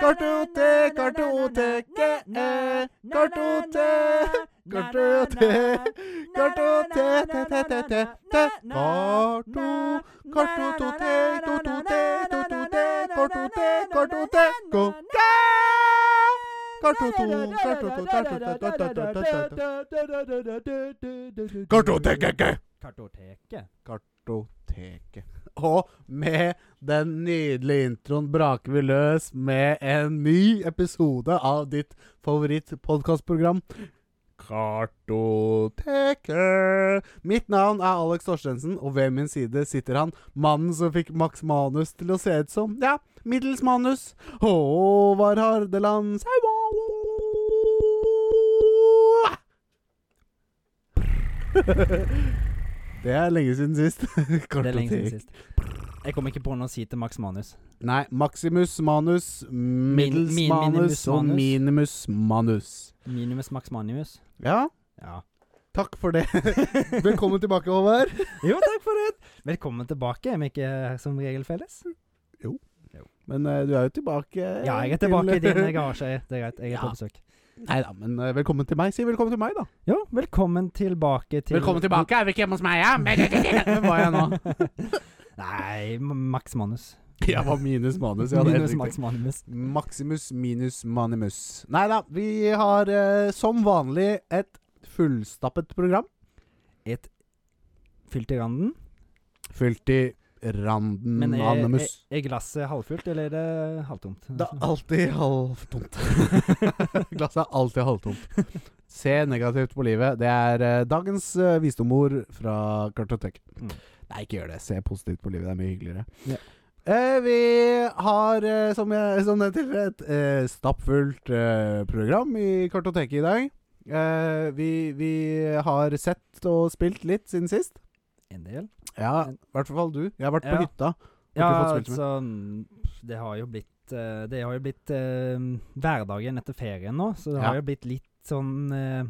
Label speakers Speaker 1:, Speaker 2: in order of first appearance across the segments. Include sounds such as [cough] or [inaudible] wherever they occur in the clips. Speaker 1: Kartotek, kartotek, eh, kartotek, kartotek, kartotek, te, te, te, te, te, karto, kartotek, tototek, tototek, kartotek, kartotek, konge! Kartotek, kartotek, kartotek, kartotek,
Speaker 2: Kartoteket.
Speaker 1: kartoteket. Og med den nydelige introen braker vi løs med en ny episode av ditt favorittpodkastprogram. Kartoteket. Mitt navn er Alex Torstensen, og ved min side sitter han, mannen som fikk Max Manus til å se ut som ja, middels manus. Håvard Hardeland Saua. [laughs] Det er lenge siden sist. [laughs]
Speaker 2: Det er lenge
Speaker 1: Kartotek.
Speaker 2: siden sist. Jeg kom ikke på noe å si til Max Manus.
Speaker 1: Nei, maximus manus, middels
Speaker 2: min-
Speaker 1: manus
Speaker 2: minimus
Speaker 1: og
Speaker 2: manus.
Speaker 1: minimus manus.
Speaker 2: Minimus Max Manimus.
Speaker 1: Ja,
Speaker 2: Ja.
Speaker 1: takk for
Speaker 2: [laughs]
Speaker 1: det. Velkommen tilbake, Håvard.
Speaker 2: Jo, takk for det. Velkommen tilbake. Er vi ikke som regel felles?
Speaker 1: Men eh, du er jo tilbake.
Speaker 2: Ja, jeg er tilbake i din eh, garasje. Det er greit. Jeg er
Speaker 1: Ja.
Speaker 2: på besøk.
Speaker 1: Nei da, men eh, velkommen til meg. Si velkommen til meg, da.
Speaker 2: Ja, velkommen tilbake til
Speaker 1: Er vi ikke hjemme hos meg, ja?
Speaker 2: [laughs]
Speaker 1: Hvem var jeg nå?
Speaker 2: Nei, M- Max Manus.
Speaker 1: [laughs] Jeg var minus manus. Ja, det er
Speaker 2: Minus
Speaker 1: helt riktig.
Speaker 2: Max Manimus.
Speaker 1: Maximus minus manimus. Nei da, vi har eh, som vanlig et fullstappet program.
Speaker 2: Et fylt i randen.
Speaker 1: Fylt i randen
Speaker 2: Men eh, er, er,
Speaker 1: animus.
Speaker 2: er glasset halvfullt, eller er det halvtomt?
Speaker 1: Det er alltid halvtomt. [laughs] Glasset er alltid halvtomt. Se negativt på livet. Det er eh, dagens eh, visdomord fra Kartoteket.
Speaker 2: Mm.
Speaker 1: Nei, ikke gjør det. Se positivt på livet. Det er mye hyggeligere.
Speaker 2: Ja.
Speaker 1: Eh, vi har, eh, som, jeg, som nevnt tidligere, et eh, stappfullt eh, program i Kartoteket i dag. Eh, vi, vi har sett og spilt litt siden sist.
Speaker 2: En del.
Speaker 1: Ja, i hvert fall du. Jeg har vært
Speaker 2: Ja.
Speaker 1: på hytta.
Speaker 2: Ja,
Speaker 1: Har ikke fått spilt
Speaker 2: altså mm, Det har jo blitt eh, Det har jo blitt eh, hverdagen etter ferien nå, så det
Speaker 1: Ja.
Speaker 2: har jo blitt litt sånn eh,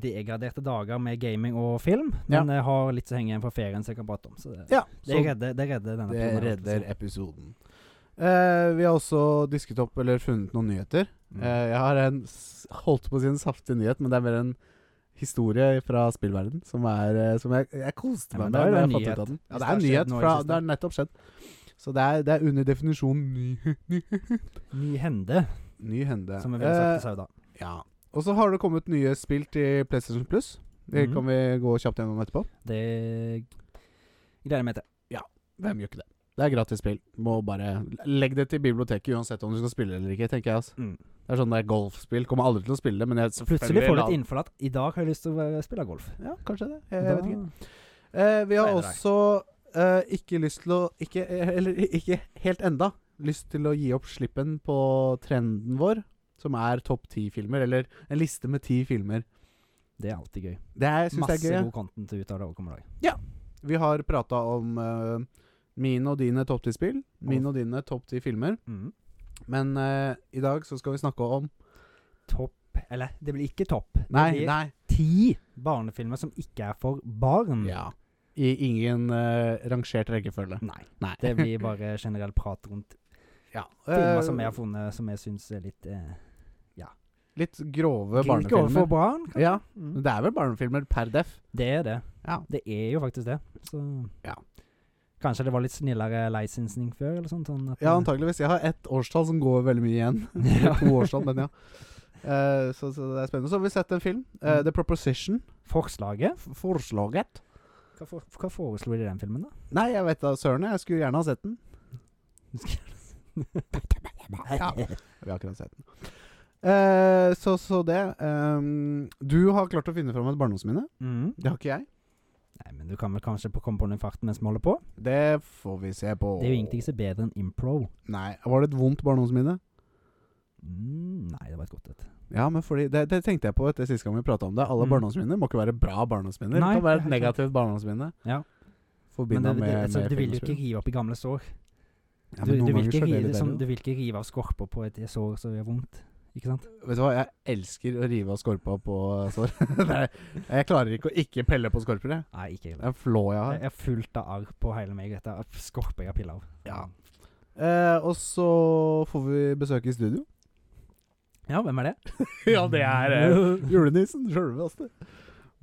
Speaker 2: degraderte dager med gaming og film.
Speaker 1: Ja.
Speaker 2: Men jeg har litt som henger igjen fra ferien som jeg kan prate om. Så det,
Speaker 1: Ja,
Speaker 2: det,
Speaker 1: så-
Speaker 2: redder, det redder denne
Speaker 1: Det
Speaker 2: episoden, jeg altså. holdt på å
Speaker 1: redder
Speaker 2: si.
Speaker 1: episoden. Eh, vi har også disket opp eller funnet noen nyheter.
Speaker 2: Mm.
Speaker 1: Eh, jeg har en s- holdt på å si en saftig nyhet, men det er mer en historie fra spillverden som, er, eh, som jeg, jeg koste
Speaker 2: Ja, men
Speaker 1: meg med.
Speaker 2: da er det
Speaker 1: når
Speaker 2: en
Speaker 1: jeg fant
Speaker 2: nyhet,
Speaker 1: ut av den. Ja,
Speaker 2: hvis
Speaker 1: det er en
Speaker 2: det har skjedd
Speaker 1: nyhet.
Speaker 2: nå i det
Speaker 1: Fra,
Speaker 2: siste.
Speaker 1: det er nettopp skjedd. Så det er, det er under definisjonen
Speaker 2: [laughs]
Speaker 1: ny,
Speaker 2: Ny hende,
Speaker 1: ny hende.
Speaker 2: som vi ville sagt
Speaker 1: Eh,
Speaker 2: til Sauda.
Speaker 1: ja. Og så har det kommet nye spill til PlayStation Plus. Det
Speaker 2: Mhm.
Speaker 1: kan vi gå kjapt gjennom etterpå.
Speaker 2: Det gleder jeg meg til.
Speaker 1: Hvem gjør ikke det? Det er gratis spill. Må bare legg det til biblioteket uansett om du skal spille eller ikke, tenker jeg. Altså.
Speaker 2: Mm.
Speaker 1: Det er sånn det er golfspill. Kommer aldri til å spille det, men jeg
Speaker 2: Plutselig får du et
Speaker 1: lar-
Speaker 2: innfall at i dag har jeg lyst til å være- spille golf.
Speaker 1: Ja, kanskje det. Jeg,
Speaker 2: Da-
Speaker 1: jeg vet ikke. Eh, vi har
Speaker 2: Nei, nei, nei.
Speaker 1: også eh, ikke lyst til å ikke, eh, [laughs] Eller ikke helt enda lyst til å gi opp slippen på trenden vår, som er topp ti-filmer, eller en liste med ti filmer.
Speaker 2: Det er alltid gøy.
Speaker 1: Det er- syns jeg
Speaker 2: Masse
Speaker 1: er gøy. ja.
Speaker 2: god content ut av det overkommende dag.
Speaker 1: Vi har prata om eh, mine og dine topp ti-spill, mine og dine topp ti-filmer,
Speaker 2: Mm.
Speaker 1: men eh, i dag så skal vi snakke om
Speaker 2: Topp Eller, det blir ikke topp. det
Speaker 1: Nei,
Speaker 2: blir
Speaker 1: nei.
Speaker 2: ti barnefilmer som ikke er for barn.
Speaker 1: Ja. I ingen eh, rangert rekkefølge.
Speaker 2: Nei.
Speaker 1: Nei.
Speaker 2: Det blir bare generell prat rundt
Speaker 1: Ja.
Speaker 2: filmer
Speaker 1: [laughs] eh,
Speaker 2: som jeg har funnet som jeg syns er litt eh,
Speaker 1: Litt grove
Speaker 2: Ikke overfor
Speaker 1: barnefilmer.
Speaker 2: barn. kanskje?
Speaker 1: Ja,
Speaker 2: Mm.
Speaker 1: men det er vel barnefilmer per def.
Speaker 2: Det er det.
Speaker 1: Ja.
Speaker 2: Det er jo faktisk det. Så
Speaker 1: Ja.
Speaker 2: Kanskje det var litt snillere licensing før, eller sånt. Sånn at,
Speaker 1: Ja, antakeligvis. Jeg har ett årstall som går veldig mye [laughs] igjen.
Speaker 2: Ja.
Speaker 1: Eller to årstall, men ja. Eh, så, så det er spennende. Så har vi sett en film. eh,
Speaker 2: Mm.
Speaker 1: The Proposition.
Speaker 2: Forslaget
Speaker 1: F- Forslaget.
Speaker 2: hva, for, hva foreslo de i den filmen, da? [laughs]
Speaker 1: Nei, jeg vet da søren. Jeg skulle gjerne ha sett den. [laughs] Ja. Vi har akkurat sett den. Eh, så, så det. ehm, du har klart å finne fram et barndomsminne.
Speaker 2: Mm.
Speaker 1: Det har ikke jeg.
Speaker 2: Nei, men du kan vel kanskje på- komme på den i farten mens vi holder på?
Speaker 1: Det får vi se på.
Speaker 2: Det er jo ingenting som er bedre enn impro.
Speaker 1: Nei, Var det et vondt barndomsminne?
Speaker 2: Mm, nei, det var et godt et.
Speaker 1: Ja, men fordi Det, det tenkte jeg på etter sist gang vi prata om det. Alle
Speaker 2: Mm.
Speaker 1: barndomsminner må ikke være bra barndomsminner.
Speaker 2: Nei,
Speaker 1: det kan være et
Speaker 2: det er helt
Speaker 1: negativt barndomsminne.
Speaker 2: Ja. Men
Speaker 1: Forbinda
Speaker 2: det, det,
Speaker 1: med,
Speaker 2: altså,
Speaker 1: med
Speaker 2: du vil jo ikke
Speaker 1: filmspill.
Speaker 2: rive opp i gamle sår.
Speaker 1: Ja,
Speaker 2: du,
Speaker 1: men noen
Speaker 2: du, vil
Speaker 1: ganger
Speaker 2: ikke
Speaker 1: så er det
Speaker 2: rive, sånn-
Speaker 1: litt
Speaker 2: som,
Speaker 1: bedre.
Speaker 2: du vil ikke rive av skorper på et sår som gjør vondt. Ikke sant?
Speaker 1: Vet du hva, jeg elsker å rive av skorpa på sår. [laughs] Det er- jeg klarer ikke å ikke pelle på skorper, jeg.
Speaker 2: Nei, ikke
Speaker 1: Det
Speaker 2: heller.
Speaker 1: er en flå jeg har.
Speaker 2: Jeg er fullt av arr på hele meg. Dette er skorper jeg har pilla av.
Speaker 1: Ja. Eh, og så får vi besøk i studio.
Speaker 2: Ja, hvem er det?
Speaker 1: [laughs] ja, det er
Speaker 2: [laughs]
Speaker 1: eh, julenissen sjølveste.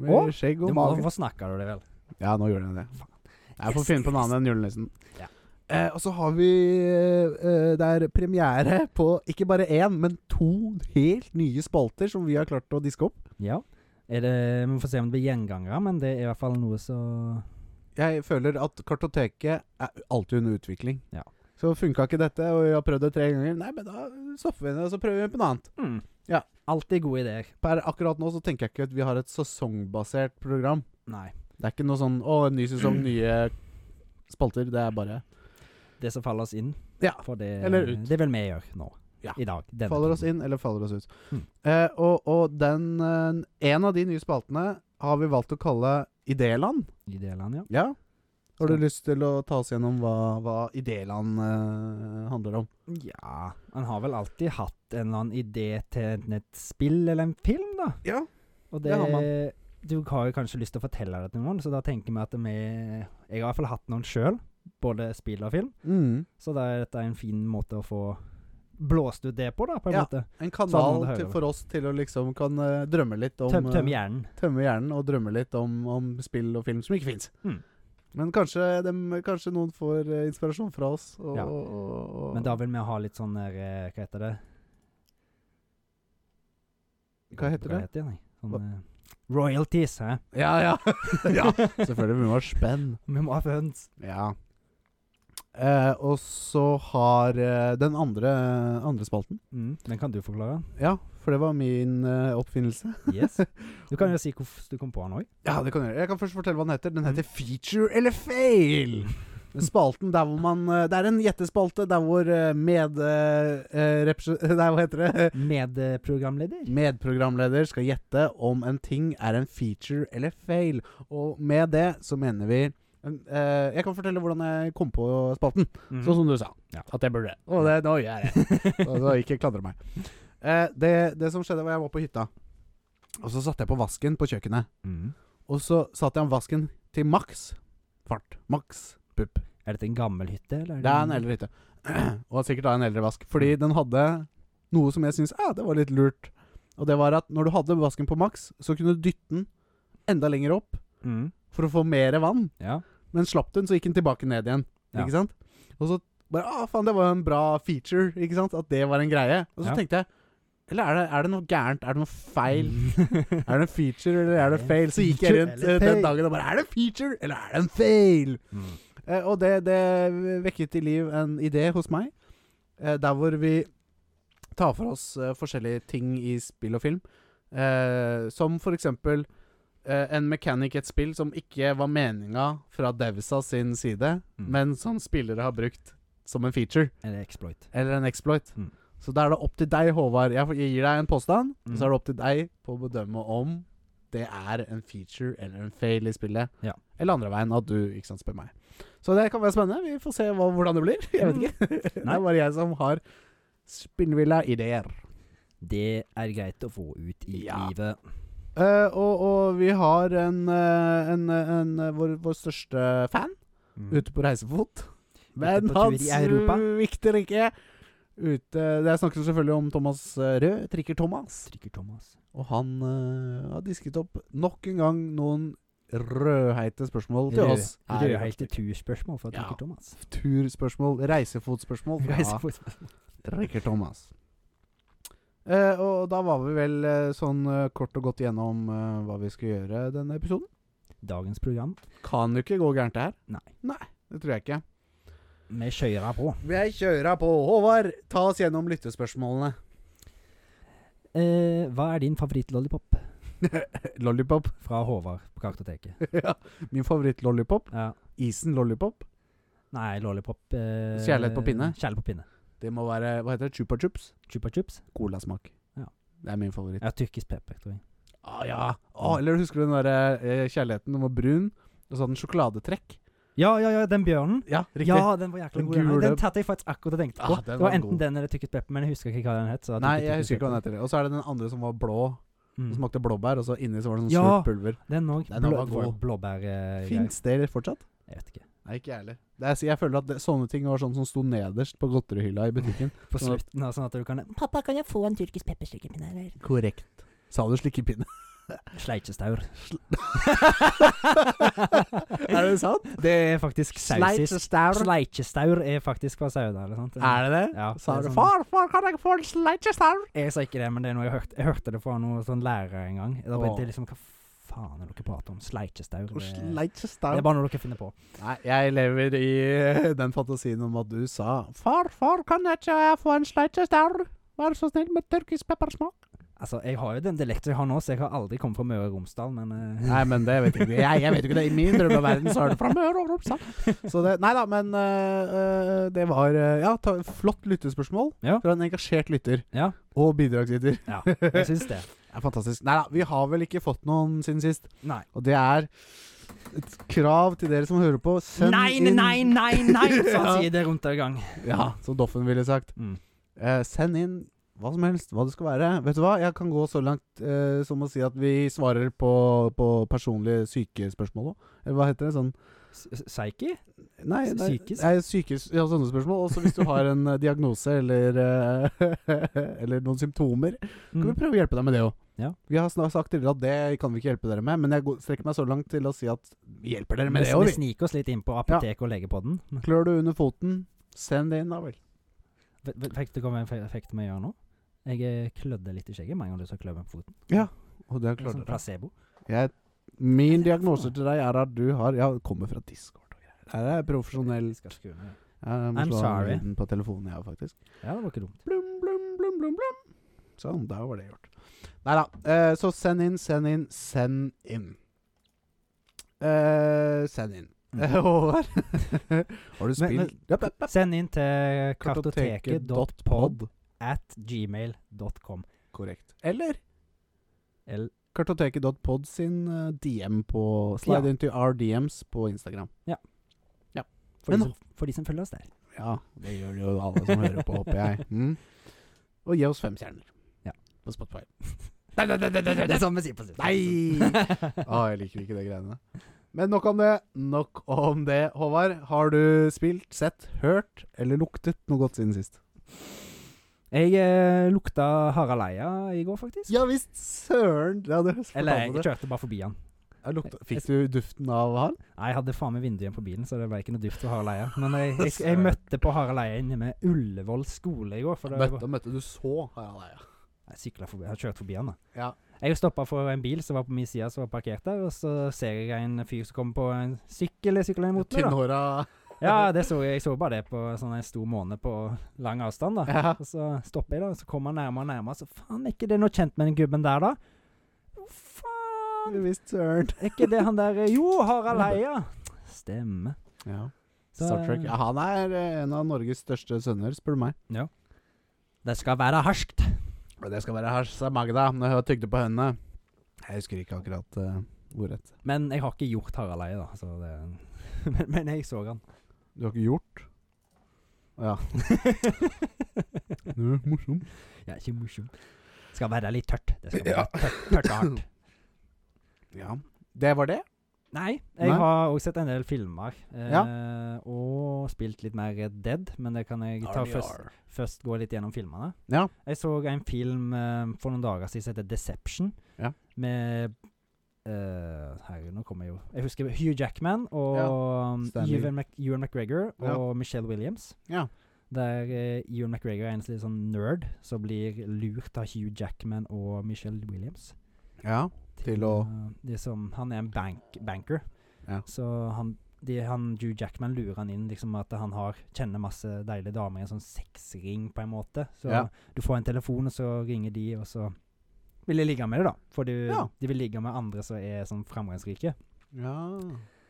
Speaker 1: Med
Speaker 2: Å,
Speaker 1: skjegg
Speaker 2: Du
Speaker 1: og
Speaker 2: må,
Speaker 1: mage.
Speaker 2: hvorfor snakker du det vel?
Speaker 1: Ja, nå gjorde jeg det. Jeg får
Speaker 2: Yes,
Speaker 1: finne på en
Speaker 2: yes.
Speaker 1: annen enn julenissen.
Speaker 2: Ja.
Speaker 1: Eh, og så har vi eh, Det er premiere på ikke bare én, men to helt nye spalter som vi har klart å diske opp.
Speaker 2: Ja. Er det, vi får se om det blir gjengangere, men det er i hvert fall noe så
Speaker 1: Jeg føler at kartoteket er alltid under utvikling.
Speaker 2: Ja.
Speaker 1: Så funka ikke dette, og vi har prøvd det tre ganger. Nei, men da stopper vi det, og så prøver vi på noe annet.
Speaker 2: mm.
Speaker 1: Ja.
Speaker 2: Alltid gode ideer.
Speaker 1: Per akkurat nå så tenker jeg ikke at vi har et sesongbasert program.
Speaker 2: Nei.
Speaker 1: Det er ikke noe sånn 'Å, en
Speaker 2: [clears throat]
Speaker 1: ny sesong, nye spalter'. Det er bare
Speaker 2: Det som faller oss inn.
Speaker 1: Ja,
Speaker 2: For det,
Speaker 1: eller ut.
Speaker 2: det vil vi gjøre nå.
Speaker 1: Ja.
Speaker 2: I dag. denne
Speaker 1: Faller oss
Speaker 2: timen.
Speaker 1: inn, eller faller oss ut.
Speaker 2: Mm.
Speaker 1: Eh, og og den, eh, en av de nye spaltene har vi valgt å kalle Idéland.
Speaker 2: Ideland, ja.
Speaker 1: Ja. Har du
Speaker 2: Skal-
Speaker 1: lyst til å ta oss gjennom hva, hva Idéland eh, handler om?
Speaker 2: Ja Han har vel alltid hatt en eller annen idé til enten et spill eller en film, da.
Speaker 1: Ja.
Speaker 2: Og
Speaker 1: Det
Speaker 2: det,
Speaker 1: har
Speaker 2: Du har jo kanskje lyst til å fortelle det til noen, så da tenker vi at vi Jeg har i hvert fall hatt noen sjøl, både spill og film,
Speaker 1: Mm.
Speaker 2: så da er dette en fin måte å få blåst ut det på, da, på en
Speaker 1: Ja.
Speaker 2: måte.
Speaker 1: En
Speaker 2: Sånn
Speaker 1: kanal
Speaker 2: man hører
Speaker 1: til,
Speaker 2: det.
Speaker 1: for oss til å liksom kan eh, drømme litt om
Speaker 2: Tøm, tømme
Speaker 1: eh,
Speaker 2: hjernen.
Speaker 1: tømme hjernen og drømme litt om, om spill og film som ikke fins.
Speaker 2: Mm.
Speaker 1: Men kanskje, dem, kanskje noen får eh, inspirasjon fra oss. Og,
Speaker 2: Ja.
Speaker 1: og, og, og,
Speaker 2: Men da vil vi ha litt sånn der eh, Hva heter det?
Speaker 1: Hva heter det?
Speaker 2: Heter det? Sånn, eh, royalties, hæ?
Speaker 1: Ja, ja. [laughs] ja. Selvfølgelig. Vi må ha spenn.
Speaker 2: [laughs] Vi må ha funds.
Speaker 1: Ja. Eh, og så har eh, den andre, andre spalten
Speaker 2: Mm, den kan du forklare.
Speaker 1: Ja, for det var min eh, oppfinnelse.
Speaker 2: Yes. [laughs] Du kan jo si hvorfor du kom på den òg.
Speaker 1: Ja, det kan jeg gjøre. Jeg kan først fortelle hva den heter. Den heter Feature eller fail. [laughs] Den Spalten der hvor man eh, Det er en gjettespalte der hvor eh, med... eh, [laughs] repres- Nei, hva heter det?
Speaker 2: Medprogramleder.
Speaker 1: Medprogramleder skal gjette om en ting er en feature eller fail. Og med det så mener vi eh, Jeg kan fortelle hvordan jeg kom på spalten.
Speaker 2: Mhm.
Speaker 1: Sånn som du sa.
Speaker 2: Ja.
Speaker 1: At jeg burde. Og det, nå gjør jeg det. [laughs] Og så ikke klandre meg. Eh, det, det som skjedde, var jeg var på hytta. Og så satte jeg på vasken på kjøkkenet.
Speaker 2: Mhm.
Speaker 1: Og så satte jeg om vasken til maks fart. Maks pupp.
Speaker 2: Er dette en gammel hytte? Eller
Speaker 1: Det er en eldre hytte. [clears throat] Og sikkert da en eldre vask. Fordi den hadde noe som jeg syns ah, det var litt lurt. Og det var at når du hadde vasken på maks, så kunne du dytte den enda lenger opp
Speaker 2: Mhm.
Speaker 1: for å få mer vann.
Speaker 2: Ja.
Speaker 1: Men slapp den, så gikk den tilbake ned igjen.
Speaker 2: Ja.
Speaker 1: Ikke sant? Og så bare ah, faen, det var jo en bra feature. Ikke sant? At det var en greie. Og så
Speaker 2: Ja.
Speaker 1: tenkte jeg Eller er det, er det noe gærent? Er det noe
Speaker 2: [laughs]
Speaker 1: feil? Er det en feature, eller er det
Speaker 2: Er det en
Speaker 1: fail? Så gikk jeg
Speaker 2: feature
Speaker 1: rundt
Speaker 2: eller
Speaker 1: eh, den
Speaker 2: fail?
Speaker 1: dagen og bare Er det en feature, eller er det en fail?
Speaker 2: Mhm.
Speaker 1: Eh, og det, det vekket til liv en idé hos meg, eh, der hvor vi tar for oss eh, forskjellige ting i spill og film. Eh, som for eksempel eh, en mechanic i et spill som ikke var meninga fra Devsa sin side,
Speaker 2: Mm.
Speaker 1: men som spillere har brukt som en feature
Speaker 2: Er det exploit?
Speaker 1: eller en exploit.
Speaker 2: Mm.
Speaker 1: Så da er det opp til deg, Håvard. Jeg får- jeg gir deg en påstand,
Speaker 2: Mm.
Speaker 1: så er det opp til deg på å bedømme om det er en feature eller en fail i spillet.
Speaker 2: Ja.
Speaker 1: Eller andre veien, at du ikke sant, spør meg. Så det kan være spennende. Vi får se hva, hvordan det blir. [laughs] Jeg vet ikke. det
Speaker 2: Nei.
Speaker 1: er bare jeg som har spinnvilla ideer.
Speaker 2: Det er greit å få ut i
Speaker 1: Ja.
Speaker 2: livet.
Speaker 1: Eh, og, og vi har en, eh, en, en, eh, vår, vår største fan Mm. ute på reisefot.
Speaker 2: på
Speaker 1: Men
Speaker 2: tur
Speaker 1: han
Speaker 2: i Europa.
Speaker 1: svikter ikke. Ute, det jeg snakker selvfølgelig om Thomas eh, Rød, trikker Thomas.
Speaker 2: Trykker Thomas.
Speaker 1: Og han eh, har disket opp nok en gang noen rødheite spørsmål til
Speaker 2: Rød-
Speaker 1: oss.
Speaker 2: Det er helt turspørsmål fra
Speaker 1: Ja.
Speaker 2: Trykker Thomas.
Speaker 1: Turspørsmål, reisefotspørsmål fra
Speaker 2: Reisefotspørsmål.
Speaker 1: Rikker Thomas. Eh, og da var vi vel eh, sånn eh, kort og godt gjennom eh, hva vi skal gjøre denne episoden.
Speaker 2: [laughs] Dagens program.
Speaker 1: Kan jo ikke gå gærent det her.
Speaker 2: Nei.
Speaker 1: Det tror jeg ikke.
Speaker 2: Vi kjører på.
Speaker 1: Jeg kjører på. Håvard, ta oss gjennom lyttespørsmålene.
Speaker 2: Eh, hva er din favoritt-lollipop?
Speaker 1: [laughs] Lollipop. [laughs]
Speaker 2: Fra Håvard på Kartoteket.
Speaker 1: ja. Min favoritt-lollipop.
Speaker 2: Ja.
Speaker 1: Isen lollipop.
Speaker 2: Nei, lollipop eh,
Speaker 1: Kjærlighet på pinne?
Speaker 2: Kjærlighet på pinne.
Speaker 1: Det må være Hva heter det? Chupa chups?
Speaker 2: Chupa chups.
Speaker 1: Colasmak.
Speaker 2: Ja.
Speaker 1: Det er min favoritt.
Speaker 2: Ja, tyrkisk pepper, tror jeg.
Speaker 1: eh, Ah, ja. Ah, eller husker du den der eh, kjærligheten? Den var brun, og så hadde den sjokoladetrekk.
Speaker 2: Ja, ja, ja, den bjørnen.
Speaker 1: Ja, riktig.
Speaker 2: Ja, den var jækla
Speaker 1: Den
Speaker 2: god. Den, her.
Speaker 1: gule-
Speaker 2: den tatt jeg faktisk akkurat og tenkte på.
Speaker 1: Ah, den
Speaker 2: det
Speaker 1: var
Speaker 2: var enten
Speaker 1: god.
Speaker 2: den eller Tykket Pepper, men jeg husker ikke hva den het. Så
Speaker 1: Nei, jeg husker ikke Mm. hva den heter. Og så er det den andre som var blå, som smakte blåbær, og så inni så var det sånn
Speaker 2: Ja.
Speaker 1: surt pulver.
Speaker 2: Mm. Den òg.
Speaker 1: Den var
Speaker 2: Blå,
Speaker 1: god.
Speaker 2: Blåbærgreier.
Speaker 1: Fins det fortsatt?
Speaker 2: Jeg vet ikke.
Speaker 1: Nei, ikke jeg heller. Det er, jeg føler at det, sånne ting var sånn som sto nederst på godterihylla i butikken.
Speaker 2: På
Speaker 1: Sånn at-
Speaker 2: slutten, da, sånn at du kan
Speaker 3: Pappa, kan jeg få en tyrkisk pepperstykepinne? eller?
Speaker 1: [laughs] Korrekt. Sa du slikkepinne?
Speaker 2: Sleikjestaur.
Speaker 1: [laughs]
Speaker 2: [laughs]
Speaker 1: er det sant?
Speaker 2: Det er faktisk sausis.
Speaker 1: Sleitestaur.
Speaker 2: Sleikjestaur er faktisk hva sauer er. sant?
Speaker 1: Er det det?
Speaker 2: Ja, det
Speaker 1: Sa
Speaker 2: er
Speaker 1: du
Speaker 2: sånn-
Speaker 1: Farfar, kan jeg få en sleitestaur?
Speaker 2: Jeg sa ikke det, men det er noe jeg hørte. Jeg hørte det fra noen sånn lærere en gang. Da
Speaker 1: Åh.
Speaker 2: begynte jeg liksom Hva faen er det dere prater om? Sleikjestaur? Det, det
Speaker 1: Sleitestaur.
Speaker 2: er bare noe dere finner på.
Speaker 1: Nei, jeg lever i eh, den fantasien om at du sa Farfar, kan jeg ikke eh, få en sleitestaur? Vær så snill med tyrkisk peppersmak.
Speaker 2: Altså, jeg har jo den dialekten jeg har nå, så jeg har aldri kommet fra Møre og Romsdal, men eh,
Speaker 1: [laughs] Nei, men det vet jeg ikke. Jeg, jeg vet jo ikke det. I min drømmeverden så er det fra Møre og Romsdal. Så det Nei da, men øh, øh, det var øh, Ja, ta, flott lyttespørsmål
Speaker 2: Ja.
Speaker 1: fra en engasjert lytter
Speaker 2: Ja.
Speaker 1: og bidragsyter.
Speaker 2: [laughs]
Speaker 1: [laughs]
Speaker 2: ja. Jeg syns det.
Speaker 1: Det er fantastisk. Nei da, vi har vel ikke fått noen siden sist,
Speaker 2: Nei.
Speaker 1: og det er et krav til dere som hører på. Send
Speaker 2: Nei, nei,
Speaker 1: inn
Speaker 2: nei, nei,
Speaker 1: [laughs]
Speaker 2: nei! Sånn
Speaker 1: Ja.
Speaker 2: sier det rundt og i gang.
Speaker 1: Ja, som Doffen ville sagt.
Speaker 2: Mm.
Speaker 1: Eh, send inn hva som helst, hva det skal være. Vet du hva, jeg kan gå så langt eh, som å si at vi svarer på, på personlige sykespørsmål òg. Eller hva heter det? Sånn
Speaker 2: S- s- Psyche?
Speaker 1: Nei, nei
Speaker 2: Psykisk?
Speaker 1: Nei, psykisk ja, sånne spørsmål. Også hvis du har en eh, diagnose eller, eh, [laughs] eller noen symptomer, kan vi
Speaker 2: Mm.
Speaker 1: prøve å hjelpe deg med det òg.
Speaker 2: Ja.
Speaker 1: Vi har snart sagt tidligere at det kan vi ikke hjelpe dere med, men jeg går- strekker meg så langt til å si at vi hjelper dere med det
Speaker 2: Vi-
Speaker 1: òg,
Speaker 2: Vi
Speaker 1: vi.
Speaker 2: sniker oss litt inn på apoteket og legepodden.
Speaker 1: Klør du under foten, send det inn, da vel.
Speaker 2: F- f- Fikk du hva jeg fikk til meg å gjøre nå? Jeg eh, klødde litt i skjegget med en gang du sa klø meg på foten.
Speaker 1: Og
Speaker 2: Det
Speaker 1: det
Speaker 2: er
Speaker 1: klarte
Speaker 2: Sånn
Speaker 1: dere.
Speaker 2: placebo.
Speaker 1: Jeg, min diagnose til deg er at du har Ja, kommer fra Discord og greier. Her er jeg profesjonell.
Speaker 2: Skal skru ned.
Speaker 1: Jeg må
Speaker 2: I'm
Speaker 1: slå av
Speaker 2: sorry.
Speaker 1: lyden på telefonen, jeg, faktisk.
Speaker 2: Ja, det var ikke dumt.
Speaker 1: Blum, blum, blum, blum, blum. Sånn, der var det gjort. Nei da. eh, så send inn, send inn, send inn. Eh, send inn. Håvard, har du
Speaker 2: Mm. Men- men-
Speaker 1: spilt Japp, japp,
Speaker 2: [laughs]
Speaker 1: japp.
Speaker 2: Send inn til kartoteket.pod
Speaker 1: Kartoteket.pod.
Speaker 2: at gmail.com.
Speaker 1: Korrekt. Eller
Speaker 2: Eller-
Speaker 1: kartoteket.pod sin eh, DM på Slide
Speaker 2: Ja.
Speaker 1: into our DMs på Instagram.
Speaker 2: For, de
Speaker 1: Men-
Speaker 2: som- for de som følger oss der.
Speaker 1: Ja, det gjør jo alle som hører på, håper jeg. [laughs] Mm. Og gi oss fem stjerner.
Speaker 2: Ja.
Speaker 1: På Spotify.
Speaker 2: Det er sånn vi sier på slutten.
Speaker 1: Nei! ah, jeg liker ikke de greiene. Men nok om det. Nok om det, Håvard. Har du spilt, sett, hørt eller luktet noe godt siden sist?
Speaker 2: [laughs] Jeg eh, lukta Harald Eia i går, faktisk.
Speaker 1: Ja visst! Søren! Ja, du fortalte
Speaker 2: Eller jeg
Speaker 1: det.
Speaker 2: kjørte bare forbi han.
Speaker 1: Jeg lukta. Fikk du duften av han?
Speaker 2: Nei, Jeg hadde faen meg vinduet igjen på bilen, så det ble ikke noe duft for Harald Eia. Men jeg, jeg,
Speaker 1: [laughs]
Speaker 2: jeg, møtte på Harald Eia inne med Ullevål skole i går. For det var,
Speaker 1: Møtte, møtte du så Harald Eia?
Speaker 2: jeg syklet forbi, jeg har kjørt forbi han, da.
Speaker 1: Ja.
Speaker 2: Jeg stoppa for en bil som var på min side, som var parkert der. Og så ser jeg en fyr som kommer på en sykkel. Jeg sykler imot meg, da.
Speaker 1: Tynnhåra
Speaker 2: Ja, det så jeg. Jeg så bare det på sånn en stor måned på lang avstand, da.
Speaker 1: [laughs] ja.
Speaker 2: Og så stopper jeg, da. og Så kommer han nærmere og nærmere. Så faen, er ikke det noe kjent med den gubben der, da? Å, Faen!
Speaker 1: Visst søren.
Speaker 2: Er ikke det han der Jo, Harald Eia! Stemmer.
Speaker 1: Ja.
Speaker 2: Så-
Speaker 1: Star Trek. Ja, han er eh, en av Norges største sønner, spør du meg.
Speaker 2: Det skal være harskt.
Speaker 1: Og det skal være her, sa Magda når hun tygde på hønene. Jeg husker ikke akkurat uh, ordrett.
Speaker 2: Men jeg har ikke gjort Harald Eia, da. Så det, [laughs] men, men jeg så han.
Speaker 1: Du har ikke gjort? Ja.
Speaker 2: [laughs]
Speaker 1: Det er morsom.
Speaker 2: Jeg er ikke morsom. Skal være litt tørt. Det skal være tørt, tørt og hardt.
Speaker 1: Ja. Det var det?
Speaker 2: [laughs] Nei, jeg
Speaker 1: Nei.
Speaker 2: har også sett en del filmer. Eh,
Speaker 1: Ja.
Speaker 2: Og spilt litt mer Red Dead, men det kan jeg ta først, først gå litt gjennom filmene.
Speaker 1: Ja.
Speaker 2: Jeg så en film eh, for noen dager siden som heter Deception.
Speaker 1: Ja.
Speaker 2: Med eh, Herregud, nå kommer jeg jo Jeg husker Hugh Jackman og um,
Speaker 1: Stanley.
Speaker 2: Ewan, Mac Ewan McGregor og
Speaker 1: Ja.
Speaker 2: Michelle Williams.
Speaker 1: Ja.
Speaker 2: Der eh, Ewan McGregor er en slik sånn nerd som blir lurt av Hugh Jackman og Michelle Williams.
Speaker 1: ja. Til å-
Speaker 2: eh, de som, Han er en bank, banker.
Speaker 1: Ja.
Speaker 2: Så han, de, han, Hugh Jackman lurer han inn liksom at han har, kjenner masse deilige damer i en sånn sexring, på en måte. Så
Speaker 1: Ja.
Speaker 2: du får en telefon, og så ringer de, og så vil de ligge med det, da. For de,
Speaker 1: Ja.
Speaker 2: de vil ligge med andre som er sånn framgangsrike.
Speaker 1: ja.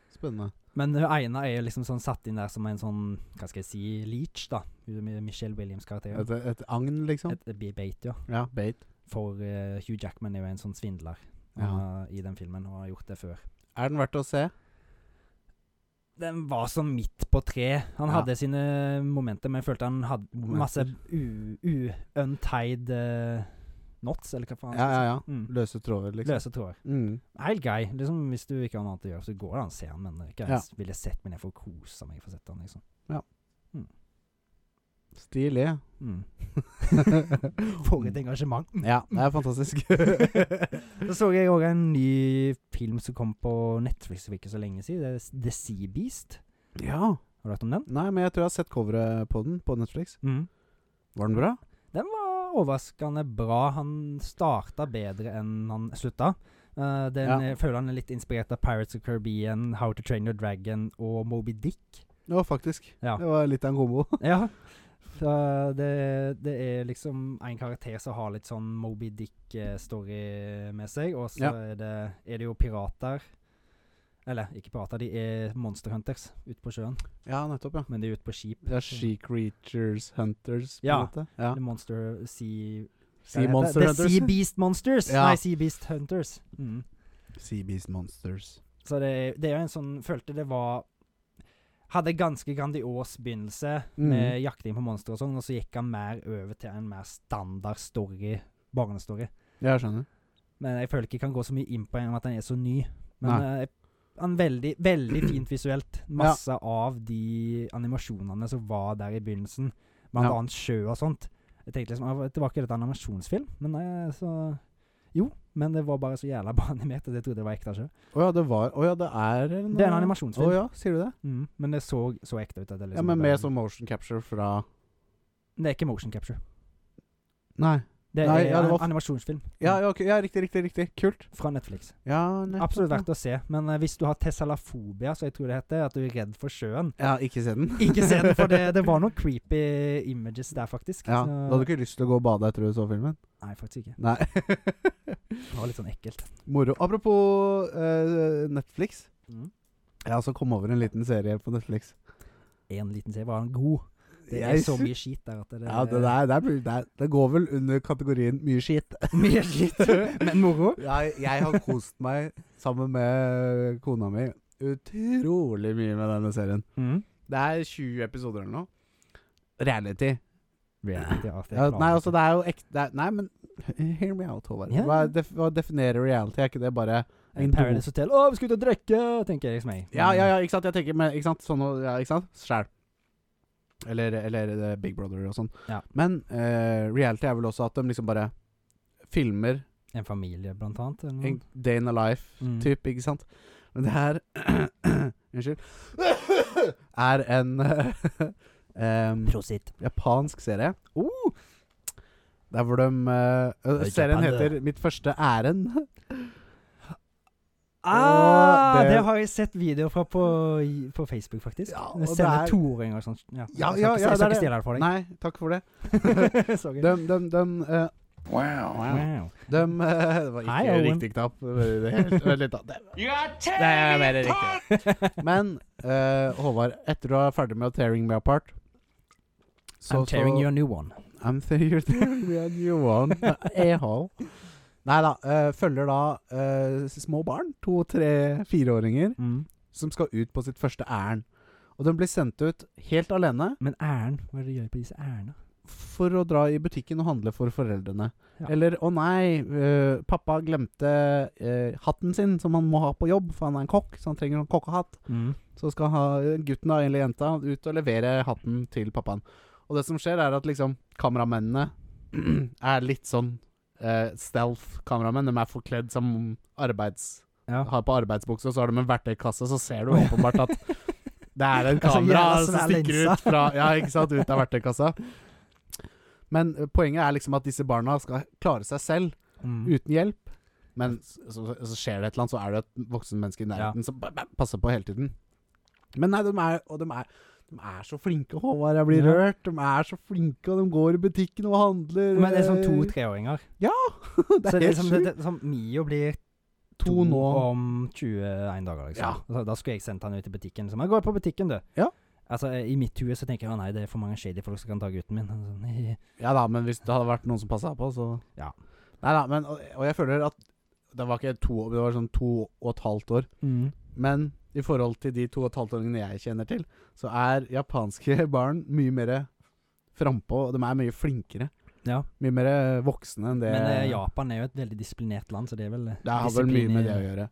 Speaker 1: Spennende.
Speaker 2: Men hun ene er jo liksom sånn satt inn der som en sånn, hva skal jeg si, leech, da. Hun er Michelle Williams' karakter.
Speaker 1: Et, et agn, liksom?
Speaker 2: Et, et bait, ja.
Speaker 1: ja. Bait.
Speaker 2: For eh, Hugh Jackman er jo en sånn svindler
Speaker 1: Ja.
Speaker 2: eh, i den filmen, og har gjort det før.
Speaker 1: Er den verdt å se?
Speaker 2: den var sånn midt på tre. Han
Speaker 1: Ja.
Speaker 2: hadde sine momenter, men jeg følte han hadde
Speaker 1: Momenter.
Speaker 2: masse u- u- untied eh, knots, eller hva faen.
Speaker 1: Ja, ja, ja.
Speaker 2: Mm.
Speaker 1: Løse tråder, liksom.
Speaker 2: Løse tråder.
Speaker 1: Mm.
Speaker 2: Helt grei. Liksom, hvis du ikke har noe annet å gjøre, så går det an å se han, men det er ikke
Speaker 1: Ja.
Speaker 2: jeg ville sett, men jeg får kose meg for å sette han, liksom. [laughs]
Speaker 1: Stilig.
Speaker 2: Mm. For et engasjement.
Speaker 1: Ja, det er fantastisk.
Speaker 2: [laughs] Så så jeg òg en ny film som kom på Netflix for ikke så lenge siden. Det er The Sea Beast.
Speaker 1: ja.
Speaker 2: Har du hørt om den?
Speaker 1: Nei, men jeg tror jeg har sett coveret på den på Netflix.
Speaker 2: Mm.
Speaker 1: Var den bra?
Speaker 2: Den var overraskende bra. Han starta bedre enn han slutta. Eh, den,
Speaker 1: Ja.
Speaker 2: Jeg føler han er litt inspirert av Pirates of Caribbean, How to Train Your Dragon og Moby
Speaker 1: [laughs]
Speaker 2: Dick.
Speaker 1: Ja, faktisk.
Speaker 2: Ja.
Speaker 1: Det var litt av en kombo.
Speaker 2: Ja. Så det, det er liksom en karakter som har litt sånn Moby Dick-story med seg, og så
Speaker 1: Ja.
Speaker 2: er, det, er det jo pirater Eller ikke pirater, de er monster hunters ute på sjøen,
Speaker 1: Ja, nettopp, ja.
Speaker 2: men de er ute på skip.
Speaker 1: Det er She Creatures Hunters, på en
Speaker 2: Ja.
Speaker 1: måte. Ja.
Speaker 2: The Monster Sea hva
Speaker 1: Sea
Speaker 2: heter det?
Speaker 1: Monster
Speaker 2: The
Speaker 1: Hunters.
Speaker 2: Sea Beast Monsters!
Speaker 1: Ja.
Speaker 2: Nei, Sea Beast Hunters. Mm.
Speaker 1: Sea Beast Monsters.
Speaker 2: Så det, det er jo en sånn Følte det var Hadde ganske grandios begynnelse
Speaker 1: Mm.
Speaker 2: med jakting på monstre og sånn, og så gikk han mer over til en mer standard story, barnestory.
Speaker 1: Ja, jeg skjønner.
Speaker 2: Men jeg føler ikke jeg kan gå så mye inn på en om at han er så ny. Men
Speaker 1: Nei.
Speaker 2: eh, jeg- han er veldig, veldig fint visuelt. Masse av de animasjonene som var der i begynnelsen, blant
Speaker 1: Ja.
Speaker 2: annet sjø og sånt. Jeg tenkte liksom, ah, det var ikke dette en animasjonsfilm, men nei, så Jo, men det var bare så jævla bra [laughs] animert, og det trodde jeg var ekte sjø.
Speaker 1: Å ja, det var Å ja, det er en
Speaker 2: Det er en
Speaker 1: Å
Speaker 2: animasjonsfilm.
Speaker 1: ja, sier du det?
Speaker 2: Mm, men det så så ekte ut. At det, liksom
Speaker 1: Ja, men
Speaker 2: var-
Speaker 1: mer som motion capture fra
Speaker 2: Det er ikke motion capture.
Speaker 1: Nei.
Speaker 2: Det
Speaker 1: Nei,
Speaker 2: er
Speaker 1: ja,
Speaker 2: en
Speaker 1: det var f-
Speaker 2: animasjonsfilm
Speaker 1: Ja, ja, ok. ja riktig, riktig, riktig. Kult.
Speaker 2: fra Netflix.
Speaker 1: Ja, nettopp,
Speaker 2: Absolutt
Speaker 1: ja.
Speaker 2: verdt å se. Men eh, hvis du har tessalafobia, så jeg tror det heter, at du er redd for sjøen,
Speaker 1: Ja, ikke se den.
Speaker 2: Ikke se den, for det, det var noen creepy images der, faktisk.
Speaker 1: [laughs] Ja,
Speaker 2: Så-
Speaker 1: Du hadde ikke lyst til å gå og bade etter du så filmen?
Speaker 2: Nei, faktisk ikke.
Speaker 1: Nei. [laughs]
Speaker 2: Det var litt sånn ekkelt.
Speaker 1: Moro. Apropos eh, Netflix.
Speaker 2: Mm.
Speaker 1: Jeg har også kommet over en liten serie på Netflix.
Speaker 2: En liten serie var han god. Det er
Speaker 1: Jeg
Speaker 2: så
Speaker 1: sy-
Speaker 2: mye skit der at det
Speaker 1: Ja, det der, der blir- der- det går vel under kategorien mye skit.
Speaker 2: Mye
Speaker 1: [laughs]
Speaker 2: skit, men moro.
Speaker 1: Jeg, jeg har kost meg sammen med kona mi utrolig mye med denne serien.
Speaker 2: Mm.
Speaker 1: Det er 20 episoder eller noe. Reality.
Speaker 2: Reality, ja, det
Speaker 1: Ja,
Speaker 2: klarer
Speaker 1: nei,
Speaker 2: jeg
Speaker 1: altså, det er jo ekte det er- Nei, men [laughs] hear me out, Håvard.
Speaker 2: Ja.
Speaker 1: Hva, er def, hva definerer reality? Er ikke det bare
Speaker 2: ikke. Eh, Paradise Hotel. Å, vi skal ut og drikke, tenker jeg liksom jeg.
Speaker 1: Ja, ja, ja, ikke sant? Jeg tenker men, ikke sant? Sånn, og- ja, ikke sant? Skjær. Eller, eller eh, Big Brother og sånn.
Speaker 2: Ja.
Speaker 1: Men eh, reality er vel også at de liksom bare filmer
Speaker 2: En familie, blant annet. Eller noe.
Speaker 1: en day in a
Speaker 2: Mm.
Speaker 1: life-type, ikke sant? Men det her [clears throat]
Speaker 2: [laughs]
Speaker 1: Unnskyld. er en [laughs] eh, em,
Speaker 3: Prosit.
Speaker 1: japansk serie. Uh! Der hvor de eh, eh,
Speaker 2: Oi, Japan,
Speaker 1: Serien
Speaker 2: det.
Speaker 1: heter 'Mitt første ærend'.
Speaker 2: Ah,
Speaker 1: Og
Speaker 2: det,
Speaker 1: det-
Speaker 2: har jeg sett videoer fra på, på Facebook, faktisk.
Speaker 1: Ja, og
Speaker 2: Jeg
Speaker 1: det
Speaker 2: Sender
Speaker 1: er-
Speaker 2: toåringer og sånn. Ja,
Speaker 1: Ja,
Speaker 2: jeg skal
Speaker 1: ja,
Speaker 2: ikke-
Speaker 1: ja,
Speaker 2: Jeg skal
Speaker 1: det
Speaker 2: ikke
Speaker 1: er
Speaker 2: stjele det for deg.
Speaker 1: Nei, takk for det.
Speaker 2: [laughs] Sorry.
Speaker 1: De, de, de, eh,
Speaker 2: Wow.
Speaker 1: de eh, Det var ikke
Speaker 2: Hei, Owen.
Speaker 1: riktig knapp. Det var- det var helt- det var litt annet. Det er mer riktig. Men eh, Håvard, etter du er ferdig med å 'tearing me apart' så-
Speaker 2: I'm tearing
Speaker 1: så-
Speaker 2: you a new one.
Speaker 1: I'm tearing you a new [laughs] one. Ehal. Nei da. eh, følger da eh, små barn. To, tre, fireåringer.
Speaker 2: Mm.
Speaker 1: som skal ut på sitt første ærend. Og den blir sendt ut helt alene
Speaker 2: Men æren, hva er det de gjør på disse ærene?
Speaker 1: for å dra i butikken og handle for foreldrene.
Speaker 2: Ja.
Speaker 1: Eller 'Å nei, øh, pappa glemte øh, hatten sin, som han må ha på jobb, for han er en kokk, så han trenger en kokkehatt'. Så skal ha gutten da, eller jenta ut og levere hatten til pappaen. Og det som skjer, er at liksom kameramennene [clears throat] er litt sånn eh, stealth-kameramenn. De er forkledd som arbeids...
Speaker 2: Ja.
Speaker 1: Har på arbeidsbukse, og så har de en verktøykasse, så ser [laughs] du åpenbart at det er en
Speaker 2: Altså,
Speaker 1: kamera
Speaker 2: jævla
Speaker 1: som
Speaker 2: svær
Speaker 1: stikker
Speaker 2: linse.
Speaker 1: ut fra Ja, ikke sant, ut av verktøykassa. Men eh, poenget er liksom at disse barna skal klare seg selv,
Speaker 2: Mm.
Speaker 1: uten hjelp. Men s- så, så, så skjer det et eller annet, så er det et voksen menneske i nærheten som ba- ba- passer på hele tiden. Men nei, de er, og de er, de er så flinke, Håvard. Jeg blir
Speaker 2: Ja.
Speaker 1: rørt. De er så flinke, og de går i butikken og handler.
Speaker 2: Men det er sånn
Speaker 1: eh, [laughs]
Speaker 2: to-treåringer.
Speaker 1: Det
Speaker 2: Så det er
Speaker 1: er helt
Speaker 2: liksom,
Speaker 1: sjukt.
Speaker 2: det, det, som Mio blir
Speaker 1: To nå.
Speaker 2: om 21 dager, liksom.
Speaker 1: Ja.
Speaker 2: Altså, da skulle jeg sendt han ut i butikken. Liksom. Jeg går på butikken, du.
Speaker 1: Ja.
Speaker 2: Altså, eh, I mitt hue så tenker jeg å nei, det er for mange shady folk som kan ta gutten min. [laughs] Altså, nei.
Speaker 1: Ja da, men hvis det hadde vært noen som passa på, så
Speaker 2: Ja.
Speaker 1: Nei da, men og, og jeg føler at det var ikke to Det var sånn to og et halvt år. Men i forhold til de to og et halvt åringene jeg kjenner til, så er japanske [laughs] barn mye mer frampå. og De er mye flinkere.
Speaker 2: Ja.
Speaker 1: Mye mer voksne enn det
Speaker 2: Men eh, Japan er jo et veldig disiplinert land, så det er vel eh,
Speaker 1: Det har vel mye med det å gjøre.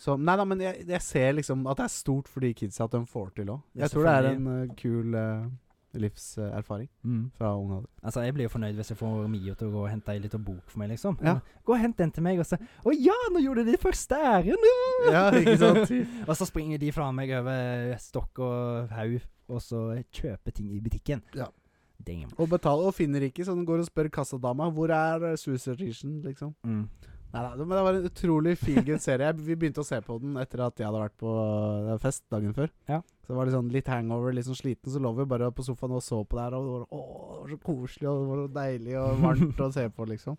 Speaker 1: Så, nei da, men jeg, jeg ser liksom at det er stort for de kidsa at de får til òg.
Speaker 2: Ja,
Speaker 1: Jeg tror det er en
Speaker 2: selvfølgelig.
Speaker 1: eh, kul eh, livserfaring
Speaker 2: Mm.
Speaker 1: fra ung alder.
Speaker 2: Altså, jeg blir jo fornøyd hvis jeg får Mio til å gå og hente ei lita bok for meg, liksom.
Speaker 1: Ja.
Speaker 2: Gå og hent den til meg, og så Å ja, nå gjorde de første æren! [laughs] ja!»
Speaker 1: Ja, ikke sant?
Speaker 2: [laughs] og så springer de fra meg over stokk og haug, og så kjøper ting i butikken.
Speaker 1: Ja.
Speaker 2: Damn.
Speaker 1: [laughs] Og betaler og finner ikke, så den går og spør kassadama hvor er eh, Suicide Mission, liksom.
Speaker 2: Mm.
Speaker 1: Nei, nei, men Det var en utrolig feelgood serie. Jeg- Vi begynte å se på den etter at jeg hadde vært på eh, fest dagen før.
Speaker 2: Ja.
Speaker 1: Så det var litt sånn litt hangover, litt sånn sliten, så lå vi bare på sofaen og så på det her. Og det var, å, det var så koselig, og det var så deilig og varmt å se på, liksom.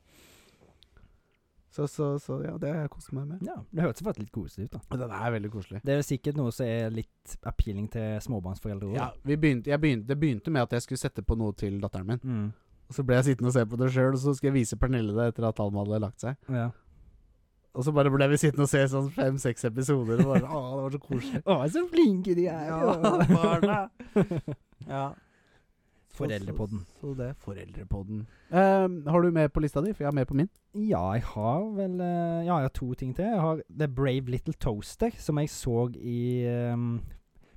Speaker 1: Så, så, så ja, det har jeg kost meg med.
Speaker 2: Ja, det hørtes faktisk litt koselig ut, da.
Speaker 1: Og Den er veldig koselig.
Speaker 2: Det er jo sikkert noe som er litt appealing til småbarnsforeldre òg.
Speaker 1: Ja, vi begynte, jeg begynte, det begynte med at jeg skulle sette på noe til datteren min.
Speaker 2: Mm.
Speaker 1: Og så ble jeg sittende og se på det sjøl, og så skulle jeg vise Pernille det etter at Alma hadde lagt seg.
Speaker 2: ja.
Speaker 1: Og så bare ble vi sittende og se sånn fem-seks episoder, og bare Å, det var så koselig.
Speaker 2: Å, så flinke de er!
Speaker 1: Ja, [laughs]
Speaker 2: [laughs]
Speaker 1: barna. Ja.
Speaker 2: Foreldrepodden.
Speaker 1: Så, så det. Foreldrepodden. Ehm, har du med på lista di? For jeg har med på min.
Speaker 2: Ja, jeg har vel eh, Ja, jeg har to ting til. Jeg har The Brave Little Toaster, som jeg så i um,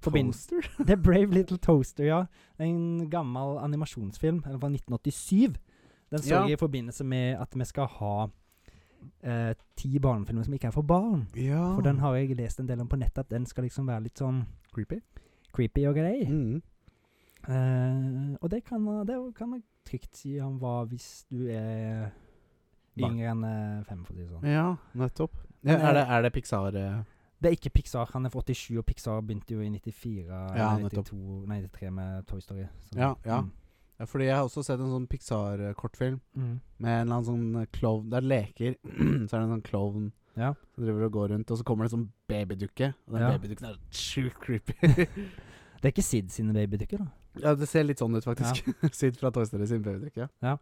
Speaker 1: Toaster?
Speaker 2: [laughs] The Brave Little Toaster, ja. En gammel animasjonsfilm den fra 1987. Den så
Speaker 1: Ja.
Speaker 2: jeg i forbindelse med at vi skal ha eh, ti barnefilmer som ikke er for barn.
Speaker 1: Ja.
Speaker 2: For den har jeg lest en del om på nettet, at den skal liksom være litt sånn
Speaker 1: Ah. Creepy.
Speaker 2: creepy og grei.
Speaker 1: Mm.
Speaker 2: Eh, og det kan det kan jeg trygt si han var hvis du er
Speaker 1: Barn.
Speaker 2: yngre enn eh, fem, for å si det sånn.
Speaker 1: Ja, nettopp. Ja, er, det, er det Pixar eh,
Speaker 2: Det er ikke Pixar. Han er fra 87, og Pixar begynte jo i 94
Speaker 1: Ja,
Speaker 2: eller
Speaker 1: nettopp.
Speaker 2: 92, nei, 93 med Toy Story. så-
Speaker 1: Ja, ja.
Speaker 2: Mm.
Speaker 1: ja, Fordi jeg har også sett en sånn Pixar-kortfilm
Speaker 2: Mm.
Speaker 1: med en eller annen sånn eh, klovn Der leker [clears throat] Så er det en sånn klovn
Speaker 2: Ja.
Speaker 1: som driver og går rundt, og så kommer det en sånn babydukke. Og den
Speaker 2: Ja.
Speaker 1: babydukken er sjukt creepy.
Speaker 2: [laughs] Det er ikke Sid sine babydukker, da.
Speaker 1: Ja, det ser litt sånn ut, faktisk. [laughs] Sydd fra Toy Story sin babydukke.
Speaker 2: Ja.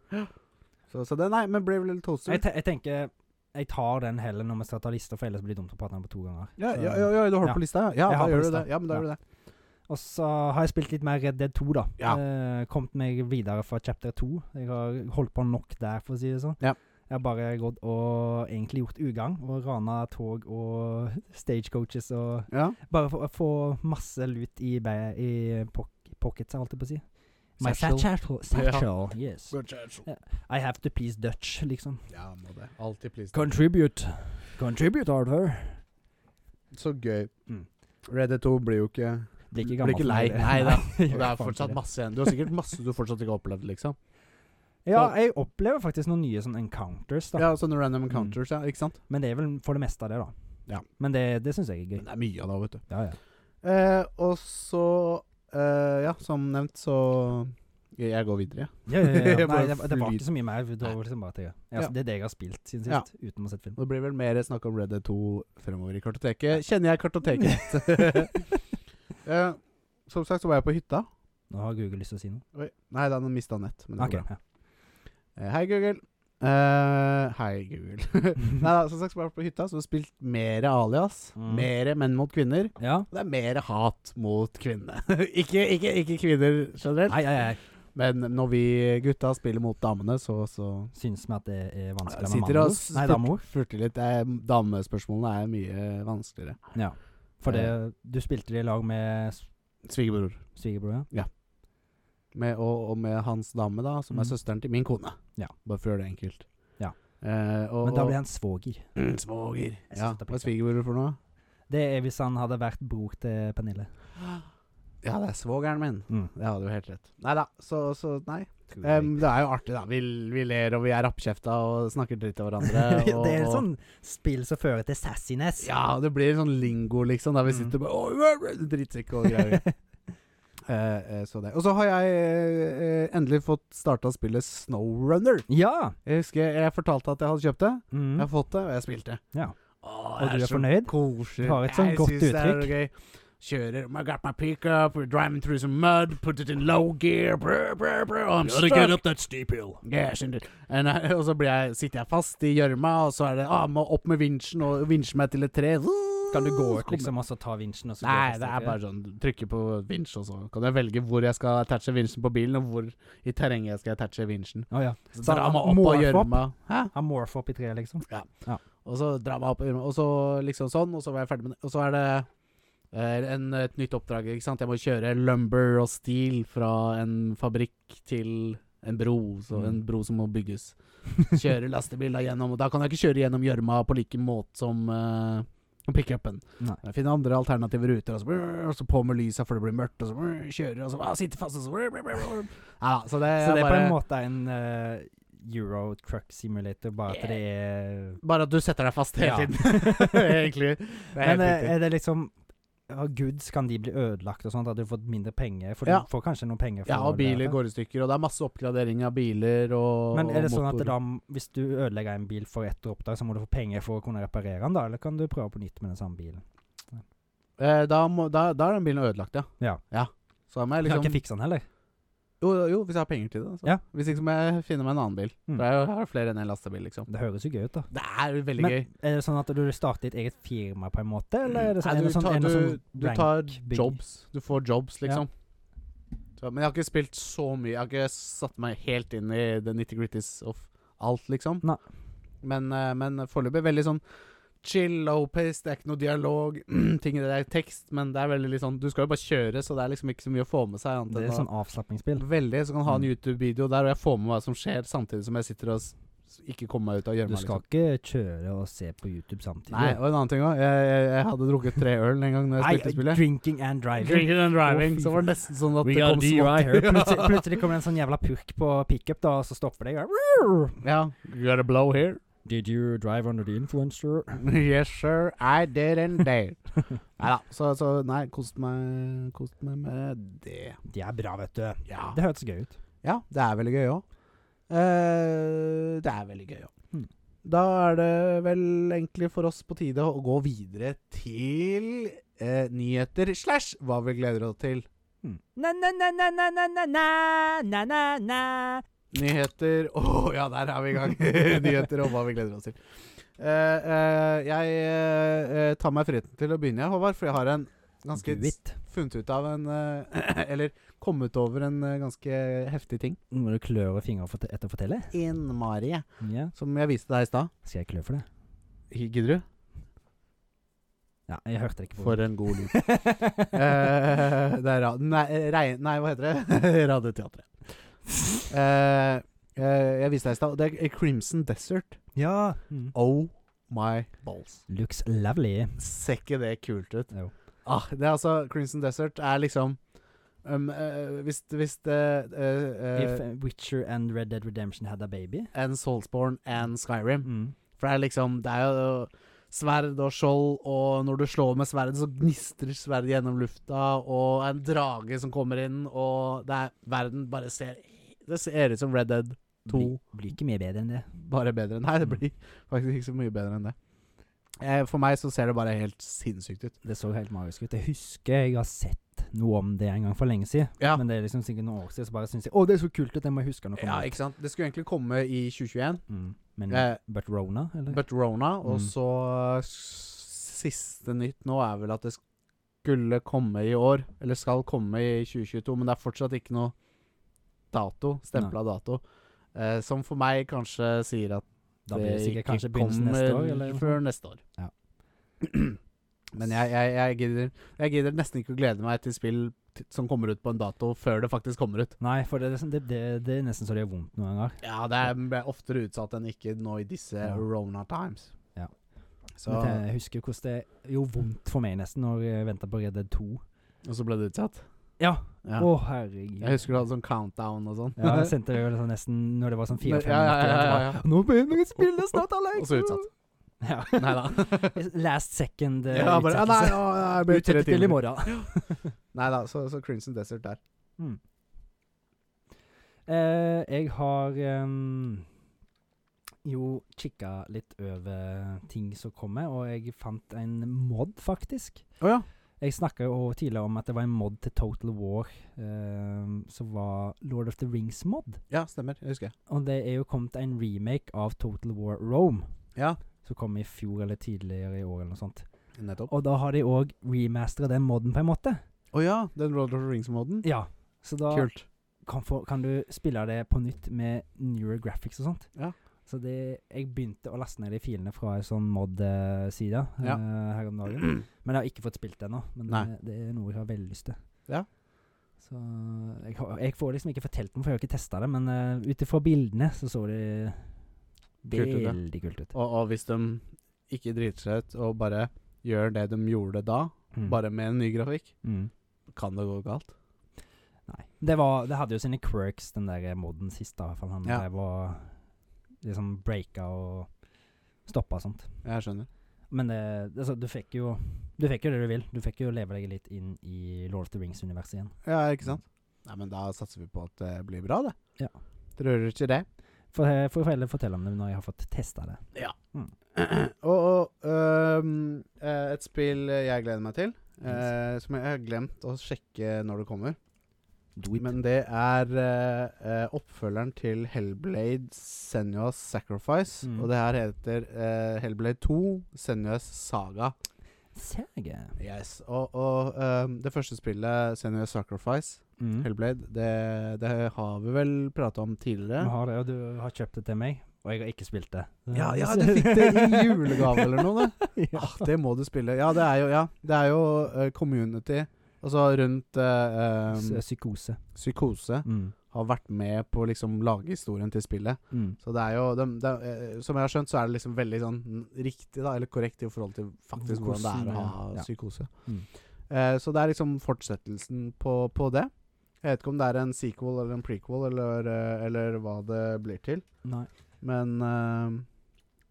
Speaker 1: Så, så det, nei, men Brave Little Toaster
Speaker 2: Jeg, te jeg tenker jeg tar den heller når vi skal ta lister, for ellers blir det dumt å prate om den på to ganger.
Speaker 1: ja,
Speaker 2: Så-
Speaker 1: ja, ja, ja, du har det
Speaker 2: Ja.
Speaker 1: på lista? Ja,
Speaker 2: Jeg
Speaker 1: ja
Speaker 2: har
Speaker 1: da
Speaker 2: på
Speaker 1: gjør du
Speaker 2: lista.
Speaker 1: det. Ja, men da
Speaker 2: Ja.
Speaker 1: gjør du det.
Speaker 2: Og så har jeg spilt litt mer Red Dead 2, da.
Speaker 1: Ja.
Speaker 2: Eh, kommet meg videre fra chapter 2. Jeg har holdt på nok der, for å si det sånn.
Speaker 1: Ja.
Speaker 2: Jeg har bare gått og egentlig gjort ugagn og rana tog og [laughs] stagecoaches og
Speaker 1: Ja.
Speaker 2: Bare for å få masse lut i, bæ- i pock- pockets, holdt jeg på å si. My
Speaker 1: Satchel.
Speaker 2: satchel. satchel. yes.
Speaker 1: Good
Speaker 2: I have to please Dutch, liksom.
Speaker 1: ja, må det. Alltid please.
Speaker 2: Contribute. Contribute, Arthur.
Speaker 1: Så gøy.
Speaker 2: Mm.
Speaker 1: Red Dead 2 blir jo ikke
Speaker 2: Blir ikke
Speaker 1: Blir
Speaker 2: gammel.
Speaker 1: ikke lei. Nei
Speaker 2: [laughs]
Speaker 1: da. Og det
Speaker 2: gjør
Speaker 1: er
Speaker 2: faen ikke
Speaker 1: fortsatt
Speaker 2: det.
Speaker 1: masse igjen. Du har sikkert masse du fortsatt ikke har opplevd, liksom.
Speaker 2: Ja, jeg opplever faktisk noen nye sånne encounters, da. Mm.
Speaker 1: Ja, sånne random encounters, ja. Ikke sant?
Speaker 2: Men det er vel for det meste av det, da.
Speaker 1: Ja.
Speaker 2: Men det, det syns jeg er
Speaker 1: Men
Speaker 2: gøy.
Speaker 1: det er mye av det, vet du.
Speaker 2: Ja,
Speaker 1: [laughs]
Speaker 2: ja.
Speaker 1: Eh, og så eh, Ja, som nevnt, så Jeg går videre, jeg.
Speaker 2: ja, ja, ja,
Speaker 1: Jeg
Speaker 2: ja. Nei,
Speaker 1: bare
Speaker 2: det, det var
Speaker 1: flyr.
Speaker 2: ikke så mye mer. Det var liksom bare at jeg, ja,
Speaker 1: Ja.
Speaker 2: Det er det jeg har spilt siden
Speaker 1: Ja.
Speaker 2: sist, uten å ha sett film.
Speaker 1: Det blir vel mer snakk om Red Dead 2 fremover i kartoteket. [laughs] Kjenner jeg
Speaker 2: [laughs]
Speaker 1: kartoteket? Eh, som sagt så var jeg på hytta.
Speaker 2: Nå har Google lyst til å si noe.
Speaker 1: Oi. Nei, da mista nett. Men det
Speaker 2: Ok,
Speaker 1: går bra.
Speaker 2: ja. [laughs]
Speaker 1: Eh, hei, Google. Eh, hei, Google. [laughs] Nei da, som sagt så var jeg på hytta, så spilt mer alias.
Speaker 2: Mm.
Speaker 1: Mere menn mot kvinner.
Speaker 2: ja.
Speaker 1: Og det er mer hat mot kvinnene. [laughs] ikke, ikke, ikke kvinner generelt,
Speaker 2: Nei, nei, nei.
Speaker 1: men når vi gutta spiller mot damene, så, så
Speaker 2: Syns vi at det er vanskelig med
Speaker 1: Sitter og
Speaker 2: mannord? Nei, damord.
Speaker 1: spurt- spurter litt. Det er- Damespørsmålene er mye vanskeligere.
Speaker 2: Ja. For
Speaker 1: Eh.
Speaker 2: det, du spilte det i lag med s-
Speaker 1: Svigerbror.
Speaker 2: svigerbror, ja?
Speaker 1: med, og, og med hans dame, da, som
Speaker 2: Mm.
Speaker 1: er søsteren til min kone.
Speaker 2: Ja.
Speaker 1: Bare for å gjøre det enkelt.
Speaker 2: Ja.
Speaker 1: Eh, og,
Speaker 2: Men da blir han svoger.
Speaker 1: han Svoger.
Speaker 2: Jeg
Speaker 1: Mm. Ja.
Speaker 2: synes det er pikt.
Speaker 1: Hva er svigerbror for noe?
Speaker 2: Det er hvis han hadde vært bror til Pernille.
Speaker 1: Ja, det er svogeren min.
Speaker 2: Mm.
Speaker 1: Det hadde du helt rett. Nei da, så, så nei.
Speaker 2: Tror jeg.
Speaker 1: Em, det er jo artig, da. Vi, vi ler, og vi er rappkjefta og snakker dritt til [laughs] hverandre. Og,
Speaker 2: [laughs] det er
Speaker 1: og-
Speaker 2: sånn spill som fører til sassiness.
Speaker 1: Ja, det blir sånn lingo, liksom, der vi
Speaker 2: Mm.
Speaker 1: sitter bare «Åh, øh, øh», Drittsekk og [laughs] greier. Eh, eh, så det. Og så har jeg eh, eh, endelig fått starta spillet Snowrunner.
Speaker 2: [laughs] Ja!
Speaker 1: Jeg husker jeg fortalte at jeg hadde kjøpt det.
Speaker 2: Mm.
Speaker 1: Jeg har fått det, og jeg spilte.
Speaker 2: Ja. Og
Speaker 1: Åh, det
Speaker 2: du er
Speaker 1: så
Speaker 2: fornøyd?
Speaker 1: Koselig.
Speaker 2: Du har et sånn
Speaker 1: Jeg
Speaker 2: godt
Speaker 1: synes Det er gøy. Kjører I got my pickup, we're driving through some mud, put it in low gear, brr, brr, brr, oh, I'm stuck.
Speaker 4: up that steep hill.
Speaker 1: Yes, indeed. And I, og så blir jeg, sitter jeg fast i gjørma, og så er det ah, må opp med vinsjen og vinsje meg til et tre. Kan du gå ut,
Speaker 2: Kommer
Speaker 1: liksom?
Speaker 2: man så ta vinsjen og så
Speaker 1: Nei, det er bare sånn du Trykker på vinsj, og så kan jeg velge hvor jeg skal attache vinsjen på bilen, og hvor i terrenget jeg skal attache vinsjen.
Speaker 2: Å ja.
Speaker 1: Så
Speaker 2: Så
Speaker 1: drar
Speaker 2: han
Speaker 1: man opp
Speaker 2: må
Speaker 1: av
Speaker 2: opp.
Speaker 1: gjørma. Hæ?
Speaker 2: Han morph opp i treet, liksom.
Speaker 1: Og så drar man opp av gjørma, og så liksom sånn, og så var jeg ferdig med det. Og så er det eh, en, et nytt oppdrag, ikke sant. Jeg må kjøre lumber og steel fra en fabrikk til en bro, så
Speaker 2: Mm.
Speaker 1: en bro som må bygges. Kjøre lastebil da gjennom, og da kan jeg ikke kjøre gjennom gjørma på like måte som eh, pickupen.
Speaker 2: Nei.
Speaker 1: Jeg finner andre alternative ruter, og så, brrr, og så på med lysa før det blir mørkt, og så brrr, kjører, og så ah, sitter fast, og så brrr, brrr, brrr, brrr. Ja, så det
Speaker 2: Så
Speaker 1: er
Speaker 2: det er på en
Speaker 1: bare,
Speaker 2: måte en eh, Euro Truck Simulator, bare at det er
Speaker 1: bare at du setter deg fast hele
Speaker 2: Ja. [laughs]
Speaker 1: tiden. [laughs] Egentlig. Det er
Speaker 2: Men
Speaker 1: helt
Speaker 2: eh,
Speaker 1: riktig.
Speaker 2: er det liksom ja, Goods, kan de bli ødelagt og sånt? Hadde du fått mindre penger? For
Speaker 1: Ja.
Speaker 2: du får kanskje noen penger for
Speaker 1: Ja, og
Speaker 2: det,
Speaker 1: biler
Speaker 2: da.
Speaker 1: går i stykker, og det er masse oppgradering av biler og
Speaker 2: Men er det
Speaker 1: og
Speaker 2: sånn at
Speaker 1: motor.
Speaker 2: da, hvis du ødelegger en bil for ett oppdrag, så må du få penger for å kunne reparere den, da? Eller kan du prøve på nytt med den samme bilen?
Speaker 1: Eh, da, må, da, da er den bilen ødelagt, ja.
Speaker 2: Ja.
Speaker 1: Så da må jeg
Speaker 2: Du kan
Speaker 1: liksom
Speaker 2: ikke fikse den heller?
Speaker 1: jo, jo, hvis jeg har penger til det. Så.
Speaker 2: Ja.
Speaker 1: Hvis ikke så må jeg finne meg en annen bil.
Speaker 2: Mm.
Speaker 1: For jeg har flere enn en lastebil, liksom.
Speaker 2: Det høres jo gøy ut, da.
Speaker 1: Det er jo veldig
Speaker 2: Men-
Speaker 1: gøy.
Speaker 2: Er det sånn at du starter ditt eget firma på en måte, eller er det sånn,
Speaker 1: Nei,
Speaker 2: er det
Speaker 1: du,
Speaker 2: sånn,
Speaker 1: tar,
Speaker 2: er det sånn
Speaker 1: du, du
Speaker 2: rank
Speaker 1: tar
Speaker 2: bygg?
Speaker 1: jobs. Du får jobs, liksom. Så, men jeg har ikke spilt så mye. Jeg har ikke satt meg helt inn i the nitty-gritties of alt, liksom.
Speaker 2: Nei.
Speaker 1: Men, eh, men foreløpig veldig sånn chill, low-paced, det er ikke noe dialog. [clears throat] ting i det er tekst, men det er veldig litt sånn Du skal jo bare kjøre, så det er liksom ikke så mye å få med seg. Annet
Speaker 2: Det
Speaker 1: enn
Speaker 2: er
Speaker 1: å-
Speaker 2: sånn avslappingsspill.
Speaker 1: Veldig. Så kan du ha en
Speaker 2: Mm.
Speaker 1: YouTube-video der, og jeg får med hva som skjer, samtidig som jeg sitter og s- ikke kommer meg ut av
Speaker 2: Du
Speaker 1: gjørma. liksom.
Speaker 2: skal ikke kjøre og se på YouTube samtidig.
Speaker 1: Nei, og en annen ting òg. Jeg, jeg, jeg hadde drukket tre øl en gang Når jeg spilte spillet.
Speaker 2: drinking and driving.
Speaker 1: Drinking and driving.
Speaker 2: Å, fy
Speaker 1: så var det nesten sånn at
Speaker 2: We
Speaker 1: det
Speaker 2: got a
Speaker 1: kom
Speaker 2: DUI
Speaker 1: [laughs]
Speaker 2: her. Plutselig,
Speaker 1: smått.
Speaker 2: plutselig kommer det en sånn jævla purk på pickup, da, og så stopper det.
Speaker 1: Ja. You got a blow here?
Speaker 2: Did you drive under the influencer?
Speaker 1: [laughs] yes, sir. I didn't [laughs] dare. Nei da. Så, så nei, kost meg, kost meg med det.
Speaker 2: De er bra, vet du.
Speaker 1: Ja.
Speaker 2: Det hørtes gøy ut.
Speaker 1: ja det er veldig gøy òg. det er veldig gøy òg.
Speaker 2: Mm.
Speaker 1: Da er det vel egentlig for oss på tide å gå videre til eh, nyheter slash hva vi gleder oss til. Nyheter [laughs] Å ja, der er vi i gang. [laughs] Nyheter om hva vi gleder oss til. Eh, eh, jeg eh, tar meg friheten til å begynne, jeg, Håvard, for jeg har en ganske
Speaker 2: Do it.
Speaker 1: funnet ut av en eh, [clears throat] Eller kommet over en eh, ganske heftig ting.
Speaker 2: Nå må du klør i fingrene for- etter å fortelle.
Speaker 1: Innmari.
Speaker 2: Ja.
Speaker 1: Som jeg viste deg i stad.
Speaker 2: Skal jeg klø for det?
Speaker 1: Gidder du?
Speaker 2: Ja, jeg hørte det ikke på.
Speaker 1: For en god lyd.
Speaker 2: [laughs]
Speaker 1: [laughs] Eh, det er ra nei, rei- nei, hva heter det? [laughs] Radioteatret. Eh, eh, jeg viste deg i stad. Det er Crimson Desert.
Speaker 2: ja. Mm.
Speaker 1: Oh my balls.
Speaker 2: Looks lovely.
Speaker 1: Ser ikke det kult ut?
Speaker 2: Jo.
Speaker 1: Ah, det er altså Crimson Desert er liksom um, eh, Hvis, hvis det eh,
Speaker 2: If uh, Witcher and Red Dead Redemption had a baby.
Speaker 1: And Soulsborne and Skyrim.
Speaker 2: Mm.
Speaker 1: For det er liksom Det er jo sverd og skjold, og når du slår med sverdet, så gnistrer sverdet gjennom lufta, og en drage som kommer inn, og det er Verden bare ser Det ser ut som Red Dead 2.
Speaker 2: Blir, blir ikke mye bedre enn det.
Speaker 1: bare bedre enn Nei, det blir faktisk ikke så mye bedre enn det. Eh, for meg så ser det bare helt sinnssykt ut.
Speaker 2: Det så helt magisk ut. Jeg husker jeg har sett noe om det en gang for lenge siden.
Speaker 1: Ja.
Speaker 2: Men det er liksom sikkert noen år siden, så bare syns jeg å, det er så kult at jeg må huske noe.
Speaker 1: Ja, ikke sant? Det skulle egentlig komme i 2021,
Speaker 2: mm. Men
Speaker 1: Eh,
Speaker 2: But Rona, eller?
Speaker 1: but Rona, og
Speaker 2: Mm.
Speaker 1: så s- siste nytt nå er vel at det skulle komme i år, eller skal komme i 2022, men det er fortsatt ikke noe dato, stempla dato, eh, som for meg kanskje sier at
Speaker 2: da blir det sikkert
Speaker 1: eh, ikke
Speaker 2: kanskje begynnelsen neste år,
Speaker 1: kommer
Speaker 2: eller? noe sånt.
Speaker 1: Før neste år.
Speaker 2: Ja.
Speaker 1: [clears throat] men jeg, jeg, jeg, gidder, jeg gidder nesten ikke å glede meg til spill t som kommer ut på en dato før det faktisk kommer ut.
Speaker 2: Nei, for det, er liksom- det, det, det er nesten så det gjør vondt noen ganger.
Speaker 1: Ja, det er b- oftere utsatt enn ikke nå i disse
Speaker 2: Ja.
Speaker 1: Rona times.
Speaker 2: Ja.
Speaker 1: Så,
Speaker 2: Men jeg husker jo hvordan det gjorde vondt for meg nesten når jeg venta på Red Dead 2.
Speaker 1: og så ble det utsatt?
Speaker 2: Ja! Å,
Speaker 1: Ja.
Speaker 2: herregud.
Speaker 1: Jeg husker du hadde sånn countdown og sånn.
Speaker 2: Ja, jeg sendte det jo liksom nesten når det var sånn
Speaker 1: Ja,
Speaker 2: fire-fem
Speaker 1: ja, ja, ja, ja.
Speaker 2: Nå begynner jeg å spille snart, Alex!
Speaker 1: [laughs] Og så utsatt.
Speaker 2: Ja.
Speaker 1: Nei [laughs] da.
Speaker 2: [laughs] Last second eh,
Speaker 1: Ja, bare, ja, nei,
Speaker 2: utsettelse.
Speaker 1: ja, ja, jeg ble tre
Speaker 2: Utsett til i
Speaker 1: timer.
Speaker 2: morgen.
Speaker 1: Nei da, så, så Crimson Desert der.
Speaker 2: Mm. Eh, jeg har em, jo kikka litt over ting som kommer, og jeg fant en mod, faktisk.
Speaker 1: Å ja.
Speaker 2: Jeg snakka jo tidligere om at det var en mod til Total War em, som var Lord of the Rings-mod.
Speaker 1: Ja, stemmer. Jeg husker.
Speaker 2: Og det er jo kommet en remake av Total War Rome.
Speaker 1: Ja.
Speaker 2: Som kom i fjor eller tidligere i år eller noe sånt.
Speaker 1: Nettopp. Å
Speaker 2: Og da har de òg remastera den moden, på en måte.
Speaker 1: ja, den Lord of the Rings-moden.
Speaker 2: Ja, så da
Speaker 1: Kult.
Speaker 2: kan, få, kan du spille det på nytt med newer graphics og sånt.
Speaker 1: Ja.
Speaker 2: Så det, jeg begynte å laste ned de filene fra en sånn mod-side eh,
Speaker 1: Ja.
Speaker 2: her om dagen.
Speaker 1: [clears throat]
Speaker 2: Men jeg har ikke fått spilt det ennå. Men
Speaker 1: Nei.
Speaker 2: det, det er noe jeg har veldig lyst til.
Speaker 1: Ja.
Speaker 2: Så jeg, har- jeg får liksom ikke fortalt den, for jeg har ikke testa det. Men uh, ut ifra bildene så så det
Speaker 1: Kult ut, ja.
Speaker 2: veldig kult ut.
Speaker 1: Og, og hvis de ikke driter seg ut og bare gjør det de gjorde da,
Speaker 2: Mm.
Speaker 1: bare med en ny grafikk,
Speaker 2: mm.
Speaker 1: kan det gå galt.
Speaker 2: Nei. Det, var, det hadde jo sine quirks, den der moden sist, da. i hvert fall. Han
Speaker 1: Ja.
Speaker 2: drev og liksom breaka og stoppa og sånt.
Speaker 1: Jeg skjønner.
Speaker 2: Men det, altså, du fikk jo Du fikk jo det du vil. Du fikk jo leve deg litt inn i Lord of the Rings-universet igjen.
Speaker 1: Ja, ikke sant? Nei, men da satser vi på at det blir bra, det.
Speaker 2: Ja.
Speaker 1: Tror du ikke det?
Speaker 2: For jeg får heller fortelle om det når jeg har fått testa det.
Speaker 1: og og øhm, eh, et spill jeg gleder meg til, eh, som jeg har glemt å sjekke når det kommer.
Speaker 2: Do it.
Speaker 1: Men det er eh, eh, oppfølgeren til Hellblade Senua's Sacrifice.
Speaker 2: Mm.
Speaker 1: Og det her heter eh, Hellblade 2 Senua's Saga.
Speaker 2: Serge.
Speaker 1: Yes. Og, og øhm, det første spillet, Senua's Sacrifice,
Speaker 2: Mm.
Speaker 1: Hellblade, det, det har vi vel prata om
Speaker 2: Vi
Speaker 1: tidligere.
Speaker 2: har det, og du har kjøpt det til meg, og jeg har ikke spilt det.
Speaker 1: Ja, ja, du fikk det
Speaker 2: [laughs]
Speaker 1: i julegave eller noe,
Speaker 2: det. [laughs] ja.
Speaker 1: Ah, det må du spille. Ja, det er jo, ja, det er jo eh, community. Altså rundt eh,
Speaker 2: S-
Speaker 1: ehm,
Speaker 2: Psykose.
Speaker 1: psykose
Speaker 2: Mm.
Speaker 1: har vært med på å liksom lage historien til spillet.
Speaker 2: Mm.
Speaker 1: Så det er jo de, de, eh, Som jeg har skjønt, så er det liksom veldig sånn riktig, da, eller korrekt, i forhold til faktisk hvordan det er å ha
Speaker 2: Hvordan, ja.
Speaker 1: psykose.
Speaker 2: Mm.
Speaker 1: Eh, så det er liksom fortsettelsen på, på det. Jeg vet ikke om det er en sequel eller en prequel eller, eh, eller hva det blir til.
Speaker 2: Nei.
Speaker 1: Men eh,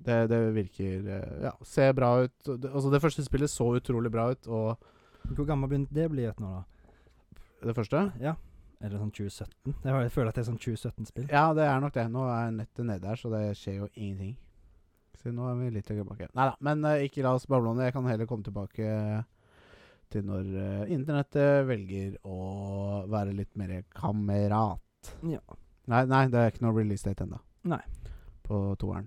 Speaker 1: det, det virker eh, Ja, ser bra ut. Og Det, altså, det første spillet så utrolig bra ut, og
Speaker 2: Hvor gammel begynte det å bli nå, da?
Speaker 1: det første
Speaker 2: Ja. Er det sånn 2017? Jeg, har- jeg føler at det er sånn 2017-spill.
Speaker 1: Ja, det er nok det. Nå er nettet nede her, så det skjer jo ingenting. Så nå er vi litt tilbake. Nei da, men eh, ikke la oss bable om det. Jeg kan heller komme tilbake til når eh, internettet velger å være litt mer kamerat.
Speaker 2: Ja.
Speaker 1: Nei, nei, det er ikke noe release date ennå.
Speaker 2: Nei.
Speaker 1: På toeren.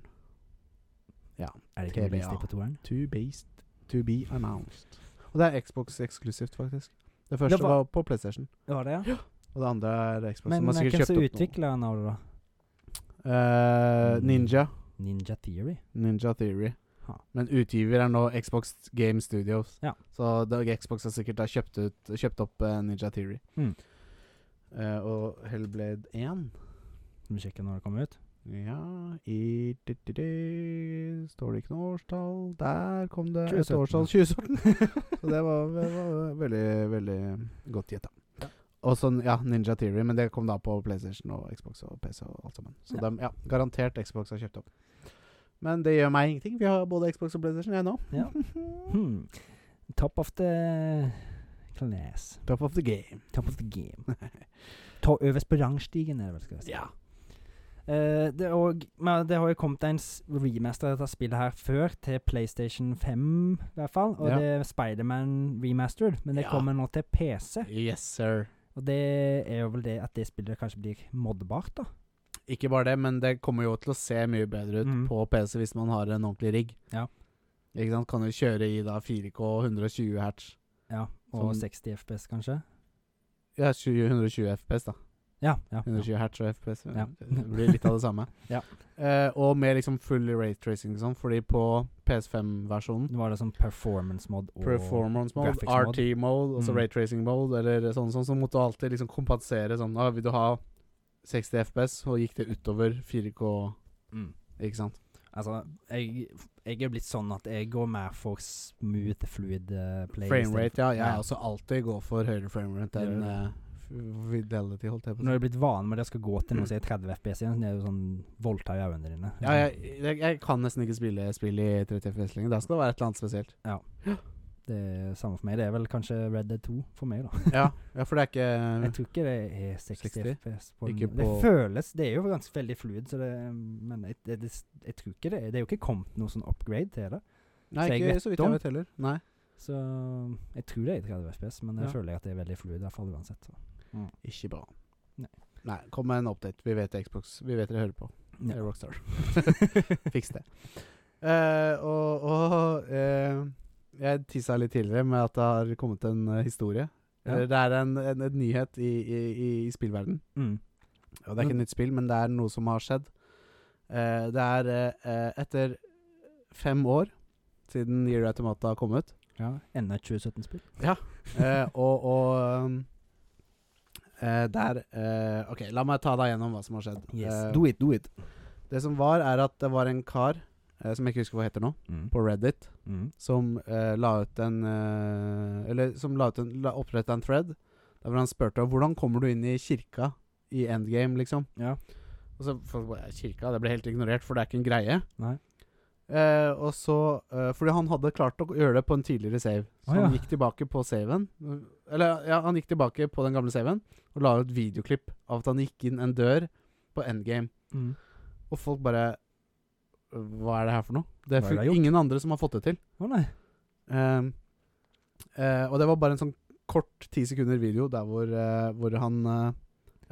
Speaker 2: Er det ikke
Speaker 1: TBA.
Speaker 2: release date på toeren?
Speaker 1: To based To be announced. Og det er Xbox eksklusivt, faktisk. Det første
Speaker 2: Det var-
Speaker 1: var, på PlayStation,
Speaker 2: Det var det, ja.
Speaker 1: og det andre er Xbox.
Speaker 2: Men
Speaker 1: som har
Speaker 2: eh, hvem
Speaker 1: sikkert
Speaker 2: som
Speaker 1: kjøpt opp noen.
Speaker 2: utvikla den av det, da?
Speaker 1: Eh, Ninja.
Speaker 2: Ninja Theory?
Speaker 1: Ninja Theory.
Speaker 2: Ha.
Speaker 1: Men utgiver er nå Xbox Game Studios.
Speaker 2: Ja.
Speaker 1: Så det, Xbox har sikkert da kjøpt, ut, kjøpt opp eh, Ninja Theory.
Speaker 2: Mm.
Speaker 1: Eh, og Hellblade 1
Speaker 2: Skal vi sjekke når det kommer ut? [laughs]
Speaker 1: Ja i di, di, di, Står det ikke noe årstall? Der kom det et
Speaker 2: 2017,
Speaker 1: årstall. 2017. [laughs] Så det var, ve- var veldig, veldig godt gjetta. Og sånn, ja, Ninja Theory, men det kom da på PlayStation og Xbox og PC og alt sammen. Så
Speaker 2: Ja.
Speaker 1: dem- ja, garantert Xbox har kjøpt opp. Men det gjør meg ingenting. Vi har både Xbox og PlayStation, jeg nå.
Speaker 2: Ja. Hmm. Top of the class.
Speaker 1: [laughs] Top of the game.
Speaker 2: Top of the
Speaker 1: [laughs]
Speaker 2: game. Ta øverst på rangstigen, er det vel, skal jeg si.
Speaker 1: Ja.
Speaker 2: Eh, det, er og, men det har jo kommet en s- remaster av dette spillet her før, til PlayStation 5 i hvert fall. Og
Speaker 1: Ja.
Speaker 2: det er Spiderman remastered, men det
Speaker 1: Ja.
Speaker 2: kommer nå til PC.
Speaker 1: Yes, sir.
Speaker 2: Og det er jo vel det at det spillet kanskje blir modbart, da.
Speaker 1: Ikke bare det, men det kommer jo til å se mye bedre ut
Speaker 2: Mm.
Speaker 1: på PC hvis man har en ordentlig rigg.
Speaker 2: Ja.
Speaker 1: Ikke sant? Kan jo kjøre i da 4K 120 hertz.
Speaker 2: Ja, Og
Speaker 1: Som-
Speaker 2: 60 FPS, kanskje?
Speaker 1: Ja, 20, 120 FPS, da.
Speaker 2: Ja. ja, ja.
Speaker 1: 120 hertz og FPS.
Speaker 2: Ja.
Speaker 1: eh, Det blir litt av det samme.
Speaker 2: [laughs] Ja.
Speaker 1: Eh, og med liksom full rate-tracing og sånn, fordi på PS5-versjonen
Speaker 2: Nå var det sånn performance mod og
Speaker 1: Performance mode,
Speaker 2: graphics mode.
Speaker 1: RT mode, altså
Speaker 2: Mm.
Speaker 1: ray tracing mode, eller sånn, sånn, så måtte du alltid liksom kompensere sånn ah, Vil du ha 60 FPS, og gikk det utover 4K,
Speaker 2: mm.
Speaker 1: ikke sant?
Speaker 2: Altså, jeg, jeg er blitt sånn at jeg går mer for smooth, fluid uh, play.
Speaker 1: Framerate, ja. Jeg
Speaker 2: Ja.
Speaker 1: er også alltid går for høyere framerate enn
Speaker 2: Gjør
Speaker 1: eh, fidelity, holdt jeg på
Speaker 2: Nå
Speaker 1: å si.
Speaker 2: er jeg blitt vane med det jeg skal gå til når jeg er 30 FPS igjen. Det er jo sånn voldta i øynene dine.
Speaker 1: Ja, jeg, jeg, jeg kan nesten ikke spille spill i 30 FPS lenger. Da skal det være et eller
Speaker 2: [laughs]
Speaker 1: annet spesielt.
Speaker 2: Det er samme for meg. Det er vel kanskje Red Dead 2 for meg, da.
Speaker 1: Ja, ja for det er ikke
Speaker 2: Jeg tror ikke det er 60,
Speaker 1: 60?
Speaker 2: FPS. På
Speaker 1: Ikke
Speaker 2: den- det
Speaker 1: på-
Speaker 2: føles Det er jo ganske veldig fluid, så det Men jeg, det, det, jeg tror ikke det er Det er jo ikke kommet noe sånn upgrade til det.
Speaker 1: Nei,
Speaker 2: Så jeg
Speaker 1: ikke
Speaker 2: vet
Speaker 1: så vidt
Speaker 2: om.
Speaker 1: jeg vet heller. Nei.
Speaker 2: Så jeg tror det er 30 FPS, men jeg
Speaker 1: Ja.
Speaker 2: føler at det er veldig fluid, i hvert fall uansett. Så.
Speaker 1: Ikke bra.
Speaker 2: Nei.
Speaker 1: Nei, kom med en update. Vi vet Xbox. Vi vet dere hører på.
Speaker 2: Ja. [laughs]
Speaker 1: Eh, Rockstar. Fiks det. Eh, og og eh, Jeg tissa litt tidligere med at det har kommet en eh, historie.
Speaker 2: Ja.
Speaker 1: Eller Det er en, en, en nyhet i, i, i, i spillverden.
Speaker 2: Mm.
Speaker 1: Og det er ikke et nytt spill, men det er noe som har skjedd. Eh, det er eh, eh, etter fem år siden Year Automata kom ut,
Speaker 2: Ja, Enda et 2017-spill.
Speaker 1: eh, og, og um, eh, der eh, OK, la meg ta deg gjennom hva som har skjedd. Eh,
Speaker 2: Do it, do it.
Speaker 1: det som var, er at det var en kar, eh, som jeg ikke husker hva heter nå,
Speaker 2: Mm.
Speaker 1: på Reddit,
Speaker 2: Mm.
Speaker 1: som eh, la ut en eh, Eller som la ut en, la, oppretta en thread der hvor han spurte om hvordan kommer du inn i kirka i endgame, liksom.
Speaker 2: Ja.
Speaker 1: Og så folk bare Kirka? Det ble helt ignorert, for det er ikke en greie.
Speaker 2: Nei.
Speaker 1: Eh, og så eh, Fordi han hadde klart å gjøre det på en tidligere save. Så
Speaker 2: Å, ja.
Speaker 1: han gikk tilbake på saven. Eller ja, han gikk tilbake på den gamle saven og la ut videoklipp av at han gikk inn en dør på endgame.
Speaker 2: Mm.
Speaker 1: Og folk bare Hva er det her for noe?
Speaker 2: Hva
Speaker 1: Det er
Speaker 2: er det jeg
Speaker 1: fun-
Speaker 2: har gjort?
Speaker 1: ingen andre som har fått det til.
Speaker 2: Å nei.
Speaker 1: Ehm, eh, og det var bare en sånn kort ti sekunder video der hvor, eh, hvor han eh,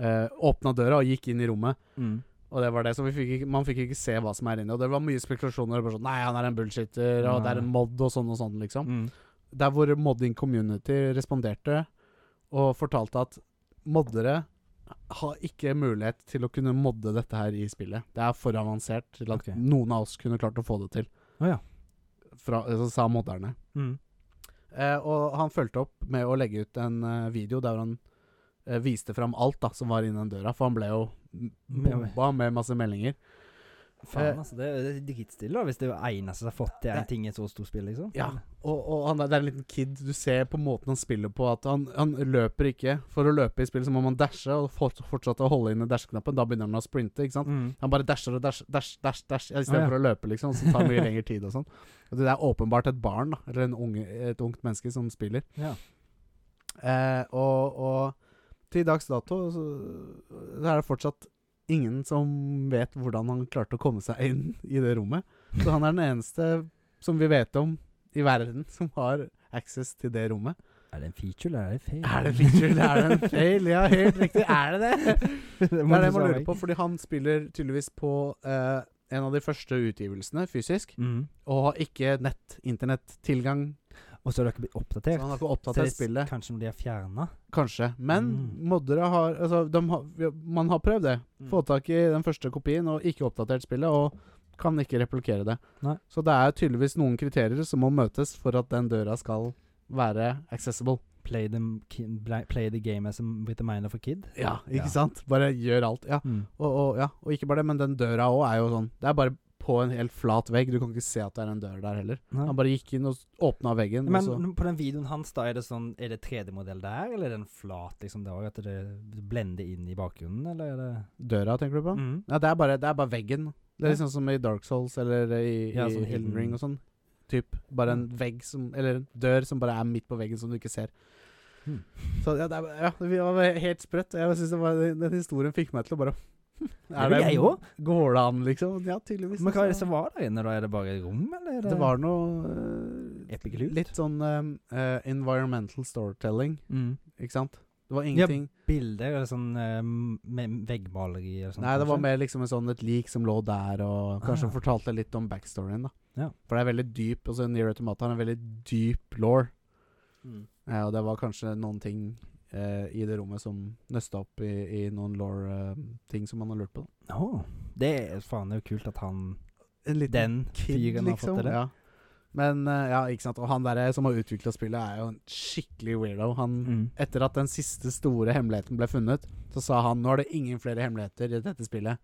Speaker 1: eh, åpna døra og gikk inn i rommet.
Speaker 2: Mm.
Speaker 1: Og det var det, så vi fikk ikke, Man fikk ikke se hva som er inni. Og det var mye spekulasjoner. Bare sånn, Nei, han er en bullshitter, og det er en mod, og sånn og sånn, liksom.
Speaker 2: Mm.
Speaker 1: Der hvor modding community responderte og fortalte at moddere har ikke mulighet til å kunne modde dette her i spillet. Det er for avansert til at
Speaker 2: Ok.
Speaker 1: noen av oss kunne klart å få det til.
Speaker 2: Å ja.
Speaker 1: Fra, så sa modderne.
Speaker 2: Mm.
Speaker 1: Eh, og han fulgte opp med å legge ut en eh, video der han eh, viste fram alt da, som var innen døra, for han ble jo bomba med masse meldinger.
Speaker 2: Faen,
Speaker 1: Eh,
Speaker 2: altså. Det er det er dritstille, da, hvis det er eneste som har fått til en
Speaker 1: Nei.
Speaker 2: ting i et så stort spill, liksom.
Speaker 1: Ja. Og, og han, er- det er en liten kid. Du ser på måten han spiller på at han, han løper ikke. For å løpe i spillet så må man dashe, og fort, fortsette å holde inne dashknappen. Da begynner han å sprinte, ikke sant.
Speaker 2: Mm.
Speaker 1: Han bare dasher og dasher, dash, dash, dash, i stedet
Speaker 2: ja.
Speaker 1: for å løpe, liksom. Så tar det mye lengre tid og sånn. Og det er åpenbart et barn, da, eller en unge, et ungt menneske, som spiller.
Speaker 2: Ja.
Speaker 1: Eh, og, og til dags dato så, så er det fortsatt ingen som vet hvordan han klarte å komme seg inn i det rommet. Så han er den eneste som vi vet om i verden [laughs] som har access til det rommet.
Speaker 2: Er det en feature, eller er det en fail?
Speaker 1: Er det feature eller er det en fail? Ja, helt
Speaker 2: [laughs]
Speaker 1: riktig. Er det det?
Speaker 2: det
Speaker 1: Det er det man lurer på, fordi han spiller tydeligvis på eh, en av de første utgivelsene fysisk,
Speaker 2: Mm.
Speaker 1: og har ikke nett, internettilgang.
Speaker 2: Og så har dere blitt
Speaker 1: Så
Speaker 2: oppdatert.
Speaker 1: han har
Speaker 2: Så
Speaker 1: ikke
Speaker 2: det
Speaker 1: oppdatert
Speaker 2: s-
Speaker 1: spillet.
Speaker 2: Kanskje når de er fjerna.
Speaker 1: Kanskje. Men
Speaker 2: Mm.
Speaker 1: moddere har Altså, de har, vi- man har prøvd det. Få tak i den første kopien og ikke oppdatert spillet, og kan ikke replikere det.
Speaker 2: Nei.
Speaker 1: Så det er tydeligvis noen kriterier som må møtes for at den døra skal være accessible.
Speaker 2: Play, them, ki- bla- play the game as a, with a minor for kid.
Speaker 1: Ja, ikke sant? Bare gjør alt. Ja.
Speaker 2: Mm.
Speaker 1: Og, og, ja. og ikke bare det, men den døra òg er jo sånn Det er bare på en helt flat vegg. Du kan ikke se at det er en dør der heller.
Speaker 2: Nei.
Speaker 1: Han bare gikk inn og s- åpna veggen. og
Speaker 2: Men
Speaker 1: så,
Speaker 2: på den videoen hans, da, er det sånn Er det 3D-modell der, eller er det en flat, liksom, der òg? At det blender inn i bakgrunnen, eller er det
Speaker 1: døra, tenker du på?
Speaker 2: mm.
Speaker 1: Ja, det er bare, det er bare veggen. Det
Speaker 2: Ja.
Speaker 1: er liksom som i Dark Souls eller i,
Speaker 2: Ja,
Speaker 1: i
Speaker 2: sånn
Speaker 1: Elden
Speaker 2: hidden-
Speaker 1: Ring og sånn. Typ. Bare en vegg som Eller en dør som bare er midt på veggen, som du ikke ser.
Speaker 2: Hmm.
Speaker 1: Så ja, det er, ja, det var helt sprøtt. Jeg synes det var, den, den historien fikk meg til å bare [laughs]
Speaker 2: Er det jeg òg?
Speaker 1: Går det an, liksom? Ja, tydeligvis.
Speaker 2: Men hva er det
Speaker 1: Så-
Speaker 2: som var der inne, da? Er det bare rom, eller? Er
Speaker 1: sånn det var noe eh,
Speaker 2: Epic loot?
Speaker 1: Litt sånn eh, eh, environmental storytelling,
Speaker 2: mm.
Speaker 1: ikke sant? Det var
Speaker 2: Ja,
Speaker 1: ingenting
Speaker 2: bilder eller sånn eh, med veggmaleri eller sånt?
Speaker 1: Nei, det var
Speaker 2: kanskje?
Speaker 1: mer liksom en sånn et lik som lå der, og kanskje
Speaker 2: Ah.
Speaker 1: fortalte litt om backstoryen, da.
Speaker 2: Ja.
Speaker 1: For det er veldig dyp, altså Nier Automata har en veldig dyp law,
Speaker 2: Mm.
Speaker 1: eh, og det var kanskje noen ting eh, i det rommet som nøsta opp i, i noen law-ting som man har lurt på. Da.
Speaker 2: Åh, det er faen det er jo kult at han
Speaker 1: En
Speaker 2: Den fyren har fått til det.
Speaker 1: liksom, Ja. Men eh, ja, ikke sant. Og han der som har utvikla spillet, er jo en skikkelig weirdo. Han,
Speaker 2: Mm.
Speaker 1: Etter at den siste store hemmeligheten ble funnet, så sa han nå er det ingen flere hemmeligheter i dette spillet.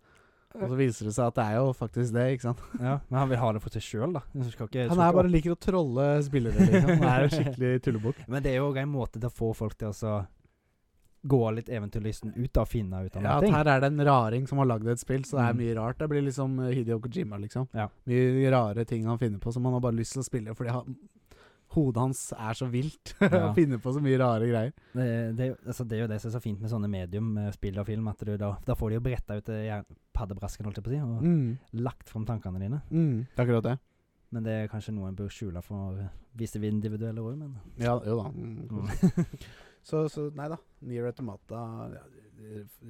Speaker 1: Og så viser det seg at det er jo faktisk det, ikke sant.
Speaker 2: Ja, men han vil ha det for seg sjøl, da. Så skal ikke,
Speaker 1: Han
Speaker 2: skal
Speaker 1: er
Speaker 2: ikke
Speaker 1: bare liker å trolle spillere, liksom. [laughs] Han er en skikkelig tullebukk.
Speaker 2: Men det er jo også en måte til å få folk til å så gå litt eventyrlysten ut da, og finne ut av
Speaker 1: Ja,
Speaker 2: noe
Speaker 1: at
Speaker 2: ting.
Speaker 1: her er det en raring som har lagd et spill, så det er
Speaker 2: Mm.
Speaker 1: mye rart. Det blir liksom eh, Hideo Kojima, liksom.
Speaker 2: Ja.
Speaker 1: Mye rare ting han finner på som han har bare lyst til å spille fordi han, hodet hans er så vilt. [laughs]
Speaker 2: Ja.
Speaker 1: Han finner på så mye rare greier.
Speaker 2: Det, det, er jo- altså, det er jo det som er så fint med sånne medium, eh, spill og film, at du, da, da får de jo bretta ut eh, hjern- paddebrasken, holdt jeg på å si, og
Speaker 1: Mm.
Speaker 2: lagt fram tankene dine.
Speaker 1: Mm. Det er akkurat det.
Speaker 2: Men det er kanskje noe en bør skjule for eh, visse individuelle òg, men
Speaker 1: Ja, jo da. Mm.
Speaker 2: mm.
Speaker 1: Så, så nei da. Nier Automata ja,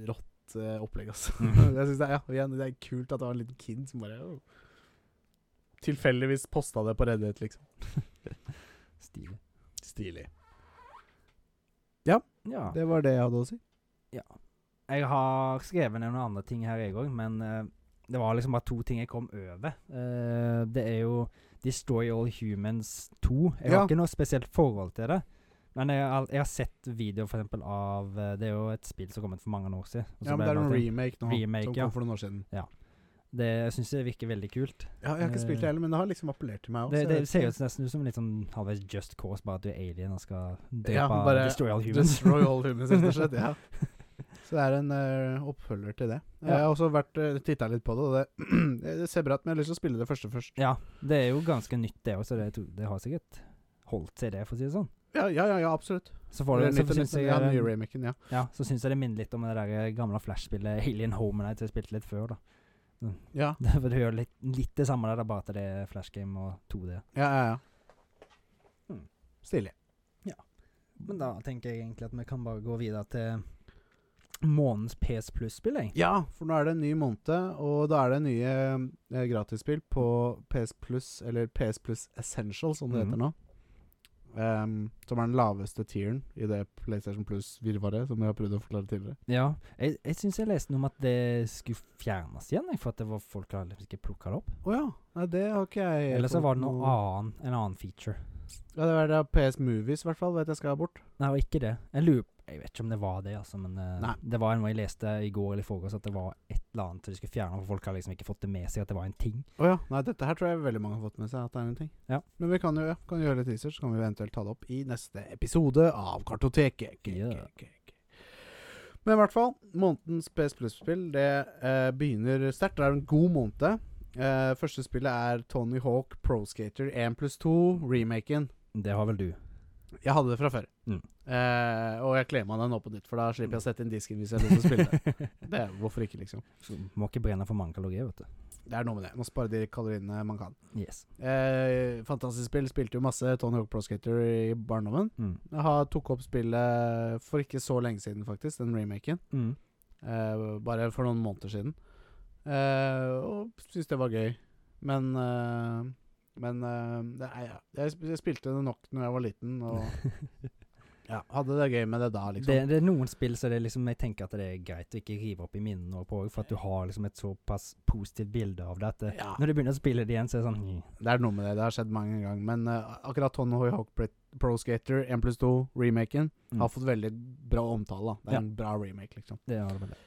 Speaker 1: Rått eh, opplegg, altså.
Speaker 2: Mm.
Speaker 1: [laughs] Jeg synes det, er- ja, og igjen, det er kult at det var en liten kid som bare Tilfeldigvis posta det på Reddit, liksom.
Speaker 2: Stilig.
Speaker 1: [laughs] Stilig.
Speaker 2: Ja.
Speaker 1: Det var det jeg hadde å si.
Speaker 2: Jeg har skrevet ned noen andre ting her, jeg òg, men eh, det var liksom bare to ting jeg kom over. Eh, det er jo Destroy All Humans 2. Jeg
Speaker 1: Ja.
Speaker 2: har ikke noe spesielt forhold til det. Men jeg har, jeg har sett videoer for eksempel av eh, Det er jo et spill som kom ut for mange år siden. og så
Speaker 1: Ja, men
Speaker 2: ble
Speaker 1: det er
Speaker 2: noe
Speaker 1: noen
Speaker 2: til.
Speaker 1: remake nå,
Speaker 2: Remake,
Speaker 1: som
Speaker 2: ja.
Speaker 1: kom for noen år siden.
Speaker 2: det syns jeg virker veldig kult.
Speaker 1: Ja, jeg har ikke spilt det heller, men det har liksom appellert til
Speaker 2: Eh,
Speaker 1: meg
Speaker 2: Det, det ser jo
Speaker 1: òg.
Speaker 2: nesten ut som litt sånn halvveis Just Cause, bare at du er alien og skal drepe
Speaker 1: Ja, bare
Speaker 2: Destroy All Humans.
Speaker 1: Destroy all humans, rett og
Speaker 2: [laughs]
Speaker 1: slett. Ja. Så det er en eh, oppfølger til det.
Speaker 2: Ja.
Speaker 1: Jeg har også vært uh, titta litt på det, [clears throat] og det, det ser bra ut, men jeg har lyst til å spille det første først.
Speaker 2: Ja, det er jo ganske nytt det òg, så det, tror- det har sikkert holdt seg, det, for å si det sånn.
Speaker 1: Ja, ja, ja, ja absolutt.
Speaker 2: Så får du
Speaker 1: Eller
Speaker 2: så
Speaker 1: litt-
Speaker 2: syns
Speaker 1: litt-
Speaker 2: jeg,
Speaker 1: ja, nye
Speaker 2: ja,
Speaker 1: remaken, ja.
Speaker 2: så syns jeg det minner litt om det der eh, gamle Flash-spillet Alien Home Night jeg spilte litt før, da. [laughs]
Speaker 1: Ja,
Speaker 2: Det, for du gjør litt, litt det samme der, da, bare at det er Flash Game og 2D.
Speaker 1: ja, ja. ja.
Speaker 2: Hmm.
Speaker 1: Stilig.
Speaker 2: Men da tenker jeg egentlig at vi kan bare gå videre til månedens PS Plus-spill, jeg.
Speaker 1: Ja, for nå er det en ny måned, og da er det nye eh, gratisspill på PS Plus, eller PS Plus Essential, som det
Speaker 2: Mhm.
Speaker 1: heter nå. Ehm, som er den laveste tieren i det PlayStation Plus-virvaret som jeg har prøvd å forklare tidligere.
Speaker 2: Ja, jeg, jeg syns jeg leste noe om at det skulle fjernes igjen, jeg, for at det var folk har liksom ikke plukka det opp.
Speaker 1: Å ja. Nei, det har ikke jeg
Speaker 2: Eller så
Speaker 1: fått
Speaker 2: var det noe annen, en annen feature.
Speaker 1: Ja, det var det PS Movies, i hvert fall, vet jeg skal bort.
Speaker 2: Nei, det var ikke det. Jeg lurer Jeg vet ikke om det var det, altså, men eh,
Speaker 1: Nei.
Speaker 2: det var noe jeg leste i går eller i forgårs, at det var et eller annet de skulle fjerne, for folk har liksom ikke fått det med seg at det var en ting.
Speaker 1: Å ja. Nei, dette her tror jeg veldig mange har fått med seg at det er en ting.
Speaker 2: Ja.
Speaker 1: Men vi kan jo ja, kan gjøre litt research, så kan vi eventuelt ta det opp i neste episode av Kartoteket. K-
Speaker 2: Ja.
Speaker 1: k- k- k. Men i hvert fall, månedens PS Plus-spill det eh, begynner sterkt. Det er en god måned. Eh, første spillet er Tony Hawk Pro Skater 1 pluss 2, remaken.
Speaker 2: Det har vel
Speaker 1: [laughs]
Speaker 2: du.
Speaker 1: Jeg hadde det fra før.
Speaker 2: Mm.
Speaker 1: Eh, og jeg kler meg den opp på nytt, for da slipper jeg å sette inn disken hvis jeg har lyst
Speaker 2: [laughs]
Speaker 1: til å spille det. det. er- Hvorfor ikke, liksom?
Speaker 2: Så Må ikke brenne for mange kalorier, vet du.
Speaker 1: Det er noe med det. Må spare de kaloriene man kan.
Speaker 2: Yes.
Speaker 1: Eh, fantastisk spill. Spilte jo masse Tony Hawk Pro Skater i barndommen.
Speaker 2: Mm.
Speaker 1: Jeg har tok opp spillet for ikke så lenge siden, faktisk, den remaken.
Speaker 2: Mm.
Speaker 1: Eh, bare for noen måneder siden. Eh, og syntes det var gøy. Men eh, Men eh, det er, ja. jeg, sp- jeg spilte det nok når jeg var liten,
Speaker 2: [laughs]
Speaker 1: og ja, hadde det gøy med det da,
Speaker 2: Det,
Speaker 1: liksom.
Speaker 2: det er noen spill så det er liksom, jeg tenker at det er greit å ikke rive opp i minnene og på, for at du har liksom et såpass positivt bilde av det at det,
Speaker 1: Ja.
Speaker 2: når du begynner å spille det igjen, så er det sånn mm.
Speaker 1: Det er noe med det. Det har skjedd mange ganger. Men eh, akkurat Tony Hawk Pro- Pro Skater 1 pluss 2, remaken,
Speaker 2: Mm.
Speaker 1: har fått veldig bra omtale. da. Det
Speaker 2: Ja.
Speaker 1: er en bra remake, liksom.
Speaker 2: Det har det vel det.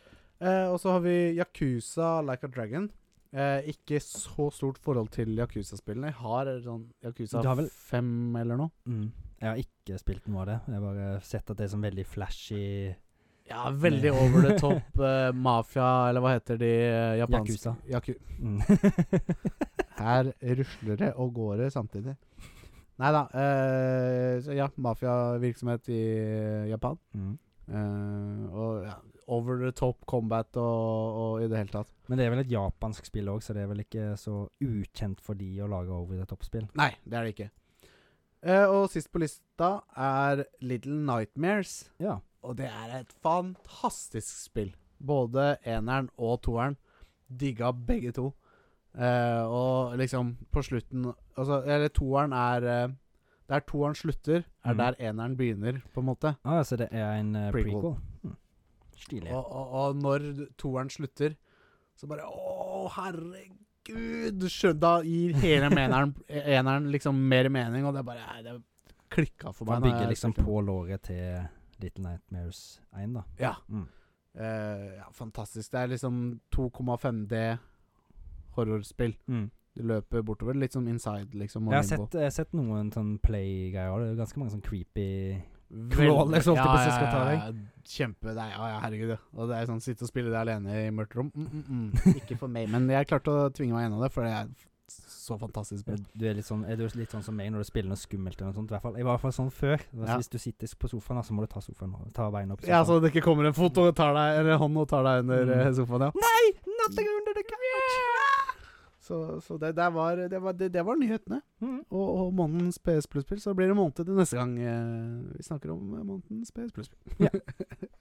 Speaker 1: Eh, og så har vi Yakuza Like a Dragon. Eh, ikke så stort forhold til Yakuza-spillene. Jeg har sånn Yakuza
Speaker 2: Du har vel-
Speaker 1: 5 eller noe.
Speaker 2: Mm. Jeg har ikke spilt noe av det. Jeg har bare sett at det er sånn veldig flashy
Speaker 1: Ja, veldig over the [laughs] top eh, mafia, eller hva heter de eh, japanske
Speaker 2: Yakuza.
Speaker 1: Yaku
Speaker 2: mm. [laughs]
Speaker 1: Her rusler det og går det samtidig. Nei da. Eh, så ja, mafiavirksomhet i Japan.
Speaker 2: Mm.
Speaker 1: Eh, og ja, over the top combat og, og i det hele tatt.
Speaker 2: Men det er vel et japansk spill òg, så det er vel ikke så ukjent for de å lage over the top-spill.
Speaker 1: Nei, det er det ikke. Eh, og sist på lista er Little Nightmares.
Speaker 2: Ja.
Speaker 1: Og det er et fantastisk spill. Både eneren og toeren. Digga begge to. Eh, og liksom, på slutten altså, Eller toeren er eh, Der toeren slutter, er
Speaker 2: Mm.
Speaker 1: der eneren begynner, på en måte.
Speaker 2: Ah, så det er en eh,
Speaker 1: Prequel.
Speaker 2: prequel. Mm. Stilig.
Speaker 1: Og, og, og når toeren slutter, så bare Å, herregud! Skjønn, da
Speaker 2: [laughs]
Speaker 1: gir hele meneren, eneren liksom mer mening, og det er bare nei, Det klikka for meg.
Speaker 2: Man
Speaker 1: når jeg
Speaker 2: bygger liksom
Speaker 1: spilte den.
Speaker 2: på låret til Little Nightmares 1, da.
Speaker 1: Ja.
Speaker 2: Mm.
Speaker 1: Eh, ja, fantastisk. Det er liksom 2,5D horrorspill. Du løper bortover, litt som inside, liksom. og
Speaker 2: Jeg har
Speaker 1: Limbo.
Speaker 2: sett, jeg har sett noen sånn play-greier. Det er jo ganske mange sånn creepy
Speaker 1: Veldig-
Speaker 2: Crawlers, holdt jeg på å si, liksom, skal ta deg.
Speaker 1: ja, Kjempe Nei, ja, ja, herregud. ja. Og det er sånn sitte og spille det alene i mørkt rom. Mm, mm,
Speaker 2: [laughs]
Speaker 1: mm. Ikke for meg, men jeg klarte å tvinge meg gjennom det, for det er så fantastisk bra.
Speaker 2: Du er litt sånn, er du litt sånn som meg når du spiller noe skummelt eller noe sånt. I hvert fall, jeg var i hvert fall sånn før. Altså,
Speaker 1: Ja.
Speaker 2: Hvis du sitter på sofaen, da, så må du ta sofaen og ta beina opp. sånn. i
Speaker 1: Ja,
Speaker 2: sofaen.
Speaker 1: altså, så det ikke kommer en fot og tar deg Eller hånd og tar deg under
Speaker 2: Mm.
Speaker 1: eh, sofaen, ja.
Speaker 2: Nei! Nothing under the couch!
Speaker 1: Så, så det, der var, det, var, det, det var nyhetene.
Speaker 2: Mm.
Speaker 1: Og, og månedens PS Plus-spill. Så blir det måned til neste gang eh, vi snakker om eh, månedens PS Plus-spill. [laughs]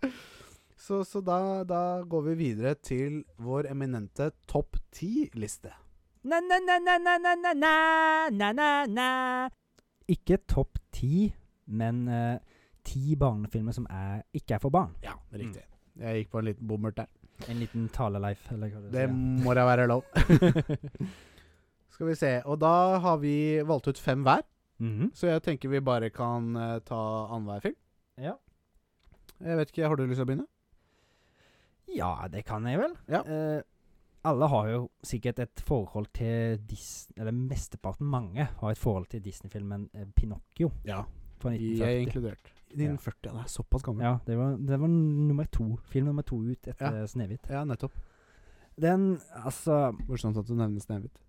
Speaker 1: så så da, da går vi videre til vår eminente topp ti-liste.
Speaker 3: Na-na-na-na-na-na-na-na-na-na
Speaker 2: Ikke topp ti, men eh, ti barnefilmer som er, ikke er for barn.
Speaker 1: Ja, riktig. Mm. Jeg gikk på en liten bommert der.
Speaker 2: En liten taleleif, eller hva
Speaker 1: Det
Speaker 2: det
Speaker 1: må da være [laughs] lov.
Speaker 2: heter.
Speaker 1: Skal vi se. Og da har vi valgt ut fem hver,
Speaker 2: Mhm.
Speaker 1: så jeg tenker vi bare kan eh, ta annenhver film.
Speaker 2: Ja.
Speaker 1: Jeg vet ikke, Har du lyst til å begynne?
Speaker 2: ja, det kan jeg vel.
Speaker 1: Ja.
Speaker 2: Eh, alle har jo sikkert et forhold til Dis... Eller mesteparten, mange, har et forhold til Disney-filmen eh, Pinocchio
Speaker 1: Ja.
Speaker 2: fra
Speaker 1: Jeg
Speaker 2: 1940.
Speaker 1: inkludert.
Speaker 2: Ja.
Speaker 1: 1940, ja. Det er såpass gammel.
Speaker 2: Ja, det var, det var nummer to, film nummer to ut etter Snehvit.
Speaker 1: Ja, nettopp.
Speaker 2: Den, altså
Speaker 1: Morsomt at du nevner Snehvit.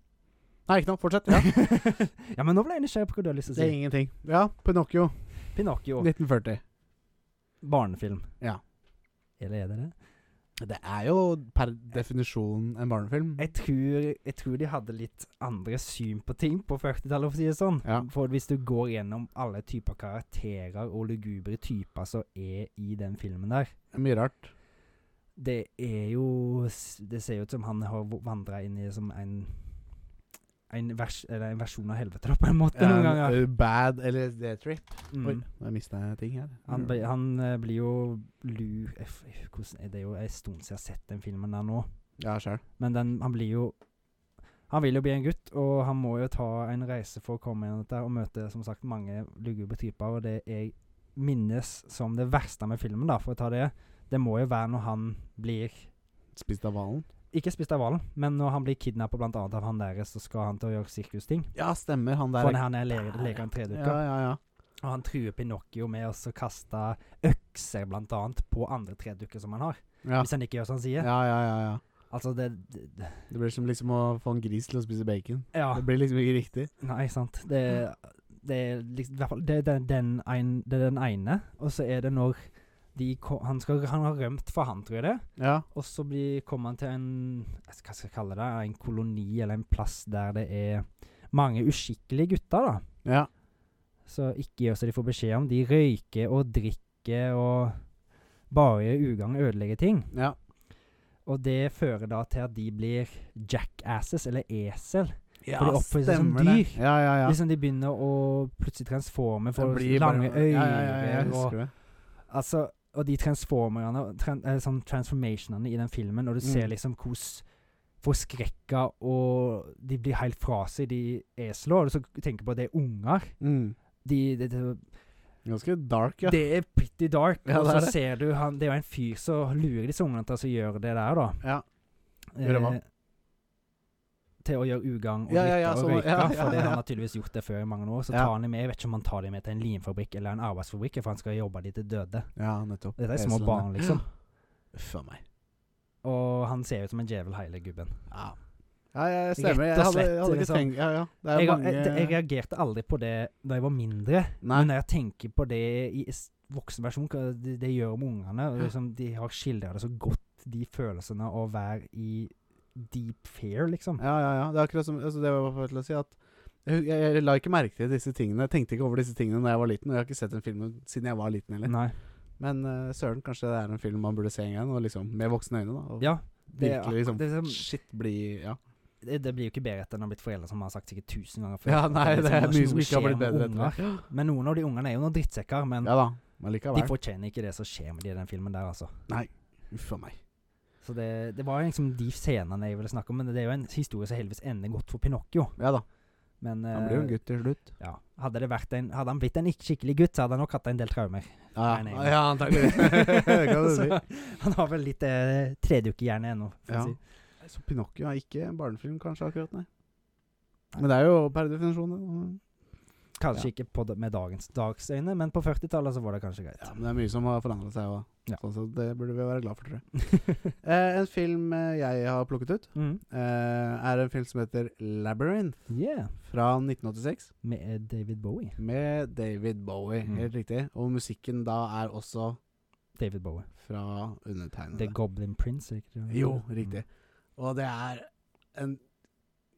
Speaker 1: Nei, ikke noe. Fortsett. Ja.
Speaker 2: [laughs] Ja, men nå ble jeg nysgjerrig på hva du har lyst til å
Speaker 1: Det er
Speaker 2: si.
Speaker 1: ingenting. Ja, Pinocchio.
Speaker 2: Pinocchio.
Speaker 1: 1940.
Speaker 2: Barnefilm.
Speaker 1: Ja.
Speaker 2: Eller er det det?
Speaker 1: Det er jo per definisjon en barnefilm.
Speaker 2: Jeg tror, jeg tror de hadde litt andre syn på ting på 40-tallet, for å si det sånn.
Speaker 1: Ja.
Speaker 2: For hvis du går gjennom alle typer karakterer og lugubre typer som er i den filmen der
Speaker 1: Mye rart.
Speaker 2: Det er jo s- Det ser jo ut som han har vandra inn i som en en, vers, eller en versjon av helvete, da, på en måte, noen
Speaker 1: En,
Speaker 2: ganger.
Speaker 1: uh, Bad LSD-trip. Oi,
Speaker 2: Mm.
Speaker 1: nå mista jeg ting her.
Speaker 2: Han, blir- han eh, blir jo lu... jeg f- jeg- Hvordan er det jo en stund siden jeg har sett den filmen der nå.
Speaker 1: Ja, sjæl.
Speaker 2: Men den, han blir jo Han vil jo bli en gutt, og han må jo ta en reise for å komme gjennom dette og møte som sagt mange lugubre typer. Og det jeg minnes som det verste med filmen, da, for å ta det, det må jo være når han blir
Speaker 1: Spist av hvalen.
Speaker 2: Ikke spist av hvalen, men når han blir kidnappa bl.a. av han der, så skal han til å gjøre sirkusting.
Speaker 1: Ja, stemmer. Han der
Speaker 2: For han er le- leker en
Speaker 1: Ja,
Speaker 2: tredukke.
Speaker 1: ja, ja.
Speaker 2: Og han truer Pinocchio med å så kaste økser bl.a. på andre tredukker som han har.
Speaker 1: Ja,
Speaker 2: Hvis han ikke gjør som han
Speaker 1: ja,
Speaker 2: sier.
Speaker 1: ja. ja, ja.
Speaker 2: Altså, det, det, det
Speaker 1: Det blir som liksom å få en gris til å spise bacon.
Speaker 2: Ja.
Speaker 1: Det blir liksom ikke riktig.
Speaker 2: Nei, sant. Det, det er liksom, i hvert fall det er den, den, ein, det er den ene, og så er det når de, ko- han, skal, han har rømt fra han, tror jeg det.
Speaker 1: Ja.
Speaker 2: Og så blir, kommer han til en jeg skal- Hva skal jeg kalle det? En koloni eller en plass der det er mange uskikkelige gutter, da.
Speaker 1: ja.
Speaker 2: Så ikke gjør som de får beskjed om. De røyker og drikker og bare gjør ugagn og ødelegger ting.
Speaker 1: Ja.
Speaker 2: Og det fører da til at de blir jackasses, eller esel.
Speaker 1: ja
Speaker 2: For de oppfører seg som dyr.
Speaker 1: Ja, ja, ja.
Speaker 2: Liksom de begynner å plutselig transforme for
Speaker 1: Det blir
Speaker 2: lange
Speaker 1: bare-
Speaker 2: øyne
Speaker 1: Ja, ja, ja, jeg
Speaker 2: og,
Speaker 1: husker det.
Speaker 2: altså, og de transformerne tran, eh, sånn transformationene i den filmen, og du ser
Speaker 1: Mm.
Speaker 2: liksom hvordan forskrekka og De blir helt fra seg, de eslene. Og så tenker på at det er unger.
Speaker 1: Mm.
Speaker 2: De, det, det,
Speaker 1: Ganske dark, ja.
Speaker 2: det er pretty dark.
Speaker 1: Ja,
Speaker 2: og
Speaker 1: det er
Speaker 2: så
Speaker 1: det.
Speaker 2: ser du han Det er jo en fyr som lurer disse ungene til å gjøre det der, da.
Speaker 1: Ja. Gjør det hva?
Speaker 2: Eh, til å gjøre ugagn og
Speaker 1: Ja, ja,
Speaker 2: drikke
Speaker 1: ja,
Speaker 2: og
Speaker 1: sånn,
Speaker 2: røyke.
Speaker 1: ja, ja,
Speaker 2: For det
Speaker 1: ja.
Speaker 2: han har tydeligvis gjort det før i mange år. Så
Speaker 1: Ja.
Speaker 2: tar han dem med. Jeg vet ikke om han tar dem med til en limfabrikk eller en arbeidsfabrikk, for han skal jobbe de til døde.
Speaker 1: sånn, Ja, nettopp.
Speaker 2: Dette er små
Speaker 1: Eslene.
Speaker 2: barn, liksom.
Speaker 1: Uff a meg.
Speaker 2: Og han ser ut som en djevel, hele gubben.
Speaker 1: Ja. Ja, jeg stemmer.
Speaker 2: Rett og
Speaker 1: Jeg hadde, jeg
Speaker 2: slett,
Speaker 1: hadde ikke
Speaker 2: liksom.
Speaker 1: tenkt Ja, ja. Det er
Speaker 2: Jeg,
Speaker 1: jo
Speaker 2: har-
Speaker 1: mange
Speaker 2: jeg, jeg reagerte aldri på det da jeg var mindre,
Speaker 1: Nei.
Speaker 2: men når jeg tenker på det i s- voksen versjon, hva det, det gjør med ungene og liksom, De har skildra det så godt, de følelsene av å være i deep fear, liksom.
Speaker 1: Ja, ja, ja. Det er akkurat som altså, Det var bare til å si at jeg, jeg, jeg la ikke merke til disse tingene. Jeg tenkte ikke over disse tingene Når jeg var liten, og jeg har ikke sett en film siden jeg var liten heller.
Speaker 2: Nei.
Speaker 1: Men eh, søren, kanskje det er en film man burde se en gang, og liksom med voksne øyne, da. Og
Speaker 2: Ja. Det, er
Speaker 1: virkelig
Speaker 2: akkurat-
Speaker 1: liksom
Speaker 2: det, er sånn-
Speaker 1: Shit, bli Ja.
Speaker 2: det, det blir jo ikke bedre etter når han har blitt foreldre, som har sagt sikkert tusen ganger før.
Speaker 1: ja,
Speaker 2: at
Speaker 1: nei, det
Speaker 2: liksom
Speaker 1: er mye
Speaker 2: noe
Speaker 1: som ikke har
Speaker 2: skjer
Speaker 1: blitt
Speaker 2: med
Speaker 1: bedre etter det.
Speaker 2: unger. Men noen av de ungene er jo noen drittsekker, men
Speaker 1: Ja da, men
Speaker 2: de
Speaker 1: likevel.
Speaker 2: fortjener ikke det som skjer med de i den filmen der, altså.
Speaker 1: Uff a meg.
Speaker 2: Så det, det var liksom de scenene jeg ville snakke om, men det er jo en historie som heldigvis ender godt for Pinocchio.
Speaker 1: Ja da.
Speaker 2: Men
Speaker 1: Han blir jo
Speaker 2: eh,
Speaker 1: en gutt til slutt.
Speaker 2: Ja. Hadde, det vært en, hadde han blitt en ikke skikkelig gutt, så hadde han nok hatt en del traumer.
Speaker 1: Ja,
Speaker 2: Nei,
Speaker 1: ja,
Speaker 2: nei.
Speaker 1: ja antakelig. [laughs] det kan du si.
Speaker 2: [laughs] Så han har vel litt eh, tredukkehjerne ennå, for
Speaker 1: Ja.
Speaker 2: å si.
Speaker 1: Så Pinocchio er ikke en barnefilm, kanskje, akkurat, nei. Men det er jo per definisjon det.
Speaker 2: Kanskje ikke på, da- med dagens dagsøyne, men på 40-tallet så var det kanskje greit.
Speaker 1: Ja, men det er mye som har forandra seg òg.
Speaker 2: Ja.
Speaker 1: Sånn så det burde vi være glad for, tror jeg. Eh, en film eh, jeg har plukket ut,
Speaker 2: [laughs] mm.
Speaker 1: eh, er en film som heter 'Labyrinth'
Speaker 2: Yeah.
Speaker 1: fra 1986.
Speaker 2: Med eh, David Bowie.
Speaker 1: Med David Bowie,
Speaker 2: Mm.
Speaker 1: helt riktig. Og musikken da er også
Speaker 2: David Bowie.
Speaker 1: fra
Speaker 2: The
Speaker 1: undertegnede.
Speaker 2: Goblin Prince, er ikke det? Mm.
Speaker 1: Jo, riktig. Og det er en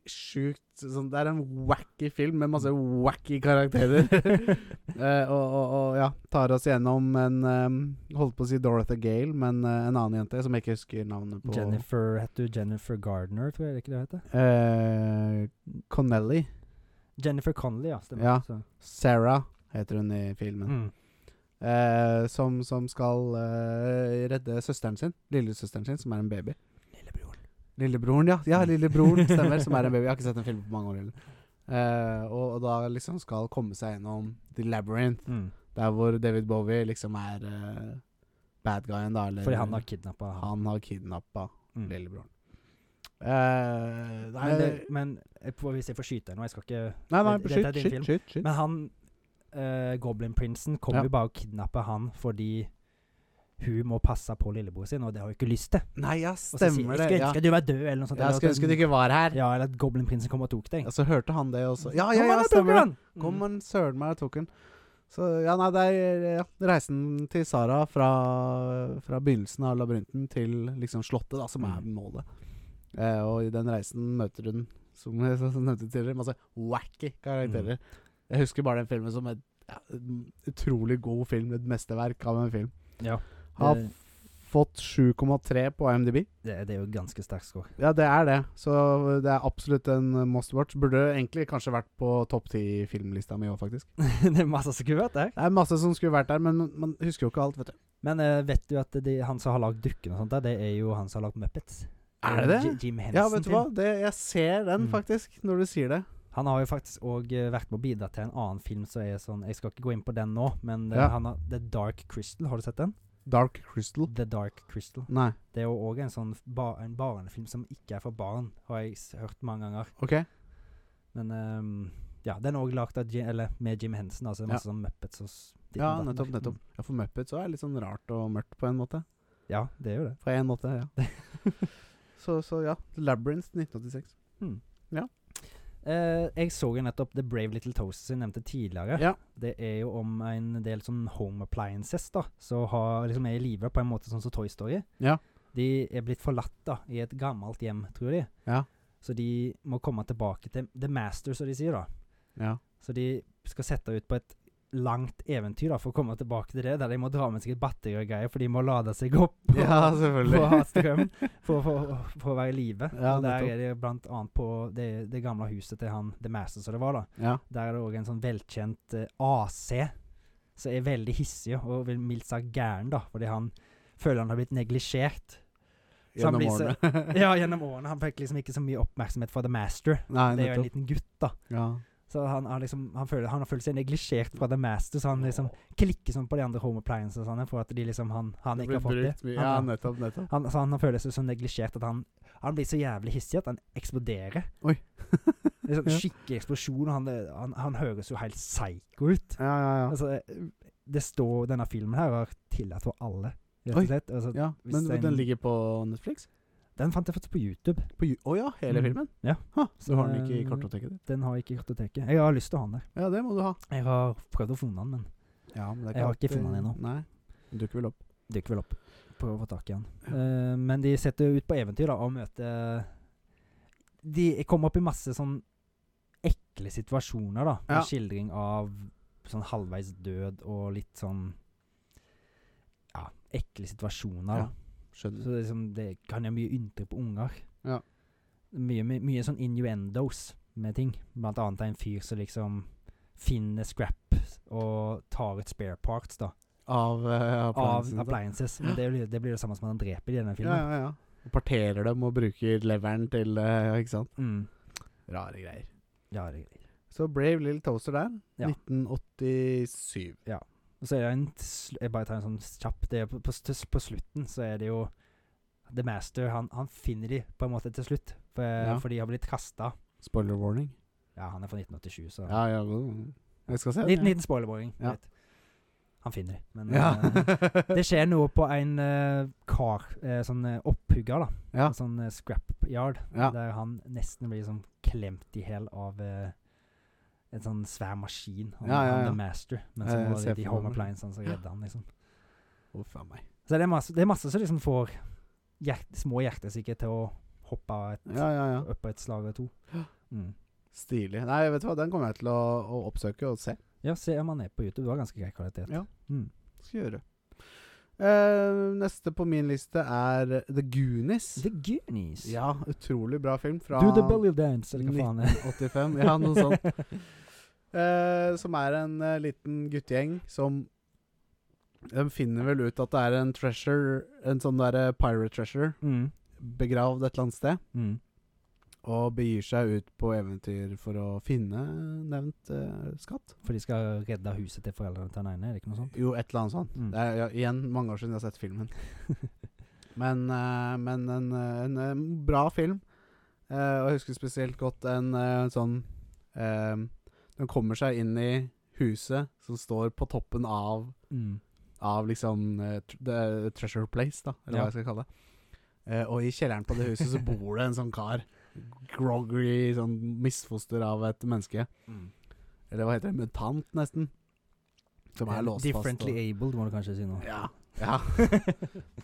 Speaker 1: sjukt sånn, Det er en wacky film med masse wacky
Speaker 2: [laughs]
Speaker 1: karakterer. Eh, og, og, og ja, tar oss gjennom en eh, Holdt på å si Dorothy Gale, men eh, en annen jente som jeg ikke husker navnet [laughs] på.
Speaker 2: Jennifer, heter du Jennifer Gardner, tror jeg er det ikke det hun heter?
Speaker 1: Eh, Connelly.
Speaker 2: Jennifer Connelly, ja. Stemmer.
Speaker 1: Ja.
Speaker 2: Så,
Speaker 1: Sarah heter hun i filmen.
Speaker 2: mm.
Speaker 1: Eh, som, som skal eh, redde søsteren sin. Lillesøsteren sin, som er en baby. Lillebroren. Lillebroren, ja. Ja, lillebroren, stemmer. Som er en baby. Jeg har ikke sett en film på mange år heller. Eh, og, og da liksom skal komme seg gjennom The Labyrinth,
Speaker 2: Mm.
Speaker 1: der hvor David Bowie liksom er eh, bad guyen, da. Eller,
Speaker 2: Fordi han har kidnappa han.
Speaker 1: han har kidnappa
Speaker 2: Mm.
Speaker 1: lillebroren. Eh, nei,
Speaker 2: Men, det, men jeg får- hvis jeg får skyte deg nå, jeg skal ikke
Speaker 1: nei, nei,
Speaker 2: dette er
Speaker 1: skyt,
Speaker 2: din
Speaker 1: skyt,
Speaker 2: film.
Speaker 1: skyt, skyt.
Speaker 2: Men han eh, Goblin-prinsen kommer
Speaker 1: Ja.
Speaker 2: jo bare og kidnapper han fordi hun må passe på lillebror sin, og det har hun ikke lyst til.
Speaker 1: Nei, ja,
Speaker 2: Og så sier-
Speaker 1: stemmer
Speaker 2: jeg
Speaker 1: det.
Speaker 2: skulle
Speaker 1: Ja.
Speaker 2: ønske du var død, eller noe sånt.
Speaker 1: Jeg skulle ønske du ikke var her.
Speaker 2: Ja, eller at Goblin-prinsen kom og tok deg.
Speaker 1: Ja, så hørte han det også. Ja,
Speaker 2: Kom
Speaker 1: ja,
Speaker 2: an,
Speaker 1: ja,
Speaker 2: da,
Speaker 1: stemmer det.
Speaker 2: Torbjørn! Mm.
Speaker 1: Kom han søren meg og tok den. Så ja, nei, det er ja, reisen til Sara fra, fra begynnelsen av labyrinten til liksom slottet, da, som er
Speaker 2: Mm.
Speaker 1: målet. Eh, og i den reisen møter hun, som jeg sa- nevnte tidligere, masse wacky
Speaker 2: Mm.
Speaker 1: karakterer. Jeg husker bare den filmen som et ja, en utrolig god film, et mesterverk av en film.
Speaker 2: Ja,
Speaker 1: Har
Speaker 2: det-
Speaker 1: f- fått 7,3 på IMDb.
Speaker 2: det, det er jo ganske sterk score. [laughs]
Speaker 1: Ja, det er det. Så det er absolutt en must watch. Burde egentlig kanskje vært på topp ti filmlista mi òg, faktisk.
Speaker 2: det er masse som kunne vært der.
Speaker 1: Det er masse som skulle vært der, men man husker jo ikke alt, vet du.
Speaker 2: Men eh, vet du at de, han som har lagd dukken og sånt, der, det er jo han som har lagd Muppets. Eh,
Speaker 1: Er det det?
Speaker 2: J- Jim Henson.
Speaker 1: Ja, vet du hva? Det, jeg ser den
Speaker 2: Mm.
Speaker 1: faktisk, når du sier det.
Speaker 2: Han har jo faktisk òg vært med å bidra til en annen film som er sånn Jeg skal ikke gå inn på den nå, men eh,
Speaker 1: Ja.
Speaker 2: han har The Dark Crystal. Har du sett den?
Speaker 1: Dark Crystal.
Speaker 2: The Dark Crystal.
Speaker 1: Nei.
Speaker 2: Det er jo òg en sånn ba en barnefilm som ikke er for barn, har jeg s- hørt mange ganger.
Speaker 1: OK.
Speaker 2: Men ehm, ja, den er òg lagd av Jim, eller med Jim Henson, altså. det er Masse sånn Muppets og s- ditt
Speaker 1: Ja,
Speaker 2: og datt.
Speaker 1: nettopp, nettopp.
Speaker 2: Mm.
Speaker 1: Ja, for Muppets så er det litt sånn rart og mørkt på en måte.
Speaker 2: Ja, det er jo det.
Speaker 1: På en måte, ja. [laughs] så, så ja. Labyrinth 1986.
Speaker 2: Eh, jeg så jo nettopp The Brave Little Toaster som jeg nevnte tidligere.
Speaker 1: Ja.
Speaker 2: Det er jo om en del sånn home appliances da som har- liksom er i live på en måte sånn som Toy Story.
Speaker 1: Ja.
Speaker 2: De er blitt forlatt da i et gammelt hjem, tror de.
Speaker 1: Ja.
Speaker 2: Så de må komme tilbake til The Master, som de sier. da
Speaker 1: Ja.
Speaker 2: Så de skal sette ut på et langt eventyr da for å komme tilbake til det, der de må dra med seg et batteri og greier, for de må lade seg opp. og-
Speaker 1: ja,
Speaker 2: for å ha
Speaker 1: selvfølgelig.
Speaker 2: strøm, for, for, for å være i live.
Speaker 1: Ja,
Speaker 2: og der
Speaker 1: nettopp.
Speaker 2: er det blant annet på det, det gamle huset til han The Master som det var, da.
Speaker 1: ja.
Speaker 2: Der er det òg en sånn velkjent eh, AC som er veldig hissig og vil mildt sagt gæren, da, fordi han føler han har blitt
Speaker 1: [laughs]
Speaker 2: neglisjert. Så han
Speaker 1: Gjennom
Speaker 2: blir så-
Speaker 1: [laughs] årene.
Speaker 2: Ja, gjennom årene. Han fikk liksom ikke så mye oppmerksomhet fra The Master.
Speaker 1: Nei,
Speaker 2: Det er jo en
Speaker 1: nettopp.
Speaker 2: liten gutt, da.
Speaker 1: Ja.
Speaker 2: Så han, har liksom, han, føler, han har følt seg neglisjert fra The Master, så han liksom klikker sånn på de andre home appliances og sånn, for at de liksom, han, han
Speaker 1: Det
Speaker 2: ikke
Speaker 1: blir
Speaker 2: har fått det.
Speaker 1: brukt mye.
Speaker 2: Han-
Speaker 1: Ja, nettopp, nettopp.
Speaker 2: Han, så han føler seg så neglisjert at han, han blir så jævlig hissig at han eksploderer.
Speaker 1: Oi.
Speaker 2: [laughs] Det er sånn
Speaker 1: Ja.
Speaker 2: Skikkelig eksplosjon. og Han, han, han høres jo helt psycho ut.
Speaker 1: Ja, ja, ja.
Speaker 2: Altså, det står Denne filmen her er tillatt for alle, rett
Speaker 1: Oi.
Speaker 2: og slett. Altså,
Speaker 1: Ja,
Speaker 2: Hvis
Speaker 1: men
Speaker 2: det er
Speaker 1: den
Speaker 2: en-
Speaker 1: ligger på Netflix?
Speaker 2: Den fant jeg faktisk på YouTube.
Speaker 1: Å ja, hele
Speaker 2: Mm.
Speaker 1: filmen?
Speaker 2: Ja.
Speaker 1: Ha,
Speaker 2: Så,
Speaker 1: du har den ikke i
Speaker 2: eh,
Speaker 1: kartoteket ditt?
Speaker 2: Den har jeg ikke i kartoteket. Jeg har lyst til å ha den der.
Speaker 1: Ja, det må du ha.
Speaker 2: Jeg har prøvd å finne den, men
Speaker 1: Ja, men det
Speaker 2: Jeg har
Speaker 1: alltid-
Speaker 2: ikke funnet den ennå.
Speaker 1: Nei, den dukker vel opp.
Speaker 2: dukker vel opp. Prøver å få tak i den. Eh, men de setter jo ut på eventyr da, og møter De kommer opp i masse sånn ekle situasjoner, da. Med
Speaker 1: Ja.
Speaker 2: skildring av sånn halvveis død og litt sånn Ja, ekle situasjoner.
Speaker 1: Ja,
Speaker 2: da. Så
Speaker 1: Skjønner.
Speaker 2: det, er liksom, det kan gjøre mye inntrykk på unger.
Speaker 1: Ja.
Speaker 2: Mye, my- mye sånn innuendos med ting. Blant annet er en fyr som liksom finner scrap og tar ut spare parts, da
Speaker 1: Av uh,
Speaker 2: av appliances. Men det, er jo- det blir det samme som at han dreper i denne
Speaker 1: Ja,
Speaker 2: filmen.
Speaker 1: ja, ja. Og Parterer dem og bruker leveren til eh, Ikke sant?
Speaker 2: Mm.
Speaker 1: Rare greier.
Speaker 2: ja det er greit.
Speaker 1: Så Brave Little Toaster der.
Speaker 2: Ja.
Speaker 1: 1987.
Speaker 2: Og så er det en sl- Jeg bare tar en sånn kjapp det er på, på, s- til s- på slutten så er det jo The Master Han, han finner de på en måte til slutt, for,
Speaker 1: Ja.
Speaker 2: for de har blitt kasta.
Speaker 1: Spoiler warning.
Speaker 2: Ja, han er fra 1987, så
Speaker 1: Ja, ja. god. Jeg skal se. den,
Speaker 2: Liten,
Speaker 1: jeg.
Speaker 2: liten spoilerboring.
Speaker 1: Ja.
Speaker 2: vet. Han finner de, men
Speaker 1: [laughs]
Speaker 2: eh, [laughs]
Speaker 1: Ja.
Speaker 2: Det skjer noe på en eh, car, eh, sånn eh, opphugger, da.
Speaker 1: Ja.
Speaker 2: En Sånn eh, scrapyard.
Speaker 1: ja.
Speaker 2: Der han nesten blir sånn klemt i hjel av eh, en sånn svær maskin. Han,
Speaker 1: Ja, ja,
Speaker 2: han
Speaker 1: ja.
Speaker 2: The Master. Men
Speaker 1: Jeg
Speaker 2: så var det
Speaker 1: ser
Speaker 2: de
Speaker 1: for
Speaker 2: home
Speaker 1: meg det.
Speaker 2: appliancene som redda han, liksom.
Speaker 1: Uff a meg.
Speaker 2: Så det er masse, det er masse som liksom får hjert, små hjertesyke til å hoppe av et,
Speaker 1: Ja, ja, ja.
Speaker 2: opp av et slag eller to. Mm.
Speaker 1: Stilig. Nei, vet du hva, den kommer jeg til å, å oppsøke og se.
Speaker 2: Ja, se om han er på YouTube. Det var ganske grei kvalitet.
Speaker 1: Ja.
Speaker 2: Mm.
Speaker 1: skal gjøre. Eh, neste på min liste er The Goonies.
Speaker 2: The Goonies.
Speaker 1: Ja, utrolig bra film fra
Speaker 2: Do the belly dance, eller hva faen det er.
Speaker 1: 85. Ja, noe
Speaker 2: [laughs]
Speaker 1: sånt. Eh, som er en eh, liten guttegjeng som De finner vel ut at det er en treasure, en sånn derre pirate treasure,
Speaker 2: Mm.
Speaker 1: begravd et eller annet sted.
Speaker 2: Mm.
Speaker 1: Og begir seg ut på eventyr for å finne nevnt eh, skatt.
Speaker 2: For de skal redde huset til foreldrene til den ene, er det ikke noe sånt?
Speaker 1: Jo, et eller annet sånt.
Speaker 2: Mm.
Speaker 1: Det er ja, igjen mange år siden jeg har sett filmen. [laughs] men eh, men en, eh, en, eh, bra film. Eh, og jeg husker spesielt godt en eh, sånn eh, Den kommer seg inn i huset som står på toppen av
Speaker 2: Mm.
Speaker 1: av liksom eh, tr- the Treasure Place, da, eller
Speaker 2: Ja.
Speaker 1: hva jeg skal kalle det. Eh, og i kjelleren på det huset så bor det en sånn kar. Groggy, sånn misfoster av et menneske. Eller hva heter det? Mutant, nesten. Som er låst fast.
Speaker 2: Differently
Speaker 1: og-
Speaker 2: abled, må du kanskje si nå.
Speaker 1: Ja. ja.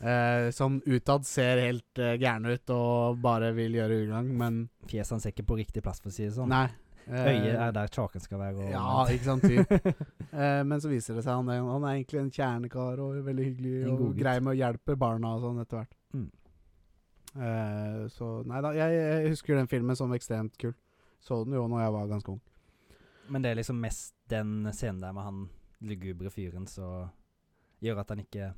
Speaker 1: Eh, som utad ser helt eh, gæren ut og bare vil gjøre ugagn, men
Speaker 2: [laughs] Fjeset hans er ikke på riktig plass, for å si det sånn.
Speaker 1: nei. Eh,
Speaker 2: Øyet er der kjaken skal være. Og
Speaker 1: Ja, ikke sant. Typ. Eh, men så viser det seg han er, han er egentlig en kjernekar og veldig hyggelig
Speaker 2: En god
Speaker 1: og
Speaker 2: gutt.
Speaker 1: grei med å hjelpe barna og sånn etter hvert.
Speaker 2: Mm.
Speaker 1: Eh, så nei da, jeg, jeg husker den filmen som ekstremt kul. Så den jo når jeg var ganske ung.
Speaker 2: [laughs] Men det er liksom mest den scenen der med han lugubre fyren som gjør at han ikke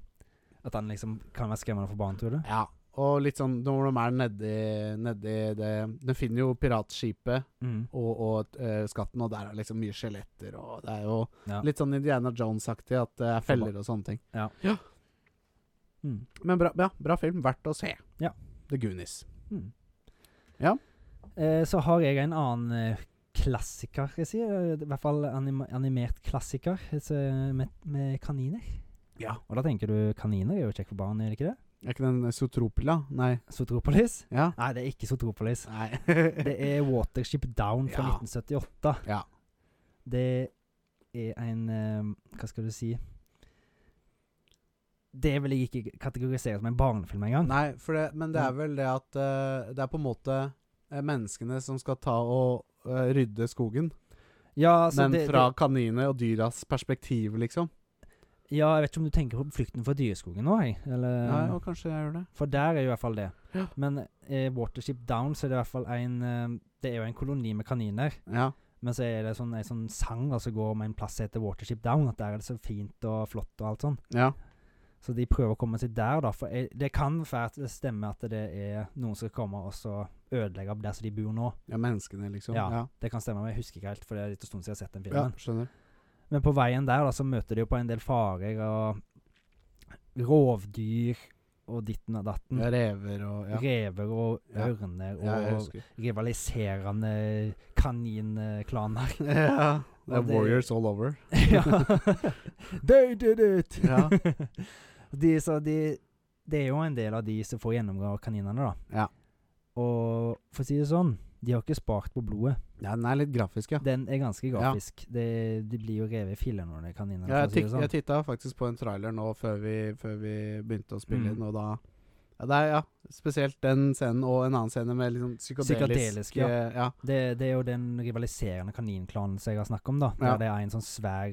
Speaker 2: At han liksom kan være skremmende for barn, tror du?
Speaker 1: Ja, og litt sånn når de er nedi, nedi det De finner jo piratskipet
Speaker 2: Mm.
Speaker 1: og, og eh, skatten, og der er liksom mye skjeletter, og det er jo
Speaker 2: Ja.
Speaker 1: litt sånn Indiana Jones-aktig at det er feller og sånne ting.
Speaker 2: Mm.
Speaker 1: Men bra, ja, bra film. Verdt å se.
Speaker 2: Ja.
Speaker 1: The Goonies.
Speaker 2: Mm.
Speaker 1: Ja.
Speaker 2: Eh, så har jeg en annen eh, klassiker, jeg sier. eh, I hvert fall anima animert klassiker altså, med, med kaniner.
Speaker 1: Ja.
Speaker 2: Og da tenker du kaniner er jo kjekk for barn, er det ikke det?
Speaker 1: Er ikke den Zootropila? Nei.
Speaker 2: Sotropolis?
Speaker 1: Ja.
Speaker 2: Nei, det er ikke Sotropolis.
Speaker 1: Nei.
Speaker 2: Det er Watership Down fra
Speaker 1: Ja.
Speaker 2: 1978.
Speaker 1: Ja.
Speaker 2: Det er en eh, Hva skal du si Det vil jeg ikke kategorisere som en barnefilm engang.
Speaker 1: [laughs] Nei, for det, men det er vel det at eh, det er på en måte eh, menneskene som skal ta og eh, rydde skogen.
Speaker 2: Ja, altså,
Speaker 1: men
Speaker 2: det-
Speaker 1: fra kaniner og dyras perspektiv, liksom.
Speaker 2: Ja, jeg vet ikke om du tenker på Flukten fra dyreskogen nå, jeg. Eller,
Speaker 1: Nei, og kanskje jeg gjør det.
Speaker 2: For der er jo i hvert fall det.
Speaker 1: Ja.
Speaker 2: Men eh, Watership Down så er det i hvert fall en eh, Det er jo en koloni med kaniner.
Speaker 1: Ja.
Speaker 2: Men så er det sånn, en sånn sang da, som går om en plass som heter Watership Down. At der er det så fint og flott og alt sånn.
Speaker 1: ja.
Speaker 2: Så de prøver å komme seg der, da. For eh, det kan fælt stemme at det er noen som kommer og så ødelegger der som de bor nå.
Speaker 1: Ja, menneskene, liksom.
Speaker 2: Ja.
Speaker 1: Ja. ja.
Speaker 2: Det kan stemme, men jeg husker ikke helt, for det er litt en stund siden jeg har sett den filmen.
Speaker 1: skjønner.
Speaker 2: Men på veien der da, så møter de jo på en del farer og rovdyr og ditten og datten.
Speaker 1: Ja, rever og ja.
Speaker 2: rever og
Speaker 1: Ja.
Speaker 2: ørner og
Speaker 1: ja, jeg husker. [laughs]
Speaker 2: rivaliserende kaninklaner.
Speaker 1: ja. Det
Speaker 2: Og
Speaker 1: er
Speaker 2: det-
Speaker 1: warriors all over.
Speaker 2: [laughs] ja. They did it!
Speaker 1: Ja.
Speaker 2: [laughs] de, så de, det er jo en del av de som får gjennomgå av kaninene, da.
Speaker 1: Ja.
Speaker 2: Og for å si det sånn, de har ikke spart på blodet.
Speaker 1: ja, den er litt grafisk, ja.
Speaker 2: Den er ganske
Speaker 1: Ja.
Speaker 2: grafisk. Det, de blir jo revet i filler når de kaninene,
Speaker 1: Ja,
Speaker 2: for
Speaker 1: jeg,
Speaker 2: å si
Speaker 1: tikk,
Speaker 2: det sånn.
Speaker 1: jeg titta faktisk på en trailer nå før vi, før vi begynte å spille
Speaker 2: Mm.
Speaker 1: inn, og da ja, det er, ja, Spesielt den scenen og en annen scene med litt sånn
Speaker 2: Psykadelisk,
Speaker 1: psykadelisk
Speaker 2: ja.
Speaker 1: eh, ja.
Speaker 2: Det, det er jo den rivaliserende kaninklanen som jeg har snakket om, da. Der
Speaker 1: Ja.
Speaker 2: det er en sånn svær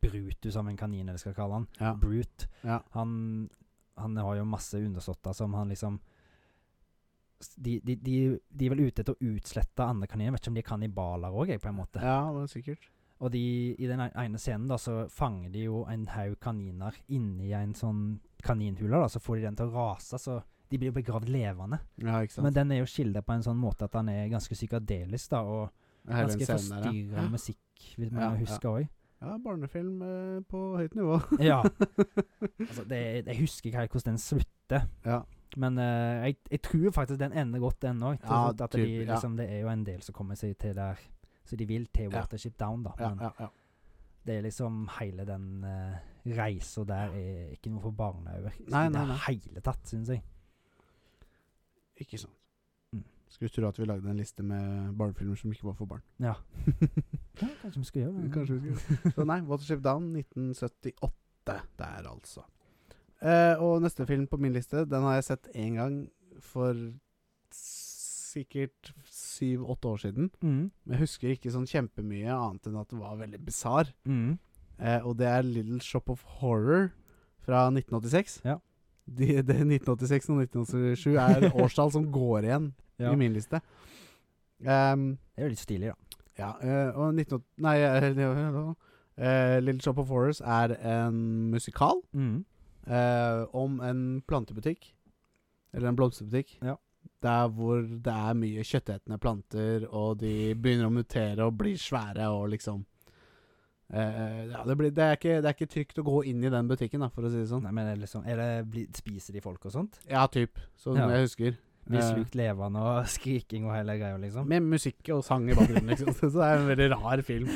Speaker 2: brutus av en kanin, eller skal jeg kalle han.
Speaker 1: Ja.
Speaker 2: Brute.
Speaker 1: Ja.
Speaker 2: Han, han har jo masse undersåtter som han liksom s- de, de, de, de er vel ute etter å utslette andre kaniner. Jeg Vet ikke om de er kannibaler òg, på en måte.
Speaker 1: Ja, men sikkert.
Speaker 2: Og de, i den e, ene scenen da, så fanger de jo en haug kaniner inni en sånn kaninhule. da, Så får de den til å rase, så de blir begravd levende.
Speaker 1: Ja, ikke sant.
Speaker 2: Men den er jo skildret på en sånn måte at han er ganske psykadelisk, da, og
Speaker 1: Hele den
Speaker 2: ganske
Speaker 1: scenen der, ja.
Speaker 2: forstyrrende musikk, hvis man
Speaker 1: Ja, ja.
Speaker 2: husker
Speaker 1: [laughs]
Speaker 2: òg.
Speaker 1: Ja, barnefilm eh, på høyt nivå.
Speaker 2: Ja. Altså, det, jeg husker ikke helt hvordan den slutter.
Speaker 1: Ja.
Speaker 2: Men eh, jeg, jeg tror faktisk den ender godt, den òg.
Speaker 1: Ja,
Speaker 2: at de,
Speaker 1: typ, ja.
Speaker 2: liksom, Det er jo en del som kommer seg til der. Så de vil til
Speaker 1: Ja.
Speaker 2: Watership Down, da.
Speaker 1: [laughs] Ja,
Speaker 2: Men
Speaker 1: ja, ja.
Speaker 2: det er liksom hele den uh, reisa der er ikke noe for barneøyne i
Speaker 1: Nei, nei,
Speaker 2: det
Speaker 1: nei.
Speaker 2: hele tatt, syns jeg.
Speaker 1: Ikke sant.
Speaker 2: Mm.
Speaker 1: Skulle tro at vi lagde en liste med barnefilmer som ikke var for barn.
Speaker 2: Ja. ja kanskje vi skal gjøre det.
Speaker 1: Kanskje vi skal Så nei, Watership Down 1978 der, altså. Eh, og neste film på min liste, den har jeg sett én gang for sikkert syv-åtte år siden.
Speaker 2: Mm.
Speaker 1: Men jeg husker ikke sånn kjempemye annet enn at det var veldig bisarr.
Speaker 2: Mm.
Speaker 1: Eh, og det er Little Shop of Horror fra 1986.
Speaker 2: Ja.
Speaker 1: De, det 1986 og 1987 er årstall som går igjen
Speaker 2: [laughs] Ja.
Speaker 1: i min liste. Ehm,
Speaker 2: Det er jo litt stilig, da.
Speaker 1: ja, eh, og 19... Nei, eh, [laughs] eh, Little Shop of Horrors er en musikal
Speaker 2: Mm.
Speaker 1: eh, om en plantebutikk. Eller en blomsterbutikk.
Speaker 2: Ja.
Speaker 1: Der hvor det er mye kjøttetende planter, og de begynner å mutere og blir svære og liksom eh, ja, det, blir, det, er ikke, det er ikke trygt å gå inn i den butikken, da, for å si det sånn.
Speaker 2: Nei, men er det liksom, er det, bli- Spiser de folk og sånt?
Speaker 1: Ja, typ. Sånn
Speaker 2: Ja.
Speaker 1: jeg husker.
Speaker 2: Blir
Speaker 1: Eh.
Speaker 2: slukt levende og [laughs] skriking og hele greia, liksom?
Speaker 1: Med musikk og sang i bakgrunnen, liksom. [laughs] Så det er en veldig rar film.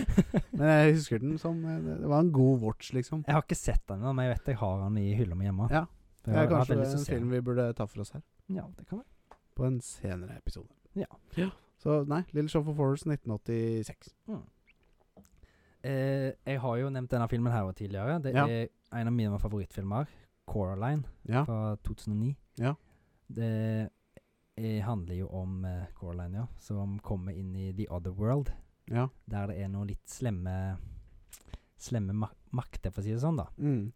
Speaker 1: Men jeg husker den som eh, Det det var en god watch, liksom.
Speaker 2: [laughs] Jeg har ikke sett den, ennå, men jeg vet jeg har den i hylla mi hjemme.
Speaker 1: Ja.
Speaker 2: For jeg
Speaker 1: Ja,
Speaker 2: har hatt
Speaker 1: kanskje det
Speaker 2: veldig
Speaker 1: er
Speaker 2: lyst
Speaker 1: en
Speaker 2: til å se
Speaker 1: film vi burde ta for oss her.
Speaker 2: den. Ja, det kan være.
Speaker 1: På en senere episode.
Speaker 2: Ja.
Speaker 1: Så nei, Little Shop of Horrors 1986.
Speaker 2: Eh, jeg har jo nevnt denne filmen her også tidligere. Det
Speaker 1: Ja.
Speaker 2: er en av mine favorittfilmer. 'Coraline'
Speaker 1: Ja.
Speaker 2: fra 2009.
Speaker 1: Ja.
Speaker 2: Det eh, handler jo om eh, Coraline, ja, som kommer inn i The Other World.
Speaker 1: ja.
Speaker 2: Der det er noen litt slemme Slemme mak makter, for å si det sånn, da.
Speaker 1: Mm.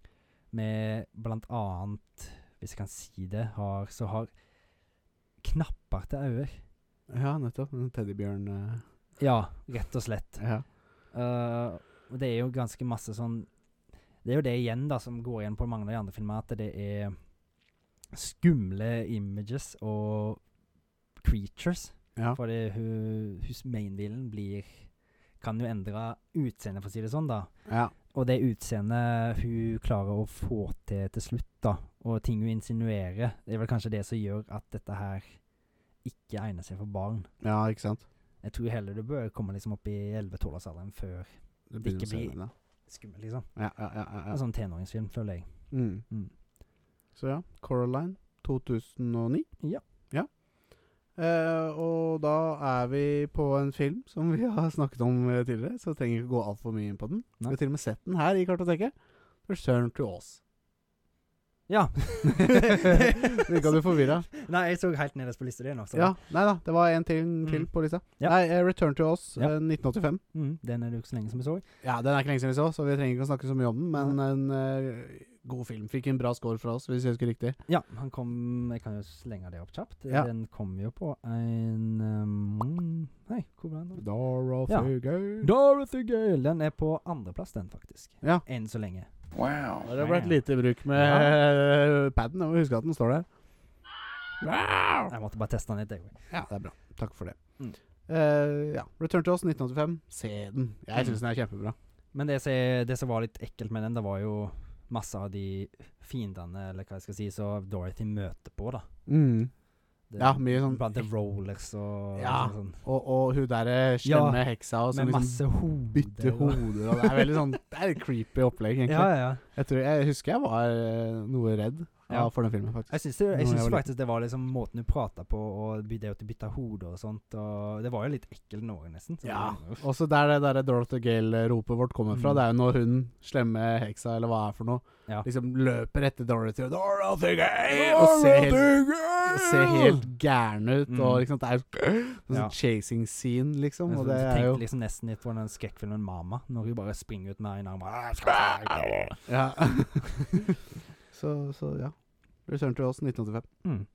Speaker 2: Med blant annet, hvis jeg kan si det, har, så har knapper til øyne.
Speaker 1: ja nettopp. En teddybjørn eh,
Speaker 2: Ja, rett og slett.
Speaker 1: ja.
Speaker 2: Eh, og det er jo ganske masse sånn Det er jo det igjen da som går igjen på mange av de andre filmene, at det er skumle images og creatures.
Speaker 1: Ja.
Speaker 2: Fordi hun, hus mainbilen blir Kan jo endre utseende, for å si det sånn, da.
Speaker 1: ja.
Speaker 2: Og det utseendet hun klarer å få til til slutt, da, og ting hun insinuerer, det er vel kanskje det som gjør at dette her ikke egner seg for barn.
Speaker 1: Ja, ikke sant?
Speaker 2: Jeg tror heller du bør komme liksom opp i 11-12-årsalderen før Det
Speaker 1: Det begynner
Speaker 2: ikke
Speaker 1: å se
Speaker 2: blir-
Speaker 1: den, ja.
Speaker 2: skummel, liksom.
Speaker 1: Ja, ja, ja, ja,
Speaker 2: En
Speaker 1: ja.
Speaker 2: sånn tenåringsfilm, føler jeg.
Speaker 1: Altså, Mm.
Speaker 2: Mm.
Speaker 1: Så ja, Coraline 2009.
Speaker 2: Ja.
Speaker 1: ja. Eh, og da er vi på en film som vi [laughs] har snakket om eh, tidligere, så trenger vi ikke gå altfor mye inn på den.
Speaker 2: Nei.
Speaker 1: Vi har til og med sett den her i kartoteket. 'Return to Oz'. [laughs]
Speaker 2: Ja.
Speaker 1: Virka du forvirra?
Speaker 2: [laughs] Nei, jeg så helt nederst på lista di nå. så-
Speaker 1: Ja, nei da. Det var en til, til
Speaker 2: Mm.
Speaker 1: på lista.
Speaker 2: Ja.
Speaker 1: Nei, eh, 'Return to Oz'
Speaker 2: Ja.
Speaker 1: eh, 1985.
Speaker 2: Mm, den er det jo ikke så lenge som jeg så.
Speaker 1: Ja, Den er ikke lenge siden vi så, så vi trenger ikke å snakke så mye om den. Men en eh, god film. Fikk en bra score fra oss, hvis jeg husker riktig.
Speaker 2: Ja, han kom Jeg kan jo slenge det opp kjapt.
Speaker 1: Ja.
Speaker 2: Den kom jo på en um, Nei, hvor ble den? da?
Speaker 1: Dorothy
Speaker 2: Ja.
Speaker 1: Gale.
Speaker 2: Dorothy Gale! Den er på andreplass, den, faktisk.
Speaker 1: Ja.
Speaker 2: Enn så lenge.
Speaker 1: Ja, Det har vært
Speaker 2: Damn.
Speaker 1: lite bruk med
Speaker 2: Ja.
Speaker 1: eh, paden. Jeg må huske at den står der. Wow!
Speaker 2: Jeg måtte bare teste den litt, jeg òg.
Speaker 1: Ja, det er bra. Takk for det.
Speaker 2: Mm.
Speaker 1: Eh, ja. Return to Oz 1985. Se den. Jeg
Speaker 2: Mm.
Speaker 1: syns den er kjempebra.
Speaker 2: Men det som er- det som var litt ekkelt med den, det var jo masse av de fiendene, eller hva jeg skal si, som Dorothy møter på, da.
Speaker 1: Mm.
Speaker 2: Det,
Speaker 1: Ja, mye sånn
Speaker 2: Blant the rollers og
Speaker 1: Ja.
Speaker 2: sånn.
Speaker 1: Og, og hun derre slemme heksa og som
Speaker 2: Med
Speaker 1: liksom
Speaker 2: masse hoder.
Speaker 1: bytter
Speaker 2: og-
Speaker 1: hoder og Det er veldig sånn Det er et creepy opplegg, egentlig.
Speaker 2: Ja, ja, ja.
Speaker 1: Jeg, tror, jeg husker jeg var eh, noe redd
Speaker 2: Ja.
Speaker 1: av- for den filmen, faktisk.
Speaker 2: Jeg syns, det,
Speaker 1: Når
Speaker 2: jeg
Speaker 1: jeg
Speaker 2: syns
Speaker 1: var
Speaker 2: faktisk det var liksom måten du prata på, og by- det at du bytta hode og sånt. Og det var jo litt ekkelt nå, nesten. så
Speaker 1: Ja.
Speaker 2: det var-
Speaker 1: Også der det der Dorothy Gale-ropet vårt kommer fra,
Speaker 2: Mm.
Speaker 1: det er jo når hun slemme heksa, eller hva det er for noe,
Speaker 2: Ja.
Speaker 1: liksom løper etter Dorothy og Dorothy Gale! Og ser helt, ser helt gæren ut,
Speaker 2: Mm.
Speaker 1: og liksom det er jo sånn
Speaker 2: Ja.
Speaker 1: chasing scene, liksom,
Speaker 2: Jeg
Speaker 1: og det
Speaker 2: tenkte
Speaker 1: er jo
Speaker 2: liksom nesten litt på den skrekkfilmen 'Mama', når hun bare "Ah, springer ut med en arm og-
Speaker 1: Ja. [laughs] så, så ja. Return to Oss 1985.
Speaker 2: mm.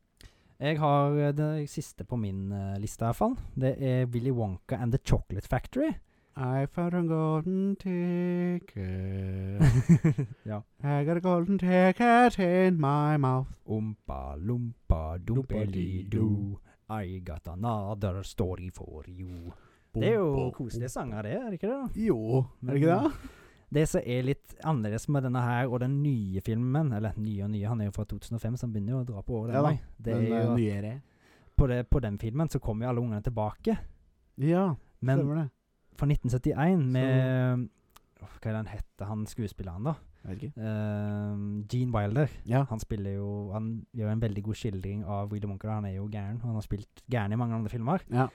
Speaker 2: Jeg har eh, det siste på min eh, liste, i hvert fall. Det er Willy Wonka and The Chocolate [laughs] Factory.
Speaker 1: I found a golden ticket.
Speaker 2: ja.
Speaker 1: I got a golden ticket in my mouth.
Speaker 2: Ompa lompa dumpelidu. I got another story for you. Det er jo koselige sanger, det, er det ikke det? da?
Speaker 1: Jo, er det ikke det?
Speaker 2: Mm. Det som er litt annerledes med denne her og den nye filmen Eller nye og nye, han er jo fra 2005, så han begynner jo å dra på året.
Speaker 1: Ja da,
Speaker 2: den vei. det
Speaker 1: Den eh,
Speaker 2: er
Speaker 1: er
Speaker 2: jo at
Speaker 1: nyere.
Speaker 2: på, det, på den filmen så kommer jo alle ungene tilbake.
Speaker 1: Ja,
Speaker 2: Men
Speaker 1: stemmer det.
Speaker 2: fra 1971 med Åh, Hva er det han heter, han skuespilleren, da?
Speaker 1: Jeg vet ikke.
Speaker 2: Eh, Gene Wilder.
Speaker 1: Ja.
Speaker 2: Han spiller jo Han gjør en veldig god skildring av Willy Wonka. Han er jo gæren. Han har spilt gæren i mange andre filmer.
Speaker 1: ja.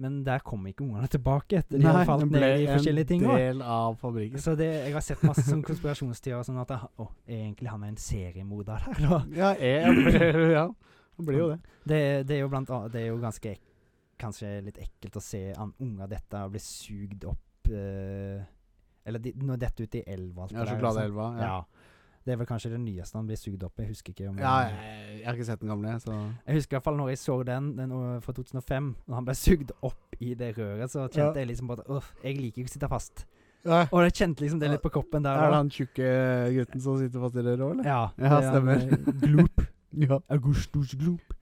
Speaker 2: Men der kommer ikke ungene tilbake etter de har falt
Speaker 1: den
Speaker 2: ned i forskjellige ting. da.
Speaker 1: en del av fabrikken.
Speaker 2: Så det, jeg har sett masse sånn konspirasjonsteorier og sånn at jeg, ha- å, er egentlig han er en seriemorder her, da?
Speaker 1: Ja,
Speaker 2: [clears throat]
Speaker 1: jeg, ja, det blir jo det.
Speaker 2: Det, det er jo blant annet Det er jo ganske ek, Kanskje litt ekkelt å se an, unger dette og bli sugd opp eh, Eller de, nå dette ute i elva. og alt det
Speaker 1: Ja,
Speaker 2: der, liksom.
Speaker 1: Sjokoladeelva.
Speaker 2: Ja.
Speaker 1: Ja.
Speaker 2: Det er vel kanskje det nyeste han blir sugd opp i. Jeg husker ikke om
Speaker 1: Ja, jeg, jeg har ikke sett den gamle, så
Speaker 2: Jeg husker i hvert fall når jeg så den, den øh, fra 2005. Når han ble sugd opp i det røret, så kjente jeg liksom på at Uff, jeg liker ikke å sitte fast. Og jeg kjente liksom det litt på kroppen der.
Speaker 1: Er det
Speaker 2: da.
Speaker 1: han tjukke gutten som sitter fast i det rå, eller?
Speaker 2: Ja,
Speaker 1: Ja,
Speaker 2: det er han,
Speaker 1: stemmer.
Speaker 2: øh, Gloop.
Speaker 1: Ja.
Speaker 2: Augustus Gloop.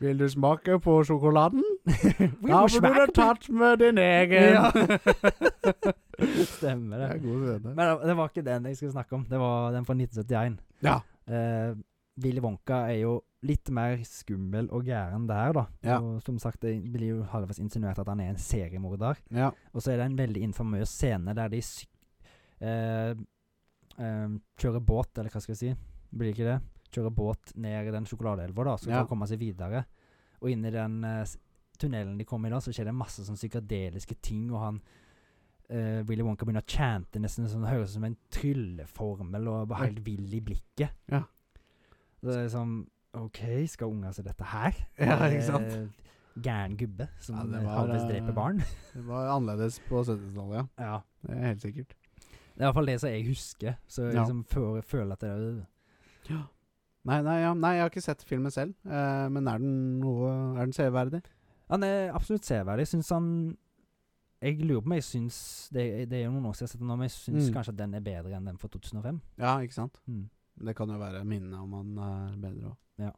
Speaker 1: Vil du smake på sjokoladen?
Speaker 2: We
Speaker 1: Da
Speaker 2: were
Speaker 1: burde du
Speaker 2: smacked.
Speaker 1: tatt med din egen.
Speaker 2: Ja.
Speaker 1: Det
Speaker 2: [laughs] Stemmer
Speaker 1: er
Speaker 2: det.
Speaker 1: god scene.
Speaker 2: Men eh, det- det var ikke den jeg skulle snakke om. Det var den fra 1971.
Speaker 1: Ja.
Speaker 2: Eh, Willy Wonka er jo litt mer skummel og gæren der, da.
Speaker 1: Ja.
Speaker 2: Og som sagt, det blir jo halvveis insinuert at han er en seriemorder.
Speaker 1: Ja.
Speaker 2: Og så er det en veldig infamøs scene der de syk eh, eh, kjører båt, eller hva skal jeg si, blir det ikke det? Kjører båt ned i den sjokoladeelva, da, så
Speaker 1: Ja.
Speaker 2: kan komme seg videre. Og inni den eh, s- tunnelen de kommer i da, så skjer det masse sånn psykadeliske ting, og han eh, Willy Wonka begynner å chante nesten sånn, det høres ut som en trylleformel, og bare helt vill i blikket.
Speaker 1: Ja.
Speaker 2: Det er liksom OK, skal unger se dette her?
Speaker 1: ja, ikke sant?
Speaker 2: Eh, Gæren gubbe som
Speaker 1: Ja,
Speaker 2: ja,
Speaker 1: det var,
Speaker 2: halvveis
Speaker 1: eh,
Speaker 2: dreper
Speaker 1: [laughs]
Speaker 2: barn.
Speaker 1: Det var annerledes på 70-tallet, ja.
Speaker 2: ja.
Speaker 1: Det er helt sikkert.
Speaker 2: Det er i hvert fall det som jeg husker. Så jeg
Speaker 1: Ja.
Speaker 2: liksom føler, føler at det er
Speaker 1: Nei, nei, ja. nei, jeg har ikke sett filmen selv, eh, men er den noe Er den severdig?
Speaker 2: Han er absolutt severdig. Jeg syns han Jeg lurer på om jeg syns Det, det er jo noen år siden jeg har sett den, nå, men jeg syns
Speaker 1: Mm.
Speaker 2: kanskje at den er bedre enn den fra 2005.
Speaker 1: Ja, ikke sant?
Speaker 2: Mm.
Speaker 1: Det kan jo være minnet om han er bedre òg.
Speaker 2: Ja.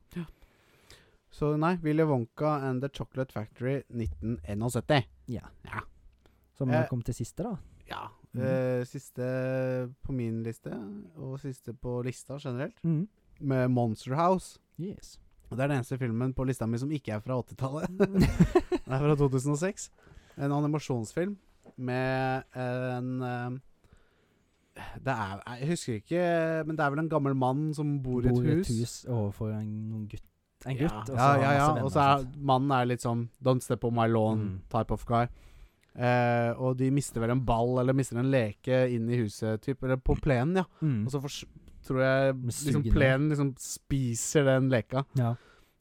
Speaker 1: Så nei, Willy Wonka and The Chocolate Factory 1971.
Speaker 2: Ja.
Speaker 1: Ja.
Speaker 2: Som eh.
Speaker 1: Eh.
Speaker 2: kom til siste, da.
Speaker 1: Ja.
Speaker 2: Mhm.
Speaker 1: eh, siste på min liste, og siste på lista generelt, med Monster House.
Speaker 2: Mm. Yes.
Speaker 1: Og Det er den eneste filmen på lista mi som ikke er fra 80-tallet.
Speaker 2: Mm.
Speaker 1: [laughs] Den er fra 2006. En animasjonsfilm med en eh, Det er Jeg husker ikke, men det er vel en gammel mann som bor, i et hus.
Speaker 2: overfor en, noen gutt, en gutt. og så
Speaker 1: ja,
Speaker 2: har han
Speaker 1: ja,
Speaker 2: masse
Speaker 1: ja.
Speaker 2: venner
Speaker 1: Og så er
Speaker 2: og sånt.
Speaker 1: mannen er litt sånn Don't step on my lawn
Speaker 2: Mm.
Speaker 1: type of guy. Eh, og de mister vel en ball eller mister en leke inn i huset, typ, eller på plenen, ja.
Speaker 2: mm.
Speaker 1: Og så fors- tror jeg
Speaker 2: Suger
Speaker 1: liksom,
Speaker 2: den.
Speaker 1: plenen liksom spiser den leka.
Speaker 2: ja.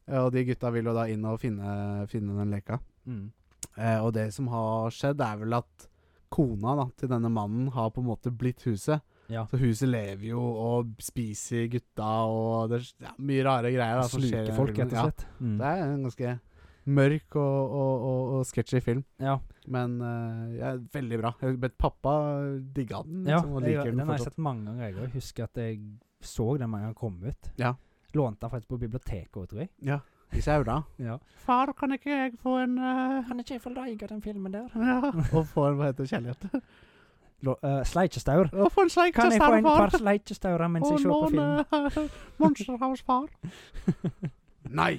Speaker 1: Eh, og de gutta vil jo da inn og finne, finne den leka.
Speaker 2: Mm.
Speaker 1: Eh, og det som har skjedd, er vel at kona da, til denne mannen har på en måte blitt huset.
Speaker 2: ja.
Speaker 1: Så huset lever jo og spiser gutta, og det er ja, mye rare greier. Da, som skjer
Speaker 2: Sluker
Speaker 1: i den
Speaker 2: folk,
Speaker 1: filmen.
Speaker 2: rett og slett. Mm.
Speaker 1: Ja, det er en ganske mørk og, og, og, og sketchy film.
Speaker 2: Ja.
Speaker 1: Men eh, ja, veldig bra. Jeg vet Pappa digga den.
Speaker 2: Ja,
Speaker 1: Liksom, og
Speaker 2: jeg,
Speaker 1: liker
Speaker 2: den
Speaker 1: den
Speaker 2: har jeg
Speaker 1: fortsatt.
Speaker 2: sett mange ganger. Jeg også. husker at jeg så den mange ganger kom ut.
Speaker 1: Ja.
Speaker 2: Lånte den faktisk på biblioteket òg, tror jeg.
Speaker 1: Ja, I sauna.
Speaker 2: Ja.
Speaker 1: Far, kan ikke jeg få en eh,
Speaker 2: Kan ikke jeg få leie den filmen der?
Speaker 1: Ja. [laughs] Og få en, hva heter det, kjærlighet?
Speaker 2: Sleikjestaur.
Speaker 1: Å, få en sleik
Speaker 2: eh, Kan
Speaker 1: til
Speaker 2: jeg få en
Speaker 1: stamfar!
Speaker 2: par sleikjestaurer mens jeg ser på
Speaker 1: Og
Speaker 2: film?
Speaker 1: låne Monster House far. [laughs] nei.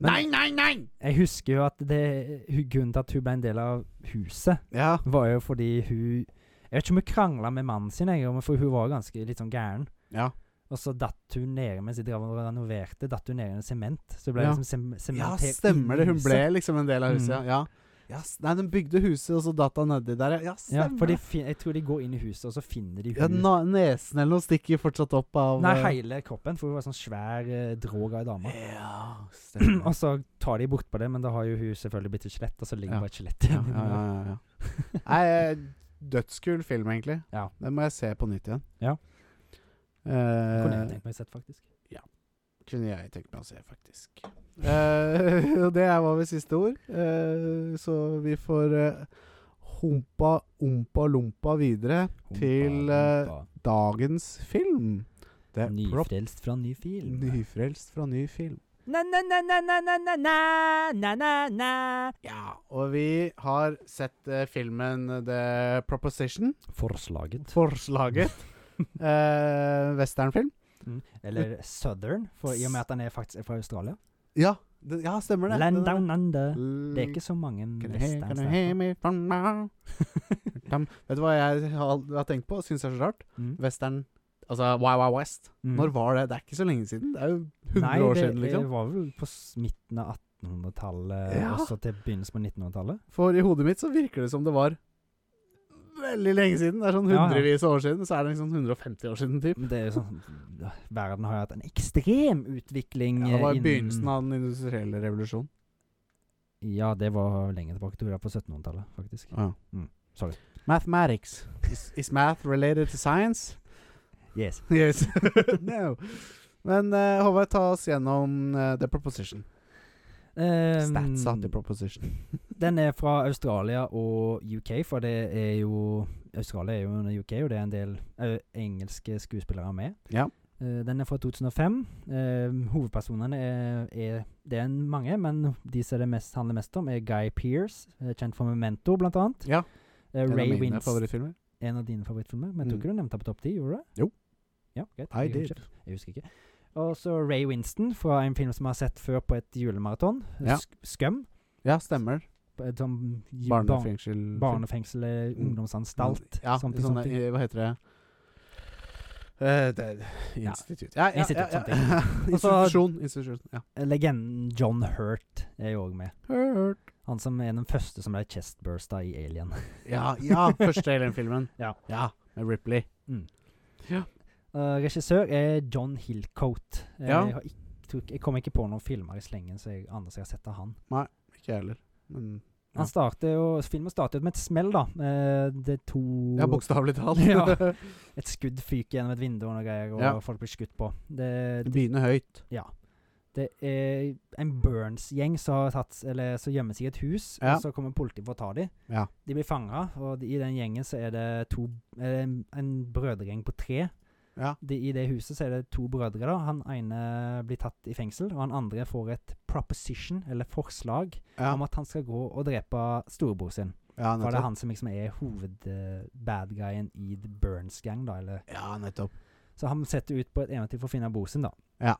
Speaker 1: Nei,
Speaker 2: Men-
Speaker 1: nei, nei!
Speaker 2: Jeg husker jo at det, hu- grunnen til at hun ble en del av huset,
Speaker 1: Ja.
Speaker 2: var jo fordi hun Jeg vet ikke om hun krangla med mannen sin, jeg, men for hun var ganske litt sånn gæren.
Speaker 1: Ja.
Speaker 2: Og så datt hun ned mens de drev og renoverte, datt hun ned i en sement. Så ble
Speaker 1: Ja.
Speaker 2: liksom sem
Speaker 1: ja,
Speaker 2: sementert
Speaker 1: stemmer
Speaker 2: i
Speaker 1: det. Hun
Speaker 2: huset.
Speaker 1: ble liksom en del av huset,
Speaker 2: Mm.
Speaker 1: ja. ja. s- Nei, den bygde huset, og så datt han nedi der. ja. Ja,
Speaker 2: Ja,
Speaker 1: stemmer
Speaker 2: for de
Speaker 1: det.
Speaker 2: fin jeg tror de går inn i huset, og så finner de
Speaker 1: Ja,
Speaker 2: hun-
Speaker 1: na nesen eller noe stikker fortsatt opp av
Speaker 2: Nei,
Speaker 1: eh,
Speaker 2: hele kroppen, for hun var sånn svær eh, drog av ei dame.
Speaker 1: Ja,
Speaker 2: Og
Speaker 1: stemmer.
Speaker 2: så Altså, tar de bort på det, men da har jo hun selvfølgelig blitt et skjelett, og så ligger
Speaker 1: Ja.
Speaker 2: bare et skjelett
Speaker 1: [clears throat] ja,
Speaker 2: igjen.
Speaker 1: ja, ja, ja. Nei, eh, dødskul film, egentlig.
Speaker 2: Ja.
Speaker 1: Den må jeg se på nytt igjen.
Speaker 2: Ja.
Speaker 1: Eh,
Speaker 2: [laughs] Kunne jeg tenkt meg sett, faktisk.
Speaker 1: kunne jeg tenkt meg å se, faktisk. Eh, [laughs] og det var vel siste ord. Eh, så vi får eh, humpa, ompa, lompa videre til eh,
Speaker 2: Humpa,
Speaker 1: dagens film. Det
Speaker 2: humpa.
Speaker 1: er Prop
Speaker 2: Nyfrelst fra ny film.
Speaker 1: Nyfrelst fra ny film.
Speaker 3: Na-na-na-na-na-na-na-na-na.
Speaker 1: Ja, og vi har sett eh, filmen The Proposition.
Speaker 2: Forslaget.
Speaker 1: [laughs] Forslaget. eh, westernfilm.
Speaker 2: Mm. Eller Southern, for i og med at han er faktisk fra Australia.
Speaker 1: Ja, det, ja, stemmer det.
Speaker 2: Land down under. Det
Speaker 1: Det
Speaker 2: er ikke så mange
Speaker 1: Can you hear- can you hear
Speaker 2: westerns.
Speaker 1: me from now? Tam- Vet du hva jeg har, har tenkt på? Syns det er så rart.
Speaker 2: [laughs] Mm.
Speaker 1: Western Altså Wow Wow West.
Speaker 2: Mm.
Speaker 1: Når var det? Det er ikke så lenge siden. Det er jo 100
Speaker 2: Nei,
Speaker 1: år
Speaker 2: det
Speaker 1: siden, liksom.
Speaker 2: var vel på s- midten av 1800-tallet,
Speaker 1: Ja.
Speaker 2: og så til begynnelsen på 1900-tallet.
Speaker 1: For i hodet mitt så virker det som det var veldig lenge siden. Det er sånn
Speaker 2: Ja, ja.
Speaker 1: hundrevis av år siden. Så er det liksom 150 år siden, typ.
Speaker 2: Men det er jo sånn Verden har jo hatt en ekstrem utvikling.
Speaker 1: Ja, det var
Speaker 2: eh,
Speaker 1: i
Speaker 2: innen-
Speaker 1: begynnelsen av den industrielle revolusjonen.
Speaker 2: Ja, det var lenge tilbake. Jeg Tror det var på 1700-tallet, faktisk.
Speaker 1: Ja.
Speaker 2: Mm, sorry.
Speaker 1: Mathematics. Is, is math related to science?
Speaker 2: Yes.
Speaker 1: [laughs] Yes. [laughs] no. Men eh, Håvard, ta oss gjennom eh, The Proposition.
Speaker 2: Ehm,
Speaker 1: Statsa The Proposition.
Speaker 2: Den er fra Australia og UK, for det er jo Australia er jo under UK, og det er en del ø, engelske skuespillere med.
Speaker 1: Ja.
Speaker 2: Eh, den er fra 2005. Eh, hovedpersonene er, er Det er en mange, men de som det mest, handler mest om, er Guy Pearce, eh, kjent for Memento, blant annet.
Speaker 1: Ja.
Speaker 2: Eh,
Speaker 1: En av
Speaker 2: Ray
Speaker 1: mine
Speaker 2: Winst,
Speaker 1: favorittfilmer.
Speaker 2: en av dine favorittfilmer. Men jeg tror
Speaker 1: Mm.
Speaker 2: ikke du nevnte han på topp ti, gjorde du det?
Speaker 1: Jo.
Speaker 2: Ja, greit.
Speaker 1: I
Speaker 2: Jeg husker
Speaker 1: did.
Speaker 2: ikke. Jeg husker ikke. Og så Ray Winston fra en film som jeg har sett før på et julemaraton.
Speaker 1: Ja.
Speaker 2: Sk Skum.
Speaker 1: Ja, stemmer.
Speaker 2: på Et sånn ju- barn-
Speaker 1: Barnefengsel.
Speaker 2: barnefengsel eller
Speaker 1: Mm.
Speaker 2: ungdomsanstalt. Sånn
Speaker 1: Ja,
Speaker 2: sånne ting,
Speaker 1: sånne,
Speaker 2: sånne ting.
Speaker 1: eh, Hva heter det? Eh, det
Speaker 2: Ja.
Speaker 1: institutt. Ja, ja,
Speaker 2: Institutt,
Speaker 1: ja,
Speaker 2: sånne
Speaker 1: ja. [laughs]
Speaker 2: Og så-
Speaker 1: Institusjon. Institusjon. Ja.
Speaker 2: Legenden John Hurt er jo òg med.
Speaker 1: Hurt.
Speaker 2: Han som er den første som ble chestbursta i Alien. [laughs]
Speaker 1: Ja, ja, første Alien-filmen.
Speaker 2: Ja.
Speaker 1: ja. Med Ripley.
Speaker 2: Eh, regissør er John Hillcoat. Eh,
Speaker 1: Ja.
Speaker 2: Jeg, har ikk- tror ikke- jeg kom ikke på noen filmer i slengen så jeg, andre som jeg har sett av han.
Speaker 1: Ikke jeg heller. Men Ja.
Speaker 2: Han starter jo, Filmen starter jo med et smell, da. Eh, det er to
Speaker 1: Oh. Ja, bokstavelig talt. [laughs]
Speaker 2: Ja. Et skudd fyker gjennom et vindu og noe greier, og
Speaker 1: Ja.
Speaker 2: folk blir skutt på. Det, det,
Speaker 1: Begynne høyt.
Speaker 2: det er en Burns-gjeng som, har tatt- eller som gjemmer seg i et hus,
Speaker 1: Ja.
Speaker 2: og så kommer politiet for å ta dem.
Speaker 1: Ja.
Speaker 2: De blir fanga, og de, i den gjengen så er det to er det en, en brødregjeng på tre.
Speaker 1: Ja.
Speaker 2: De, I det huset så er det to brødre. da Han ene blir tatt i fengsel, og han andre får et proposition, eller forslag,
Speaker 1: Ja,
Speaker 2: om at han skal gå og drepe storebror sin.
Speaker 1: ja
Speaker 2: For det er
Speaker 1: nettopp.
Speaker 2: han som liksom er hoved-badguyen i The Burns Gang, da, eller
Speaker 1: Ja, nettopp.
Speaker 2: så han setter ut på et eventyr for å finne bror sin, da.
Speaker 1: Ja.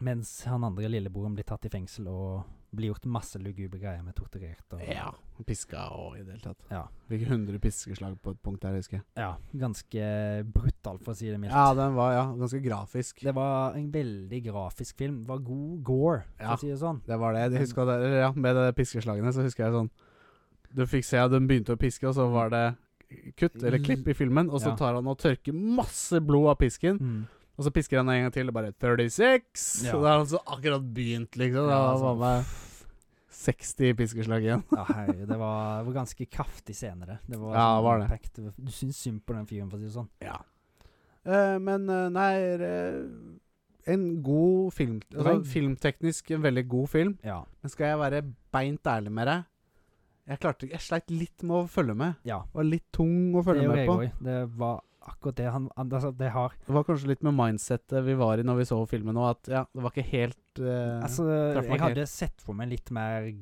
Speaker 2: Mens han andre lillebroren blir tatt i fengsel og blir gjort masse lugubre greier med torturert og
Speaker 1: Ja. Piska og i det hele tatt.
Speaker 2: Ja.
Speaker 1: Fikk 100 piskeslag på et punkt der, husker jeg.
Speaker 2: Ja, Ganske brutalt, for å si det mildt.
Speaker 1: Ja, den var ja, ganske grafisk.
Speaker 2: Det var en veldig grafisk film. Det var god gore, for
Speaker 1: Ja.
Speaker 2: å si det sånn.
Speaker 1: Det var det. Jeg husker det eller ja, med de piskeslagene så husker jeg sånn Du fikk se at de begynte å piske, og så var det kutt eller klipp i filmen, og så
Speaker 2: Mm. Ja.
Speaker 1: tar han og tørker masse blod av pisken,
Speaker 2: Mm.
Speaker 1: og så pisker han en gang til, og bare 36!
Speaker 2: Ja.
Speaker 1: Så da har han så akkurat begynt, liksom. Da
Speaker 2: Ja,
Speaker 1: var
Speaker 2: sånn.
Speaker 1: det 60 piskeslag igjen.
Speaker 2: Ja, herregud, det var, det var ganske kraftig scene, det. det var
Speaker 1: Ja,
Speaker 2: sånn
Speaker 1: det var det.
Speaker 2: impact. Du syns synd på den fyren, for å si det sånn.
Speaker 1: Eh, men eh, nei eh, En god film
Speaker 2: var
Speaker 1: altså,
Speaker 2: en-
Speaker 1: Filmteknisk en veldig god film.
Speaker 2: Ja.
Speaker 1: Men skal jeg være beint ærlig med deg Jeg klarte Jeg sleit litt med å følge med.
Speaker 2: ja.
Speaker 1: Var litt tung å
Speaker 2: Det
Speaker 1: følge
Speaker 2: gjorde
Speaker 1: med
Speaker 2: jeg
Speaker 1: på.
Speaker 2: òg. Det var akkurat det han, han altså, Det har
Speaker 1: Det var kanskje litt med mindsettet vi var i når vi så filmen nå, at ja, det var ikke helt eh,
Speaker 2: Altså,
Speaker 1: Traff
Speaker 2: jeg
Speaker 1: meg helt.
Speaker 2: hadde sett for meg litt mer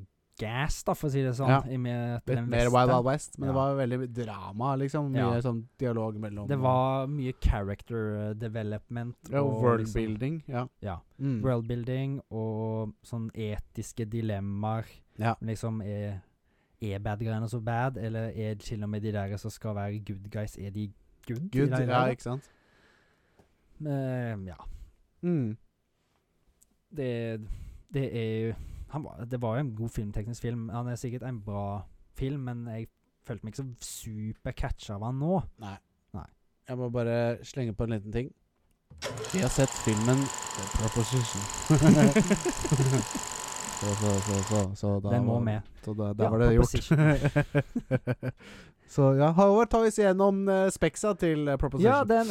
Speaker 2: gas, da, for å si det sånn.
Speaker 1: Ja.
Speaker 2: I med, til
Speaker 1: litt
Speaker 2: den
Speaker 1: mer
Speaker 2: vesten.
Speaker 1: Wild Wild West, men det
Speaker 2: Ja.
Speaker 1: var veldig drama, liksom. Mye
Speaker 2: Ja.
Speaker 1: sånn dialog mellom
Speaker 2: Det var mye character eh, development.
Speaker 1: ja, og
Speaker 2: liksom-
Speaker 1: Worldbuilding. Ja.
Speaker 2: ja.
Speaker 1: Mm.
Speaker 2: Worldbuilding og sånn etiske dilemmaer.
Speaker 1: Ja.
Speaker 2: Liksom er er bad greiene så bad, eller er til og med de der som skal være good guys, er de good? i
Speaker 1: Good.
Speaker 2: det hele
Speaker 1: Ja,
Speaker 2: tatt?
Speaker 1: ikke sant?
Speaker 2: Men, eh, ja.
Speaker 1: Mm.
Speaker 2: det, det er jo han var, Det var jo en god filmteknisk film. Han er sikkert en bra film, men jeg følte meg ikke så supercatcha av han nå.
Speaker 1: Nei.
Speaker 2: Nei.
Speaker 1: Jeg må bare slenge på en liten ting. Vi har sett filmen The
Speaker 2: [laughs]
Speaker 1: [laughs] Proposition. så, så, så, så, så da
Speaker 2: Den må
Speaker 1: var-
Speaker 2: med.
Speaker 1: Så da, da
Speaker 2: Ja,
Speaker 1: var det gjort. [laughs] så ja, Howard tar oss gjennom eh, speksa til eh, Proposition.
Speaker 2: Ja, den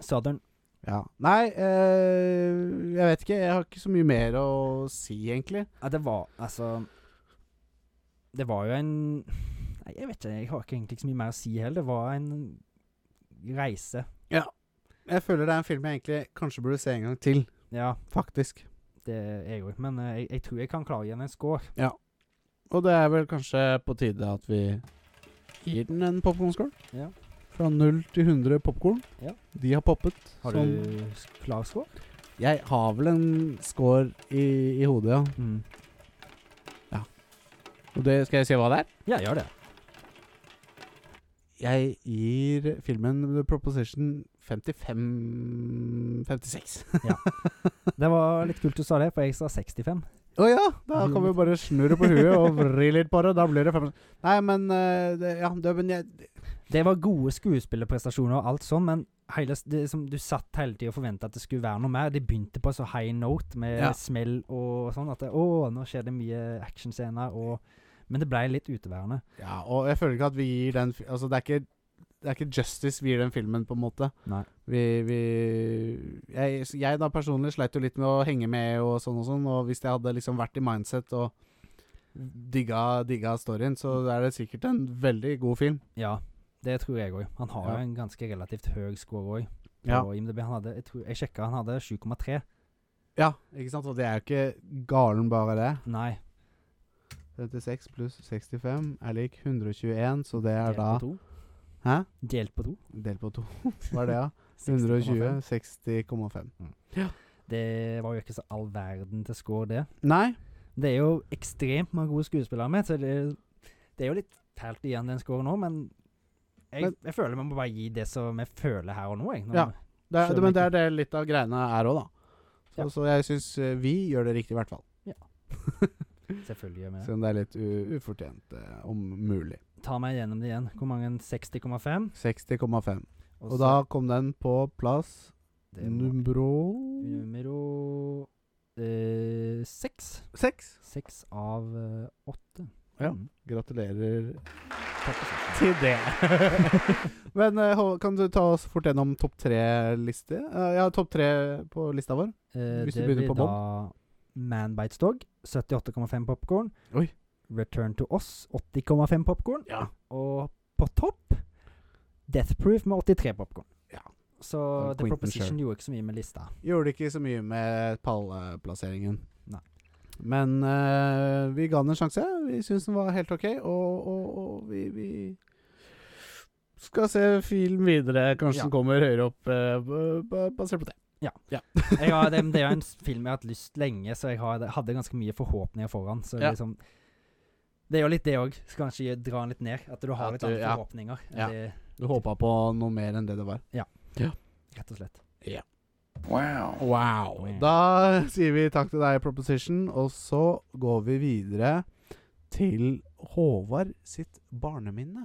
Speaker 2: Southern.
Speaker 1: Ja. Nei, eh, jeg vet ikke. Jeg har ikke så mye mer å si, egentlig.
Speaker 2: Ja, det var altså Det var jo en Nei, jeg vet ikke. Jeg har ikke egentlig så mye mer å si heller. Det var en reise.
Speaker 1: Jeg føler det er en film jeg egentlig kanskje burde se en gang til,
Speaker 2: Ja,
Speaker 1: faktisk.
Speaker 2: det er jeg òg. Men eh, jeg, jeg tror jeg kan klare igjen en score.
Speaker 1: Og det er vel kanskje på tide at vi gir den en popkornskål.
Speaker 2: Ja.
Speaker 1: Fra 0 til 100 popkorn.
Speaker 2: Ja.
Speaker 1: De har poppet.
Speaker 2: Har
Speaker 1: som-
Speaker 2: du s- klar score?
Speaker 1: Jeg har vel en score i, i hodet, ja.
Speaker 2: Mm.
Speaker 1: Og det skal jeg si hva det er?
Speaker 2: Ja, gjør det. [laughs]
Speaker 1: Jeg gir filmen The Proposition 55 56.
Speaker 2: Det var litt kult du sa det, for jeg sa 65.
Speaker 1: Å ja! [laughs] Da kan vi bare snurre på huet og vri litt på det. Da blir det fem Nei, men eh, det, Ja, det, men jeg
Speaker 2: Det var gode skuespillerprestasjoner og alt sånn, men hele, s- det, som du satt hele tida og forventa at det skulle være noe mer. De begynte på en så high note med
Speaker 1: Ja.
Speaker 2: smell og sånn at det, Å, nå skjer det mye actionscener og Men det ble litt uteværende.
Speaker 1: Ja, og jeg føler ikke at vi gir den fi- Altså, det er ikke det er ikke justice vi gir den filmen, på en måte.
Speaker 2: Nei.
Speaker 1: Vi, vi jeg, jeg da personlig sleit jo litt med å henge med og sånn og sånn, og hvis jeg hadde liksom vært i mindset og digga, digga storyen, så er det sikkert en veldig god film.
Speaker 2: Ja, det tror jeg òg. Han har
Speaker 1: Ja.
Speaker 2: jo en ganske relativt høy score òg.
Speaker 1: Ja.
Speaker 2: IMDb, han hadde, jeg, tror, jeg sjekka, han hadde 7,3.
Speaker 1: ja, ikke sant? Og det er jo ikke galen bare det.
Speaker 2: Nei,
Speaker 1: 36 pluss 65 er lik 121, så det er
Speaker 2: delt
Speaker 1: da
Speaker 2: på to.
Speaker 1: Hæ?
Speaker 2: Delt på to.
Speaker 1: Del
Speaker 2: [laughs]
Speaker 1: på to. Hva er det, da?
Speaker 2: 60,5.
Speaker 1: 120? 60,5.
Speaker 2: Det var jo ikke så all verden til score, det.
Speaker 1: Nei.
Speaker 2: Det er jo ekstremt mange gode skuespillere med, så det, det er jo litt fælt igjen den scoren nå, men jeg,
Speaker 1: Men-
Speaker 2: jeg føler man må bare gi det som jeg føler her og nå, jeg. Når-
Speaker 1: Ja. Det er,
Speaker 2: Skjønner
Speaker 1: men det er det litt av greiene er òg, da. Så,
Speaker 2: Ja.
Speaker 1: så jeg syns vi gjør det riktig, i hvert fall.
Speaker 2: Selvfølgelig gjør vi det.
Speaker 1: Selv om det er litt u ufortjent, eh, om mulig.
Speaker 2: Ta meg gjennom det igjen. Hvor mange? 60,5?
Speaker 1: 60,5. Og
Speaker 2: så-
Speaker 1: da kom den på plass
Speaker 2: det må-
Speaker 1: numero
Speaker 2: Numero eh, seks.
Speaker 1: seks.
Speaker 2: Seks av eh, åtte.
Speaker 1: Ja.
Speaker 2: Mm.
Speaker 1: Gratulerer
Speaker 2: Takk for seg.
Speaker 1: [laughs] til det. men eh, Håvard, kan du ta oss fort gjennom topp tre-liste? Eh, ja, topp tre på lista vår.
Speaker 2: Eh,
Speaker 1: Hvis du
Speaker 2: det
Speaker 1: begynner
Speaker 2: blir
Speaker 1: på
Speaker 2: da Man Bites Dog, 78,5 popkorn.
Speaker 1: Oi.
Speaker 2: Return to Us, 80,5 popkorn.
Speaker 1: Ja.
Speaker 2: Og på topp Death Proof med 83 popkorn.
Speaker 1: Ja.
Speaker 2: Så
Speaker 1: Og
Speaker 2: The
Speaker 1: Quentin
Speaker 2: Proposition
Speaker 1: selv.
Speaker 2: gjorde ikke så mye med lista.
Speaker 1: Gjorde ikke så mye med pallplasseringen.
Speaker 2: Nei.
Speaker 1: Men eh, vi ga den en sjanse. Vi syns den var helt OK, og, og, og vi, vi skal se film videre. Kanskje
Speaker 2: Ja.
Speaker 1: den kommer høyere opp, eh, b- b- basert på det.
Speaker 2: Jeg har, det, det er jo en s- film jeg har hatt lyst lenge, så jeg har, hadde ganske mye forhåpninger foran. Så
Speaker 1: Ja.
Speaker 2: liksom Det er jo litt det òg. Skal kanskje dra den litt ned. At du har
Speaker 1: At
Speaker 2: litt
Speaker 1: du-
Speaker 2: andre
Speaker 1: ja.
Speaker 2: forhåpninger. enn
Speaker 1: Ja.
Speaker 2: Det,
Speaker 1: Du håpa på noe mer enn det det var.
Speaker 2: rett og slett.
Speaker 1: Wow.
Speaker 2: Wow.
Speaker 1: Da sier vi takk til deg, Proposition, og så går vi videre til Håvard sitt barneminne.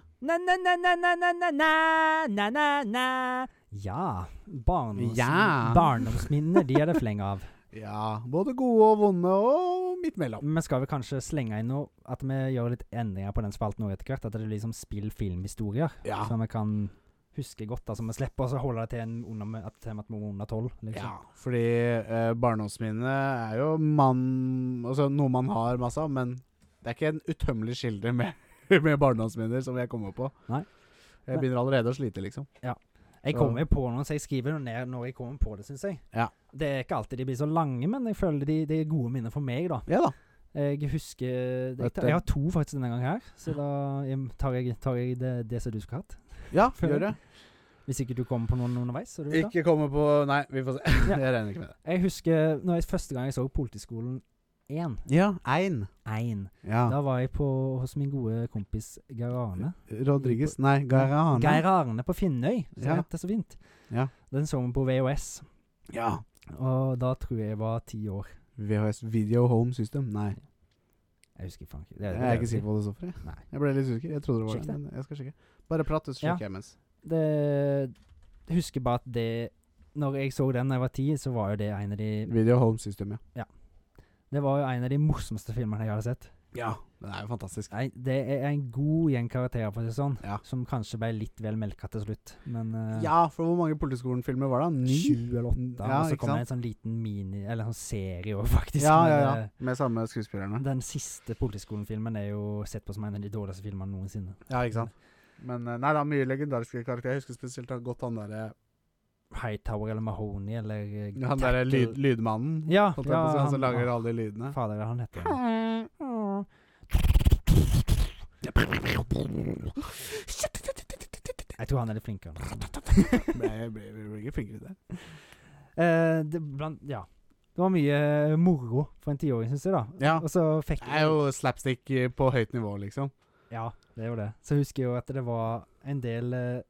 Speaker 2: Na-na-na-na-na-na-na-na-na Ja. Barndoms
Speaker 1: Ja.
Speaker 2: Barndomsminner, de er det fleng av.
Speaker 1: Ja, både gode og vonde, og midt mellom.
Speaker 2: Men skal vi kanskje slenge inn noe At vi gjør litt endringer på den spalten nå etter hvert? At det blir liksom spill filmhistorier
Speaker 1: Ja.
Speaker 2: som vi kan huske godt? Da, så vi slipper å holde det til en under, at, til at vi er under tolv. Liksom.
Speaker 1: Ja, fordi eh, barndomsminne er jo mann Altså noe man har masse av, men det er ikke en utømmelig kilde med, [laughs] med barndomsminner som jeg kommer på.
Speaker 2: Nei.
Speaker 1: Jeg begynner allerede å slite, liksom.
Speaker 2: Jeg kommer jo på noen, så jeg skriver noe ned når jeg kommer på det, syns jeg.
Speaker 1: Ja.
Speaker 2: Det er ikke alltid de blir så lange, men jeg føler de, de er gode minner for meg, da.
Speaker 1: Ja da.
Speaker 2: Jeg husker Jeg,
Speaker 1: Dette-
Speaker 2: jeg har to faktisk denne gangen her, så da jeg- tar jeg, tar jeg det, det som du skulle hatt.
Speaker 1: Ja,
Speaker 2: Føler
Speaker 1: gjør det.
Speaker 2: Hvis ikke du kommer på noen underveis. Så er det jo bra.
Speaker 1: Ikke komme på Nei, vi får se.
Speaker 2: Ja.
Speaker 1: [laughs] Jeg regner ikke med det.
Speaker 2: Jeg husker når jeg, første gang jeg så Politiskolen 1.
Speaker 1: Ja, Ein.
Speaker 2: 1.
Speaker 1: Ja.
Speaker 2: Da var jeg på, hos min gode kompis Geir Arne.
Speaker 1: Rodriguez Nei, Garane.
Speaker 2: Geir Arne på Finnøy, som
Speaker 1: Ja.
Speaker 2: heter så fint.
Speaker 1: Ja.
Speaker 2: Den så vi på VHS,
Speaker 1: Ja.
Speaker 2: og da tror jeg jeg var ti år.
Speaker 1: VHS Video Home System. Nei.
Speaker 2: Jeg husker faen ikke.
Speaker 1: Jeg er ikke sikker på hva det står for. jeg.
Speaker 2: Nei.
Speaker 1: Jeg ble litt usikker. Jeg trodde det var
Speaker 2: Sjekk
Speaker 1: det,
Speaker 2: det.
Speaker 1: men jeg skal sjekke. Bare prat, så
Speaker 2: Ja.
Speaker 1: sjekker jeg mens.
Speaker 2: Det, jeg husker bare at det Når jeg så den da jeg var ti, så var jo det en av de
Speaker 1: Video Home System, ja.
Speaker 2: Det var jo en av de morsomste filmene jeg hadde sett.
Speaker 1: Ja. Den er jo fantastisk.
Speaker 2: Nei, det er en god gjeng karakterer, for å si det sånn,
Speaker 1: Ja.
Speaker 2: som kanskje ble litt vel melka til slutt. Men eh,
Speaker 1: Ja, for hvor mange Politiskolen-filmer var det? Ni?
Speaker 2: sju eller åtte.
Speaker 1: Ja,
Speaker 2: og så
Speaker 1: ikke
Speaker 2: kom det
Speaker 1: sant?
Speaker 2: en sånn liten mini Eller en sånn serie òg, faktisk.
Speaker 1: Ja,
Speaker 2: men,
Speaker 1: ja, ja.
Speaker 2: eh,
Speaker 1: Med samme skuespillerne.
Speaker 2: Den siste Politiskolen-filmen er jo sett på som en av de dårligste filmene noensinne.
Speaker 1: Ja, ikke sant. Men eh, nei, det er mye legendariske karakterer. Jeg husker spesielt da godt han derre
Speaker 2: Hightower eller Mahoney eller eh,
Speaker 1: Han derre
Speaker 2: Tackle-
Speaker 1: lyd, lydmannen.
Speaker 2: Ja,
Speaker 1: holdt jeg
Speaker 2: ja
Speaker 1: på å si, han som lager
Speaker 2: ah,
Speaker 1: alle de lydene.
Speaker 2: Fader, hva han heter han? Jeg tror han er litt
Speaker 1: [laughs]
Speaker 2: flinkere. Altså.
Speaker 1: Nei, jeg blir jeg blir ikke flinkere til det.
Speaker 2: Eh, det, blant, ja. det var mye eh, moro for en tiåring, syns jeg, da.
Speaker 1: Ja.
Speaker 2: Og så fikk
Speaker 1: Det er jo slapstick eh, på høyt nivå, liksom.
Speaker 2: Ja, det er jo det. Så husker jeg jo at det var en del eh,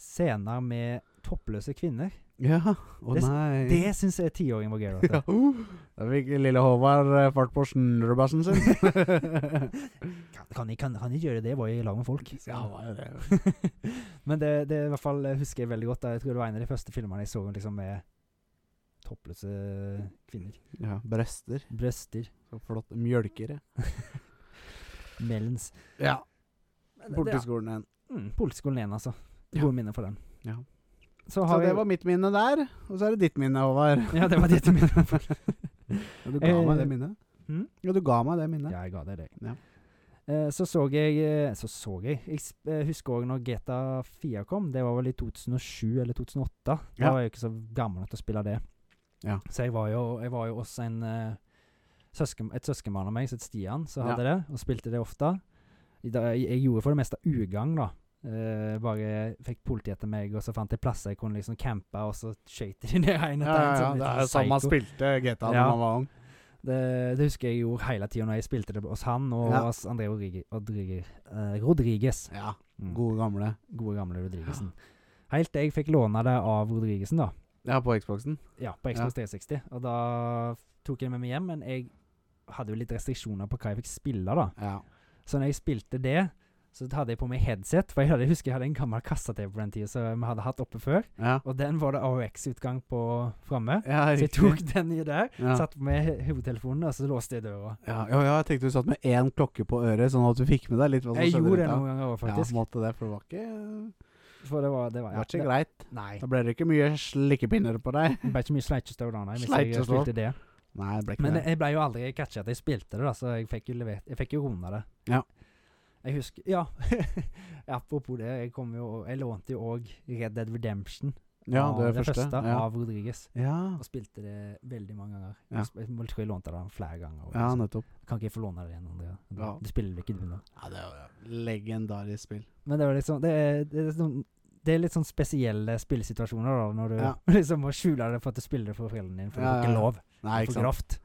Speaker 2: scener med toppløse kvinner.
Speaker 1: Ja. Å
Speaker 2: Det-
Speaker 1: nei.
Speaker 2: Det syns jeg tiåringen var gøy. vet du.
Speaker 1: Mm. [laughs] Ja. Uh, Da fikk lille Håvard eh, fart på snurrebassen sin.
Speaker 2: Kan, kan, jeg, kan, kan jeg gjøre det? Jeg var i lag med folk. Så-
Speaker 1: ja, hva er det?
Speaker 2: [laughs] Men det, det i hvert fall eh, husker jeg veldig godt. da. Jeg tror det var en av de første filmene jeg så liksom med toppløse kvinner.
Speaker 1: [laughs] Ja, brøster.
Speaker 2: Brøster.
Speaker 1: Så flott. Mjølkere.
Speaker 2: Melons.
Speaker 1: Ja.
Speaker 2: Men det- det er-
Speaker 1: Politiskolen igjen.
Speaker 2: Mm, Politiskolen 1, altså. Gode minner for den.
Speaker 1: Ja.
Speaker 2: Så, har
Speaker 1: Så det
Speaker 2: jeg-
Speaker 1: var mitt minne der, og så er det ditt minne, Håvard.
Speaker 2: [laughs] Ja, det var ditt minne.
Speaker 1: [laughs]
Speaker 2: for-
Speaker 1: Ja, du ga
Speaker 2: Eh,
Speaker 1: meg det minnet.
Speaker 2: hm?
Speaker 1: Ja, du ga meg det minnet.
Speaker 2: Ja, jeg ga deg det.
Speaker 1: Ja.
Speaker 2: Eh, Så så jeg eh, Så så jeg Jeg sp- eh, husker òg når GTA 4 kom. Det var vel i 2007 eller 2008. Da
Speaker 1: Ja.
Speaker 2: var jeg ikke så gammel nok til å spille det.
Speaker 1: Ja.
Speaker 2: Så jeg var jo, jeg var jo hos en eh, søsken, et søskenbarn av meg som het Stian, som hadde det, og spilte det ofte. I da- Jeg, jeg gjorde for det meste ugagn, da. Eh, bare fikk politiet etter meg, og så fant jeg plasser jeg kunne liksom campe, og så skøyt [laughs] de ned en etter en. som
Speaker 1: Ja, ja, ja,
Speaker 2: en
Speaker 1: det
Speaker 2: liten
Speaker 1: er jo sånn man
Speaker 2: psycho.
Speaker 1: spilte GTA da
Speaker 2: Ja.
Speaker 1: man var ung.
Speaker 2: Det, det husker jeg gjorde hele tida når jeg spilte det hos han og
Speaker 1: Ja.
Speaker 2: hos André Rodriguez. Rodriguez, eh, Rodriguez.
Speaker 1: Ja,
Speaker 2: Mm.
Speaker 1: gode gamle.
Speaker 2: Gode gamle Rodriguezen. Helt til jeg fikk låne det av Rodriguezen, da.
Speaker 1: Ja, på Xboxen.
Speaker 2: Ja, på Xbox 360. Og da tok jeg det med meg hjem, men jeg hadde jo litt restriksjoner på hva jeg fikk spille, da.
Speaker 1: Ja.
Speaker 2: Så når jeg spilte det, så hadde jeg på meg headset, for jeg, hadde, jeg husker jeg hadde en gammel kasse-TV på den tida som vi hadde hatt oppe før,
Speaker 1: Ja,
Speaker 2: og den var det AOX-utgang på framme.
Speaker 1: ja
Speaker 2: Så jeg
Speaker 1: riktig.
Speaker 2: tok den i der,
Speaker 1: Ja.
Speaker 2: satt med he- hovedtelefonen, og så låste jeg døra.
Speaker 1: Ja, ja, ja, jeg tenkte du satt med én klokke på øret, sånn at du fikk med deg litt hva som
Speaker 2: Jeg
Speaker 1: skjedde
Speaker 2: gjorde det
Speaker 1: rundt deg.
Speaker 2: noen ganger òg, faktisk.
Speaker 1: Ja, måtte det, for det var ikke,
Speaker 2: for det var, det var,
Speaker 1: det
Speaker 2: ja,
Speaker 1: var ikke
Speaker 2: det-
Speaker 1: greit.
Speaker 2: Nei.
Speaker 1: Da ble det ikke mye slikkepinner på deg.
Speaker 2: Det ble ikke mye sleikjestøv da, nei. Hvis jeg
Speaker 1: Sleikjestøv.
Speaker 2: spilte det.
Speaker 1: Nei, det ble ikke
Speaker 2: Men
Speaker 1: det.
Speaker 2: jeg ble jo aldri catcha at jeg spilte det, da, så jeg fikk jo levert Jeg fikk jo runda det.
Speaker 1: Ja.
Speaker 2: Jeg husker Ja. [laughs] Apropos det, jeg kom jo Jeg lånte jo òg Red Dead Redemption.
Speaker 1: Ja,
Speaker 2: av
Speaker 1: det er første. Ja.
Speaker 2: av Rodriguez.
Speaker 1: ja.
Speaker 2: Og spilte det veldig mange ganger.
Speaker 1: Ja.
Speaker 2: Jeg sp- Jeg må- tror jeg lånte det flere ganger.
Speaker 1: ja,
Speaker 2: også.
Speaker 1: nettopp.
Speaker 2: kan ikke jeg få låne det igjen, Andrea?
Speaker 1: Ja.
Speaker 2: Du spiller vel ikke du nå?
Speaker 1: Ja, det er jo legendarisk spill.
Speaker 2: Men det er liksom Det er, det er, sånn, det er litt sånn spesielle spillesituasjoner da, når du
Speaker 1: Ja.
Speaker 2: [laughs] liksom må skjule det for at du spiller det for foreldrene dine, for
Speaker 1: Ja,
Speaker 2: du får
Speaker 1: ja, ja.
Speaker 2: ikke lov.
Speaker 1: Nei,
Speaker 2: det er for
Speaker 1: ikke sant.
Speaker 2: grovt.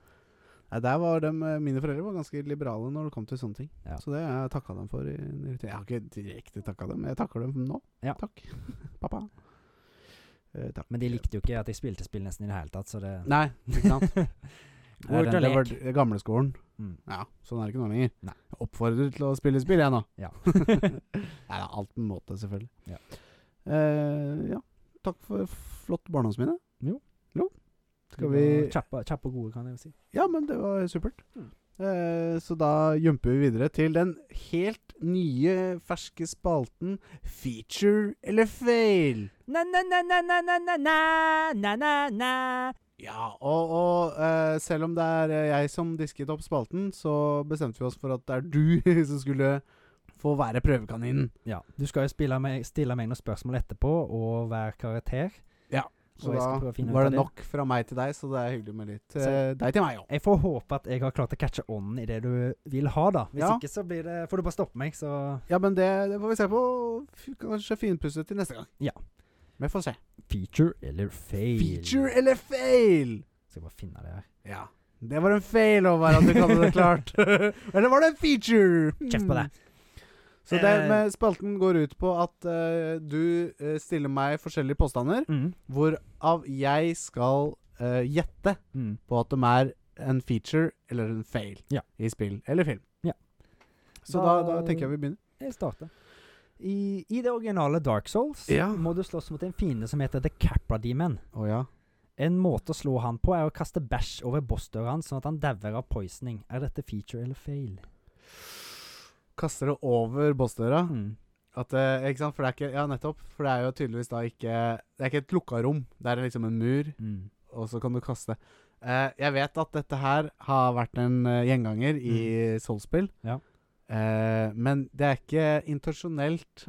Speaker 1: Nei, der var dem, eh, mine foreldre var ganske liberale når det kom til sånne ting.
Speaker 2: Ja.
Speaker 1: Så det har jeg takka dem for. i nyere tid. Jeg har ikke direkte takka dem, men jeg takker dem nå.
Speaker 2: Ja.
Speaker 1: Takk. [laughs] Pappa. Eh, takk.
Speaker 2: Men de likte jo ikke at jeg spilte spill nesten i det hele tatt, så det
Speaker 1: Nei, ikke
Speaker 2: [laughs]
Speaker 1: sant.
Speaker 2: Nei,
Speaker 1: Hvor
Speaker 2: den
Speaker 1: til det
Speaker 2: lek.
Speaker 1: var d- gamleskolen.
Speaker 2: Mm.
Speaker 1: Ja, sånn er det ikke nå lenger.
Speaker 2: Nei.
Speaker 1: Jeg Oppfordrer til å spille
Speaker 2: [laughs]
Speaker 1: spill, jeg nå.
Speaker 2: Ja.
Speaker 1: Nei, det er alt på en måte, selvfølgelig.
Speaker 2: Ja.
Speaker 1: Eh, ja. Takk for flott barndomsminne.
Speaker 2: Jo.
Speaker 1: Jo. Skal vi
Speaker 2: De var Kjappe kjappe og gode, kan jeg jo si.
Speaker 1: Ja, men det var supert.
Speaker 2: Mm.
Speaker 1: Eh, så da jumper vi videre til den helt nye, ferske spalten Feature eller fail. Ja, og, og eh, selv om det er eh, jeg som disket opp spalten, så bestemte vi oss for at det er du [laughs] som skulle få være prøvekaninen.
Speaker 2: Ja. Du skal jo spille meg, stille meg noen spørsmål etterpå, og hver karakter. Og
Speaker 1: Så
Speaker 2: jeg skal
Speaker 1: da
Speaker 2: prøve å finne ut av
Speaker 1: var det
Speaker 2: det.
Speaker 1: nok fra meg til deg, så det er hyggelig med litt
Speaker 2: Så-
Speaker 1: eh, deg til meg òg.
Speaker 2: Jeg får håpe at jeg har klart å catche ånden i det du vil ha, da. Hvis
Speaker 1: Ja.
Speaker 2: ikke så blir det Får du bare stoppe meg, så
Speaker 1: Ja, men det, det får vi se på. F- Kanskje finpusse til neste gang.
Speaker 2: Ja.
Speaker 1: Vi får se.
Speaker 2: Feature eller fail?
Speaker 1: Feature eller fail?
Speaker 2: Skal jeg bare finne det her.
Speaker 1: Ja. Det var en fail over at du ikke hadde det [laughs] klart. Eller var det en feature?
Speaker 2: Kjeft på deg.
Speaker 1: Så
Speaker 2: Eh,
Speaker 1: det med spalten går ut på at eh, du eh, stiller meg forskjellige påstander,
Speaker 2: Mm.
Speaker 1: hvorav jeg skal eh, gjette
Speaker 2: Mm.
Speaker 1: på at de er en feature eller en fail
Speaker 2: Ja.
Speaker 1: i spill eller film.
Speaker 2: Ja.
Speaker 1: Så da, da
Speaker 2: Da-
Speaker 1: tenker jeg vi begynner.
Speaker 2: Jeg starter. I, I det originale Dark Souls
Speaker 1: Ja.
Speaker 2: må du slåss mot en fiende som heter The Capra Demon.
Speaker 1: Å ja.
Speaker 2: En måte å slå han på er å kaste bæsj over bossdøra hans, sånn at han dauer av poisoning. Er dette feature eller fail?
Speaker 1: Kaster det over bossdøra.
Speaker 2: Mm.
Speaker 1: At, eh, ikke sant? For det er ikke Ja, nettopp. For det er jo tydeligvis da ikke Det er ikke et lukka rom. Det er liksom en mur.
Speaker 2: Mm.
Speaker 1: og så kan du kaste. Eh, jeg vet at dette her har vært en eh, gjenganger i Soulspill,
Speaker 2: Mm. Ja.
Speaker 1: Eh, men det er ikke intensjonelt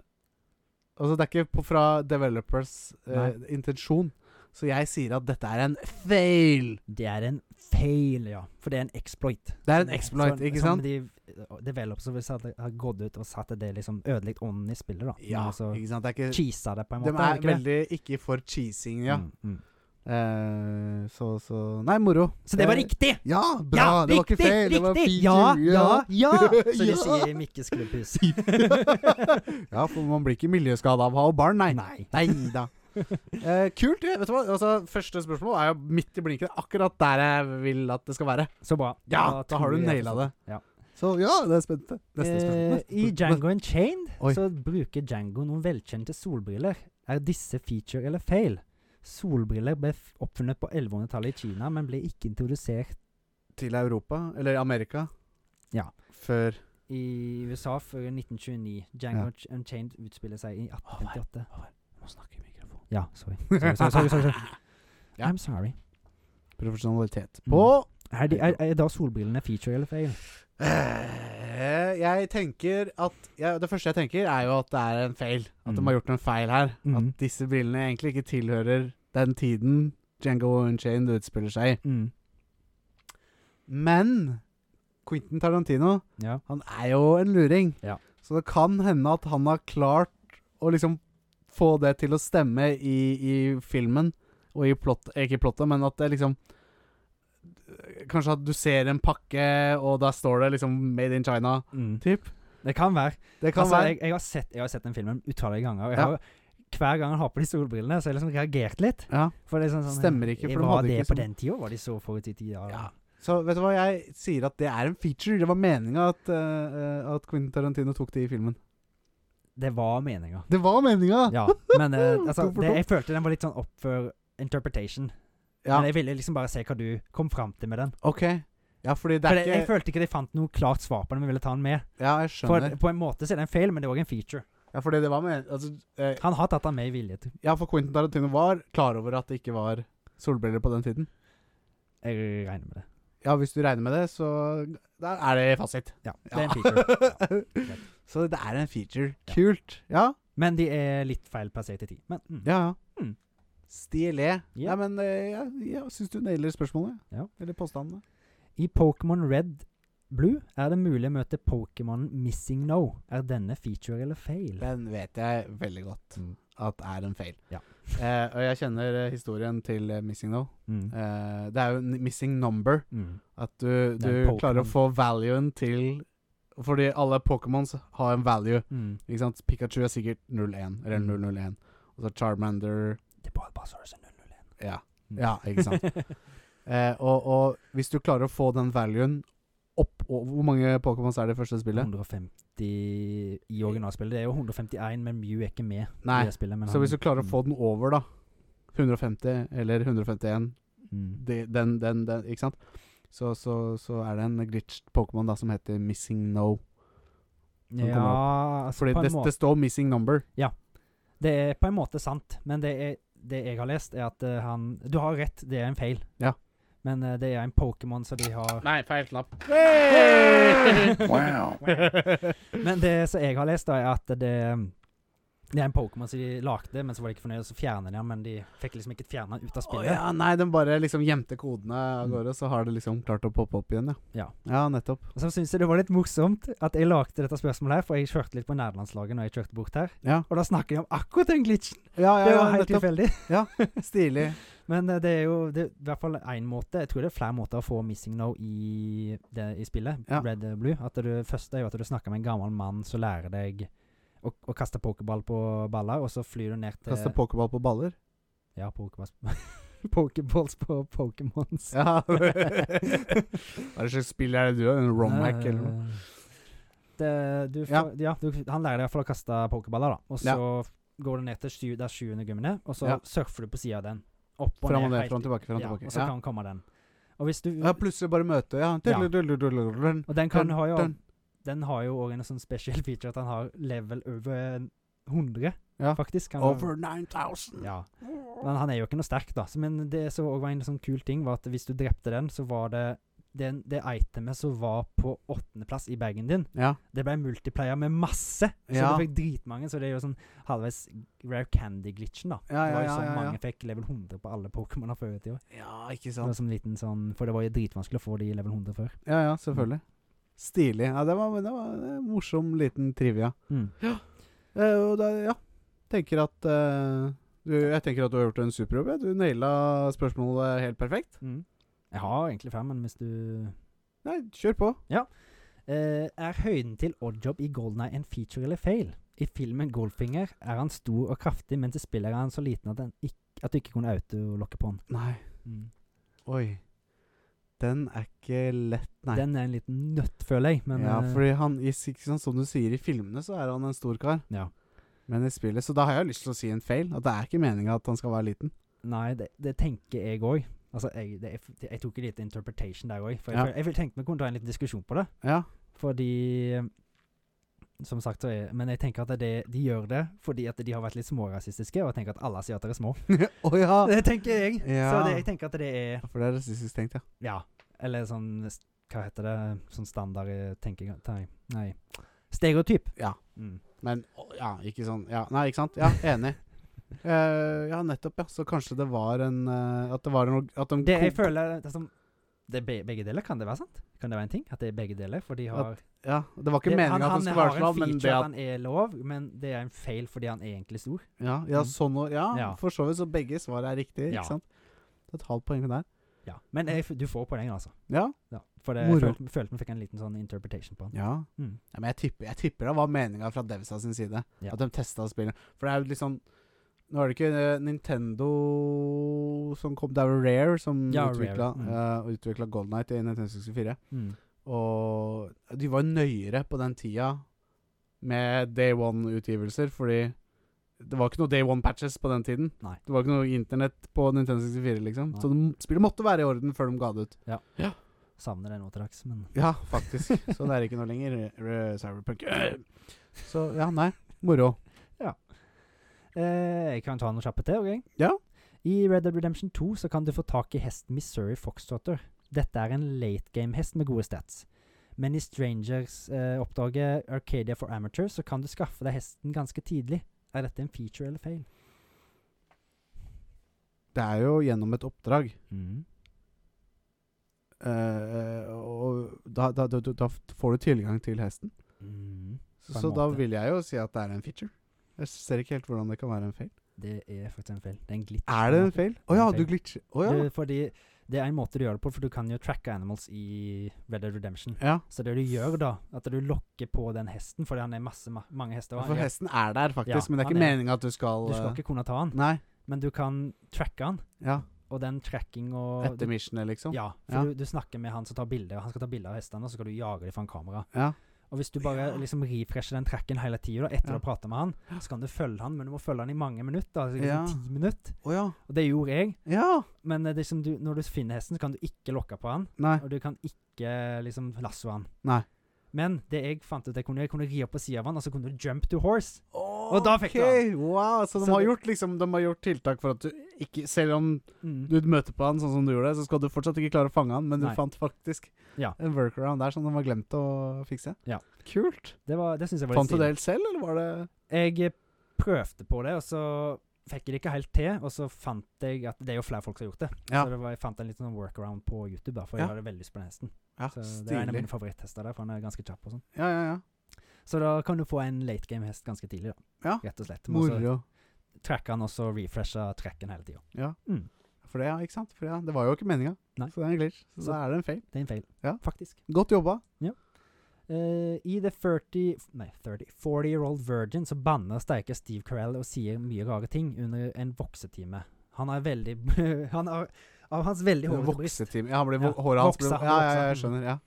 Speaker 1: Altså, det er ikke på, fra developers eh, intensjon. Så jeg sier at dette er en fail!
Speaker 2: Det er en fail, ja. For det er en exploit.
Speaker 1: Det er en exploit,
Speaker 2: Som-
Speaker 1: ikke
Speaker 2: som
Speaker 1: sant?
Speaker 2: de eh, developers som hadde- har gått ut og satt det liksom ødelagt ånden i spillet, da.
Speaker 1: Ja,
Speaker 2: Men altså,
Speaker 1: ikke sant? Det er ikke,
Speaker 2: cheesa det på en
Speaker 1: de
Speaker 2: måte.
Speaker 1: er
Speaker 2: ikke det?
Speaker 1: veldig ikke for cheesing, ja.
Speaker 2: Mm, mm.
Speaker 1: Eh, så, så Nei, moro.
Speaker 2: Så det var
Speaker 1: Eh,
Speaker 2: riktig!
Speaker 1: Ja, bra!
Speaker 2: Ah, Ja,
Speaker 1: det var ikke
Speaker 2: riktig,
Speaker 1: fail, det var
Speaker 2: riktig!
Speaker 1: feature.
Speaker 2: Ja, ja,
Speaker 1: [laughs]
Speaker 2: ja! Som de
Speaker 1: Ja.
Speaker 2: sier i Mikkes klubbhus.
Speaker 1: [laughs] ja, for man blir ikke miljøskada av å ha barn, nei.
Speaker 2: Nei.
Speaker 1: da. kult. det. Vet du hva? Altså, første spørsmål er jo midt i blinken. Akkurat der jeg vil at det skal være.
Speaker 2: Så bra.
Speaker 1: Ja, da
Speaker 2: tror
Speaker 1: har du
Speaker 2: jeg
Speaker 1: naila
Speaker 2: forstår.
Speaker 1: det.
Speaker 2: Ja.
Speaker 1: Så ja, det er spent. Neste spørsmål.
Speaker 2: Eh, I Django Unchained
Speaker 1: Oi.
Speaker 2: så bruker Django noen velkjente solbriller. Er disse feature eller fail? Solbriller ble f- oppfunnet på 1100-tallet i Kina, men ble ikke introdusert
Speaker 1: Til Europa, eller Amerika,
Speaker 2: Ja.
Speaker 1: før
Speaker 2: i USA før 1929. Django Unchained utspiller seg i 1858.
Speaker 1: Må snakke i mikrofon.
Speaker 2: Ja, sorry. Sorry, sorry, sorry, sorry, sorry.
Speaker 1: [laughs] Ja.
Speaker 2: I'm sorry.
Speaker 1: Profesjonalitet.
Speaker 2: Mm.
Speaker 1: På
Speaker 2: Er, de, er, er da solbrillene feature eller fail?
Speaker 1: Eh, Jeg tenker at jeg, Det første jeg tenker, er jo at det er en feil. At de
Speaker 2: Mm.
Speaker 1: har gjort en feil her.
Speaker 2: Mm.
Speaker 1: At disse brillene egentlig ikke tilhører den tiden Django Unchained utspiller seg i.
Speaker 2: Mm.
Speaker 1: Men Quentin Tarantino
Speaker 2: Ja.
Speaker 1: Han er jo en luring.
Speaker 2: Ja.
Speaker 1: Så det kan hende at han har klart å liksom få det til å stemme i, i filmen. Og i plott, ikke i plottet, men at det liksom Kanskje at du ser en pakke, og der står det liksom 'Made in China'.
Speaker 2: Mm.
Speaker 1: Typ.
Speaker 2: Det kan være.
Speaker 1: Det kan
Speaker 2: altså,
Speaker 1: være.
Speaker 2: Jeg, jeg, har sett, jeg har sett den filmen utallige ganger. Og jeg
Speaker 1: Ja.
Speaker 2: har, hver gang han har på de solbrillene, så har jeg liksom reagert litt.
Speaker 1: ja.
Speaker 2: For det er sånn, sånn
Speaker 1: Stemmer ikke, for de
Speaker 2: Var
Speaker 1: hadde
Speaker 2: det
Speaker 1: ikke
Speaker 2: på
Speaker 1: sånn-
Speaker 2: den tida? Var de så forut i tida?
Speaker 1: Ja. Så vet du hva, jeg sier at det er en feature. Det var meninga at, eh, eh, at Quentin Tarantino tok det i filmen.
Speaker 2: Det var meninga.
Speaker 1: Det var meninga!
Speaker 2: Ja, men
Speaker 1: [laughs]
Speaker 2: eh, altså,
Speaker 1: Tom for
Speaker 2: det,
Speaker 1: tom.
Speaker 2: jeg følte den var litt sånn opp for interpretation.
Speaker 1: Ja,
Speaker 2: Men jeg ville liksom bare se hva du kom fram til med den.
Speaker 1: OK. Ja, fordi det
Speaker 2: For
Speaker 1: er
Speaker 2: jeg, jeg
Speaker 1: ikke
Speaker 2: følte ikke de fant noe klart svar på den, men ville ta den med.
Speaker 1: Ja, jeg
Speaker 2: For
Speaker 1: skjønner.
Speaker 2: på en måte så er det en feil, men det er òg en feature.
Speaker 1: Ja, fordi det var men... Altså, eh,
Speaker 2: Han har tatt den med i vilje. til-
Speaker 1: Ja, for Quentin Tarantino var klar over at det ikke var solbriller på den tiden.
Speaker 2: Jeg regner med det.
Speaker 1: Ja, hvis du regner med det, så Da er det fasit.
Speaker 2: Ja, det er en
Speaker 1: [laughs]
Speaker 2: feature. Ja. greit.
Speaker 1: så det er en feature.
Speaker 2: Ja.
Speaker 1: Kult. Ja,
Speaker 2: Men de er litt feil plassert i tid. Men mm.
Speaker 1: ja. ja.
Speaker 2: Mm.
Speaker 1: Stilig.
Speaker 2: Ja.
Speaker 1: Nei, men eh, jeg, jeg syns du nailer spørsmålet.
Speaker 2: Ja.
Speaker 1: Eller påstandene.
Speaker 2: I Pokémon Red Blue er det mulig å møte Pokémonen Missing No. Er denne feature eller fail?
Speaker 1: Den vet jeg veldig godt
Speaker 2: Mm.
Speaker 1: at er en feil.
Speaker 2: Ja.
Speaker 1: Eh, og jeg kjenner eh, historien til eh, Missing No.
Speaker 2: Mm.
Speaker 1: Eh, det er jo en missing number.
Speaker 2: Mm.
Speaker 1: At du,
Speaker 2: Det er
Speaker 1: du
Speaker 2: en
Speaker 1: klarer å
Speaker 2: Pokémon.
Speaker 1: få valuen til Fordi alle Pokémons har en value.
Speaker 2: Mm.
Speaker 1: Ikke sant? Pikachu er sikkert 01, eller
Speaker 2: Mm.
Speaker 1: 001. Og så Charmander
Speaker 2: Det er bare Bulbasaurus og 001.
Speaker 1: Ja,
Speaker 2: Mm.
Speaker 1: ja
Speaker 2: [laughs]
Speaker 1: ikke sant. eh, og, og hvis du klarer å få den valuen opp og, Hvor mange Pokémons er det i første
Speaker 2: Mm,
Speaker 1: spillet?
Speaker 2: 150 i originalspillet. Det er jo 151, men Mew er ikke med.
Speaker 1: Nei.
Speaker 2: i det spillet. Men
Speaker 1: Så
Speaker 2: han-
Speaker 1: hvis du klarer å
Speaker 2: mm.
Speaker 1: få den over, da 150 eller 151
Speaker 2: Mm.
Speaker 1: de, den, den, den, Ikke sant? Så, så, så er det en glitched Pokémon da som heter Missing No. den kommer
Speaker 2: Ja, altså
Speaker 1: Fordi
Speaker 2: på en
Speaker 1: det,
Speaker 2: måte
Speaker 1: det står Missing Number.
Speaker 2: Det er på en måte sant, men det, er, det jeg har lest, er at eh, han Du har rett, det er en feil.
Speaker 1: Ja.
Speaker 2: Men eh, det er en Pokémon, så de
Speaker 1: [laughs]
Speaker 2: har
Speaker 1: Nei, feil knapp.
Speaker 4: Wow.
Speaker 2: Men det som jeg har lest, da, er at det det er en Pokémon som de lagde, men så var de ikke fornøyd, og så fjerner de den. Men de fikk liksom ikke fjerna den ut av
Speaker 1: Å
Speaker 2: spillet.
Speaker 1: ja, nei, den bare liksom gjemte kodene av
Speaker 2: Mm.
Speaker 1: gårde, så har det liksom klart å poppe opp igjen, ja.
Speaker 2: Ja.
Speaker 1: ja nettopp.
Speaker 2: Og så syns jeg det var litt morsomt at jeg lagde dette spørsmålet her, for jeg kjørte litt på nærlandslaget når jeg kjørte bort her.
Speaker 1: Ja,
Speaker 2: Og da snakker de om akkurat den glitchen!
Speaker 1: ja, ja,
Speaker 2: Det
Speaker 1: ja
Speaker 2: var helt
Speaker 1: nettopp.
Speaker 2: tilfeldig.
Speaker 1: Stilig.
Speaker 2: Men eh, det er jo det er i hvert fall én måte. Jeg tror det er flere måter å få missing no i, det, i spillet.
Speaker 1: Ja.
Speaker 2: Red eh, Blue. At du, først er jo at du snakker med en gammel mann som lærer deg å, å kaste pokerball på baller, og så flyr du ned til
Speaker 1: Kaste pokerball på baller.
Speaker 2: Ja, pokeballs [laughs] Pokeballs på Pokémons. [laughs]
Speaker 1: Ja. Hva er det slags spill er det du har? En romhack eller noe?
Speaker 2: Eh, Det, du
Speaker 1: Ja.
Speaker 2: får, ja. du, han lærer deg i hvert fall å kaste pokerballer, da. Og så
Speaker 1: Ja.
Speaker 2: går du ned til sju, det er sjuende gummene, og så
Speaker 1: Ja.
Speaker 2: surfer du på sida av den. Opp og
Speaker 1: Fram og ned,
Speaker 2: helt-
Speaker 1: fram og tilbake, fram og
Speaker 2: ja,
Speaker 1: tilbake.
Speaker 2: Og så
Speaker 1: Ja.
Speaker 2: kan komme den. Og hvis du
Speaker 1: ja, plutselig bare møte, ja.
Speaker 2: Ja.
Speaker 1: Dun-dun-dun-dun-dun.
Speaker 2: Og den kan
Speaker 1: Dun,
Speaker 2: ha jo
Speaker 1: dun.
Speaker 2: Den har jo òg en sånn special feature at han har level over 100,
Speaker 1: Ja.
Speaker 2: faktisk. Han-
Speaker 1: Over 9000.
Speaker 2: Ja. Men han er jo ikke noe sterk, da. Så- Men det som òg var en sånn kul ting, var at hvis du drepte den, så var det den, det itemet som var på åttendeplass i bagen din,
Speaker 1: Ja.
Speaker 2: det ble multiplayer med masse! Så
Speaker 1: Ja.
Speaker 2: du fikk dritmange, så det er jo sånn halvveis rare candy-glitchen, da.
Speaker 1: Ja,
Speaker 2: det
Speaker 1: ja,
Speaker 2: var jo
Speaker 1: ja,
Speaker 2: sånn
Speaker 1: ja, ja.
Speaker 2: mange fikk level 100 på alle Pokémoner før i tida.
Speaker 1: ja, ikke
Speaker 2: Det var
Speaker 1: sant.
Speaker 2: som en liten sånn, For det var jo dritvanskelig å få de level 100 før.
Speaker 1: Ja, ja, selvfølgelig. Stilig. Ja, det var, det var en eh, morsom liten trivia.
Speaker 2: Mm.
Speaker 1: Eh, og da, ja. Tenker at eh, du, Jeg tenker at du har gjort en superjobb. Ja. Du naila spørsmålet helt perfekt.
Speaker 2: Mm. Jeg har egentlig fem, men hvis du
Speaker 1: Nei, kjør på.
Speaker 2: Eh, er høyden til Oddjob i Goldeneye en feature eller fail? I filmen Goldfinger er han stor og kraftig, mens i spillet er han så liten at, han ikk- at du ikke kunne autolokke på han.
Speaker 1: Nei.
Speaker 2: Mm.
Speaker 1: Oi. Den er ikke lett, nei.
Speaker 2: Den er en liten nøtt, føler jeg. Men,
Speaker 1: ja,
Speaker 2: eh,
Speaker 1: fordi han i, ikke sant, Som du sier, i filmene så er han en stor kar.
Speaker 2: ja.
Speaker 1: Men i spillet Så da har jeg lyst til å si en feil. At det er ikke meninga at han skal være liten.
Speaker 2: Nei, det, det tenker jeg òg. Altså, jeg, det, jeg, f- jeg tok jo litt interpretation der òg. For jeg,
Speaker 1: Ja.
Speaker 2: føl- jeg, vil tenkte vi kunne ta en liten diskusjon på det.
Speaker 1: Ja.
Speaker 2: Fordi eh, som sagt, så er, men jeg tenker at det, de gjør det fordi at de har vært litt smårasistiske, og jeg tenker at alle asiater er små.
Speaker 1: [laughs] Å ja!
Speaker 2: Det tenker jeg. Så
Speaker 1: Ja.
Speaker 2: det, jeg tenker at det er
Speaker 1: [laughs] For det er rasistisk tenkt, ja.
Speaker 2: Ja. Eller sånn s- Hva heter det? Sånn standard eh, tenking Nei. nei. Stereotyp.
Speaker 1: Ja.
Speaker 2: Mm.
Speaker 1: Men å, ja, ikke sånn ja. Nei, ikke sant? Ja,
Speaker 2: [laughs]
Speaker 1: enig. Eh, ja, nettopp, ja. Så kanskje det var en eh, At det var en org- at de
Speaker 2: Det jeg
Speaker 1: kom-
Speaker 2: føler det er som det er be begge deler, kan det være sant? Kan det være en ting? At det er begge deler? For de har
Speaker 1: Ja, det var ikke
Speaker 2: det,
Speaker 1: meninga at
Speaker 2: han
Speaker 1: det skulle være
Speaker 2: har en
Speaker 1: sånn, men det
Speaker 2: feature at
Speaker 1: at
Speaker 2: han er lov, men det er en feil fordi han er egentlig stor.
Speaker 1: Ja, ja
Speaker 2: Mm.
Speaker 1: sånn og ja,
Speaker 2: Ja.
Speaker 1: for så vidt. Så begge svar er riktig,
Speaker 2: Ja.
Speaker 1: ikke sant? Det er Et halvt poeng der.
Speaker 2: Ja. Men jeg, f- du får poeng, altså.
Speaker 1: Ja.
Speaker 2: Ja. For det, jeg
Speaker 1: Moro.
Speaker 2: følte, følte vi fikk en liten sånn interpretation på han.
Speaker 1: ja.
Speaker 2: Mm.
Speaker 1: Ja, men jeg tipper, jeg tipper det var meninga fra Devsa sin side.
Speaker 2: Ja.
Speaker 1: At de testa spillet. For det er jo litt sånn Nå er det ikke eh, Nintendo som kom Det er jo Rare som
Speaker 2: Ja, Rare,
Speaker 1: utvikla
Speaker 2: mm.
Speaker 1: Golden Night i Nintendo 64.
Speaker 2: Mm.
Speaker 1: Og de var nøyere på den tida med Day One-utgivelser, fordi det var ikke noe Day One-patches på den tiden.
Speaker 2: Nei.
Speaker 1: Det var ikke noe internett på Nintendo 64, liksom.
Speaker 2: Nei.
Speaker 1: Så de, spillet måtte være i orden før de ga det ut.
Speaker 2: Savner det nå til dags, men
Speaker 1: Ja, [laughs] faktisk. Så det er ikke noe lenger eh,
Speaker 2: [laughs]
Speaker 1: Cyberpunk. Så ja, nei. Moro.
Speaker 2: Eh, jeg kan ta noen kjappe til. ok?
Speaker 1: Ja.
Speaker 2: I Red Dead Redemption 2 så kan du få tak i hesten Missouri Foxtrotter. Dette er en late game-hest med gode stats. Men i Strangers-oppdraget Arcadia for Amateurs så kan du skaffe deg hesten ganske tidlig. Er dette en feature eller fail?
Speaker 1: Det er jo gjennom et oppdrag. eh, og da, da, da, da får du tilgang til hesten.
Speaker 2: På en
Speaker 1: Så da
Speaker 2: måte.
Speaker 1: vil jeg jo si at det er en feature. Jeg ser ikke helt hvordan det kan være en feil.
Speaker 2: Det er faktisk en fail. Det er en glitch.
Speaker 1: Er det en feil? Å ja,
Speaker 2: En
Speaker 1: du
Speaker 2: feil.
Speaker 1: glitcher. Å ja.
Speaker 2: Du, fordi det er en måte du gjør det på, for du kan jo tracke animals i Red Dead Redemption.
Speaker 1: ja.
Speaker 2: Så det du gjør da, at du lokker på den hesten, fordi han er masse, ma mange hester. og han
Speaker 1: For
Speaker 2: gjør-
Speaker 1: hesten er der, faktisk,
Speaker 2: Ja,
Speaker 1: men det er
Speaker 2: han
Speaker 1: ikke
Speaker 2: er-
Speaker 1: meninga at du skal
Speaker 2: Du skal
Speaker 1: eh,
Speaker 2: ikke kunne ta han,
Speaker 1: Nei.
Speaker 2: men du kan tracke han.
Speaker 1: Ja.
Speaker 2: Og den tracking og
Speaker 1: Etter missionet, liksom.
Speaker 2: Ja, for
Speaker 1: Ja.
Speaker 2: Du, du snakker med han som tar bilder, og han skal ta bilder av hestene, og så skal du jage dem fra en kamera.
Speaker 1: Ja.
Speaker 2: Og hvis du bare
Speaker 1: Ja.
Speaker 2: liksom refresher den tracken hele tida etter
Speaker 1: Ja.
Speaker 2: du har prata med han, så kan du følge han, men du må følge han i mange minutter. Altså
Speaker 1: Ja.
Speaker 2: liksom ti minutter.
Speaker 1: Å ja.
Speaker 2: Og det gjorde jeg,
Speaker 1: Ja.
Speaker 2: men eh, liksom du, når du finner hesten, så kan du ikke lokke på han,
Speaker 1: Nei.
Speaker 2: og du kan ikke liksom lasso han.
Speaker 1: Nei.
Speaker 2: Men det jeg fant ut, jeg kunne, jeg kunne ri opp på sida av han, og så kunne du jump to horse.
Speaker 1: Og
Speaker 2: da fikk du
Speaker 1: Wow, så de
Speaker 2: Så
Speaker 1: har
Speaker 2: det-
Speaker 1: gjort liksom De har gjort tiltak for at du ikke Selv om du møter på han sånn som du gjorde, så skal du fortsatt ikke klare å fange han, men du
Speaker 2: Nei.
Speaker 1: fant faktisk
Speaker 2: Ja.
Speaker 1: en workaround der som de har glemt å fikse.
Speaker 2: Ja.
Speaker 1: Kult.
Speaker 2: Det, var- det syns jeg var litt
Speaker 1: Fant du
Speaker 2: stilig.
Speaker 1: det helt selv, eller var det
Speaker 2: Jeg prøvde på det, og så fikk jeg det ikke helt til. Og så fant jeg at det er jo flere folk som har gjort det.
Speaker 1: Ja.
Speaker 2: Så det var, jeg fant en liten sånn workaround på YouTube, da, for
Speaker 1: Ja.
Speaker 2: jeg hadde veldig lyst på den hesten.
Speaker 1: Ja,
Speaker 2: Så det er en av
Speaker 1: stilig.
Speaker 2: mine favoritthester der, for han er ganske kjapp og sånn.
Speaker 1: Ja, ja, ja.
Speaker 2: Så da kan du få en late game-hest ganske tidlig, da.
Speaker 1: Ja.
Speaker 2: Rett og slett. Men også
Speaker 1: Moro.
Speaker 2: tracker han, og så refresher tracken hele tida.
Speaker 1: Ja.
Speaker 2: Mm.
Speaker 1: For det, ja, ikke sant? For det, ja. det var jo ikke meninga.
Speaker 2: Nei.
Speaker 1: Så det er en glitch. Så,
Speaker 2: Så-
Speaker 1: da er det en feil.
Speaker 2: Det er en feil,
Speaker 1: Ja.
Speaker 2: faktisk.
Speaker 1: Godt jobba.
Speaker 2: Eh, I The 30 Nei, 30 40 Year Old Virgin så banner og steiker Steve Carell og sier mye rare ting under en voksetime. Han er veldig [laughs] han har, Av hans veldig
Speaker 1: Det er
Speaker 2: hårete bryst
Speaker 1: Voksetime. Ja, han blir,
Speaker 2: Ja,
Speaker 1: håret hans blir
Speaker 2: voksa, han
Speaker 1: ja, ja, ja, jeg
Speaker 2: voksa.
Speaker 1: skjønner. Ja.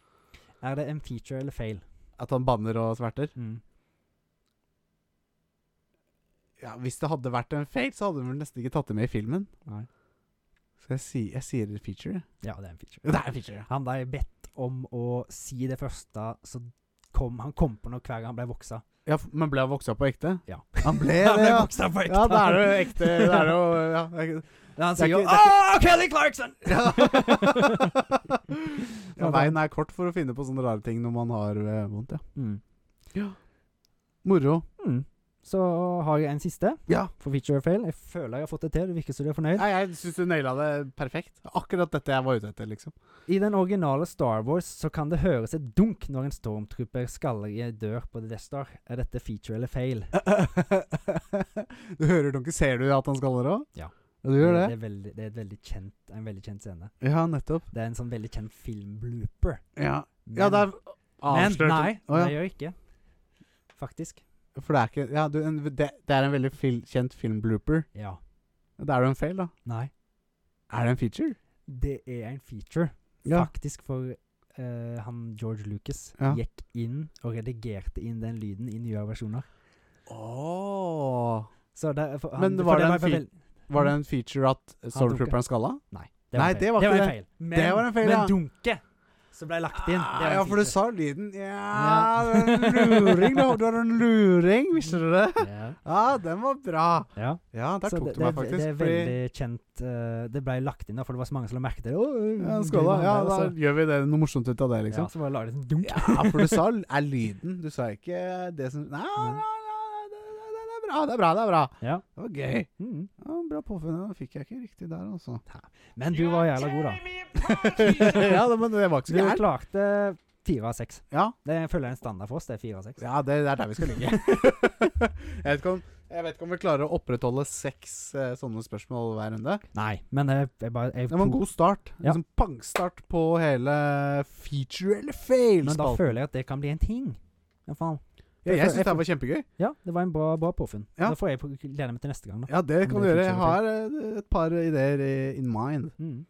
Speaker 2: er det en feature eller fail.
Speaker 1: At han banner og sverter. Ja, Hvis det hadde vært en fade, så hadde han vel nesten ikke tatt det med i filmen.
Speaker 2: Nei.
Speaker 1: Så jeg, si, jeg sier feature. jeg.
Speaker 2: Ja, det er en feature.
Speaker 1: Ja, Det er en feature, ja.
Speaker 2: Han ble bedt om å si det første, så kom, han kom på noe hver gang han ble voksa.
Speaker 1: ja f- men ble han voksa på ekte?
Speaker 2: Ja.
Speaker 1: Han
Speaker 2: [laughs]
Speaker 1: ble
Speaker 2: Han
Speaker 1: det,
Speaker 2: ble
Speaker 1: ja.
Speaker 2: voksa på ekte!
Speaker 1: Ja, det er jo ekte. Det er jo ja. det er ikke-
Speaker 2: Han
Speaker 1: det er
Speaker 2: sier
Speaker 1: ikke-
Speaker 2: jo
Speaker 1: det er
Speaker 2: Åh, Kelly Clarkson! [laughs]
Speaker 1: ja. ja,
Speaker 2: Ja,
Speaker 1: veien er kort for å finne på sånne rare ting når man har eh, vondt, ja.
Speaker 2: Mm.
Speaker 1: Moro.
Speaker 2: Mm. Så har jeg en siste
Speaker 1: Ja.
Speaker 2: for feature or fail. Jeg føler jeg har fått det til. Det virker som du er fornøyd.
Speaker 1: Nei, jeg syns du naila det perfekt. Akkurat dette jeg var ute etter,
Speaker 2: [laughs]
Speaker 1: liksom.
Speaker 2: I den originale Star Wars så kan det høres et dunk når en stormtrooper skaller i en dør på The Death Star. Er dette feature eller fail?
Speaker 1: du hører dunken. Ser du at han skaller òg?
Speaker 2: Ja.
Speaker 1: Du gjør det?
Speaker 2: Det er, veldig, det er et veldig kjent, en veldig kjent scene.
Speaker 1: Ja, nettopp.
Speaker 2: Det er en sånn veldig kjent film-blooper.
Speaker 1: Ja,
Speaker 2: Men,
Speaker 1: ja det er
Speaker 2: men
Speaker 1: avslørt.
Speaker 2: nei,
Speaker 1: Å, ja.
Speaker 2: det gjør jeg ikke. Faktisk.
Speaker 1: For det er ikke Ja, du, en, det, det er en veldig fil, kjent filmblooper.
Speaker 2: Ja.
Speaker 1: Da er det en feil, da.
Speaker 2: Nei.
Speaker 1: Er det en feature?
Speaker 2: Det er en feature,
Speaker 1: Ja.
Speaker 2: faktisk, for eh, han George Lucas
Speaker 1: Ja.
Speaker 2: gikk inn og redigerte inn den lyden i nye versjoner.
Speaker 1: Åh.
Speaker 2: Så det, er- for,
Speaker 1: Men var det en
Speaker 2: for
Speaker 1: fe-
Speaker 2: vel- Mm.
Speaker 1: Var det en feature at Stormtrooperen skalla?
Speaker 2: Nei.
Speaker 1: Nei,
Speaker 2: en
Speaker 1: det var
Speaker 2: feil. det var
Speaker 1: ikke det.
Speaker 2: en feil. Men,
Speaker 1: Det var en feil,
Speaker 2: men
Speaker 1: ja.
Speaker 2: dunket som ble lagt inn. Det
Speaker 1: Ah, ja,
Speaker 2: vet jeg
Speaker 1: for du
Speaker 2: ikke.
Speaker 1: sa lyden. Ja,
Speaker 2: Ja.
Speaker 1: du er en luring. Du, du er en luring, visste du det?
Speaker 2: [laughs] ja.
Speaker 1: Ja, den var bra.
Speaker 2: ja.
Speaker 1: Ja, der
Speaker 2: Så
Speaker 1: tok
Speaker 2: det,
Speaker 1: du
Speaker 2: det,
Speaker 1: meg faktisk.
Speaker 2: det er
Speaker 1: fordi-
Speaker 2: veldig kjent eh, Det ble lagt inn, da, for det var så mange som la merke til det. Å, øh,
Speaker 1: ja,
Speaker 2: du
Speaker 1: skål, da.
Speaker 2: var
Speaker 1: Ja,
Speaker 2: der,
Speaker 1: da
Speaker 2: og så-
Speaker 1: gjør vi det noe morsomt ut av det, liksom.
Speaker 2: Ja, så bare la det sånn dunk.
Speaker 1: altså. Ja, for du sa l- er lyden. Du sa ikke det som Nei, ja,
Speaker 2: Nei.
Speaker 1: ja, det, det, det, det er bra, det er bra. Det er bra.
Speaker 2: Ja.
Speaker 1: Det var gøy.
Speaker 2: Mm.
Speaker 1: Ja, bra påfunn. ja, Det fikk jeg ikke riktig der, altså.
Speaker 2: Men du var jævla god, da.
Speaker 1: [laughs] ja, det, men det var ikke så
Speaker 2: Du
Speaker 1: gærent.
Speaker 2: klarte fire av seks.
Speaker 1: Ja,
Speaker 2: Det følger en standard for oss, det er fire av seks.
Speaker 1: ja det, det er der vi skal ligge. [laughs] jeg, vet ikke om, jeg vet ikke om vi klarer å opprettholde seks eh, sånne spørsmål hver runde.
Speaker 2: Nei, men jeg, jeg bare jeg
Speaker 1: Det var en
Speaker 2: tok-
Speaker 1: god start.
Speaker 2: Ja.
Speaker 1: Liksom pangstart på hele feature
Speaker 2: Men
Speaker 1: eller
Speaker 2: da
Speaker 1: fail-spalten.
Speaker 2: føler jeg at det kan bli en ting. Ja, faen.
Speaker 1: Ja, jeg
Speaker 2: jeg-
Speaker 1: syns det her var kjempegøy.
Speaker 2: Ja, det var en bra, bra påfunn.
Speaker 1: Ja.
Speaker 2: Da får jeg glede meg til neste gang, da.
Speaker 1: Ja, det kan
Speaker 2: Om
Speaker 1: du
Speaker 2: det er
Speaker 1: gjøre. Jeg
Speaker 2: feature
Speaker 1: har eh, et par ideer i- in mind.
Speaker 2: Mm.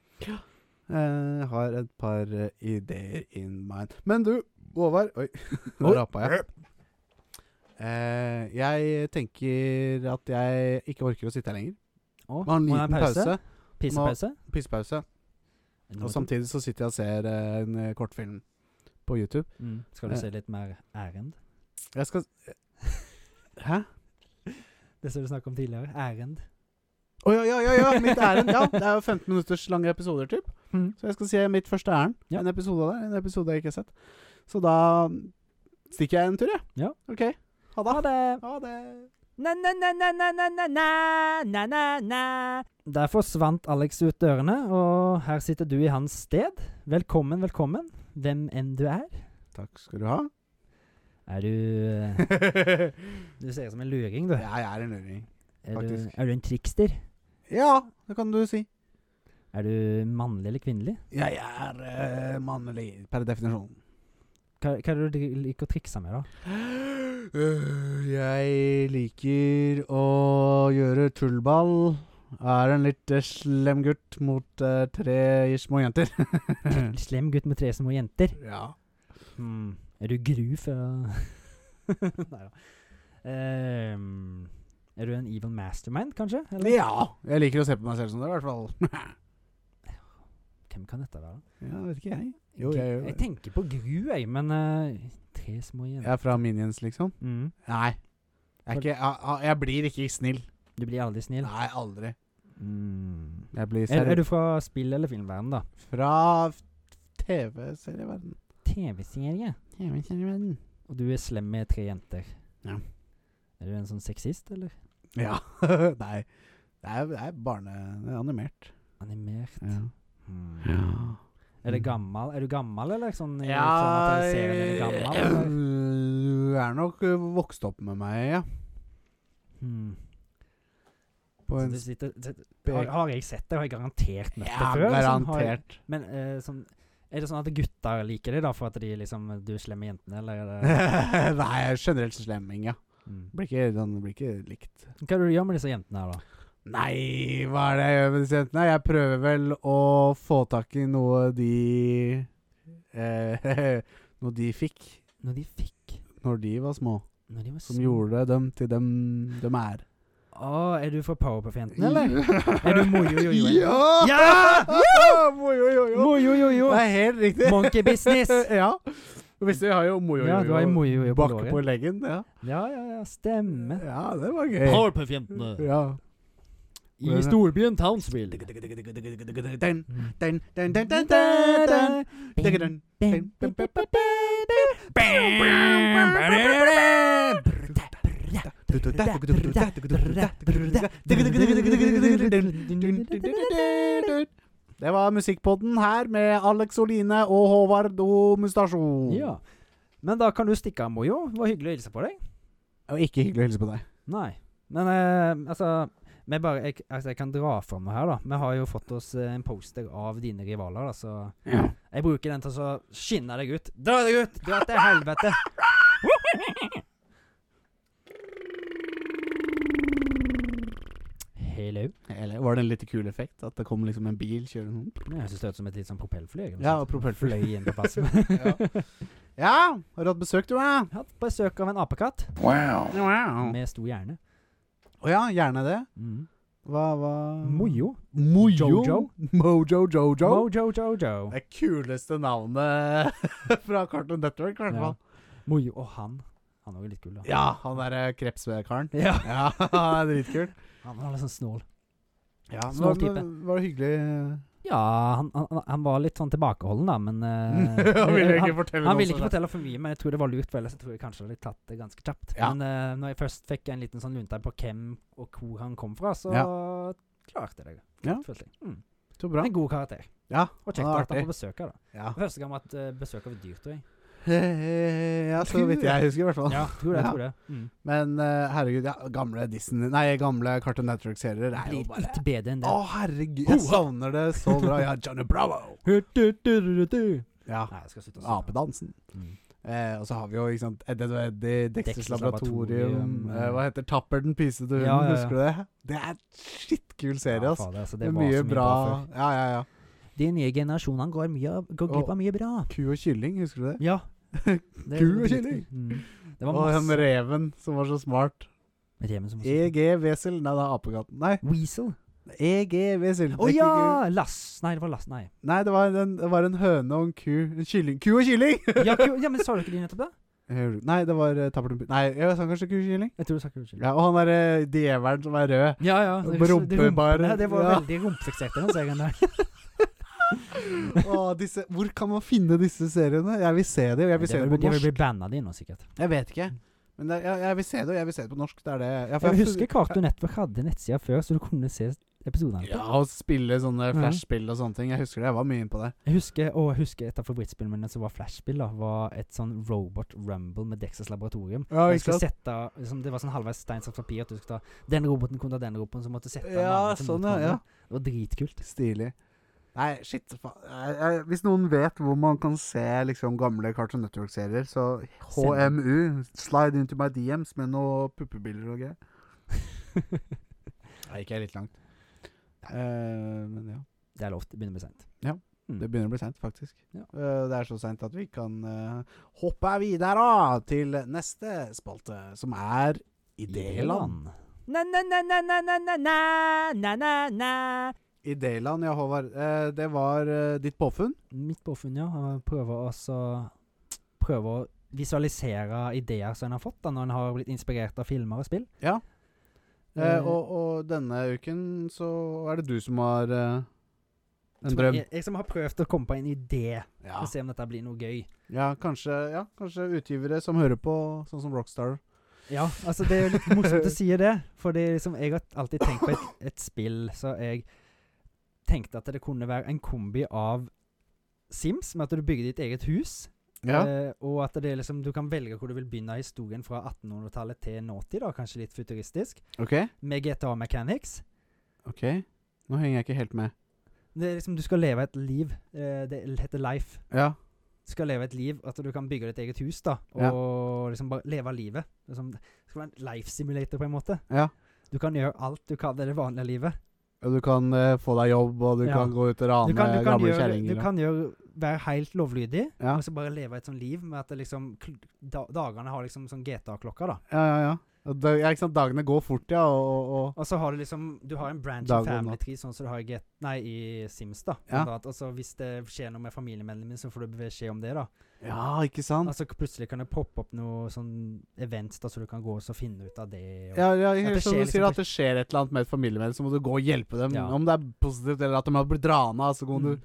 Speaker 1: Jeg har et par eh, ideer in mind. Men du, Håvard Oi, [laughs] nå
Speaker 2: Oi.
Speaker 1: rapa jeg. Eh, jeg tenker at jeg ikke orker å sitte her lenger.
Speaker 2: Og,
Speaker 1: Må ha en
Speaker 2: må det
Speaker 1: liten
Speaker 2: være
Speaker 1: pause.
Speaker 2: Pissepause.
Speaker 1: Pissepause. Og samtidig så sitter jeg og ser eh, en eh, kortfilm på YouTube.
Speaker 2: mm. Skal du se litt mer ærend?
Speaker 1: Jeg skal [laughs] Hæ?
Speaker 2: Det som du snakket om tidligere. Ærend.
Speaker 1: Å ja, ja, ja, ja! Mitt ærend. Ja, det er jo 15 minutters lange episoder, typ. Så jeg skal se mitt første ærend.
Speaker 2: Ja.
Speaker 1: En episode av det. En episode jeg ikke har sett. Så da stikker jeg en tur, jeg.
Speaker 2: Ja.
Speaker 1: OK. Ha det.
Speaker 2: Ha det!
Speaker 1: Ha det.
Speaker 2: Na-na-na-na-na-na-na-na-na. Der forsvant Alex ut dørene, og her sitter du i hans sted. Velkommen, velkommen, hvem enn du er.
Speaker 1: Takk skal du [laughs] ha.
Speaker 2: Er
Speaker 1: [laughs]
Speaker 2: du eh, Du ser ut som en luring, du.
Speaker 1: jeg er en luring.
Speaker 2: Er du,
Speaker 1: faktisk.
Speaker 2: er du en trikster?
Speaker 1: Ja, det kan du si.
Speaker 2: Er du mannlig eller kvinnelig?
Speaker 1: Jeg er eh, mannlig per definisjon.
Speaker 2: Hva, hva er det du dri- liker å trikse med,
Speaker 1: [laughs]
Speaker 2: da?
Speaker 1: [gasps] Øh, jeg liker å gjøre tullball. Er en litt eh, slem gutt mot eh, tre små jenter.
Speaker 2: Slem gutt med tre små jenter?
Speaker 1: ja.
Speaker 2: Hmm. Er du gru fra [laughs] Nei da. Ehm, er du en evil mastermind, kanskje? Eller?
Speaker 1: ja. Jeg liker å se på meg selv som det, i hvert fall.
Speaker 2: Hvem kan dette være?
Speaker 1: ja, vet ikke jeg. Jo,
Speaker 2: Gru-
Speaker 1: jeg gjør det.
Speaker 2: tenker på Gru, jeg, men eh, tre små
Speaker 1: Mm. Jeg
Speaker 2: jenter
Speaker 1: er fra Minions, liksom.
Speaker 2: mm.
Speaker 1: Nei. Jeg, er ikke, jeg, jeg blir ikke snill.
Speaker 2: Du blir aldri snill.
Speaker 1: Nei, aldri.
Speaker 2: Mm.
Speaker 1: Jeg blir
Speaker 2: Er, er
Speaker 1: seriøs.
Speaker 2: du fra spill- eller filmverden, da?
Speaker 1: Fra TV-serieverden.
Speaker 2: TV-serie.
Speaker 1: TV-serieverden.
Speaker 2: Og du er slem med tre jenter.
Speaker 1: Ja.
Speaker 2: Er du en sånn sexist, eller?
Speaker 1: Ja. [laughs] Nei. Det er, det er barne... Det er animert.
Speaker 2: Animert. Mm.
Speaker 1: Ja.
Speaker 2: Er, det gammel? er du gammel, eller? Sånn, i
Speaker 1: Ja,
Speaker 2: form av at serien er gammel, eller?
Speaker 1: [clears throat] Du er nok eh, vokst opp med meg, ja.
Speaker 2: Mm.
Speaker 1: På
Speaker 2: Så
Speaker 1: en
Speaker 2: du sitter, sitter- har,
Speaker 1: spek...
Speaker 2: har jeg sett det? Har jeg garantert møtt det
Speaker 1: Ja,
Speaker 2: før? liksom? Har jeg-
Speaker 1: garantert. [laughs]
Speaker 2: Men eh, sånn, er det sånn at gutter liker det da, for at de liksom Du er slem med jentene, eller er
Speaker 1: [laughs]
Speaker 2: det
Speaker 1: Nei, jeg er generelt slemming, ja.
Speaker 2: mm.
Speaker 1: Blir ikke, den blir ikke likt.
Speaker 2: Hva er det du gjør med disse jentene her, da?
Speaker 1: Nei, hva er det jeg gjør med disse jentene? Jeg prøver vel å få tak i noe de eh, Noe de fikk
Speaker 2: Når de fikk
Speaker 1: når de var små.
Speaker 2: Når de var
Speaker 1: Som gjorde dem til dem de er.
Speaker 2: Å, er du for Powerpuff-jentene,
Speaker 1: [laughs]
Speaker 2: eller? Er du mojo-jojo?
Speaker 1: Ja!
Speaker 2: Ja!
Speaker 1: Mojojojo.
Speaker 2: Mojo-jojo!
Speaker 1: Det er helt riktig.
Speaker 2: Monkey business!
Speaker 1: ja. Hvis vi har jo mojojojo
Speaker 2: Ja, du har en mojo-jojo på
Speaker 1: bakke på
Speaker 2: låret.
Speaker 1: leggen. Ja.
Speaker 2: Ja, ja, ja, stemmer.
Speaker 1: ja, det var
Speaker 2: Eh.
Speaker 1: gøy.
Speaker 2: Powerpuff-jentene
Speaker 1: Ja.
Speaker 2: i storbyen Townsville. Mm.
Speaker 1: Dun, dun, dun, dun, dun, dun. Dun, dun, dun, dun, dun, dun, dun. Det var Musikkpodden her med Alex Oline og Håvard O. Mustasjon.
Speaker 2: Ja. Men da kan du stikke av, Mojo. Det var hyggelig å hilse på deg.
Speaker 1: Og ikke hyggelig å hilse på deg.
Speaker 2: Nei. Men eh, altså, vi bare, jeg, altså Jeg kan dra fram noe her, da. Vi har jo fått oss eh, en poster av dine rivaler, da, så jeg bruker den til å så skinne deg ut. Dra deg ut! Dra til helvete! Hello.
Speaker 1: Eller var det en litt kul effekt? At det kom liksom en bil kjørende sånn?
Speaker 2: Jeg synes det høres ut som et litt sånn propellfly. egentlig.
Speaker 1: Ja, og [laughs] propellfly.
Speaker 2: Fløy inn på plassen.
Speaker 1: Ja, har du hatt besøk, du, ja?
Speaker 2: Hatt besøk av en apekatt
Speaker 1: Wow.
Speaker 2: med stor hjerne.
Speaker 1: Å ja, gjerne det.
Speaker 2: Mm.
Speaker 1: Hva, hva
Speaker 2: Mojo.
Speaker 1: Mojo.
Speaker 2: Jojo.
Speaker 1: Mojo Jojo.
Speaker 2: Mojo Jojo.
Speaker 1: Det kuleste navnet [laughs] fra Cartoon Network, i hvert
Speaker 2: Ja.
Speaker 1: fall.
Speaker 2: Mojo og han. Han er jo litt kul, da.
Speaker 1: Ja, han derre krepskaren.
Speaker 2: Ja.
Speaker 1: Ja, [laughs] han er dritkul.
Speaker 2: Han var litt sånn snål.
Speaker 1: Ja, men
Speaker 2: Smal
Speaker 1: det
Speaker 2: type. Eh,
Speaker 1: var- Var det hyggelig
Speaker 2: Ja, han, han, han var litt sånn tilbakeholden, da, men eh,
Speaker 1: [laughs] Han ville
Speaker 2: han-
Speaker 1: ikke
Speaker 2: Han
Speaker 1: fortelle noe
Speaker 2: ville
Speaker 1: sånn. om
Speaker 2: ikke
Speaker 1: det.
Speaker 2: fortelle for mye, men jeg tror det var lurt, for ellers tror jeg kanskje det hadde tatt det ganske kjapt.
Speaker 1: Ja.
Speaker 2: Men eh, når jeg først fikk en liten sånn lunta på hvem og hvor han kom fra, så klarte jeg det.
Speaker 1: Ja.
Speaker 2: følte jeg. Mm.
Speaker 1: Så bra.
Speaker 2: En god karakter.
Speaker 1: Ja,
Speaker 2: Og kjekt
Speaker 1: han
Speaker 2: å
Speaker 1: er
Speaker 2: ha hatt
Speaker 1: artig.
Speaker 2: ham på besøk her, da.
Speaker 1: Ja. [laughs]
Speaker 2: Første gang var at uh, besøk av et dyr, tror jeg.
Speaker 1: ja, så vidt jeg husker, i hvert fall.
Speaker 2: Ja, tror det,
Speaker 1: Ja.
Speaker 2: tror det. Mm.
Speaker 1: Men eh, herregud, ja, gamle Disney Nei, gamle Cartoon Network-serier er jo
Speaker 2: Blir
Speaker 1: bare
Speaker 2: ikke bedre enn
Speaker 1: Å,
Speaker 2: det.
Speaker 1: herregud, jeg savner det så bra. Ja, Johnny Bravo.
Speaker 2: Nei,
Speaker 1: Ja,
Speaker 2: jeg skal slutte å synge.
Speaker 1: Apedansen.
Speaker 2: Mm.
Speaker 1: Eh, og så har vi jo ikke sant, Eddie og Eddie, Dexters
Speaker 2: Dexters
Speaker 1: Laboratorium
Speaker 2: Laboratorium,
Speaker 1: eh, Hva heter Tapper den pisete hunden?
Speaker 2: Ja, ja, ja.
Speaker 1: Husker du det? Det er skitkul serie,
Speaker 2: Ja,
Speaker 1: ass.
Speaker 2: fader, altså,
Speaker 1: Det
Speaker 2: det
Speaker 1: er
Speaker 2: var
Speaker 1: mye
Speaker 2: så mye
Speaker 1: bra.
Speaker 2: bra før.
Speaker 1: Ja, ja, ja.
Speaker 2: De nye generasjonene går, mye, av- går glipp av mye bra.
Speaker 1: Ku og kylling, husker du det?
Speaker 2: Ja. Det-
Speaker 1: Ku
Speaker 2: det-
Speaker 1: og kylling.
Speaker 2: Mm. Det var
Speaker 1: Og den
Speaker 2: masse.
Speaker 1: reven som var så smart. E
Speaker 2: Reven som
Speaker 1: EG Wesel Nei, det er apekatten. Nei, E
Speaker 2: Weasel.
Speaker 1: EG Wesel.
Speaker 2: Å ja! Lass. Nei, det var Lass.
Speaker 1: [laughs]
Speaker 2: Nei.
Speaker 1: Nei, det var, en, det var en høne og en ku. En kylling. Ku og kylling! [laughs]
Speaker 2: Ja, ku, ja men sa du ikke det nettopp, da?
Speaker 1: Jeg hører- Nei, det var eh, Tapper den pi- Nei, jeg sa kanskje ku og kylling?
Speaker 2: Jeg tror du sa Cruiser.
Speaker 1: Ja, og han derre djevelen som er rød.
Speaker 2: Ja, ja.
Speaker 1: Og
Speaker 2: det-
Speaker 1: på
Speaker 2: det-
Speaker 1: rumpebar.
Speaker 2: rumpene, Det var
Speaker 1: Ja.
Speaker 2: veldig rumpefiksert, den serien der.
Speaker 1: Å, disse, hvor kan man finne disse seriene? Jeg vil se det, og jeg vil se
Speaker 2: Det
Speaker 1: det
Speaker 2: vil-
Speaker 1: på
Speaker 2: de vil
Speaker 1: norsk.
Speaker 2: bli banna de nå, sikkert.
Speaker 1: Jeg vet ikke. Men det, jeg, jeg vil se det, og jeg vil se det på norsk. Det er det. Ja, for
Speaker 2: Jeg
Speaker 1: jeg-
Speaker 2: husker Cartoon Network hadde nettsider før, så du kunne se episodene.
Speaker 1: Ja, og spille sånne
Speaker 2: Mhm.
Speaker 1: flashspill og sånne ting. Jeg husker det, jeg var mye inne på det.
Speaker 2: Jeg husker, og jeg husker et av favorittspillene mine som var flashspill, da, var et sånn Robot Rumble med Dexas Laboratorium.
Speaker 1: Ja,
Speaker 2: Jeg skulle sette, liksom, det var sånn halvveis stein, saks, papir, at du skulle ta den roboten kontra den roboten, så måtte du sette
Speaker 1: Ja,
Speaker 2: navnet til
Speaker 1: sånn,
Speaker 2: motstanderen.
Speaker 1: ja, ja.
Speaker 2: Det var dritkult. [laughs]
Speaker 1: Stilig. Nei, shit. fa- jeg- jeg- Hvis noen vet hvor man kan se liksom gamle Cartoon Network-serier, så
Speaker 2: Send den.
Speaker 1: HMU, slide into my DMs med noen puppebilder og greier. Da gikk jeg litt langt. Eh, men ja.
Speaker 2: Det er lov, det begynner å bli seint. Mm.
Speaker 1: Det begynner å bli seint, faktisk.
Speaker 2: Ja.
Speaker 1: Eh, det er så seint at vi kan eh, hoppe videre da, til neste spalte, som er Idéland.
Speaker 2: Na-na-na-na-na-na-na-na-na-na.
Speaker 1: Idéland, ja, Håvard. Eh, det var eh, ditt påfunn.
Speaker 2: Mitt påfunn, ja. Han prøver også Prøver å visualisere ideer som en har fått da, når en har blitt inspirert av filmer og spill.
Speaker 1: Ja. Eh,
Speaker 2: Eh,
Speaker 1: og, og denne uken så er det du som har eh, en
Speaker 2: tror
Speaker 1: drøm.
Speaker 2: Jeg, jeg som har prøvd å komme på en idé,
Speaker 1: Ja.
Speaker 2: og se om dette blir noe gøy.
Speaker 1: Ja, kanskje, ja, kanskje utgivere som hører på, sånn som Rockstar.
Speaker 2: Ja, altså Det er jo litt
Speaker 1: [laughs]
Speaker 2: morsomt å si det, for det er liksom, jeg har alltid tenkt på et, et spill, så jeg tenkte at det kunne være en kombi av Sims, med at du bygger ditt eget hus. Eh, og at det er liksom, du kan velge hvor du vil begynne historien fra 1800-tallet til nåtid, da, kanskje litt futuristisk,
Speaker 1: OK.
Speaker 2: med GTA Mechanics.
Speaker 1: ok Nå henger jeg ikke helt med.
Speaker 2: Det er liksom, Du skal leve et liv. Eh, det heter Life.
Speaker 1: Ja.
Speaker 2: Du skal leve et liv, at du kan bygge ditt eget hus, da, og
Speaker 1: Ja.
Speaker 2: liksom bare leve livet. Liksom, det skal være en life simulator, på en måte.
Speaker 1: ja.
Speaker 2: Du kan gjøre alt du kan i det vanlige livet.
Speaker 1: Og du kan eh, få deg jobb, og du
Speaker 2: Ja.
Speaker 1: kan gå ut og
Speaker 2: Du
Speaker 1: rane
Speaker 2: kan, du kan,
Speaker 1: gamle
Speaker 2: gjøre, du
Speaker 1: kjerringer. og-
Speaker 2: kan gjøre, være helt lovlydig,
Speaker 1: Ja.
Speaker 2: og så bare leve et sånt liv med at det liksom kl- da, Dagene har liksom sånn GTA-klokka, da.
Speaker 1: Ja, ja, ja. Og da- ja, ikke sant? Dagene går fort, ja. Og, og,
Speaker 2: Og så har du liksom Du har en branch
Speaker 1: Dag og
Speaker 2: i Family
Speaker 1: natt.
Speaker 2: Tree, sånn som du har i, Get, nei, i Sims, da.
Speaker 1: Ja.
Speaker 2: blant annet. Og så hvis det skjer noe med familiemedlemmene, så får du beskjed om det, da.
Speaker 1: og Ja, ikke sant?
Speaker 2: Altså plutselig kan det poppe opp noe sånn events, da, så du kan gå og så finne ut av det. Og,
Speaker 1: Ja, ja,
Speaker 2: At det
Speaker 1: som
Speaker 2: skjer
Speaker 1: du sier,
Speaker 2: liksom
Speaker 1: at det skjer et eller annet med et familiemedlem, så må du gå og hjelpe dem.
Speaker 2: Ja.
Speaker 1: Om det er positivt, eller at de har blitt rana, så kan
Speaker 2: Mm.
Speaker 1: du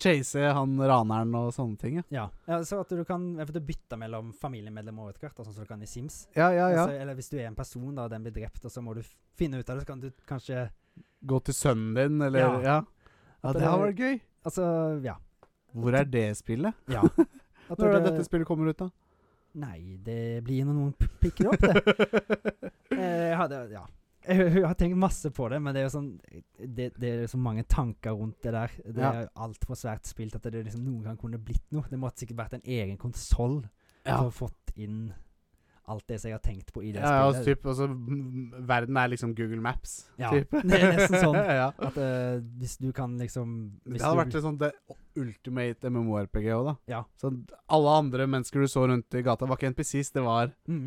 Speaker 1: chase han raneren og sånne ting. Ja,
Speaker 2: ja. ja, så at du kan eventuelt bytte mellom familiemedlemmer og etter hvert, da, sånn som du kan i Sims.
Speaker 1: ja, ja. ja.
Speaker 2: Altså, eller hvis du er en person, da, og den blir drept, og så må du f- finne ut av det, så kan du kanskje
Speaker 1: Gå til sønnen din, eller Ja,
Speaker 2: Ja.
Speaker 1: ja.
Speaker 2: At
Speaker 1: det
Speaker 2: det-
Speaker 1: har vært gøy.
Speaker 2: Altså, ja.
Speaker 1: Hvor er det spillet?
Speaker 2: ja. At
Speaker 1: Når er det
Speaker 2: det-
Speaker 1: dette spillet kommer ut, da? [laughs]
Speaker 2: Nei, det blir når noen p- pikker opp, det. [laughs] Eh, Jeg hadde, ja. Jeg, hø- hø- har tenkt masse på det, men det er jo sånn Det, det er så mange tanker rundt det der. Det
Speaker 1: Ja.
Speaker 2: er jo altfor svært spilt at det liksom noen gang kunne blitt noe. Det måtte sikkert vært en egen konsoll
Speaker 1: Ja.
Speaker 2: for å fått inn alt det som jeg har tenkt på i det
Speaker 1: Ja, ja, og så
Speaker 2: spillet.
Speaker 1: typ, og så, mm, verden er liksom Google Maps.
Speaker 2: Ja,
Speaker 1: typ.
Speaker 2: det er nesten sånn.
Speaker 1: [laughs] ja.
Speaker 2: At eh, hvis du kan liksom hvis
Speaker 1: Det hadde
Speaker 2: du,
Speaker 1: vært liksom det ultimate MMO-RPG òg, da.
Speaker 2: Ja.
Speaker 1: Så alle andre mennesker du så rundt i gata, var ikke NPCs, det var
Speaker 2: mm,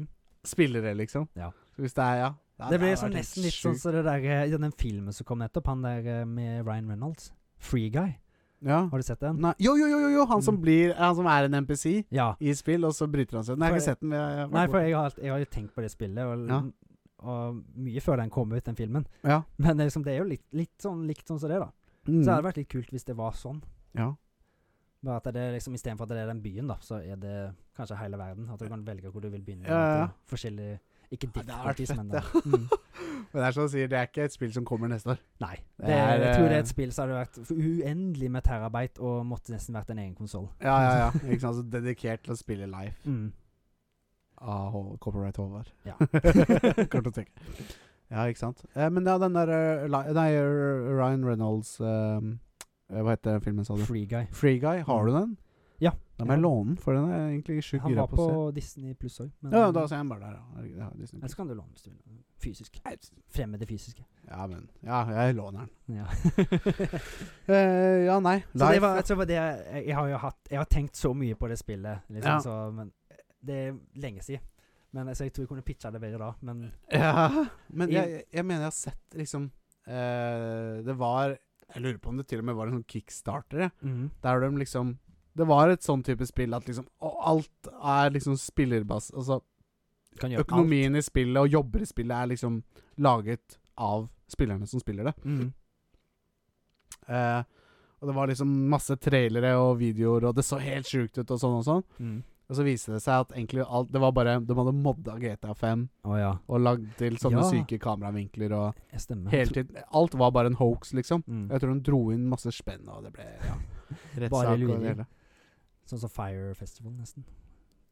Speaker 1: spillere, liksom.
Speaker 2: Ja.
Speaker 1: Så hvis det er, ja
Speaker 2: det ble
Speaker 1: har
Speaker 2: sånn
Speaker 1: vært helt
Speaker 2: nesten litt sånn
Speaker 1: sjukt.
Speaker 2: som det der, eh, den filmen som kom nettopp, han der eh, med Ryan Reynolds. Free Guy.
Speaker 1: ja.
Speaker 2: sånn Har du sett den?
Speaker 1: Nei, jo, jo, jo, jo, jo, han som
Speaker 2: Mm.
Speaker 1: blir Han som er en NPC
Speaker 2: Ja.
Speaker 1: i spill, og så bryter han seg ut. Nei, jeg har ikke
Speaker 2: For-
Speaker 1: sett den. men Jeg, jeg,
Speaker 2: Nei, for jeg har, alt- jeg har jo tenkt på det spillet, og,
Speaker 1: Ja.
Speaker 2: og mye før den kom ut, den filmen. [laughs]
Speaker 1: ja.
Speaker 2: Men det er liksom, det er jo litt, litt sånn likt sånn som det, da.
Speaker 1: Mm.
Speaker 2: Så det hadde vært litt kult hvis det var sånn.
Speaker 1: ja.
Speaker 2: Bare at det er liksom istedenfor at det er den byen, da, så er det kanskje hele verden. At du kan velge hvor du vil begynne.
Speaker 1: Ja, ja, ja.
Speaker 2: at det er Forskjellige Ikke
Speaker 1: Ja, det hadde vært
Speaker 2: difficulties,
Speaker 1: fett,
Speaker 2: men
Speaker 1: ja.
Speaker 2: da. Mm.
Speaker 1: Men det er som du sier, det er ikke et spill som kommer neste år.
Speaker 2: Nei.
Speaker 1: [laughs] Det
Speaker 2: Det er,
Speaker 1: er,
Speaker 2: jeg tror det
Speaker 1: eh,
Speaker 2: er et spill som hadde vært f- uendelig med terabyte og måtte nesten vært en egen konsoll.
Speaker 1: Ja, ja, ja. Ikke sant? Så dedikert til å spille live.
Speaker 2: Mm.
Speaker 1: Ah, Hå- copyright Håvard.
Speaker 2: Ja.
Speaker 1: [laughs] Kort å tenke. Ja, ikke sant. Eh, men ja, den der eh, Li- Nei, eh, Ryan Reynolds eh, eh, Hva heter den filmen, sa du?
Speaker 2: Free Guy.
Speaker 1: Free Guy. Har du den?
Speaker 2: Ja.
Speaker 1: Da må jeg låne den, for den er jeg egentlig sjukt
Speaker 2: Han
Speaker 1: gira
Speaker 2: var
Speaker 1: på å se.
Speaker 2: på eh, Disney pluss òg, men
Speaker 1: Ja, ja, da ser jeg den bare der, ja. Herregud, jeg har Disney+.
Speaker 2: Eller så kan du låne hvis du vil. Fysisk. Fremme det fysiske.
Speaker 1: Ja, men Ja, jeg låner den.
Speaker 2: Ja. [laughs]
Speaker 1: Eh, ja, nei.
Speaker 2: så det
Speaker 1: Life,
Speaker 2: var,
Speaker 1: ja.
Speaker 2: så var det jeg, jeg har jo hatt Jeg har tenkt så mye på det spillet, liksom,
Speaker 1: Ja.
Speaker 2: så, men det er lenge siden. Men altså, jeg tror jeg kunne pitcha det bedre da, men
Speaker 1: [laughs] Ja, men
Speaker 2: I-
Speaker 1: jeg, jeg mener jeg har sett liksom eh, Det var Jeg lurer på om det til og med var en sånn kickstarter, jeg.
Speaker 2: mm.
Speaker 1: Der de liksom Det var et sånn type spill at liksom å, Alt er liksom spillerbas... Altså
Speaker 2: kan gjøre
Speaker 1: økonomien i spillet og jobber i spillet er liksom laget av spillerne som spiller det.
Speaker 2: alt. Mm.
Speaker 1: Eh, og det var liksom masse trailere og videoer, og det så helt sjukt ut og sånn og sånn.
Speaker 2: Mm.
Speaker 1: Og så viste det seg at egentlig alt Det var bare De hadde modda GTA5
Speaker 2: Å ja.
Speaker 1: og lagd til sånne
Speaker 2: Ja.
Speaker 1: syke kameravinkler og
Speaker 2: Jeg stemmer.
Speaker 1: Hele tiden. Alt var bare en hoax, liksom.
Speaker 2: Mm.
Speaker 1: Jeg tror hun dro inn masse spenn, og det ble ja,
Speaker 2: Bare
Speaker 1: rettssak og det
Speaker 2: lureri.
Speaker 1: hele.
Speaker 2: Sånn som Fire Festival, nesten.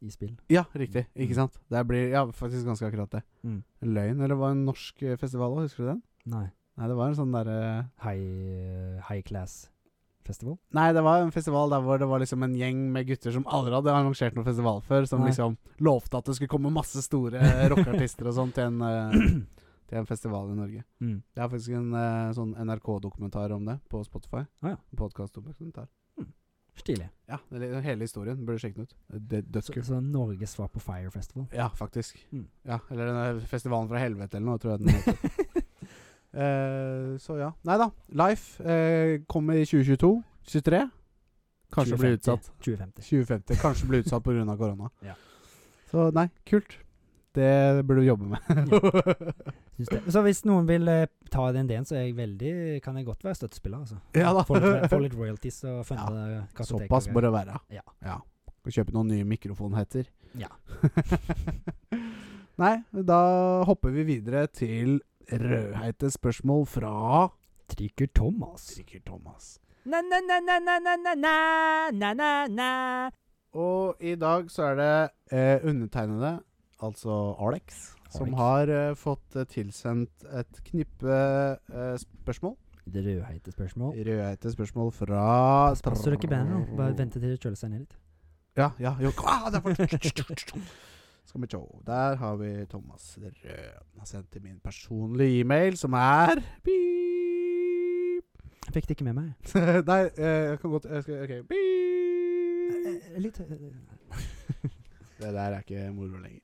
Speaker 2: I spill.
Speaker 1: Ja, riktig. Ikke
Speaker 2: Mm.
Speaker 1: sant? Det blir ja, faktisk ganske akkurat det.
Speaker 2: Mm.
Speaker 1: Løgn, eller var det en norsk eh, festival òg, husker du den?
Speaker 2: Nei.
Speaker 1: Nei, det var en sånn derre
Speaker 2: High, high Class Festival.
Speaker 1: Nei, det var en festival der hvor det var liksom en gjeng med gutter som aldri hadde arrangert noen festival før, som
Speaker 2: Nei.
Speaker 1: liksom lovte at det skulle komme masse store eh, rockeartister og sånn til, en, eh, til en festival i Norge.
Speaker 2: Mm.
Speaker 1: Det er faktisk en eh, sånn NRK-dokumentar om det på Spotify.
Speaker 2: Ah, ja.
Speaker 1: Podcast-dokumentar.
Speaker 2: Stilig.
Speaker 1: Ja, det er hele historien. Burde sjekke den ut. Det er
Speaker 2: Så,
Speaker 1: dødskult.
Speaker 2: så Norges svar på Fire Festival.
Speaker 1: Ja, faktisk.
Speaker 2: Mm.
Speaker 1: Ja, Eller den der festivalen fra helvete eller noe, tror jeg den heter.
Speaker 2: [laughs]
Speaker 1: Eh, så ja. Nei da. Life eh, kommer i 2022. 23. Kanskje blir utsatt.
Speaker 2: 2050.
Speaker 1: 2050. Kanskje blir utsatt pga. korona.
Speaker 2: [laughs] Ja.
Speaker 1: Så nei, kult. Det burde du jobbe med.
Speaker 2: Syns det. Så hvis noen vil eh, ta den ideen, så er jeg veldig, kan jeg godt være støttespiller. Altså.
Speaker 1: Ja da.
Speaker 2: Få litt, få litt royalties og funde
Speaker 1: [laughs]
Speaker 2: kartoteket.
Speaker 1: Såpass bør det være.
Speaker 2: Ja.
Speaker 1: ja. Skal Kjøpe noen nye mikrofonheter.
Speaker 2: Ja.
Speaker 1: [laughs] nei, da hopper vi videre til rødheite spørsmål fra
Speaker 2: Trykker Thomas.
Speaker 1: Sikkert Thomas.
Speaker 3: Na-na-na-na-na-na-na-na-na.
Speaker 1: Og i dag så er det eh, undertegnede, altså Alex, som
Speaker 2: Alex.
Speaker 1: har eh, fått eh, tilsendt et knippe eh, spørsmål.
Speaker 2: Det rødheite spørsmål.
Speaker 1: Rødheite spørsmål fra
Speaker 2: Pass pass så du ikke bandet nå. Bare vente til det kjøler seg ned litt.
Speaker 1: Ja, ja. Jo. Ah, [laughs] der var det. Skal vi sjå. Der har vi Thomas Rød. Han har sendt til min personlige e-mail, som er Beep. [laughs]
Speaker 2: Jeg fikk det ikke med meg.
Speaker 1: Nei, eh, jeg kan godt jeg skal, OK. Beep.
Speaker 2: Eh, Litt eh,
Speaker 1: Det der er ikke moro lenger.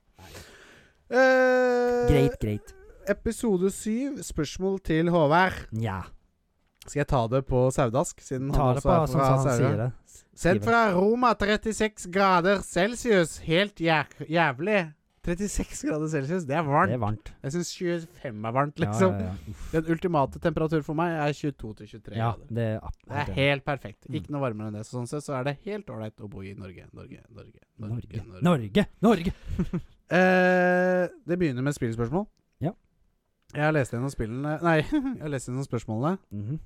Speaker 1: Eh,
Speaker 2: Greit, greit.
Speaker 1: Episode syv, spørsmål til Håvard.
Speaker 2: Nja.
Speaker 1: Skal jeg ta det på saudask? Siden
Speaker 2: Ta det
Speaker 1: han også
Speaker 2: på
Speaker 1: er
Speaker 2: sånn som
Speaker 1: fra
Speaker 2: han
Speaker 1: Sauda?
Speaker 2: sier det.
Speaker 1: Sendt
Speaker 2: Skriver.
Speaker 1: fra Roma 36 grader celsius. Helt jæk jævlig. 36 grader celsius, det er varmt.
Speaker 2: Det er varmt.
Speaker 1: Jeg syns 25 er varmt,
Speaker 2: Ja,
Speaker 1: liksom.
Speaker 2: ja, ja. Uff.
Speaker 1: Den ultimate temperatur for meg er 22 til 23
Speaker 2: ja
Speaker 1: grader.
Speaker 2: det er ab-
Speaker 1: Det er
Speaker 2: helt
Speaker 1: helt perfekt.
Speaker 2: Mm.
Speaker 1: Ikke noe varmere enn det. Så sånn sett så er det helt ålreit å bo i Norge, Norge, Norge.
Speaker 2: Norge. Norge! Norge!
Speaker 1: Eh, det begynner med spillspørsmål.
Speaker 2: Ja.
Speaker 1: Jeg har lest gjennom spillene Nei, [laughs] jeg har lest gjennom spørsmålene.
Speaker 2: Mhm.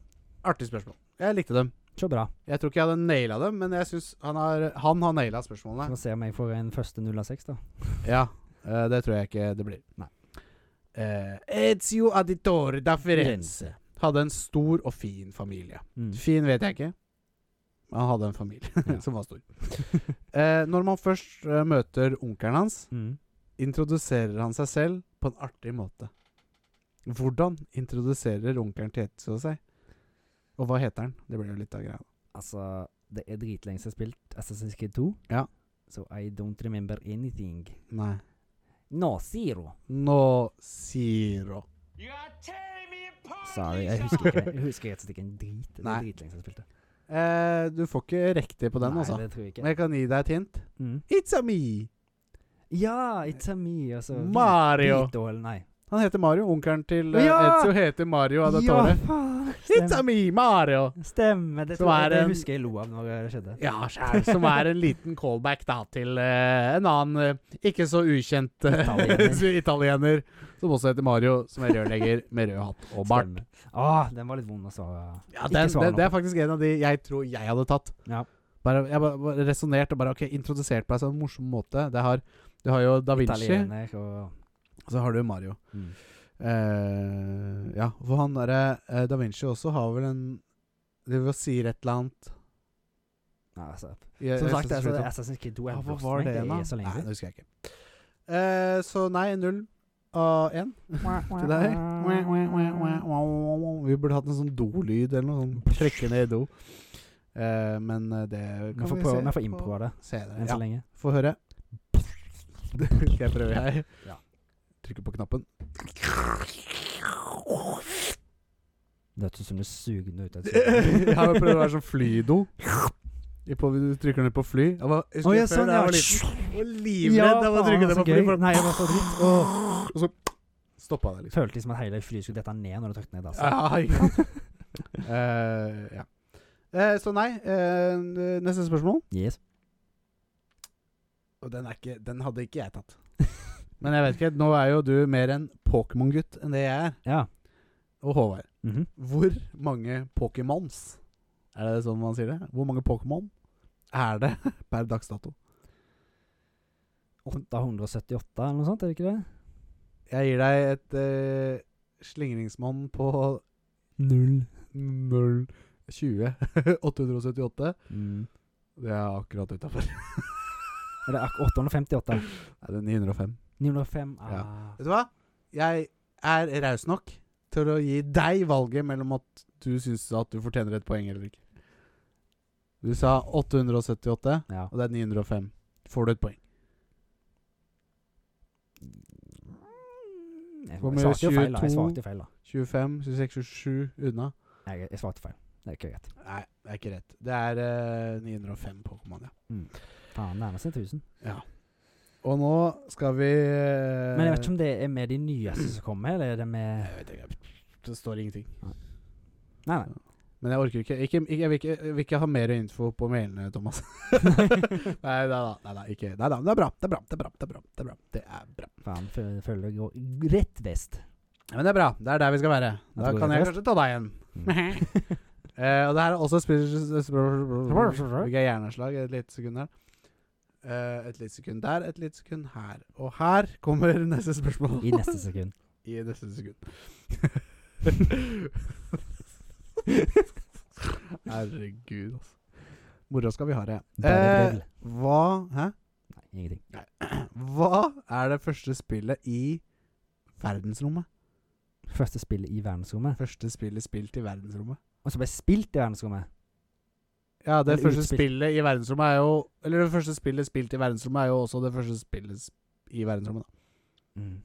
Speaker 1: Artige spørsmål. Jeg likte dem.
Speaker 2: Så bra.
Speaker 1: Jeg tror ikke jeg hadde naila dem, men jeg synes han har, han har naila
Speaker 2: [laughs]
Speaker 1: spørsmålene.
Speaker 2: Skal vi se om jeg får en første 0 av 6, da.
Speaker 1: Ja, eh, det tror jeg ikke det blir.
Speaker 2: Nei.
Speaker 1: Eh, Ezio Auditore da Firenze hadde en stor og fin familie.
Speaker 2: Mm.
Speaker 1: Fin vet jeg ikke, men han hadde en familie [laughs]
Speaker 2: Ja.
Speaker 1: som var stor. Eh, når man først eh, møter onkelen hans,
Speaker 2: Mm.
Speaker 1: introduserer han seg selv på en artig måte. Hvordan introduserer onkelen til Ezio seg? Og hva heter han? Det blir jo litt av greia.
Speaker 2: Altså, det er dritlenge siden jeg har spilt Assassin's Creed 2.
Speaker 1: Ja.
Speaker 2: So I don't remember anything.
Speaker 1: Nei.
Speaker 2: No zero.
Speaker 1: No zero.
Speaker 2: Sorry, jeg husker ikke [laughs] Jeg husker rett og slett ikke en drit. Det
Speaker 1: Nei.
Speaker 2: er dritlenge jeg spilte.
Speaker 1: Eh, du får ikke riktig på den,
Speaker 2: Nei,
Speaker 1: altså.
Speaker 2: det tror jeg
Speaker 1: Men
Speaker 2: ikke.
Speaker 1: jeg kan gi deg et hint.
Speaker 2: Mm.
Speaker 1: It's a me!
Speaker 2: Ja, It's a Me, altså.
Speaker 1: Mario.
Speaker 2: Beatdoll, nei.
Speaker 1: Han heter Mario. Onkelen til eh,
Speaker 2: Ja!
Speaker 1: Ezio heter Mario av dette
Speaker 2: ja,
Speaker 1: året.
Speaker 2: faen.
Speaker 1: It's a me, Mario!
Speaker 2: Stemmer. Det,
Speaker 1: Som
Speaker 2: tror jeg,
Speaker 1: er
Speaker 2: det
Speaker 1: en-
Speaker 2: husker jeg lo av når det skjedde.
Speaker 1: Ja, sjæl. Som er en liten callback da til eh, en annen eh, ikke så ukjent eh,
Speaker 2: Italiener.
Speaker 1: [laughs] italiener som også heter Mario, som er rørlegger med rød hatt
Speaker 2: [laughs]
Speaker 1: og bart.
Speaker 2: Stemmer. Ah, den var litt vond å svare.
Speaker 1: Ja,
Speaker 2: Ikke
Speaker 1: den,
Speaker 2: svare
Speaker 1: den,
Speaker 2: nå
Speaker 1: det er faktisk en av de jeg tror jeg hadde tatt.
Speaker 2: Ja.
Speaker 1: Bare, jeg bare, bare resonnerte og bare ok, introdusert på en sånn morsom måte. Det har, du har jo Da Vinci,
Speaker 2: Italiener og
Speaker 1: og så har du Mario.
Speaker 2: mm.
Speaker 1: Eh, ja, for han derre eh, Da Vinci også har vel en Det vil si et eller annet
Speaker 2: Nei, altså.
Speaker 1: Jeg-
Speaker 2: Som
Speaker 1: jeg
Speaker 2: sagt,
Speaker 1: synes
Speaker 2: altså,
Speaker 1: det er
Speaker 2: Assassin's Creed 2 er
Speaker 1: Ja, hva
Speaker 2: blåst
Speaker 1: var
Speaker 2: meg.
Speaker 1: det
Speaker 2: er
Speaker 1: da?
Speaker 2: Så lenge
Speaker 1: Nei,
Speaker 2: siden.
Speaker 1: det husker jeg ikke. Eh, så nei, null av én til deg. Vi burde hatt en sånn do-lyd eller noe sånt. Trekke ned i do. Eh, men eh, det
Speaker 2: Vi
Speaker 1: kan
Speaker 2: får
Speaker 1: vi
Speaker 2: prøve-
Speaker 1: se
Speaker 2: vi får
Speaker 1: på-
Speaker 2: improva det
Speaker 1: senere.
Speaker 2: enn
Speaker 1: Ja,
Speaker 2: så lenge.
Speaker 1: få [laughs] høre. Skal jeg prøve, jeg?
Speaker 2: Ja.
Speaker 1: Trykker på knappen.
Speaker 2: Det høres ut som du suger den
Speaker 1: [laughs]
Speaker 2: ut av et sugerør.
Speaker 1: [laughs] jeg har jo prøvd å være
Speaker 2: [laughs]
Speaker 1: sånn flydo. I på- Du trykker ned på fly. Jeg var, jeg husker
Speaker 2: Å, ja,
Speaker 1: før
Speaker 2: sånn,
Speaker 1: da jeg
Speaker 2: ja.
Speaker 1: var liten, og livredd da jeg var
Speaker 2: faen,
Speaker 1: trykket ned
Speaker 2: så
Speaker 1: på fly.
Speaker 2: gøy.
Speaker 1: for-
Speaker 2: Nei, jeg var så dritt. Åh.
Speaker 1: Og så stoppa det, liksom.
Speaker 2: Følte liksom at hele flyet skulle dette ned når du trykte ned. Altså.
Speaker 1: Ja, ikke sant? [laughs] Eh, ja. Eh, så nei, eh, neste spørsmål.
Speaker 2: [laughs] Yes.
Speaker 1: Og den, er ikke, den hadde ikke jeg tatt. [laughs] Men jeg vet ikke, nå er jo du mer en Pokémon-gutt enn det jeg er.
Speaker 2: Ja.
Speaker 1: Og Håvard.
Speaker 2: Mhm.
Speaker 1: Hvor mange Pokémons Er det sånn man sier det? Hvor mange Pokémon er det [laughs] per dags dato?
Speaker 2: 878 eller noe sånt, er det ikke det?
Speaker 1: Jeg gir deg et eh, slingringsmonn på
Speaker 2: Null.
Speaker 1: 0 [laughs] 20 878.
Speaker 2: Mm.
Speaker 1: Det er akkurat utafor.
Speaker 2: Eller ak-
Speaker 1: [laughs]
Speaker 2: 858.
Speaker 1: Er det 905?
Speaker 2: 905 ah.
Speaker 1: Vet du hva? Jeg er raus nok til å gi deg valget mellom at du syns at du fortjener et poeng eller ikke. Du sa 878,
Speaker 2: Ja.
Speaker 1: og det er 905. Får du et poeng?
Speaker 2: Jeg,
Speaker 1: Hvor
Speaker 2: jeg
Speaker 1: mye?
Speaker 2: svarte jo feil, da. Jeg
Speaker 1: 22?
Speaker 2: svarte jo feil, da.
Speaker 1: 25, 26, 27 unna.
Speaker 2: Jeg, jeg svarte feil. Det er ikke greit.
Speaker 1: Nei, det er ikke rett. Det er eh, 905 Pokémon, ja.
Speaker 2: Faen, nærmer seg 1000.
Speaker 1: Og nå skal vi eh,
Speaker 2: Men jeg vet ikke om det er med de nyeste som kommer, eller er det med
Speaker 1: Jeg vet ikke. Det står ingenting.
Speaker 2: Nei, nei.
Speaker 1: Men jeg orker ikke. ikke, ikke jeg, vil ikke jeg vil ikke ha mer info på mailene,
Speaker 2: [laughs]
Speaker 1: Thomas. [laughs] nei da, nei da. Ikke. Nei da. men Det er bra. Det er bra. Det er bra. Det er bra. Det er bra. Det er bra.
Speaker 2: Faen, føler føler jeg går rett vest.
Speaker 1: Ja, Men det er bra. Det er der vi skal være. Da
Speaker 2: det Mm. går
Speaker 1: kan jeg
Speaker 2: rett
Speaker 1: kanskje ta deg igjen. [laughs]
Speaker 2: [laughs]
Speaker 1: Eh, og det her er også spill... Fikk jeg hjerneslag et lite sekund her. Eh, et lite sekund der, et lite sekund her. Og her kommer neste spørsmål.
Speaker 2: I
Speaker 1: [laughs]
Speaker 2: neste sekund.
Speaker 1: I neste
Speaker 2: [laughs]
Speaker 1: sekund. Herregud, altså. Moro skal vi ha det.
Speaker 2: Bare
Speaker 1: Eh,
Speaker 2: drill.
Speaker 1: hva [clears throat] Hæ?
Speaker 2: Nei, ingenting.
Speaker 1: Hva er det første spillet i verdensrommet?
Speaker 2: Første spill i verdensrommet.
Speaker 1: Første spillet spilt i verdensrommet?
Speaker 2: Og så ble spilt i verdensrommet.
Speaker 1: Ja, det
Speaker 2: Eller
Speaker 1: første
Speaker 2: utspilt.
Speaker 1: spillet i verdensrommet er jo Eller det første spillet spilt i verdensrommet er jo også det første spillet sp- i verdensrommet, da, Mm.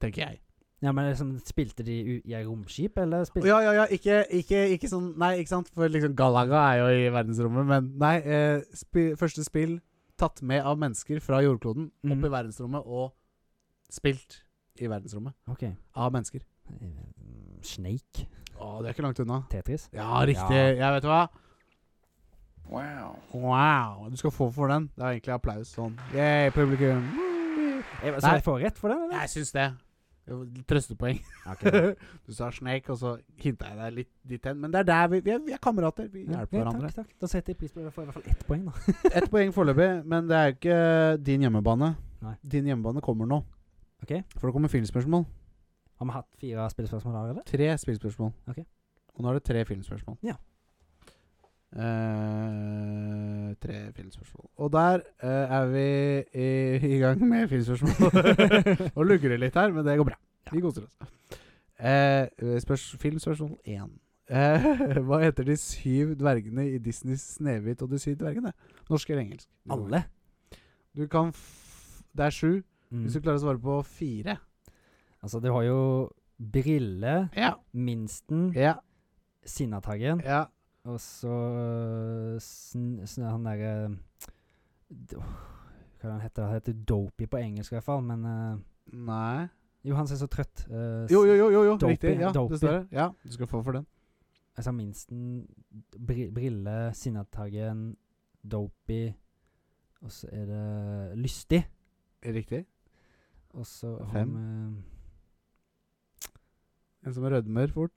Speaker 1: tenker jeg.
Speaker 2: Ja, men liksom, spilte de u i et romskip, eller
Speaker 1: Å,
Speaker 2: spilte
Speaker 1: Ja, ja, ja, ikke, ikke, ikke sånn Nei, ikke sant, for liksom Galaga er jo i verdensrommet, men nei. Eh, spi, første spill tatt med av mennesker fra jordkloden
Speaker 2: Mhm.
Speaker 1: opp i verdensrommet og spilt i verdensrommet
Speaker 2: Ok.
Speaker 1: av mennesker.
Speaker 2: Eh, Snake?
Speaker 1: Å, det er ikke langt unna.
Speaker 2: Tetris?
Speaker 1: Ja, riktig.
Speaker 2: Ja.
Speaker 1: Jeg vet du hva. Wow. Du skal få for den. Det er egentlig applaus sånn. Yay, publikum.
Speaker 2: Jeg, Eh, så
Speaker 1: Nei.
Speaker 2: jeg får rett for den, eller?
Speaker 1: Jeg syns det. Det var litt Trøstepoeng.
Speaker 2: Ok. [laughs]
Speaker 1: [laughs] du sa snake, og så hinta jeg deg litt dit hen. Men det er der vi, vi, er, vi er kamerater. Vi
Speaker 2: Ja,
Speaker 1: hjelper hverandre.
Speaker 2: Takk, takk. Da setter jeg pris på det. Da får jeg i hvert fall ett poeng, da.
Speaker 1: Ett poeng foreløpig, men det er jo ikke eh, din hjemmebane.
Speaker 2: Nei.
Speaker 1: Din hjemmebane kommer nå.
Speaker 2: Ok.
Speaker 1: For det kommer filmspørsmål.
Speaker 2: Har vi hatt fire spillspørsmål da, eller?
Speaker 1: Tre spillspørsmål.
Speaker 2: Ok.
Speaker 1: Og nå er det tre filmspørsmål.
Speaker 2: Ja.
Speaker 1: Eh, tre filmspørsmål. Og der eh, er vi i, i gang med
Speaker 2: [laughs]
Speaker 1: filmspørsmål. Og lugger det litt her, men det går bra.
Speaker 2: Ja.
Speaker 1: Vi koser oss. Eh, spørs, filmspørsmål én. Eh, [laughs] hva heter de syv dvergene i Disneys 'Snehvit og de syv dvergene'? Norsk eller engelsk?
Speaker 2: Alle?
Speaker 1: Du kan f Det er sju.
Speaker 2: Mm.
Speaker 1: Hvis du klarer å svare på fire
Speaker 2: Altså, du har jo Brille,
Speaker 1: Ja.
Speaker 2: Minsten,
Speaker 1: Ja.
Speaker 2: Sinnataggen
Speaker 1: ja.
Speaker 2: og så øh, sn, sn, han derre Hva er det han heter han? heter Dopey på engelsk i hvert fall, men øh,
Speaker 1: Nei
Speaker 2: Jo, han ser så trøtt. øh, s-
Speaker 1: Jo, jo, jo, jo, jo.
Speaker 2: Dopey,
Speaker 1: riktig. Ja,
Speaker 2: dopey.
Speaker 1: det står det. Ja, du skal få for den.
Speaker 2: Altså Minsten, bri, Brille, Sinnataggen, Dopey Og så er det Lystig.
Speaker 1: Riktig.
Speaker 2: Og så øh, har
Speaker 1: Fem.
Speaker 2: vi-
Speaker 1: En som rødmer fort.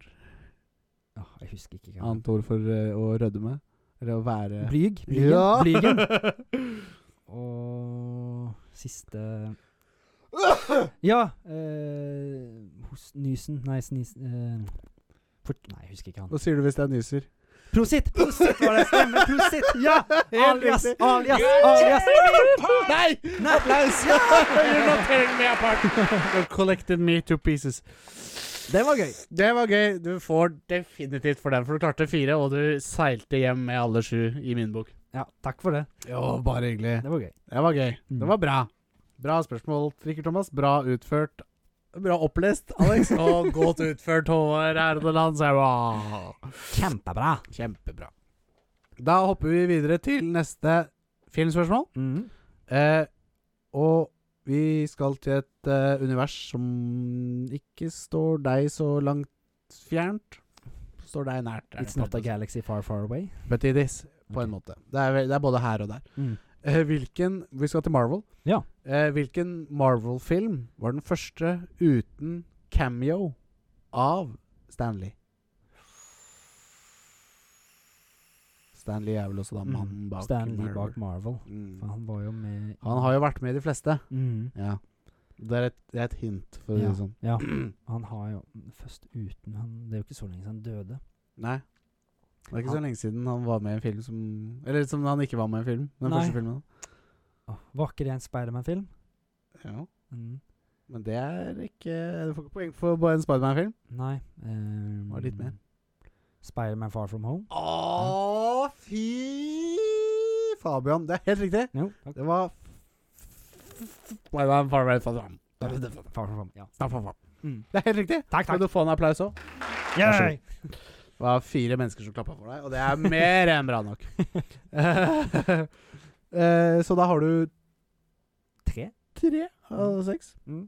Speaker 2: Åh, Jeg husker ikke. hva han-
Speaker 1: Annet ord for eh, å rødme. Eller å være
Speaker 2: Blyg. Blygen.
Speaker 1: Ja.
Speaker 2: Blygen. Og siste Ja! Eh, hos Nysen Nei, snis... Eh, fort, nei, jeg husker ikke han.
Speaker 1: [laughs] Hva sier du hvis jeg nyser?
Speaker 2: Prosit! Prosit var det! Stemmer! Prosit! Ja!
Speaker 1: [laughs] Helt
Speaker 2: Alias!
Speaker 1: riktig.
Speaker 2: Alias! Alias!
Speaker 1: Nei!
Speaker 2: Nei!
Speaker 1: Applaus! You're not tearing me apart. You're collected me to pieces.
Speaker 2: Det var gøy.
Speaker 1: Det var gøy. Du får definitivt for den, for du klarte fire, og du seilte hjem med alle sju i min bok.
Speaker 2: Ja, takk for det.
Speaker 1: Jo, bare hyggelig.
Speaker 2: Det var gøy.
Speaker 1: Det var gøy.
Speaker 2: Mm.
Speaker 1: Det var bra. Bra spørsmål, Trikker Thomas. Bra utført. Bra opplest, Alex. [laughs] Og godt utført, Håvard Erdeland.
Speaker 2: Kjempebra.
Speaker 1: Kjempebra. Da hopper vi videre til neste filmspørsmål.
Speaker 2: Mm.
Speaker 1: Eh, og vi skal til et eh, univers som ikke står deg så langt fjernt. Står deg nært. er det
Speaker 2: It's not a
Speaker 1: faktisk.
Speaker 2: galaxy far, far away.
Speaker 1: But it is, på
Speaker 2: Ok.
Speaker 1: en måte. Det er, vel- det er både her og der.
Speaker 2: Mm.
Speaker 1: Eh, hvilken Vi skal til Marvel.
Speaker 2: Ja.
Speaker 1: Eh, hvilken Marvel-film var den første uten cameo av Stanley? Stanley er vel også da mannen bak
Speaker 2: Stanley
Speaker 1: Marvel.
Speaker 2: Mm. bak Marvel. For
Speaker 1: Mm.
Speaker 2: han var jo med i-
Speaker 1: Han har jo vært med i de fleste.
Speaker 2: Mm.
Speaker 1: Ja. Det er et, det er et hint, for å si det sånn.
Speaker 2: Ja. Han har jo Først uten han Det er jo ikke så lenge siden han døde.
Speaker 1: Nei. Det er ikke
Speaker 2: Han-
Speaker 1: så lenge siden han var med i en film som Eller som han ikke var med i en film. Den
Speaker 2: Nei.
Speaker 1: første filmen.
Speaker 2: Åh, var ikke det en Spiderman-film?
Speaker 1: Ja.
Speaker 2: Mm.
Speaker 1: Men det er ikke Du får ikke poeng for bare en Spiderman-film.
Speaker 2: Nei. Um,
Speaker 1: Var det litt mer?
Speaker 2: Spiderman Far From Home?
Speaker 1: Å, fy Fabian. Det er helt riktig.
Speaker 2: Jo. takk.
Speaker 1: Det var Spiderman Far Away Far From.
Speaker 2: Far From Home, ja.
Speaker 1: Far From.
Speaker 2: Mm.
Speaker 1: Det er helt riktig.
Speaker 2: Takk, takk.
Speaker 1: Skal du få en applaus òg? Vær så god. Det var fire mennesker som klappa for deg, og det er mer enn bra nok. [laughs] Eh, Så da har du
Speaker 2: Tre?
Speaker 1: tre av seks.
Speaker 2: Mm.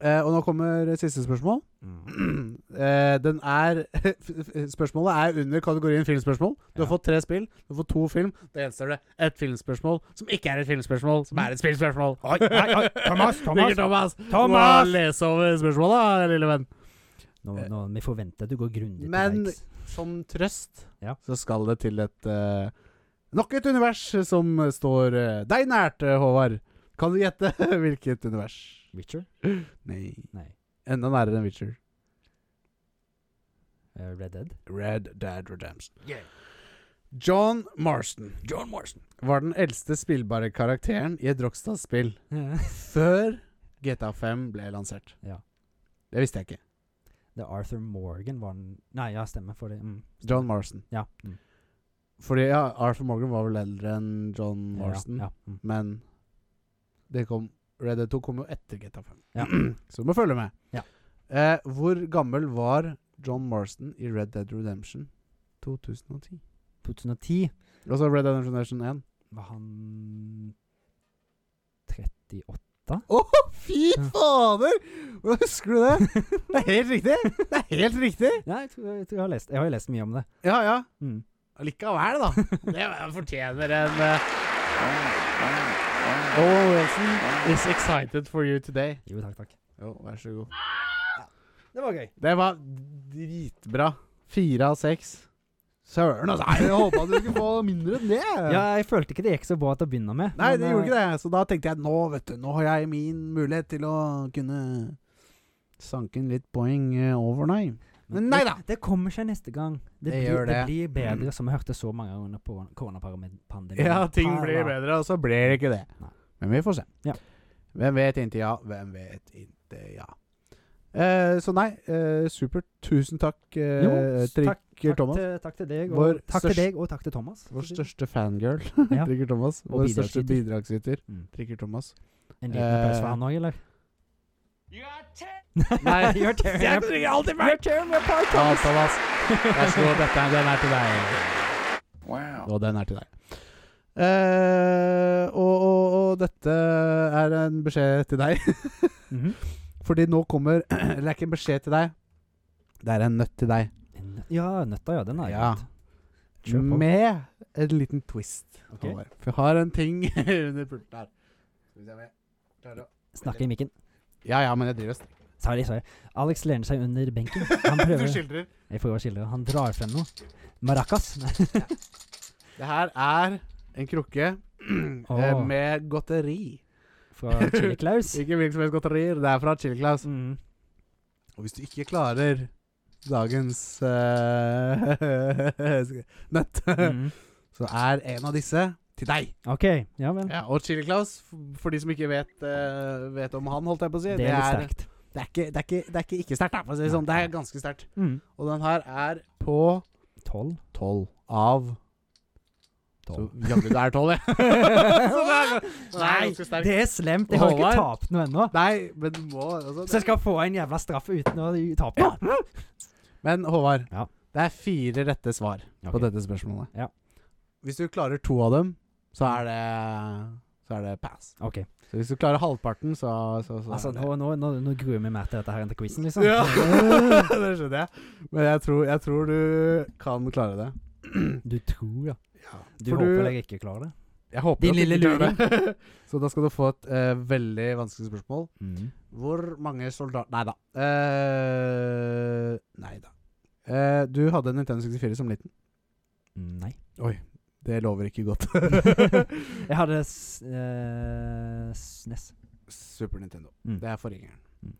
Speaker 1: Eh, Og nå kommer siste spørsmål. [clears throat]
Speaker 2: Mm.
Speaker 1: Eh, Den er [laughs] Spørsmålet er under kategorien filmspørsmål. Du har
Speaker 2: Ja.
Speaker 1: fått tre spill, du har fått to film. Da gjenstår det ett filmspørsmål som ikke er et filmspørsmål, som er et spillspørsmål.
Speaker 2: Oi, oi,
Speaker 1: [laughs]
Speaker 2: oi, Thomas, Thomas.
Speaker 1: Ikke Thomas. Du må
Speaker 2: Thomas!
Speaker 1: lese over spørsmålet, lille venn.
Speaker 2: Nå, nå, vi forventer at du går grundig
Speaker 1: Eh. Men-
Speaker 2: til verks.
Speaker 1: Som trøst
Speaker 2: Ja.
Speaker 1: så skal det til et eh, Nok et univers som står eh, deg nært, eh, Håvard. Kan du gjette [laughs] hvilket univers?
Speaker 2: Witcher?
Speaker 1: Nei.
Speaker 2: Nei.
Speaker 1: Enda nærere enn Witcher.
Speaker 2: Eh, Red Dead?
Speaker 1: Red Dad Redemption. John Marston John Marston var den eldste spillbare karakteren i et Rockstar-spill før GTA5 ble lansert.
Speaker 2: Ja.
Speaker 1: Det visste jeg ikke.
Speaker 2: [laughs] Det er Arthur Morgan var den Nei, ja, stemmer for det. Mm.
Speaker 1: John Marston.
Speaker 2: Ja. Mm.
Speaker 1: Fordi ja, Arthur Morgan var vel eldre enn John Marston.
Speaker 2: Ja, ja. Mm.
Speaker 1: Men det kom, Red Dead 2 kom jo etter GTA 5.
Speaker 2: Ja.
Speaker 1: [clears throat] Så du må følge med.
Speaker 2: Ja.
Speaker 1: Eh, hvor gammel var John Marston i Red Dead Redemption 2010?
Speaker 2: 2010
Speaker 1: Altså Red Dead Redemption 1.
Speaker 2: var han 38.
Speaker 1: Å, fy
Speaker 2: Ja.
Speaker 1: fader! Hvordan husker du det? [laughs] Det er helt riktig! Det er helt riktig!
Speaker 2: Nei, jeg tror, jeg, tror jeg, har lest, jeg har jo lest mye om det.
Speaker 1: Ja, ja.
Speaker 2: Mm.
Speaker 1: Likevel, da. Det fortjener en uh... Owen Wilson is excited for you today.
Speaker 2: Jo, takk, takk.
Speaker 1: Jo, vær så god.
Speaker 2: Det var gøy.
Speaker 1: Det var dritbra. Fire av seks. Søren, altså. Nei, Jeg håpa du skulle få mindre enn det. [laughs]
Speaker 2: Ja, jeg følte ikke det gikk så bra til å begynne med. eh,
Speaker 1: Nei, det gjorde ikke det. Så da tenkte jeg nå, vet du, nå har jeg min mulighet til å kunne sanke inn litt poeng eh, over, nei. Men nei da.
Speaker 2: Det kommer seg neste gang. Det,
Speaker 1: Det
Speaker 2: blir,
Speaker 1: gjør
Speaker 2: det.
Speaker 1: det. Mm.
Speaker 2: blir bedre, som jeg hørte så mange ganger under por- koronapandemien.
Speaker 1: bedre, og så blir det ikke det.
Speaker 2: Nei.
Speaker 1: Men vi får se.
Speaker 2: Ja.
Speaker 1: Hvem vet inntil ja, hvem vet inntil ja. Eh, så nei, eh, supert. Tusen takk, eh,
Speaker 2: Jo, takk,
Speaker 1: Trigger
Speaker 2: takk,
Speaker 1: Thomas.
Speaker 2: til, takk til deg, og
Speaker 1: Vår
Speaker 2: takk til
Speaker 1: størst-
Speaker 2: deg, og takk til Thomas.
Speaker 1: Vår største fangirl, [laughs]
Speaker 2: Ja.
Speaker 1: Trigger Thomas.
Speaker 2: Og
Speaker 1: Vår største bidragsyter,
Speaker 2: Mm.
Speaker 1: Trigger Thomas.
Speaker 2: En liten applaus for
Speaker 1: Eh.
Speaker 2: han òg,
Speaker 1: [laughs]
Speaker 2: eller?
Speaker 4: Nei,
Speaker 2: You're tearing
Speaker 4: Det er
Speaker 2: up-
Speaker 4: ikke alltid
Speaker 2: You're tearing me apart,
Speaker 4: Ja,
Speaker 2: Thomas.
Speaker 4: Thomas. Vær så god, dette, den er til deg.
Speaker 1: Og den er til deg. Eh, og, og, og dette er en beskjed til deg.
Speaker 2: Mhm.
Speaker 1: Fordi nå kommer [clears throat] Eller det er ikke en beskjed til deg. Det er en nøtt til deg.
Speaker 2: En nøtt- Ja, nøtta, ja. Den er
Speaker 1: Ja.
Speaker 2: greit. Kjør på.
Speaker 1: Med en liten twist.
Speaker 2: Ok.
Speaker 1: Håvard. For jeg har en ting [laughs] under pulten her. Skal vi se om jeg klarer å
Speaker 2: Snakk i mikken.
Speaker 1: Ja ja, men jeg driver og strekker.
Speaker 2: Sorry, sorry. Alex lener seg under benken.
Speaker 1: [laughs]
Speaker 2: Han prøver
Speaker 1: Du skildrer.
Speaker 2: Jeg får jo skildre. Han drar frem noe. Maracas. [laughs] Nei.
Speaker 1: Det her er en krukke [clears throat] eh,
Speaker 2: Åh.
Speaker 1: med godteri. [laughs]
Speaker 2: Fra Chili Claus.
Speaker 1: Ikke hvilket som helst godteri. Det er fra Chili Claus. [laughs]
Speaker 2: Mm.
Speaker 1: Og hvis du ikke klarer dagens eh, [laughs] nøtt,
Speaker 2: Mm.
Speaker 1: [laughs] så er en av disse til deg.
Speaker 2: OK. Ja vel.
Speaker 1: Ja, og Chili Claus, f- for de som ikke vet, eh, vet om han, holdt jeg på å si
Speaker 2: Det er litt sterkt.
Speaker 1: det er ikke, det er ikke, det er ikke, ikke sterkt, da, for å si det sånn. Det er ganske sterkt.
Speaker 2: Mm.
Speaker 1: Og den her er på
Speaker 2: 12.
Speaker 1: tolv av Så [laughs]
Speaker 2: Tolv.
Speaker 1: jaggu det er tolv, jeg. Så det er- det er
Speaker 2: [laughs] Nei,
Speaker 1: ganske sterkt.
Speaker 2: det er slemt. Jeg har ikke
Speaker 1: Håvard.
Speaker 2: tapt noe ennå.
Speaker 1: Nei, men du må altså,
Speaker 2: Så jeg skal få en jævla straff uten å tape. Ja.
Speaker 1: Men Håvard,
Speaker 2: Ja.
Speaker 1: det er fire rette svar på dette spørsmålet.
Speaker 2: Ja.
Speaker 1: Hvis du klarer to av dem, så er det Så er det pass.
Speaker 2: OK.
Speaker 1: Så hvis du klarer halvparten, så, så, så
Speaker 2: Altså,
Speaker 1: er det.
Speaker 2: nå, nå, nå, nå gruer jeg meg mer til dette her enn til quizen, liksom.
Speaker 1: Ja,
Speaker 2: [laughs]
Speaker 1: det skjønner jeg. Men jeg tror, jeg tror du kan klare det.
Speaker 2: Du tror, ja. Du
Speaker 1: For
Speaker 2: håper jeg ikke klarer det.
Speaker 1: Jeg håper
Speaker 2: Din
Speaker 1: at du
Speaker 2: lille
Speaker 1: ikke klarer det. [laughs] så da skal du få et eh, veldig vanskelig spørsmål.
Speaker 2: Mm.
Speaker 1: Hvor mange soldater Nei da. Eh, nei da. Eh, du hadde en Nintendo 64 som liten. [laughs]
Speaker 2: Nei.
Speaker 1: Det lover ikke godt. [laughs]
Speaker 2: jeg hadde s- eh, SNES.
Speaker 1: Super Nintendo.
Speaker 2: Mm.
Speaker 1: Det er forgjengeren.
Speaker 2: Mm.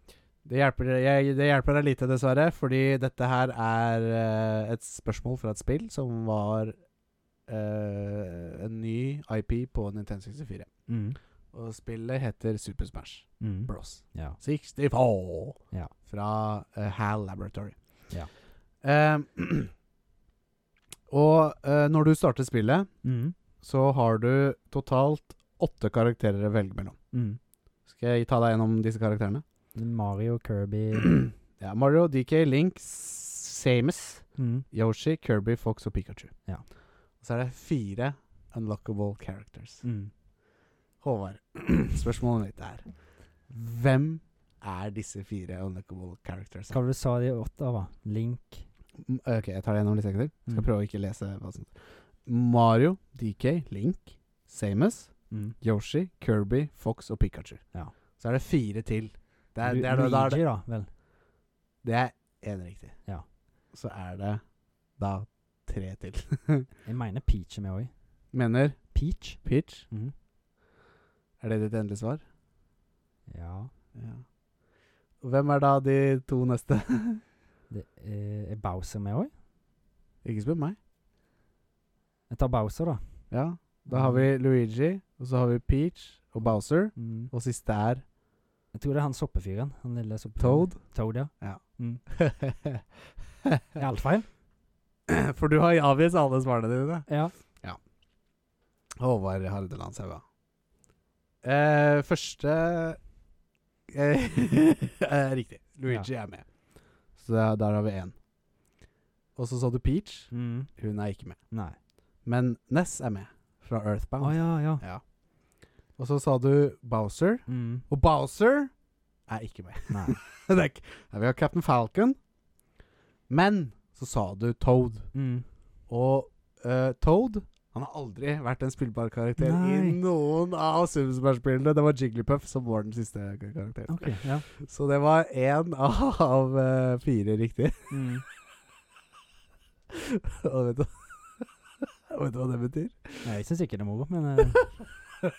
Speaker 1: Det hjelper, jeg, det hjelper deg lite, dessverre, fordi dette her er eh, et spørsmål fra et spill som var eh, en ny IP på Nintendo 64.
Speaker 2: Mm.
Speaker 1: Og spillet heter Super Smash
Speaker 2: Mm.
Speaker 1: Bros.
Speaker 2: Ja.
Speaker 1: 64
Speaker 2: Ja.
Speaker 1: fra eh, HAL Laboratory.
Speaker 2: Ja.
Speaker 1: Eh, [clears throat] og eh, når du starter spillet,
Speaker 2: Mm.
Speaker 1: så har du totalt åtte karakterer å velge mellom.
Speaker 2: Mm.
Speaker 1: Skal jeg ta deg gjennom disse karakterene?
Speaker 2: Mario,
Speaker 1: [clears throat]
Speaker 2: Kirby
Speaker 1: Ja, Mario, DK, Link, Samus,
Speaker 2: mm.
Speaker 1: Yoshi, Kirby, Fox og Pikachu.
Speaker 2: Ja.
Speaker 1: Og så er det fire unlockable characters.
Speaker 2: Mm.
Speaker 1: Håvard, [clears throat] spørsmålet mitt er Hvem er disse fire unlockable characters?
Speaker 2: Hva var det du sa de åtte av? da? Link
Speaker 1: M- Ok, jeg tar det gjennom litt sekund til. Skal
Speaker 2: Mm.
Speaker 1: prøve å ikke lese hva som Mario, DK, Link, Samus,
Speaker 2: mm.
Speaker 1: Yoshi, Kirby, Fox og Pikachu.
Speaker 2: Ja.
Speaker 1: Så er det fire til. Det er,
Speaker 2: Lu-
Speaker 1: det er, da- da er,
Speaker 2: Luigi, da, vel.
Speaker 1: det- det er én riktig.
Speaker 2: Ja.
Speaker 1: Så er det da tre til. [laughs]
Speaker 2: Jeg mener Peach er med òg.
Speaker 1: Mener
Speaker 2: Peach?
Speaker 1: Peach.
Speaker 2: Mhm.
Speaker 1: Er det ditt endelige svar?
Speaker 2: Ja.
Speaker 1: Ja. Hvem er da de to neste? [laughs]
Speaker 2: Det er, er Bowser med òg?
Speaker 1: Ikke spør meg.
Speaker 2: Jeg tar Bowser, da.
Speaker 1: Ja. Da har vi Luigi, og så har vi Peach og Bowser.
Speaker 2: Mm.
Speaker 1: Og siste er
Speaker 2: Jeg tror det er han soppefyren. Han lille soppefyren. [laughs]
Speaker 1: Toad.
Speaker 2: Toad, ja. Er alt feil?
Speaker 1: [laughs] For du har avgitt alle svarene dine.
Speaker 2: Ja.
Speaker 1: Håvard Hardeland Saua. Eh, første [laughs] eh, eh, Riktig. Luigi er med. Så da- der har vi én. Og så sa du Peach.
Speaker 2: Mm.
Speaker 1: Hun er ikke med.
Speaker 2: Nei.
Speaker 1: Men Ness er med, fra
Speaker 2: Å
Speaker 1: Earthbound.
Speaker 2: ja, ja.
Speaker 1: Ja. Og så sa du Bowser.
Speaker 2: Mm.
Speaker 1: Og Bowser er ikke med. [laughs]
Speaker 2: Nei.
Speaker 1: Det er ikke- Nei, vi har Captain Falcon. Men så sa du Toad.
Speaker 2: Mm.
Speaker 1: Og eh, Toad han har aldri vært en spillbar karakter i
Speaker 2: Nei.
Speaker 1: noen av Super Smash-spillene. Det var Jigglypuff som var den siste kar- karakteren.
Speaker 2: OK. Ja.
Speaker 1: Så det var én [laughs] av, eh, fire riktig. [laughs]
Speaker 2: Mm.
Speaker 1: Og vet du, [laughs] vet du hva det betyr?
Speaker 2: Nei, Jeg syns ikke det er moro, men eh,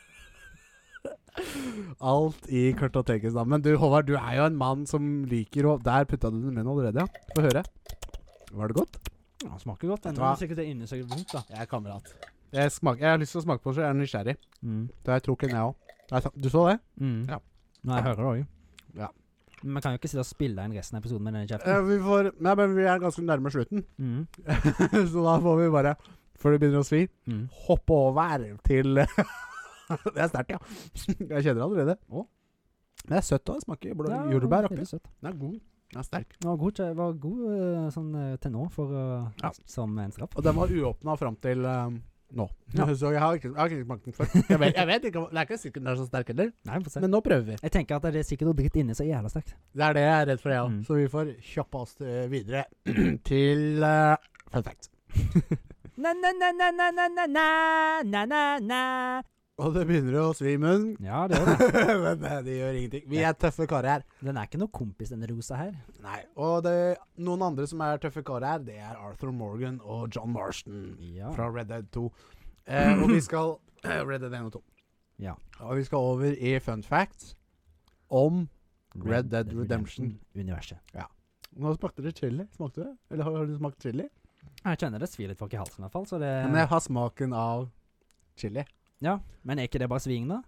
Speaker 1: Alt i kartotekets navn. Men du, Håvard, du er jo en mann som liker å Der putta du den i munnen allerede, ja. Få høre. Var det godt?
Speaker 2: han smaker godt.
Speaker 1: Vet du
Speaker 2: Enda
Speaker 1: hva?
Speaker 2: om sikkert det inni seg er vondt, da.
Speaker 1: Jeg er kamerat. Jeg, smak, jeg har lyst til å smake på det, så jeg er nysgjerrig.
Speaker 2: Mm.
Speaker 1: Så jeg tok en, jeg òg. Du så det?
Speaker 2: Mm.
Speaker 1: Ja.
Speaker 2: Nei, jeg hører det òg.
Speaker 1: Ja.
Speaker 2: Men vi kan jo ikke sitte og spille inn resten av episoden med denne
Speaker 1: Eh,
Speaker 2: kjeften.
Speaker 1: vi får Nei, men vi er ganske nærme slutten,
Speaker 2: Mm.
Speaker 1: [laughs] så da får vi bare, før det begynner å svi,
Speaker 2: Mm.
Speaker 1: hoppe over til [laughs] det er sterkt, ja. Jeg kjenner det allerede.
Speaker 2: Å.
Speaker 1: Men det er søtt òg. Smaker blå
Speaker 2: Ja,
Speaker 1: jordbær oppi.
Speaker 2: veldig søtt.
Speaker 1: Den er god. Den er sterk.
Speaker 2: Den var god, til- var god eh, sånn, eh, til nå, for, eh,
Speaker 1: Ja.
Speaker 2: som en straff.
Speaker 1: Og den var uåpna fram til eh, nå.
Speaker 2: Ja.
Speaker 1: [laughs] Så jeg har ikke, jeg har ikke smakt den før. Jeg vet, jeg vet ikke, om- Det er ikke sikkert den er så sterk heller,
Speaker 2: Nei, vi får se.
Speaker 1: men nå prøver vi.
Speaker 2: jeg tenker at det er sikkert noe dritt inni så jævla sterkt.
Speaker 1: Det er det jeg er redd for, jeg òg.
Speaker 2: Mm.
Speaker 1: Så vi får kjappe oss eh, videre [clears throat] til eh, fun fact.
Speaker 3: Na-na-na-na-na-na-na-na-na
Speaker 1: Og det begynner å svi i munnen.
Speaker 2: Ja, det gjør det.
Speaker 1: [laughs] Men eh, det gjør ingenting. Vi er tøffe karer her.
Speaker 2: Den er ikke noe kompis, den rosa her.
Speaker 1: Nei. Og det, noen andre som er tøffe karer her, det er Arthur Morgan og John Marston
Speaker 2: Ja.
Speaker 1: fra Red Dead 2. Eh, og vi skal Red Dead 1 og 2.
Speaker 2: Ja.
Speaker 1: Og vi skal over i fun fact om Red Dead Redemption.
Speaker 2: Universet.
Speaker 1: Nå smakte det chili. Smakte det? Eller har, har du smakt chili?
Speaker 2: Jeg kjenner det svir litt folk i halsen i hvert fall, så det
Speaker 1: Men jeg har smaken av chili.
Speaker 2: Ja, men er ikke det bare sving, da?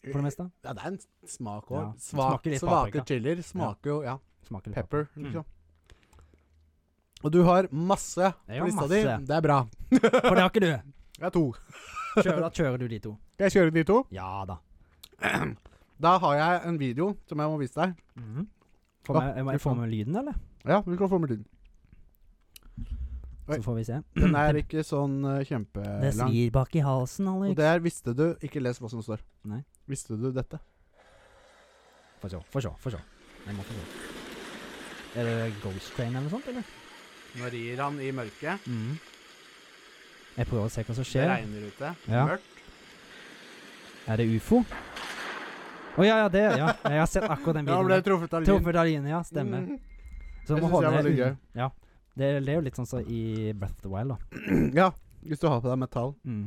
Speaker 2: For det meste?
Speaker 1: Ja, det er en smak òg.
Speaker 2: Ja, det
Speaker 1: Svak,
Speaker 2: smaker litt
Speaker 1: svake
Speaker 2: paprika.
Speaker 1: chilier smaker jo ja,
Speaker 2: Smaker litt
Speaker 1: pepper,
Speaker 4: Mm.
Speaker 1: liksom. Og du har masse
Speaker 2: Jeg har
Speaker 1: på lista di.
Speaker 2: masse.
Speaker 1: Det er bra.
Speaker 2: paprika. For det har ikke du!
Speaker 1: [laughs] Det er to.
Speaker 2: Kjører, da kjører du de to.
Speaker 1: Skal jeg kjøre de to?
Speaker 2: Ja da.
Speaker 1: Da har jeg en video som jeg må vise deg.
Speaker 2: Mhm. Får
Speaker 1: Ah,
Speaker 2: med- jeg må- jeg får med lyden, eller?
Speaker 1: Ja, vi kan få med lyden. Oi.
Speaker 2: Så får vi se.
Speaker 1: Den
Speaker 2: [clears throat]
Speaker 1: er ikke sånn eh,
Speaker 2: Det
Speaker 1: kjempelang.
Speaker 2: svir bak i halsen,
Speaker 1: Og
Speaker 2: Alex.
Speaker 1: der visste du Ikke les hva som står.
Speaker 2: Nei.
Speaker 1: Visste du dette?
Speaker 2: Få se, få se, få se. Jeg må få se. Er det Ghost Train eller noe sånt, eller?
Speaker 1: Nå rir han i mørket.
Speaker 2: Mm. Jeg prøver å se hva som skjer.
Speaker 1: regner ute.
Speaker 2: Ja.
Speaker 1: Mørkt.
Speaker 2: Er det ufo? Å ja, ja, det ja. Jeg har sett akkurat den
Speaker 1: Ja, ble
Speaker 2: videoen.
Speaker 1: truffet av lyn.
Speaker 2: Trumfer Daline, ja. Stemmer.
Speaker 1: Mm.
Speaker 2: Så
Speaker 1: Det
Speaker 2: må
Speaker 1: synes jeg
Speaker 2: holde
Speaker 1: var litt
Speaker 2: un-
Speaker 1: gøy.
Speaker 2: Ja. Det, det er jo litt sånn som i Breath of the Wild, da.
Speaker 1: Mm. [clears throat] Ja, hvis du har på deg metall.
Speaker 2: Mm.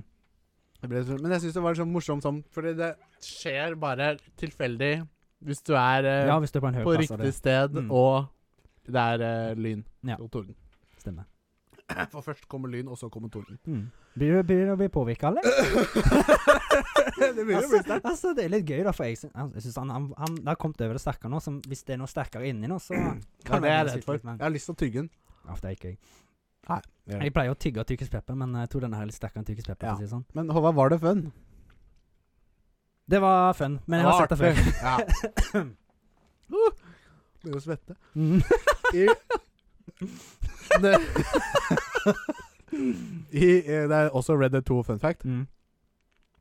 Speaker 1: Det ble, så- men jeg syns det var sånn morsomt sånn, fordi det skjer bare tilfeldig hvis du er eh,
Speaker 2: Ja, hvis du er på en høy
Speaker 1: på
Speaker 2: plass. er
Speaker 1: riktig
Speaker 2: det-
Speaker 1: sted,
Speaker 2: Mm.
Speaker 1: og det er eh, lyn
Speaker 2: Ja.
Speaker 1: og torden.
Speaker 2: Stemmer.
Speaker 1: For først kommer lyn, og så kommer torden.
Speaker 2: Mm. Blir du- blir du å bli påvirka, eller?
Speaker 1: [laughs] det begynner å bli
Speaker 2: Altså, altså, det er litt gøy, da, for jeg syns, jeg syns han, han, han det har kommet over det sterkere nå. Som hvis det er noe sterkere inni nå,
Speaker 1: [clears throat]
Speaker 2: så
Speaker 1: Ja,
Speaker 2: kan
Speaker 1: det er jeg
Speaker 2: bli
Speaker 1: redd
Speaker 2: skutt
Speaker 1: for.
Speaker 2: litt, men-
Speaker 1: Jeg har lyst til å tygge den.
Speaker 2: Ja, for det er ikke jeg.
Speaker 1: Nei, det er det.
Speaker 2: Jeg pleier å tygge av tyrkisk pepper, men eh, jeg tror denne her er litt sterkere enn tyrkisk pepper.
Speaker 1: Ja.
Speaker 2: for å Si det, sånn.
Speaker 1: Men Håvard, var det fun?
Speaker 2: det var fun, men jeg har sett det før.
Speaker 1: Ja. [laughs] Uh, Begynner å svette.
Speaker 2: Mm.
Speaker 1: I, det, [laughs] I, eh, det er også Red Dead 2 fun fact.
Speaker 2: Mm.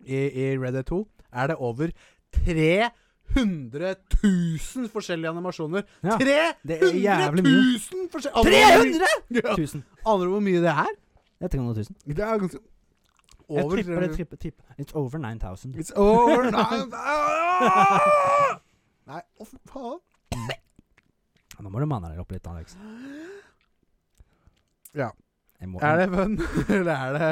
Speaker 1: I, i Red Dead 2 er det over 300 000 forskjellige animasjoner.
Speaker 2: Ja,
Speaker 1: 300
Speaker 2: Det er
Speaker 1: 000
Speaker 2: jævlig mye.
Speaker 1: forskjellige
Speaker 2: 300
Speaker 1: Ja.
Speaker 2: 1000.
Speaker 1: Aner du hvor mye det er?
Speaker 2: Det er 300 000.
Speaker 1: Det er ganske
Speaker 2: Jeg
Speaker 1: over
Speaker 2: tripper, jeg
Speaker 1: 300 000.
Speaker 2: tripper, tripper. It's over 9000.
Speaker 1: It's over now. [laughs] Nei, å for faen.
Speaker 2: Nå må du manne deg opp litt, Alex.
Speaker 1: Ja.
Speaker 2: Jeg må,
Speaker 1: Er det fun? Eller er [laughs] det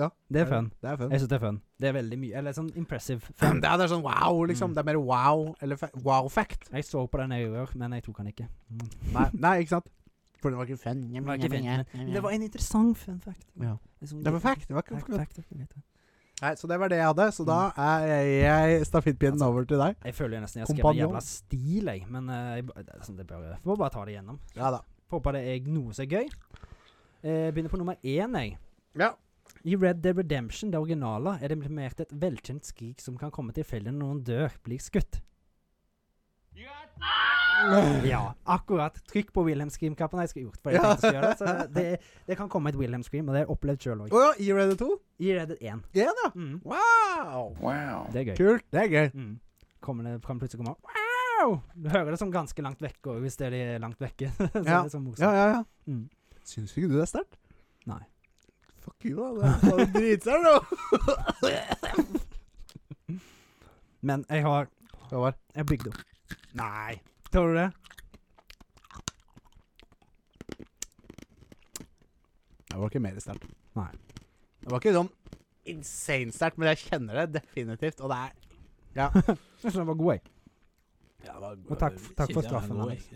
Speaker 1: Ja.
Speaker 2: det er fun.
Speaker 1: Det er fun.
Speaker 2: Jeg syns det er fun. Det er veldig mye Eller sånn impressive
Speaker 1: Ja,
Speaker 2: fun.
Speaker 1: Det er, det er sånn wow, liksom.
Speaker 2: Mm.
Speaker 1: Det er mer wow eller fa wow fact.
Speaker 2: Jeg så på den i år, men jeg tok den ikke. Mm.
Speaker 1: Nei, [laughs] nei, ikke sant? For det var ikke fun.
Speaker 2: Det var, ikke fint, men det var en interessant fun fact.
Speaker 1: Ja.
Speaker 2: Det er sånn-
Speaker 1: Det var fact. Det var ikke
Speaker 2: Fact,
Speaker 1: fun.
Speaker 2: fact, jeg vet det.
Speaker 1: Nei, så det var det jeg hadde. Så da
Speaker 2: Mm.
Speaker 1: er jeg, jeg
Speaker 2: Altså-
Speaker 1: stafettpinnen over til deg.
Speaker 2: Jeg føler jo nesten jeg har skrevet
Speaker 1: Kompanjong.
Speaker 2: jævla stil, jeg. Men eh, jeg, ba- det, er sånn, det bør, jeg får bare ta det igjennom.
Speaker 1: Ja da.
Speaker 2: Får håpe det er noe som er gøy. Eh, begynner på nummer én, jeg.
Speaker 1: Ja.
Speaker 2: I Red Dead Redemption, det originale, er det implementert et velkjent skrik som kan komme tilfeldig når noen dør, blir skutt. Ja, akkurat. Trykk på Wilhelm Scream-knappen. Jeg skulle gjort for jeg
Speaker 1: Ja.
Speaker 2: tenkte jeg skulle gjøre det, så det, det, det kan komme et Wilhelm Scream, og det har jeg opplevd sjøl òg.
Speaker 1: Å ja, i Ready 2?
Speaker 2: I Red Dead 1.
Speaker 1: Ja da.
Speaker 2: Mm,
Speaker 1: Wow!
Speaker 4: Wow.
Speaker 2: det er gøy.
Speaker 1: Kult. Det er gøy.
Speaker 2: Mm. Kommer det kan plutselig komme Wow! Du hører det som ganske langt vekke òg, hvis det er de langt vekke. [laughs] så det
Speaker 1: Ja.
Speaker 2: er sånn morsomt.
Speaker 1: Ja, ja, ja.
Speaker 2: Mm.
Speaker 1: Syns ikke du det er sterkt?
Speaker 2: Nei.
Speaker 1: Fuck you, da. Det er dritsært,
Speaker 2: [laughs]
Speaker 1: da.
Speaker 2: Men jeg har
Speaker 1: Håvard.
Speaker 2: Jeg har bygd opp. [laughs]
Speaker 1: Nei.
Speaker 2: Tror du det?
Speaker 1: Det var ikke mer sterkt.
Speaker 2: Nei.
Speaker 1: Det var ikke sånn insane sterkt, men jeg kjenner det definitivt, og det er
Speaker 2: Jeg synes den var god, jeg.
Speaker 1: Ja, det var,
Speaker 2: Og takk f- takk for
Speaker 1: Kilden er
Speaker 2: straffen,
Speaker 1: god.
Speaker 2: Alex.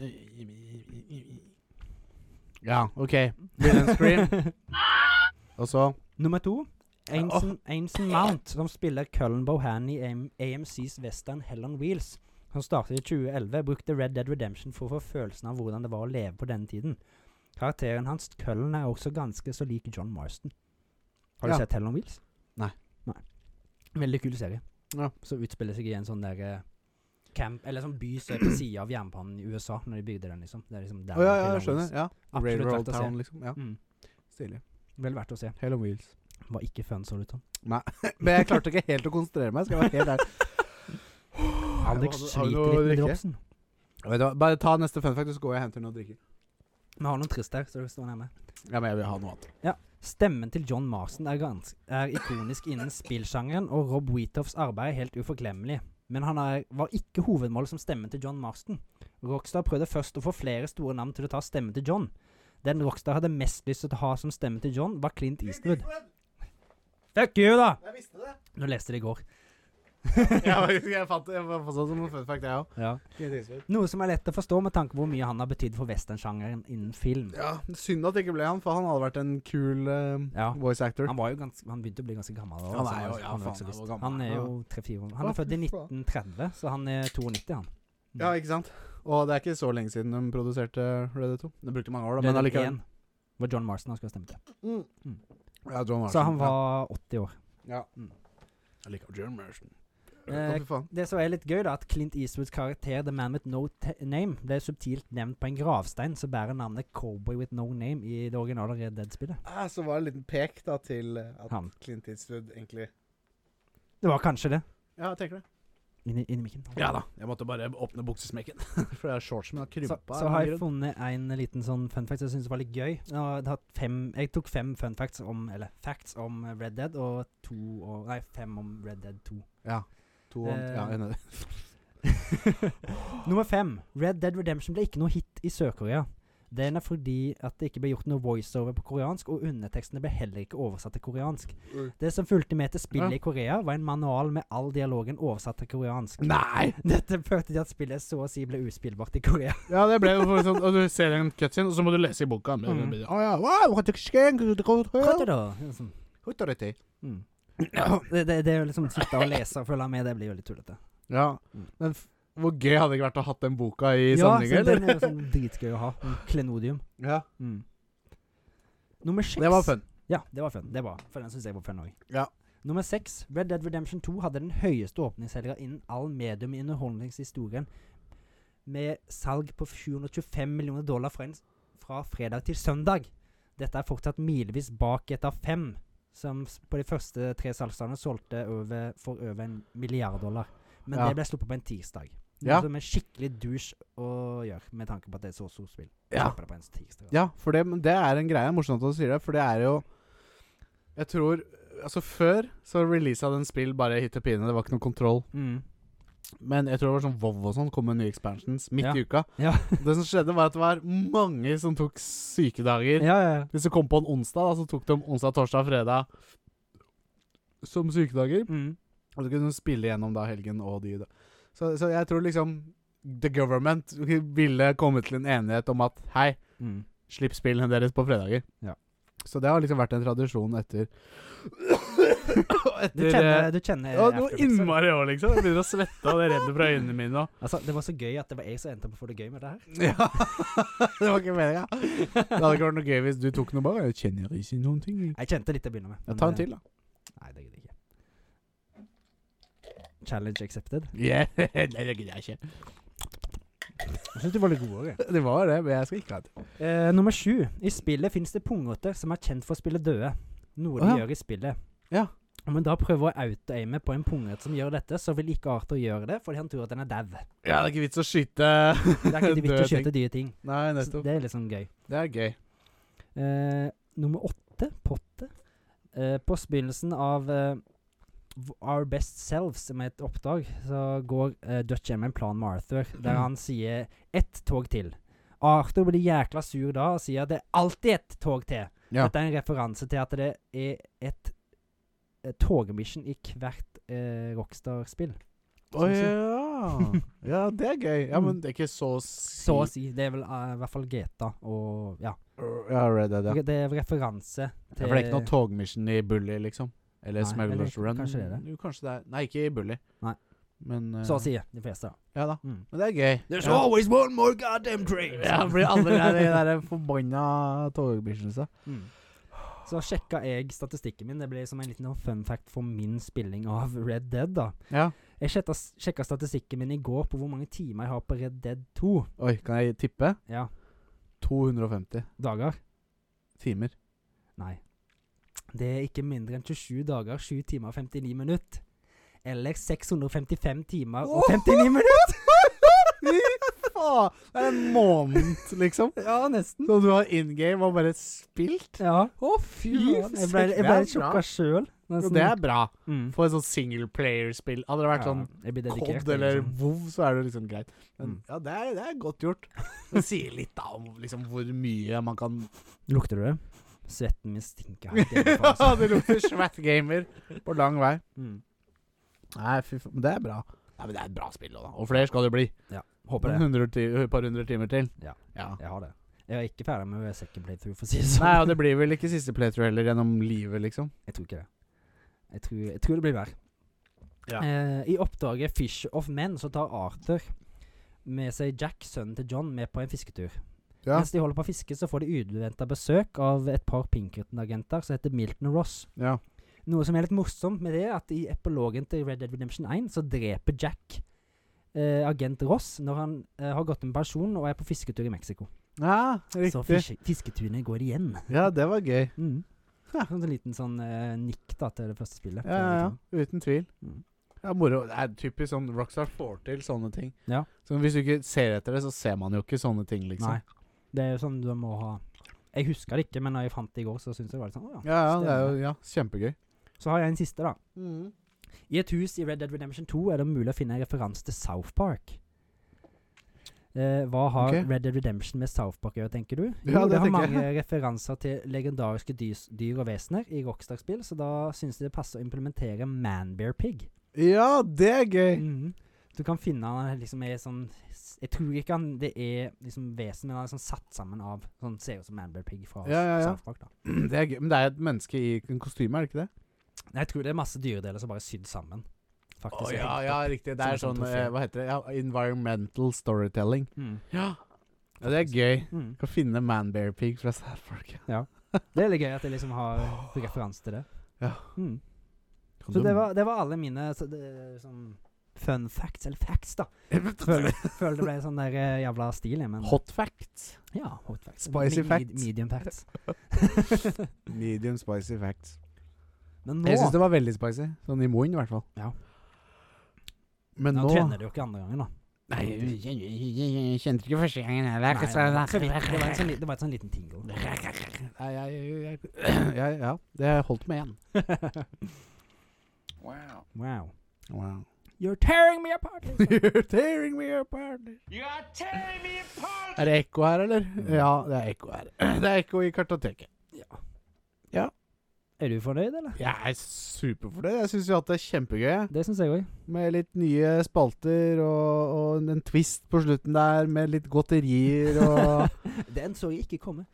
Speaker 1: Ja, OK. William Scream.
Speaker 2: [laughs]
Speaker 1: Og så
Speaker 2: Nummer to. Ainson, Ainson Mount, som spiller Cullen Bohan i AM, AMCs western Hell on Wheels, som startet i 2011, brukte Red Dead Redemption for å få følelsen av hvordan det var å leve på denne tiden. Karakteren hans, Cullen, er også ganske så lik John Marston. Har du
Speaker 1: Ja.
Speaker 2: sett Hell on Wheels?
Speaker 1: Nei.
Speaker 2: Nei. Veldig kul serie.
Speaker 1: Ja.
Speaker 2: Som utspiller seg i en sånn der eh, camp Eller sånn by som er på sida av jernbanen i USA, når de bygde den, liksom. Det er liksom der
Speaker 1: Å ja,
Speaker 2: det
Speaker 1: ja,
Speaker 2: er
Speaker 1: jeg skjønner. Ja.
Speaker 2: Absolutt
Speaker 1: Railroad
Speaker 2: verdt å se.
Speaker 1: Town, liksom. Ja,
Speaker 2: Mm.
Speaker 1: Stilig.
Speaker 2: Vel verdt å se.
Speaker 1: Hell on wheels.
Speaker 2: Var ikke fun, så det ut som.
Speaker 1: Nei, men jeg klarte ikke helt å konsentrere meg. Skal jeg være helt ærlig.
Speaker 2: Alex
Speaker 1: Har du- har
Speaker 2: sliter
Speaker 1: du noe å
Speaker 2: litt med
Speaker 1: drikke?
Speaker 2: dropsen.
Speaker 1: Vet du hva, Bare ta neste fun fact, så går jeg og henter noe å drikke.
Speaker 2: Vi har noen trist her, så det står nærme.
Speaker 1: Ja, men jeg vil ha noe annet.
Speaker 2: Stemmen til John Marston er, gans er ikonisk innen spillsjangeren, og Rob Wheatoffs arbeid er helt uforglemmelig. Men han er, var ikke hovedmålet som stemmen til John Marston. Rockstar prøvde først å få flere store navn til å ta stemmen til John. Den Rockstar hadde mest lyst til å ha som stemme til John, var Clint Eastwood. Fuck you, da!
Speaker 1: Jeg visste [laughs] det!
Speaker 2: Nå leste jeg det i går.
Speaker 1: jeg, jeg fant jeg fant det som en fun fact, jeg òg.
Speaker 2: [laughs] Ja. Noe som er lett å forstå med tanke på hvor mye han har betydd for westernsjangeren innen film.
Speaker 1: Ja, synd at det ikke ble han, for han hadde vært en kul eh,
Speaker 2: Ja.
Speaker 1: voice actor.
Speaker 2: Han, var jo ganske, han begynte å bli ganske gammel. da,
Speaker 1: Han
Speaker 2: altså,
Speaker 1: er jo-
Speaker 2: var-
Speaker 1: ja,
Speaker 2: han, var
Speaker 1: faen,
Speaker 2: ikke så
Speaker 1: han var
Speaker 2: lyst.
Speaker 1: gammel.
Speaker 2: han er jo
Speaker 1: Ja.
Speaker 2: 3-4 år. Han
Speaker 1: Å,
Speaker 2: er født i
Speaker 1: fy faen.
Speaker 2: 1930, så han er 92, han.
Speaker 1: Ja, ikke sant? Og det er ikke så lenge siden de produserte Red Dead 2. Det brukte mange år, da, men
Speaker 2: Men
Speaker 1: allikevel.
Speaker 2: allikevel. Var John Marston han skulle stemme til. Mm.
Speaker 1: Mm. Ja, John Marston.
Speaker 2: Så han var 80 år.
Speaker 1: sånn. Ja.
Speaker 2: Mm.
Speaker 1: Jeg liker John Marston.
Speaker 2: Eh,
Speaker 1: Å, fy faen.
Speaker 2: Det som er litt gøy, da, at Clint Eastwoods karakter The Man With No T Name ble subtilt nevnt på en gravstein som bærer navnet Cowboy With No Name i det originale Red Dead-spillet.
Speaker 1: Ah, så var det en liten pek da til eh, at
Speaker 2: Han.
Speaker 1: Clint Eastwood egentlig
Speaker 2: Det var kanskje det.
Speaker 1: Ja, jeg tenker det.
Speaker 2: Inni, inni mikken.
Speaker 1: Ja da. Jeg måtte bare åpne buksesmekken. [laughs] For det er shortsen min har
Speaker 2: Så,
Speaker 1: krympa.
Speaker 2: så har jeg funnet en liten sånn fun fact som jeg syns var litt gøy. Jeg, har hatt fem, jeg tok fem fun facts om, eller facts om Red Dead, og to og, Nei, fem om Red Dead 2.
Speaker 1: Ja. To om,
Speaker 2: Eh,
Speaker 1: ja, jeg er enig.
Speaker 2: [laughs] Nummer fem. Red Dead Redemption ble ikke noe hit i Sør-Korea. Den er fordi at det ikke ble gjort noe voiceover på koreansk, og undertekstene ble heller ikke oversatt til koreansk.
Speaker 1: Oi.
Speaker 2: Det som fulgte med til spillet i
Speaker 1: Ja.
Speaker 2: Korea, var en manual med all dialogen oversatt til koreansk.
Speaker 1: Nei!
Speaker 2: [laughs] Dette førte til at spillet så å si ble uspillbart i Korea.
Speaker 1: Ja, det ble jo for sånn Og du ser en cutscene, og så må du lese i boka. Å
Speaker 2: Mm.
Speaker 1: ja. wow, what the skank, what the- what the-
Speaker 2: Hva er det da? [laughs] Liksom.
Speaker 1: Authority.
Speaker 2: Mm. Det, det, det å liksom sitte og lese og følge med, det blir veldig tullete.
Speaker 1: Ja.
Speaker 2: Mm.
Speaker 1: Men f hvor gøy hadde det ikke vært å ha hatt den boka i
Speaker 2: ja,
Speaker 1: samlinga,
Speaker 2: så den er
Speaker 1: eller?
Speaker 2: jo sånn dritgøy å ha. Mm, Klenodium.
Speaker 1: [laughs] Ja,
Speaker 2: Mm. Nummer seks.
Speaker 1: det var fun.
Speaker 2: Ja, det var fun. Det var, for den syns jeg var fun òg.
Speaker 1: Ja.
Speaker 2: Nummer seks, Red Dead Redemption 2 hadde den høyeste åpningshelga innen all medium i underholdningshistorien, med salg på 725 millioner dollar fra, en, fra fredag til søndag. Dette er fortsatt milevis bak GTA 5, som s- på de første tre salgsdagene solgte over, for over en milliard dollar. Men
Speaker 1: Ja.
Speaker 2: det ble sluppet på en tirsdag. Noe
Speaker 1: Ja.
Speaker 2: som er skikkelig douche å gjøre, med tanke på at det er så stort spill.
Speaker 1: Ja.
Speaker 2: Slipper det på en tirsdag.
Speaker 1: Ja, for det, men det er en greie. Morsomt at du sier det, for det er jo Jeg tror Altså, før så releasa den spill bare hit til pine. Det var ikke noe kontroll.
Speaker 2: Mm.
Speaker 1: Men jeg tror det var sånn WoW og sånn kom med nye expansions midt
Speaker 2: Ja.
Speaker 1: i uka.
Speaker 2: Ja.
Speaker 1: [laughs] det som skjedde, var at det var mange som tok sykedager.
Speaker 2: ja, ja, ja.
Speaker 1: Hvis du kom på en onsdag, da, så tok de onsdag, torsdag, fredag som sykedager.
Speaker 2: Mm.
Speaker 1: Og så kunne du spille gjennom da helgen og de da. Så, så jeg tror liksom The Government ville komme til en enighet om at hei,
Speaker 2: Mm.
Speaker 1: slipp spillene deres på fredager.
Speaker 2: Ja.
Speaker 1: Så det har liksom vært en tradisjon etter
Speaker 2: Du
Speaker 1: [coughs] Etter
Speaker 2: kjenner,
Speaker 1: eh,
Speaker 2: du kjenner
Speaker 1: ja, noe
Speaker 2: aftereffects, eller?
Speaker 1: innmari òg, liksom. Jeg begynner å svette, og det renner fra øynene mine. Og.
Speaker 2: Altså, Det var så gøy at det var jeg som endte opp med å få det gøy med det her.
Speaker 1: Ja, [laughs] Det var ikke meninga. Det hadde ikke vært noe gøy hvis du tok noe bare. Jeg kjenner ikke noen ting. jeg.
Speaker 2: Jeg kjente litt til å begynne med.
Speaker 1: Ja,
Speaker 2: men,
Speaker 1: ta en
Speaker 2: eh,
Speaker 1: til, da. [laughs]
Speaker 2: Nei, det gidder jeg ikke. Challenge accepted.
Speaker 1: Yeah. Nei, det gidder jeg ikke.
Speaker 2: Jeg syns du var litt god òg,
Speaker 1: Det var det, men jeg skal ikke ha det.
Speaker 2: Eh, nummer sju. I spillet fins det pungrotter som er kjent for å spille døde. Noe de
Speaker 1: Å, ja.
Speaker 2: gjør i spillet.
Speaker 1: Ja.
Speaker 2: Om en da prøver å auto-aime på en pungrett som gjør dette, så vil ikke Arthur gjøre det fordi han tror at den er dau.
Speaker 1: Ja, det er ikke vits å
Speaker 2: Det
Speaker 1: skyte [laughs]
Speaker 2: er ikke viktig
Speaker 1: Døde
Speaker 2: å skyte dyre ting.
Speaker 1: Nei,
Speaker 2: Så
Speaker 1: nettopp.
Speaker 2: det er liksom gøy.
Speaker 1: Det er gøy.
Speaker 2: Eh, nummer åtte, Potte. Eh, på begynnelsen av eh, v- Our Best Selves, som er et oppdrag, så går eh, Dutch hjem med en plan med Arthur,
Speaker 1: Mm.
Speaker 2: der han sier ett tog til. Arthur blir jækla sur da og sier at det er alltid ett tog til.
Speaker 1: Ja.
Speaker 2: Dette er en referanse til at det er et, eh, togmission i hvert eh, Rockstar-spill.
Speaker 1: Å
Speaker 2: Sånn [laughs]
Speaker 1: ja. Ja, det er gøy. Ja, men det er ikke så
Speaker 2: Mm. Så å si. Det er vel eh, i hvert fall GTA og Ja.
Speaker 1: Ja, Red Dead, ja.
Speaker 2: Det er referanse
Speaker 1: Ja, For det er ikke noe togmission i Bully, liksom? Eller
Speaker 2: Nei,
Speaker 1: Smugglers
Speaker 2: eller
Speaker 1: Run?
Speaker 2: kanskje det er det.
Speaker 1: Jo, kanskje det er Nei, ikke i Bully.
Speaker 2: Nei.
Speaker 1: Men eh,
Speaker 2: Så å si de fleste, da.
Speaker 1: Ja da.
Speaker 2: Mm.
Speaker 1: Men det er gøy.
Speaker 2: There's
Speaker 1: ja.
Speaker 2: always one more [laughs] goddamn train!
Speaker 1: Ja, fordi alle de der, de der forbanna togmissionsa.
Speaker 2: Mm. Så sjekka jeg statistikken min. Det ble som en liten sånn fun fact for min spilling av Red Dead. da.
Speaker 1: Ja.
Speaker 2: Jeg sjetta- sjekka statistikken min i går på hvor mange timer jeg har på Red Dead 2.
Speaker 1: Oi, kan jeg tippe?
Speaker 2: Ja,
Speaker 1: 250
Speaker 2: dager?
Speaker 1: timer.
Speaker 2: Nei. Det er ikke mindre enn 27 dager, 7 timer og 59 minutter. Eller 655 timer og 59 minutter!
Speaker 1: [laughs] Fy faen! Det er en måned, liksom.
Speaker 2: [laughs] Ja, nesten.
Speaker 1: Så du har in game og bare spilt?
Speaker 2: Ja.
Speaker 1: Å, fy
Speaker 2: Jeg
Speaker 1: søren,
Speaker 2: ble, jeg ble litt
Speaker 1: det er bra.
Speaker 2: sjokka sjøl.
Speaker 1: Jo, det er bra.
Speaker 2: mm.
Speaker 1: For et sånt singleplayer-spill. Hadde det vært sånn
Speaker 2: jeg blir dedikert,
Speaker 1: Cod eller
Speaker 2: liksom.
Speaker 1: WoW, så er det liksom greit. Men
Speaker 2: Mm.
Speaker 1: ja, det er, det er godt gjort. Det sier litt da om liksom hvor mye man kan
Speaker 2: Lukter du det? Svetten min stinker
Speaker 1: [laughs]
Speaker 2: helt hjemmefra.
Speaker 1: Ja,
Speaker 2: altså.
Speaker 1: det lukter svært gamer på lang vei.
Speaker 2: Mm.
Speaker 1: Nei, fy faen. Men det er bra. Nei, men det er et bra spill, da. Og flere skal det bli.
Speaker 2: Håper det.
Speaker 1: Et par hundre timer til.
Speaker 2: Ja. Jeg har det. Jeg er ikke ferdig med second playthrough, for å si det
Speaker 1: Nei,
Speaker 2: sånn.
Speaker 1: og det blir vel ikke siste playthrough heller gjennom livet, liksom.
Speaker 2: Jeg tror ikke det. Jeg tror, jeg tror det blir mer.
Speaker 1: Ja.
Speaker 2: Eh, I oppdraget Fish of Men så tar Arthur med seg Jack, sønnen til John, med på en fisketur.
Speaker 1: Ja.
Speaker 2: Mens de holder på å fiske, så får de uventa besøk av et par Pinkerton-agenter som heter Milton og Ross.
Speaker 1: ja.
Speaker 2: Noe som er litt morsomt med det, er at i epilogen til Red Dead Redemption 1 så dreper Jack eh, agent Ross når han eh, har gått med pensjon og er på fisketur i Mexico.
Speaker 1: ja
Speaker 2: Så
Speaker 1: riktig.
Speaker 2: fiske, fisketurene går igjen.
Speaker 1: Ja, det var gøy.
Speaker 2: Mm.
Speaker 1: Ja.
Speaker 2: Sånn en liten sånn eh, nikk da til det første spillet.
Speaker 1: Ja, ja, ja. Uten tvil.
Speaker 2: Mm.
Speaker 1: Ja, moro. Det er typisk sånn Rockstar får til sånne ting.
Speaker 2: Ja.
Speaker 1: Så hvis du ikke ser etter det, så ser man jo ikke sånne ting, liksom.
Speaker 2: Nei. Det er jo sånn du må ha Jeg husker det ikke, men når jeg fant det i går, så syntes jeg det var litt sånn Å ja.
Speaker 1: Ja, ja, det er
Speaker 2: stemmer
Speaker 1: jo ja, kjempegøy.
Speaker 2: Så har jeg en siste, da. I et hus i Red Dead Redemption 2 er det mulig å finne en referanse til South Park. Eh, hva har
Speaker 1: Ok.
Speaker 2: Red Dead Redemption med South Park å gjøre, tenker du? Jo,
Speaker 1: Ja, det
Speaker 2: det har
Speaker 1: tenker jeg.
Speaker 2: mange referanser til legendariske dys, dyr og vesener i Rockstar-spill, så da syns de det passer å implementere Manbear Pig.
Speaker 1: Ja, det er gøy! [clears throat]
Speaker 2: Mhm. Du kan finne han liksom er sånn Jeg tror ikke han det er liksom vesen, men han er sånn satt sammen av sånn Ser ut som Manbear Pig fra
Speaker 1: Ja, ja, ja.
Speaker 2: South Park, da.
Speaker 1: Det er gøy. Men det er et menneske i en kostyme, er det ikke det?
Speaker 2: Nei, jeg tror det er masse dyredeler som bare er sydd sammen. Faktisk. og
Speaker 1: Å, ja,
Speaker 2: hengt
Speaker 1: ja,
Speaker 2: opp.
Speaker 1: riktig. Det er
Speaker 2: Som et sånt
Speaker 1: sånn eh,
Speaker 2: trofé.
Speaker 1: Hva heter det? Ja, environmental storytelling.
Speaker 2: Mm.
Speaker 1: Ja. ja det er gøy.
Speaker 2: Mm.
Speaker 1: Skal finne Manbear Pig fra South Park.
Speaker 2: Det er litt gøy at jeg liksom har referanse til det.
Speaker 1: Ja.
Speaker 2: Mm.
Speaker 1: Kan
Speaker 2: Så
Speaker 1: du-
Speaker 2: det var, det var alle mine så det, sånn fun facts, eller facts,
Speaker 1: [laughs]
Speaker 2: da. Føler, føler det ble sånn der eh, jævla stil, jeg, men
Speaker 1: Hot facts.
Speaker 2: Ja, hot facts.
Speaker 1: Spicy facts.
Speaker 2: Medium facts.
Speaker 1: Medium spicy facts.
Speaker 2: Men nå
Speaker 1: Jeg syns det var veldig spicy. Sånn i munnen, i hvert fall.
Speaker 2: Ja.
Speaker 1: Men
Speaker 2: Nå
Speaker 1: nå
Speaker 2: kjenner du jo ikke andre gangen, da.
Speaker 1: Nei, jeg kjen- jeg kjente ikke første gangen heller.
Speaker 2: Nei, det, var, så vidt- det, var en sånn, li- det var en sånn liten
Speaker 1: [laughs]
Speaker 2: tingle.
Speaker 1: Nei, jeg, jeg, jeg, jeg Ja, det holdt med én.
Speaker 2: Wow.
Speaker 1: Wow.
Speaker 2: You're tearing me apart! Liksom.
Speaker 1: You're tearing me apart. Er det ekko her, eller? Ja, det er ekko her. [clears throat] Det er ekko i kartoteket.
Speaker 2: ja.
Speaker 1: Ja.
Speaker 2: Er du fornøyd, eller?
Speaker 1: Jeg er superfornøyd. Jeg syns vi har hatt det kjempegøy. jeg.
Speaker 2: Det syns jeg òg.
Speaker 1: Med litt nye spalter og, og en- en twist på slutten der, med litt godterier og
Speaker 2: [laughs]
Speaker 1: [laughs]
Speaker 2: Den så jeg ikke komme.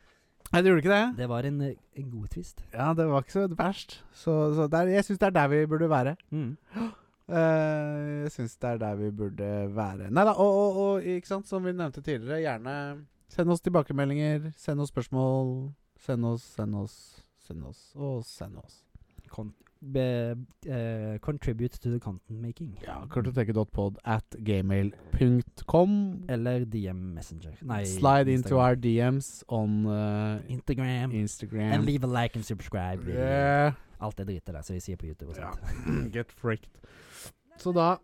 Speaker 1: Nei, det gjorde ikke det?
Speaker 2: Det var en, eh, en god twist.
Speaker 1: Ja, det var ikke så verst. Så, så der, jeg syns det er der vi burde være.
Speaker 2: Mm.
Speaker 1: Eh, jeg syns det er der vi burde være. Nei da, og, og, og ikke sant, som vi nevnte tidligere, gjerne send oss tilbakemeldinger, send oss spørsmål. Send oss, send oss, send oss, og send oss.
Speaker 2: Con be, eh, contribute to the content making.
Speaker 1: Ja, kartoteket.pod at gmail.com.
Speaker 2: Eller DM Messenger. Nei,
Speaker 1: Slide into
Speaker 2: Instagram.
Speaker 1: our DMs on eh,
Speaker 2: Instagram. And
Speaker 1: Instagram.
Speaker 2: leave a like and subscribe.
Speaker 1: Yeah.
Speaker 2: Alt det dritet der som vi sier på YouTube. og
Speaker 1: Ja.
Speaker 2: sånt.
Speaker 1: [clears throat] Get fricked. Så da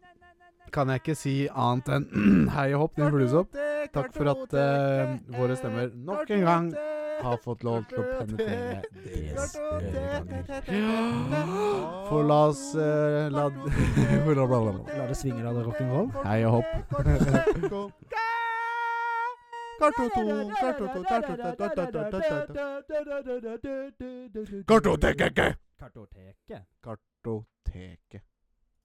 Speaker 1: kan jeg ikke si annet enn [clears throat] hei og hopp, din fluesopp. Takk for at eh, våre stemmer nok en gang har fått lov til å penetrere deres ører. For la oss eh, la, for la, [laughs] bla, bla, bla.
Speaker 2: La det svinge, la det rock'n'roll.
Speaker 1: Hei og hopp. Kartoteket!
Speaker 2: Kartoteket.
Speaker 1: Kartoteket.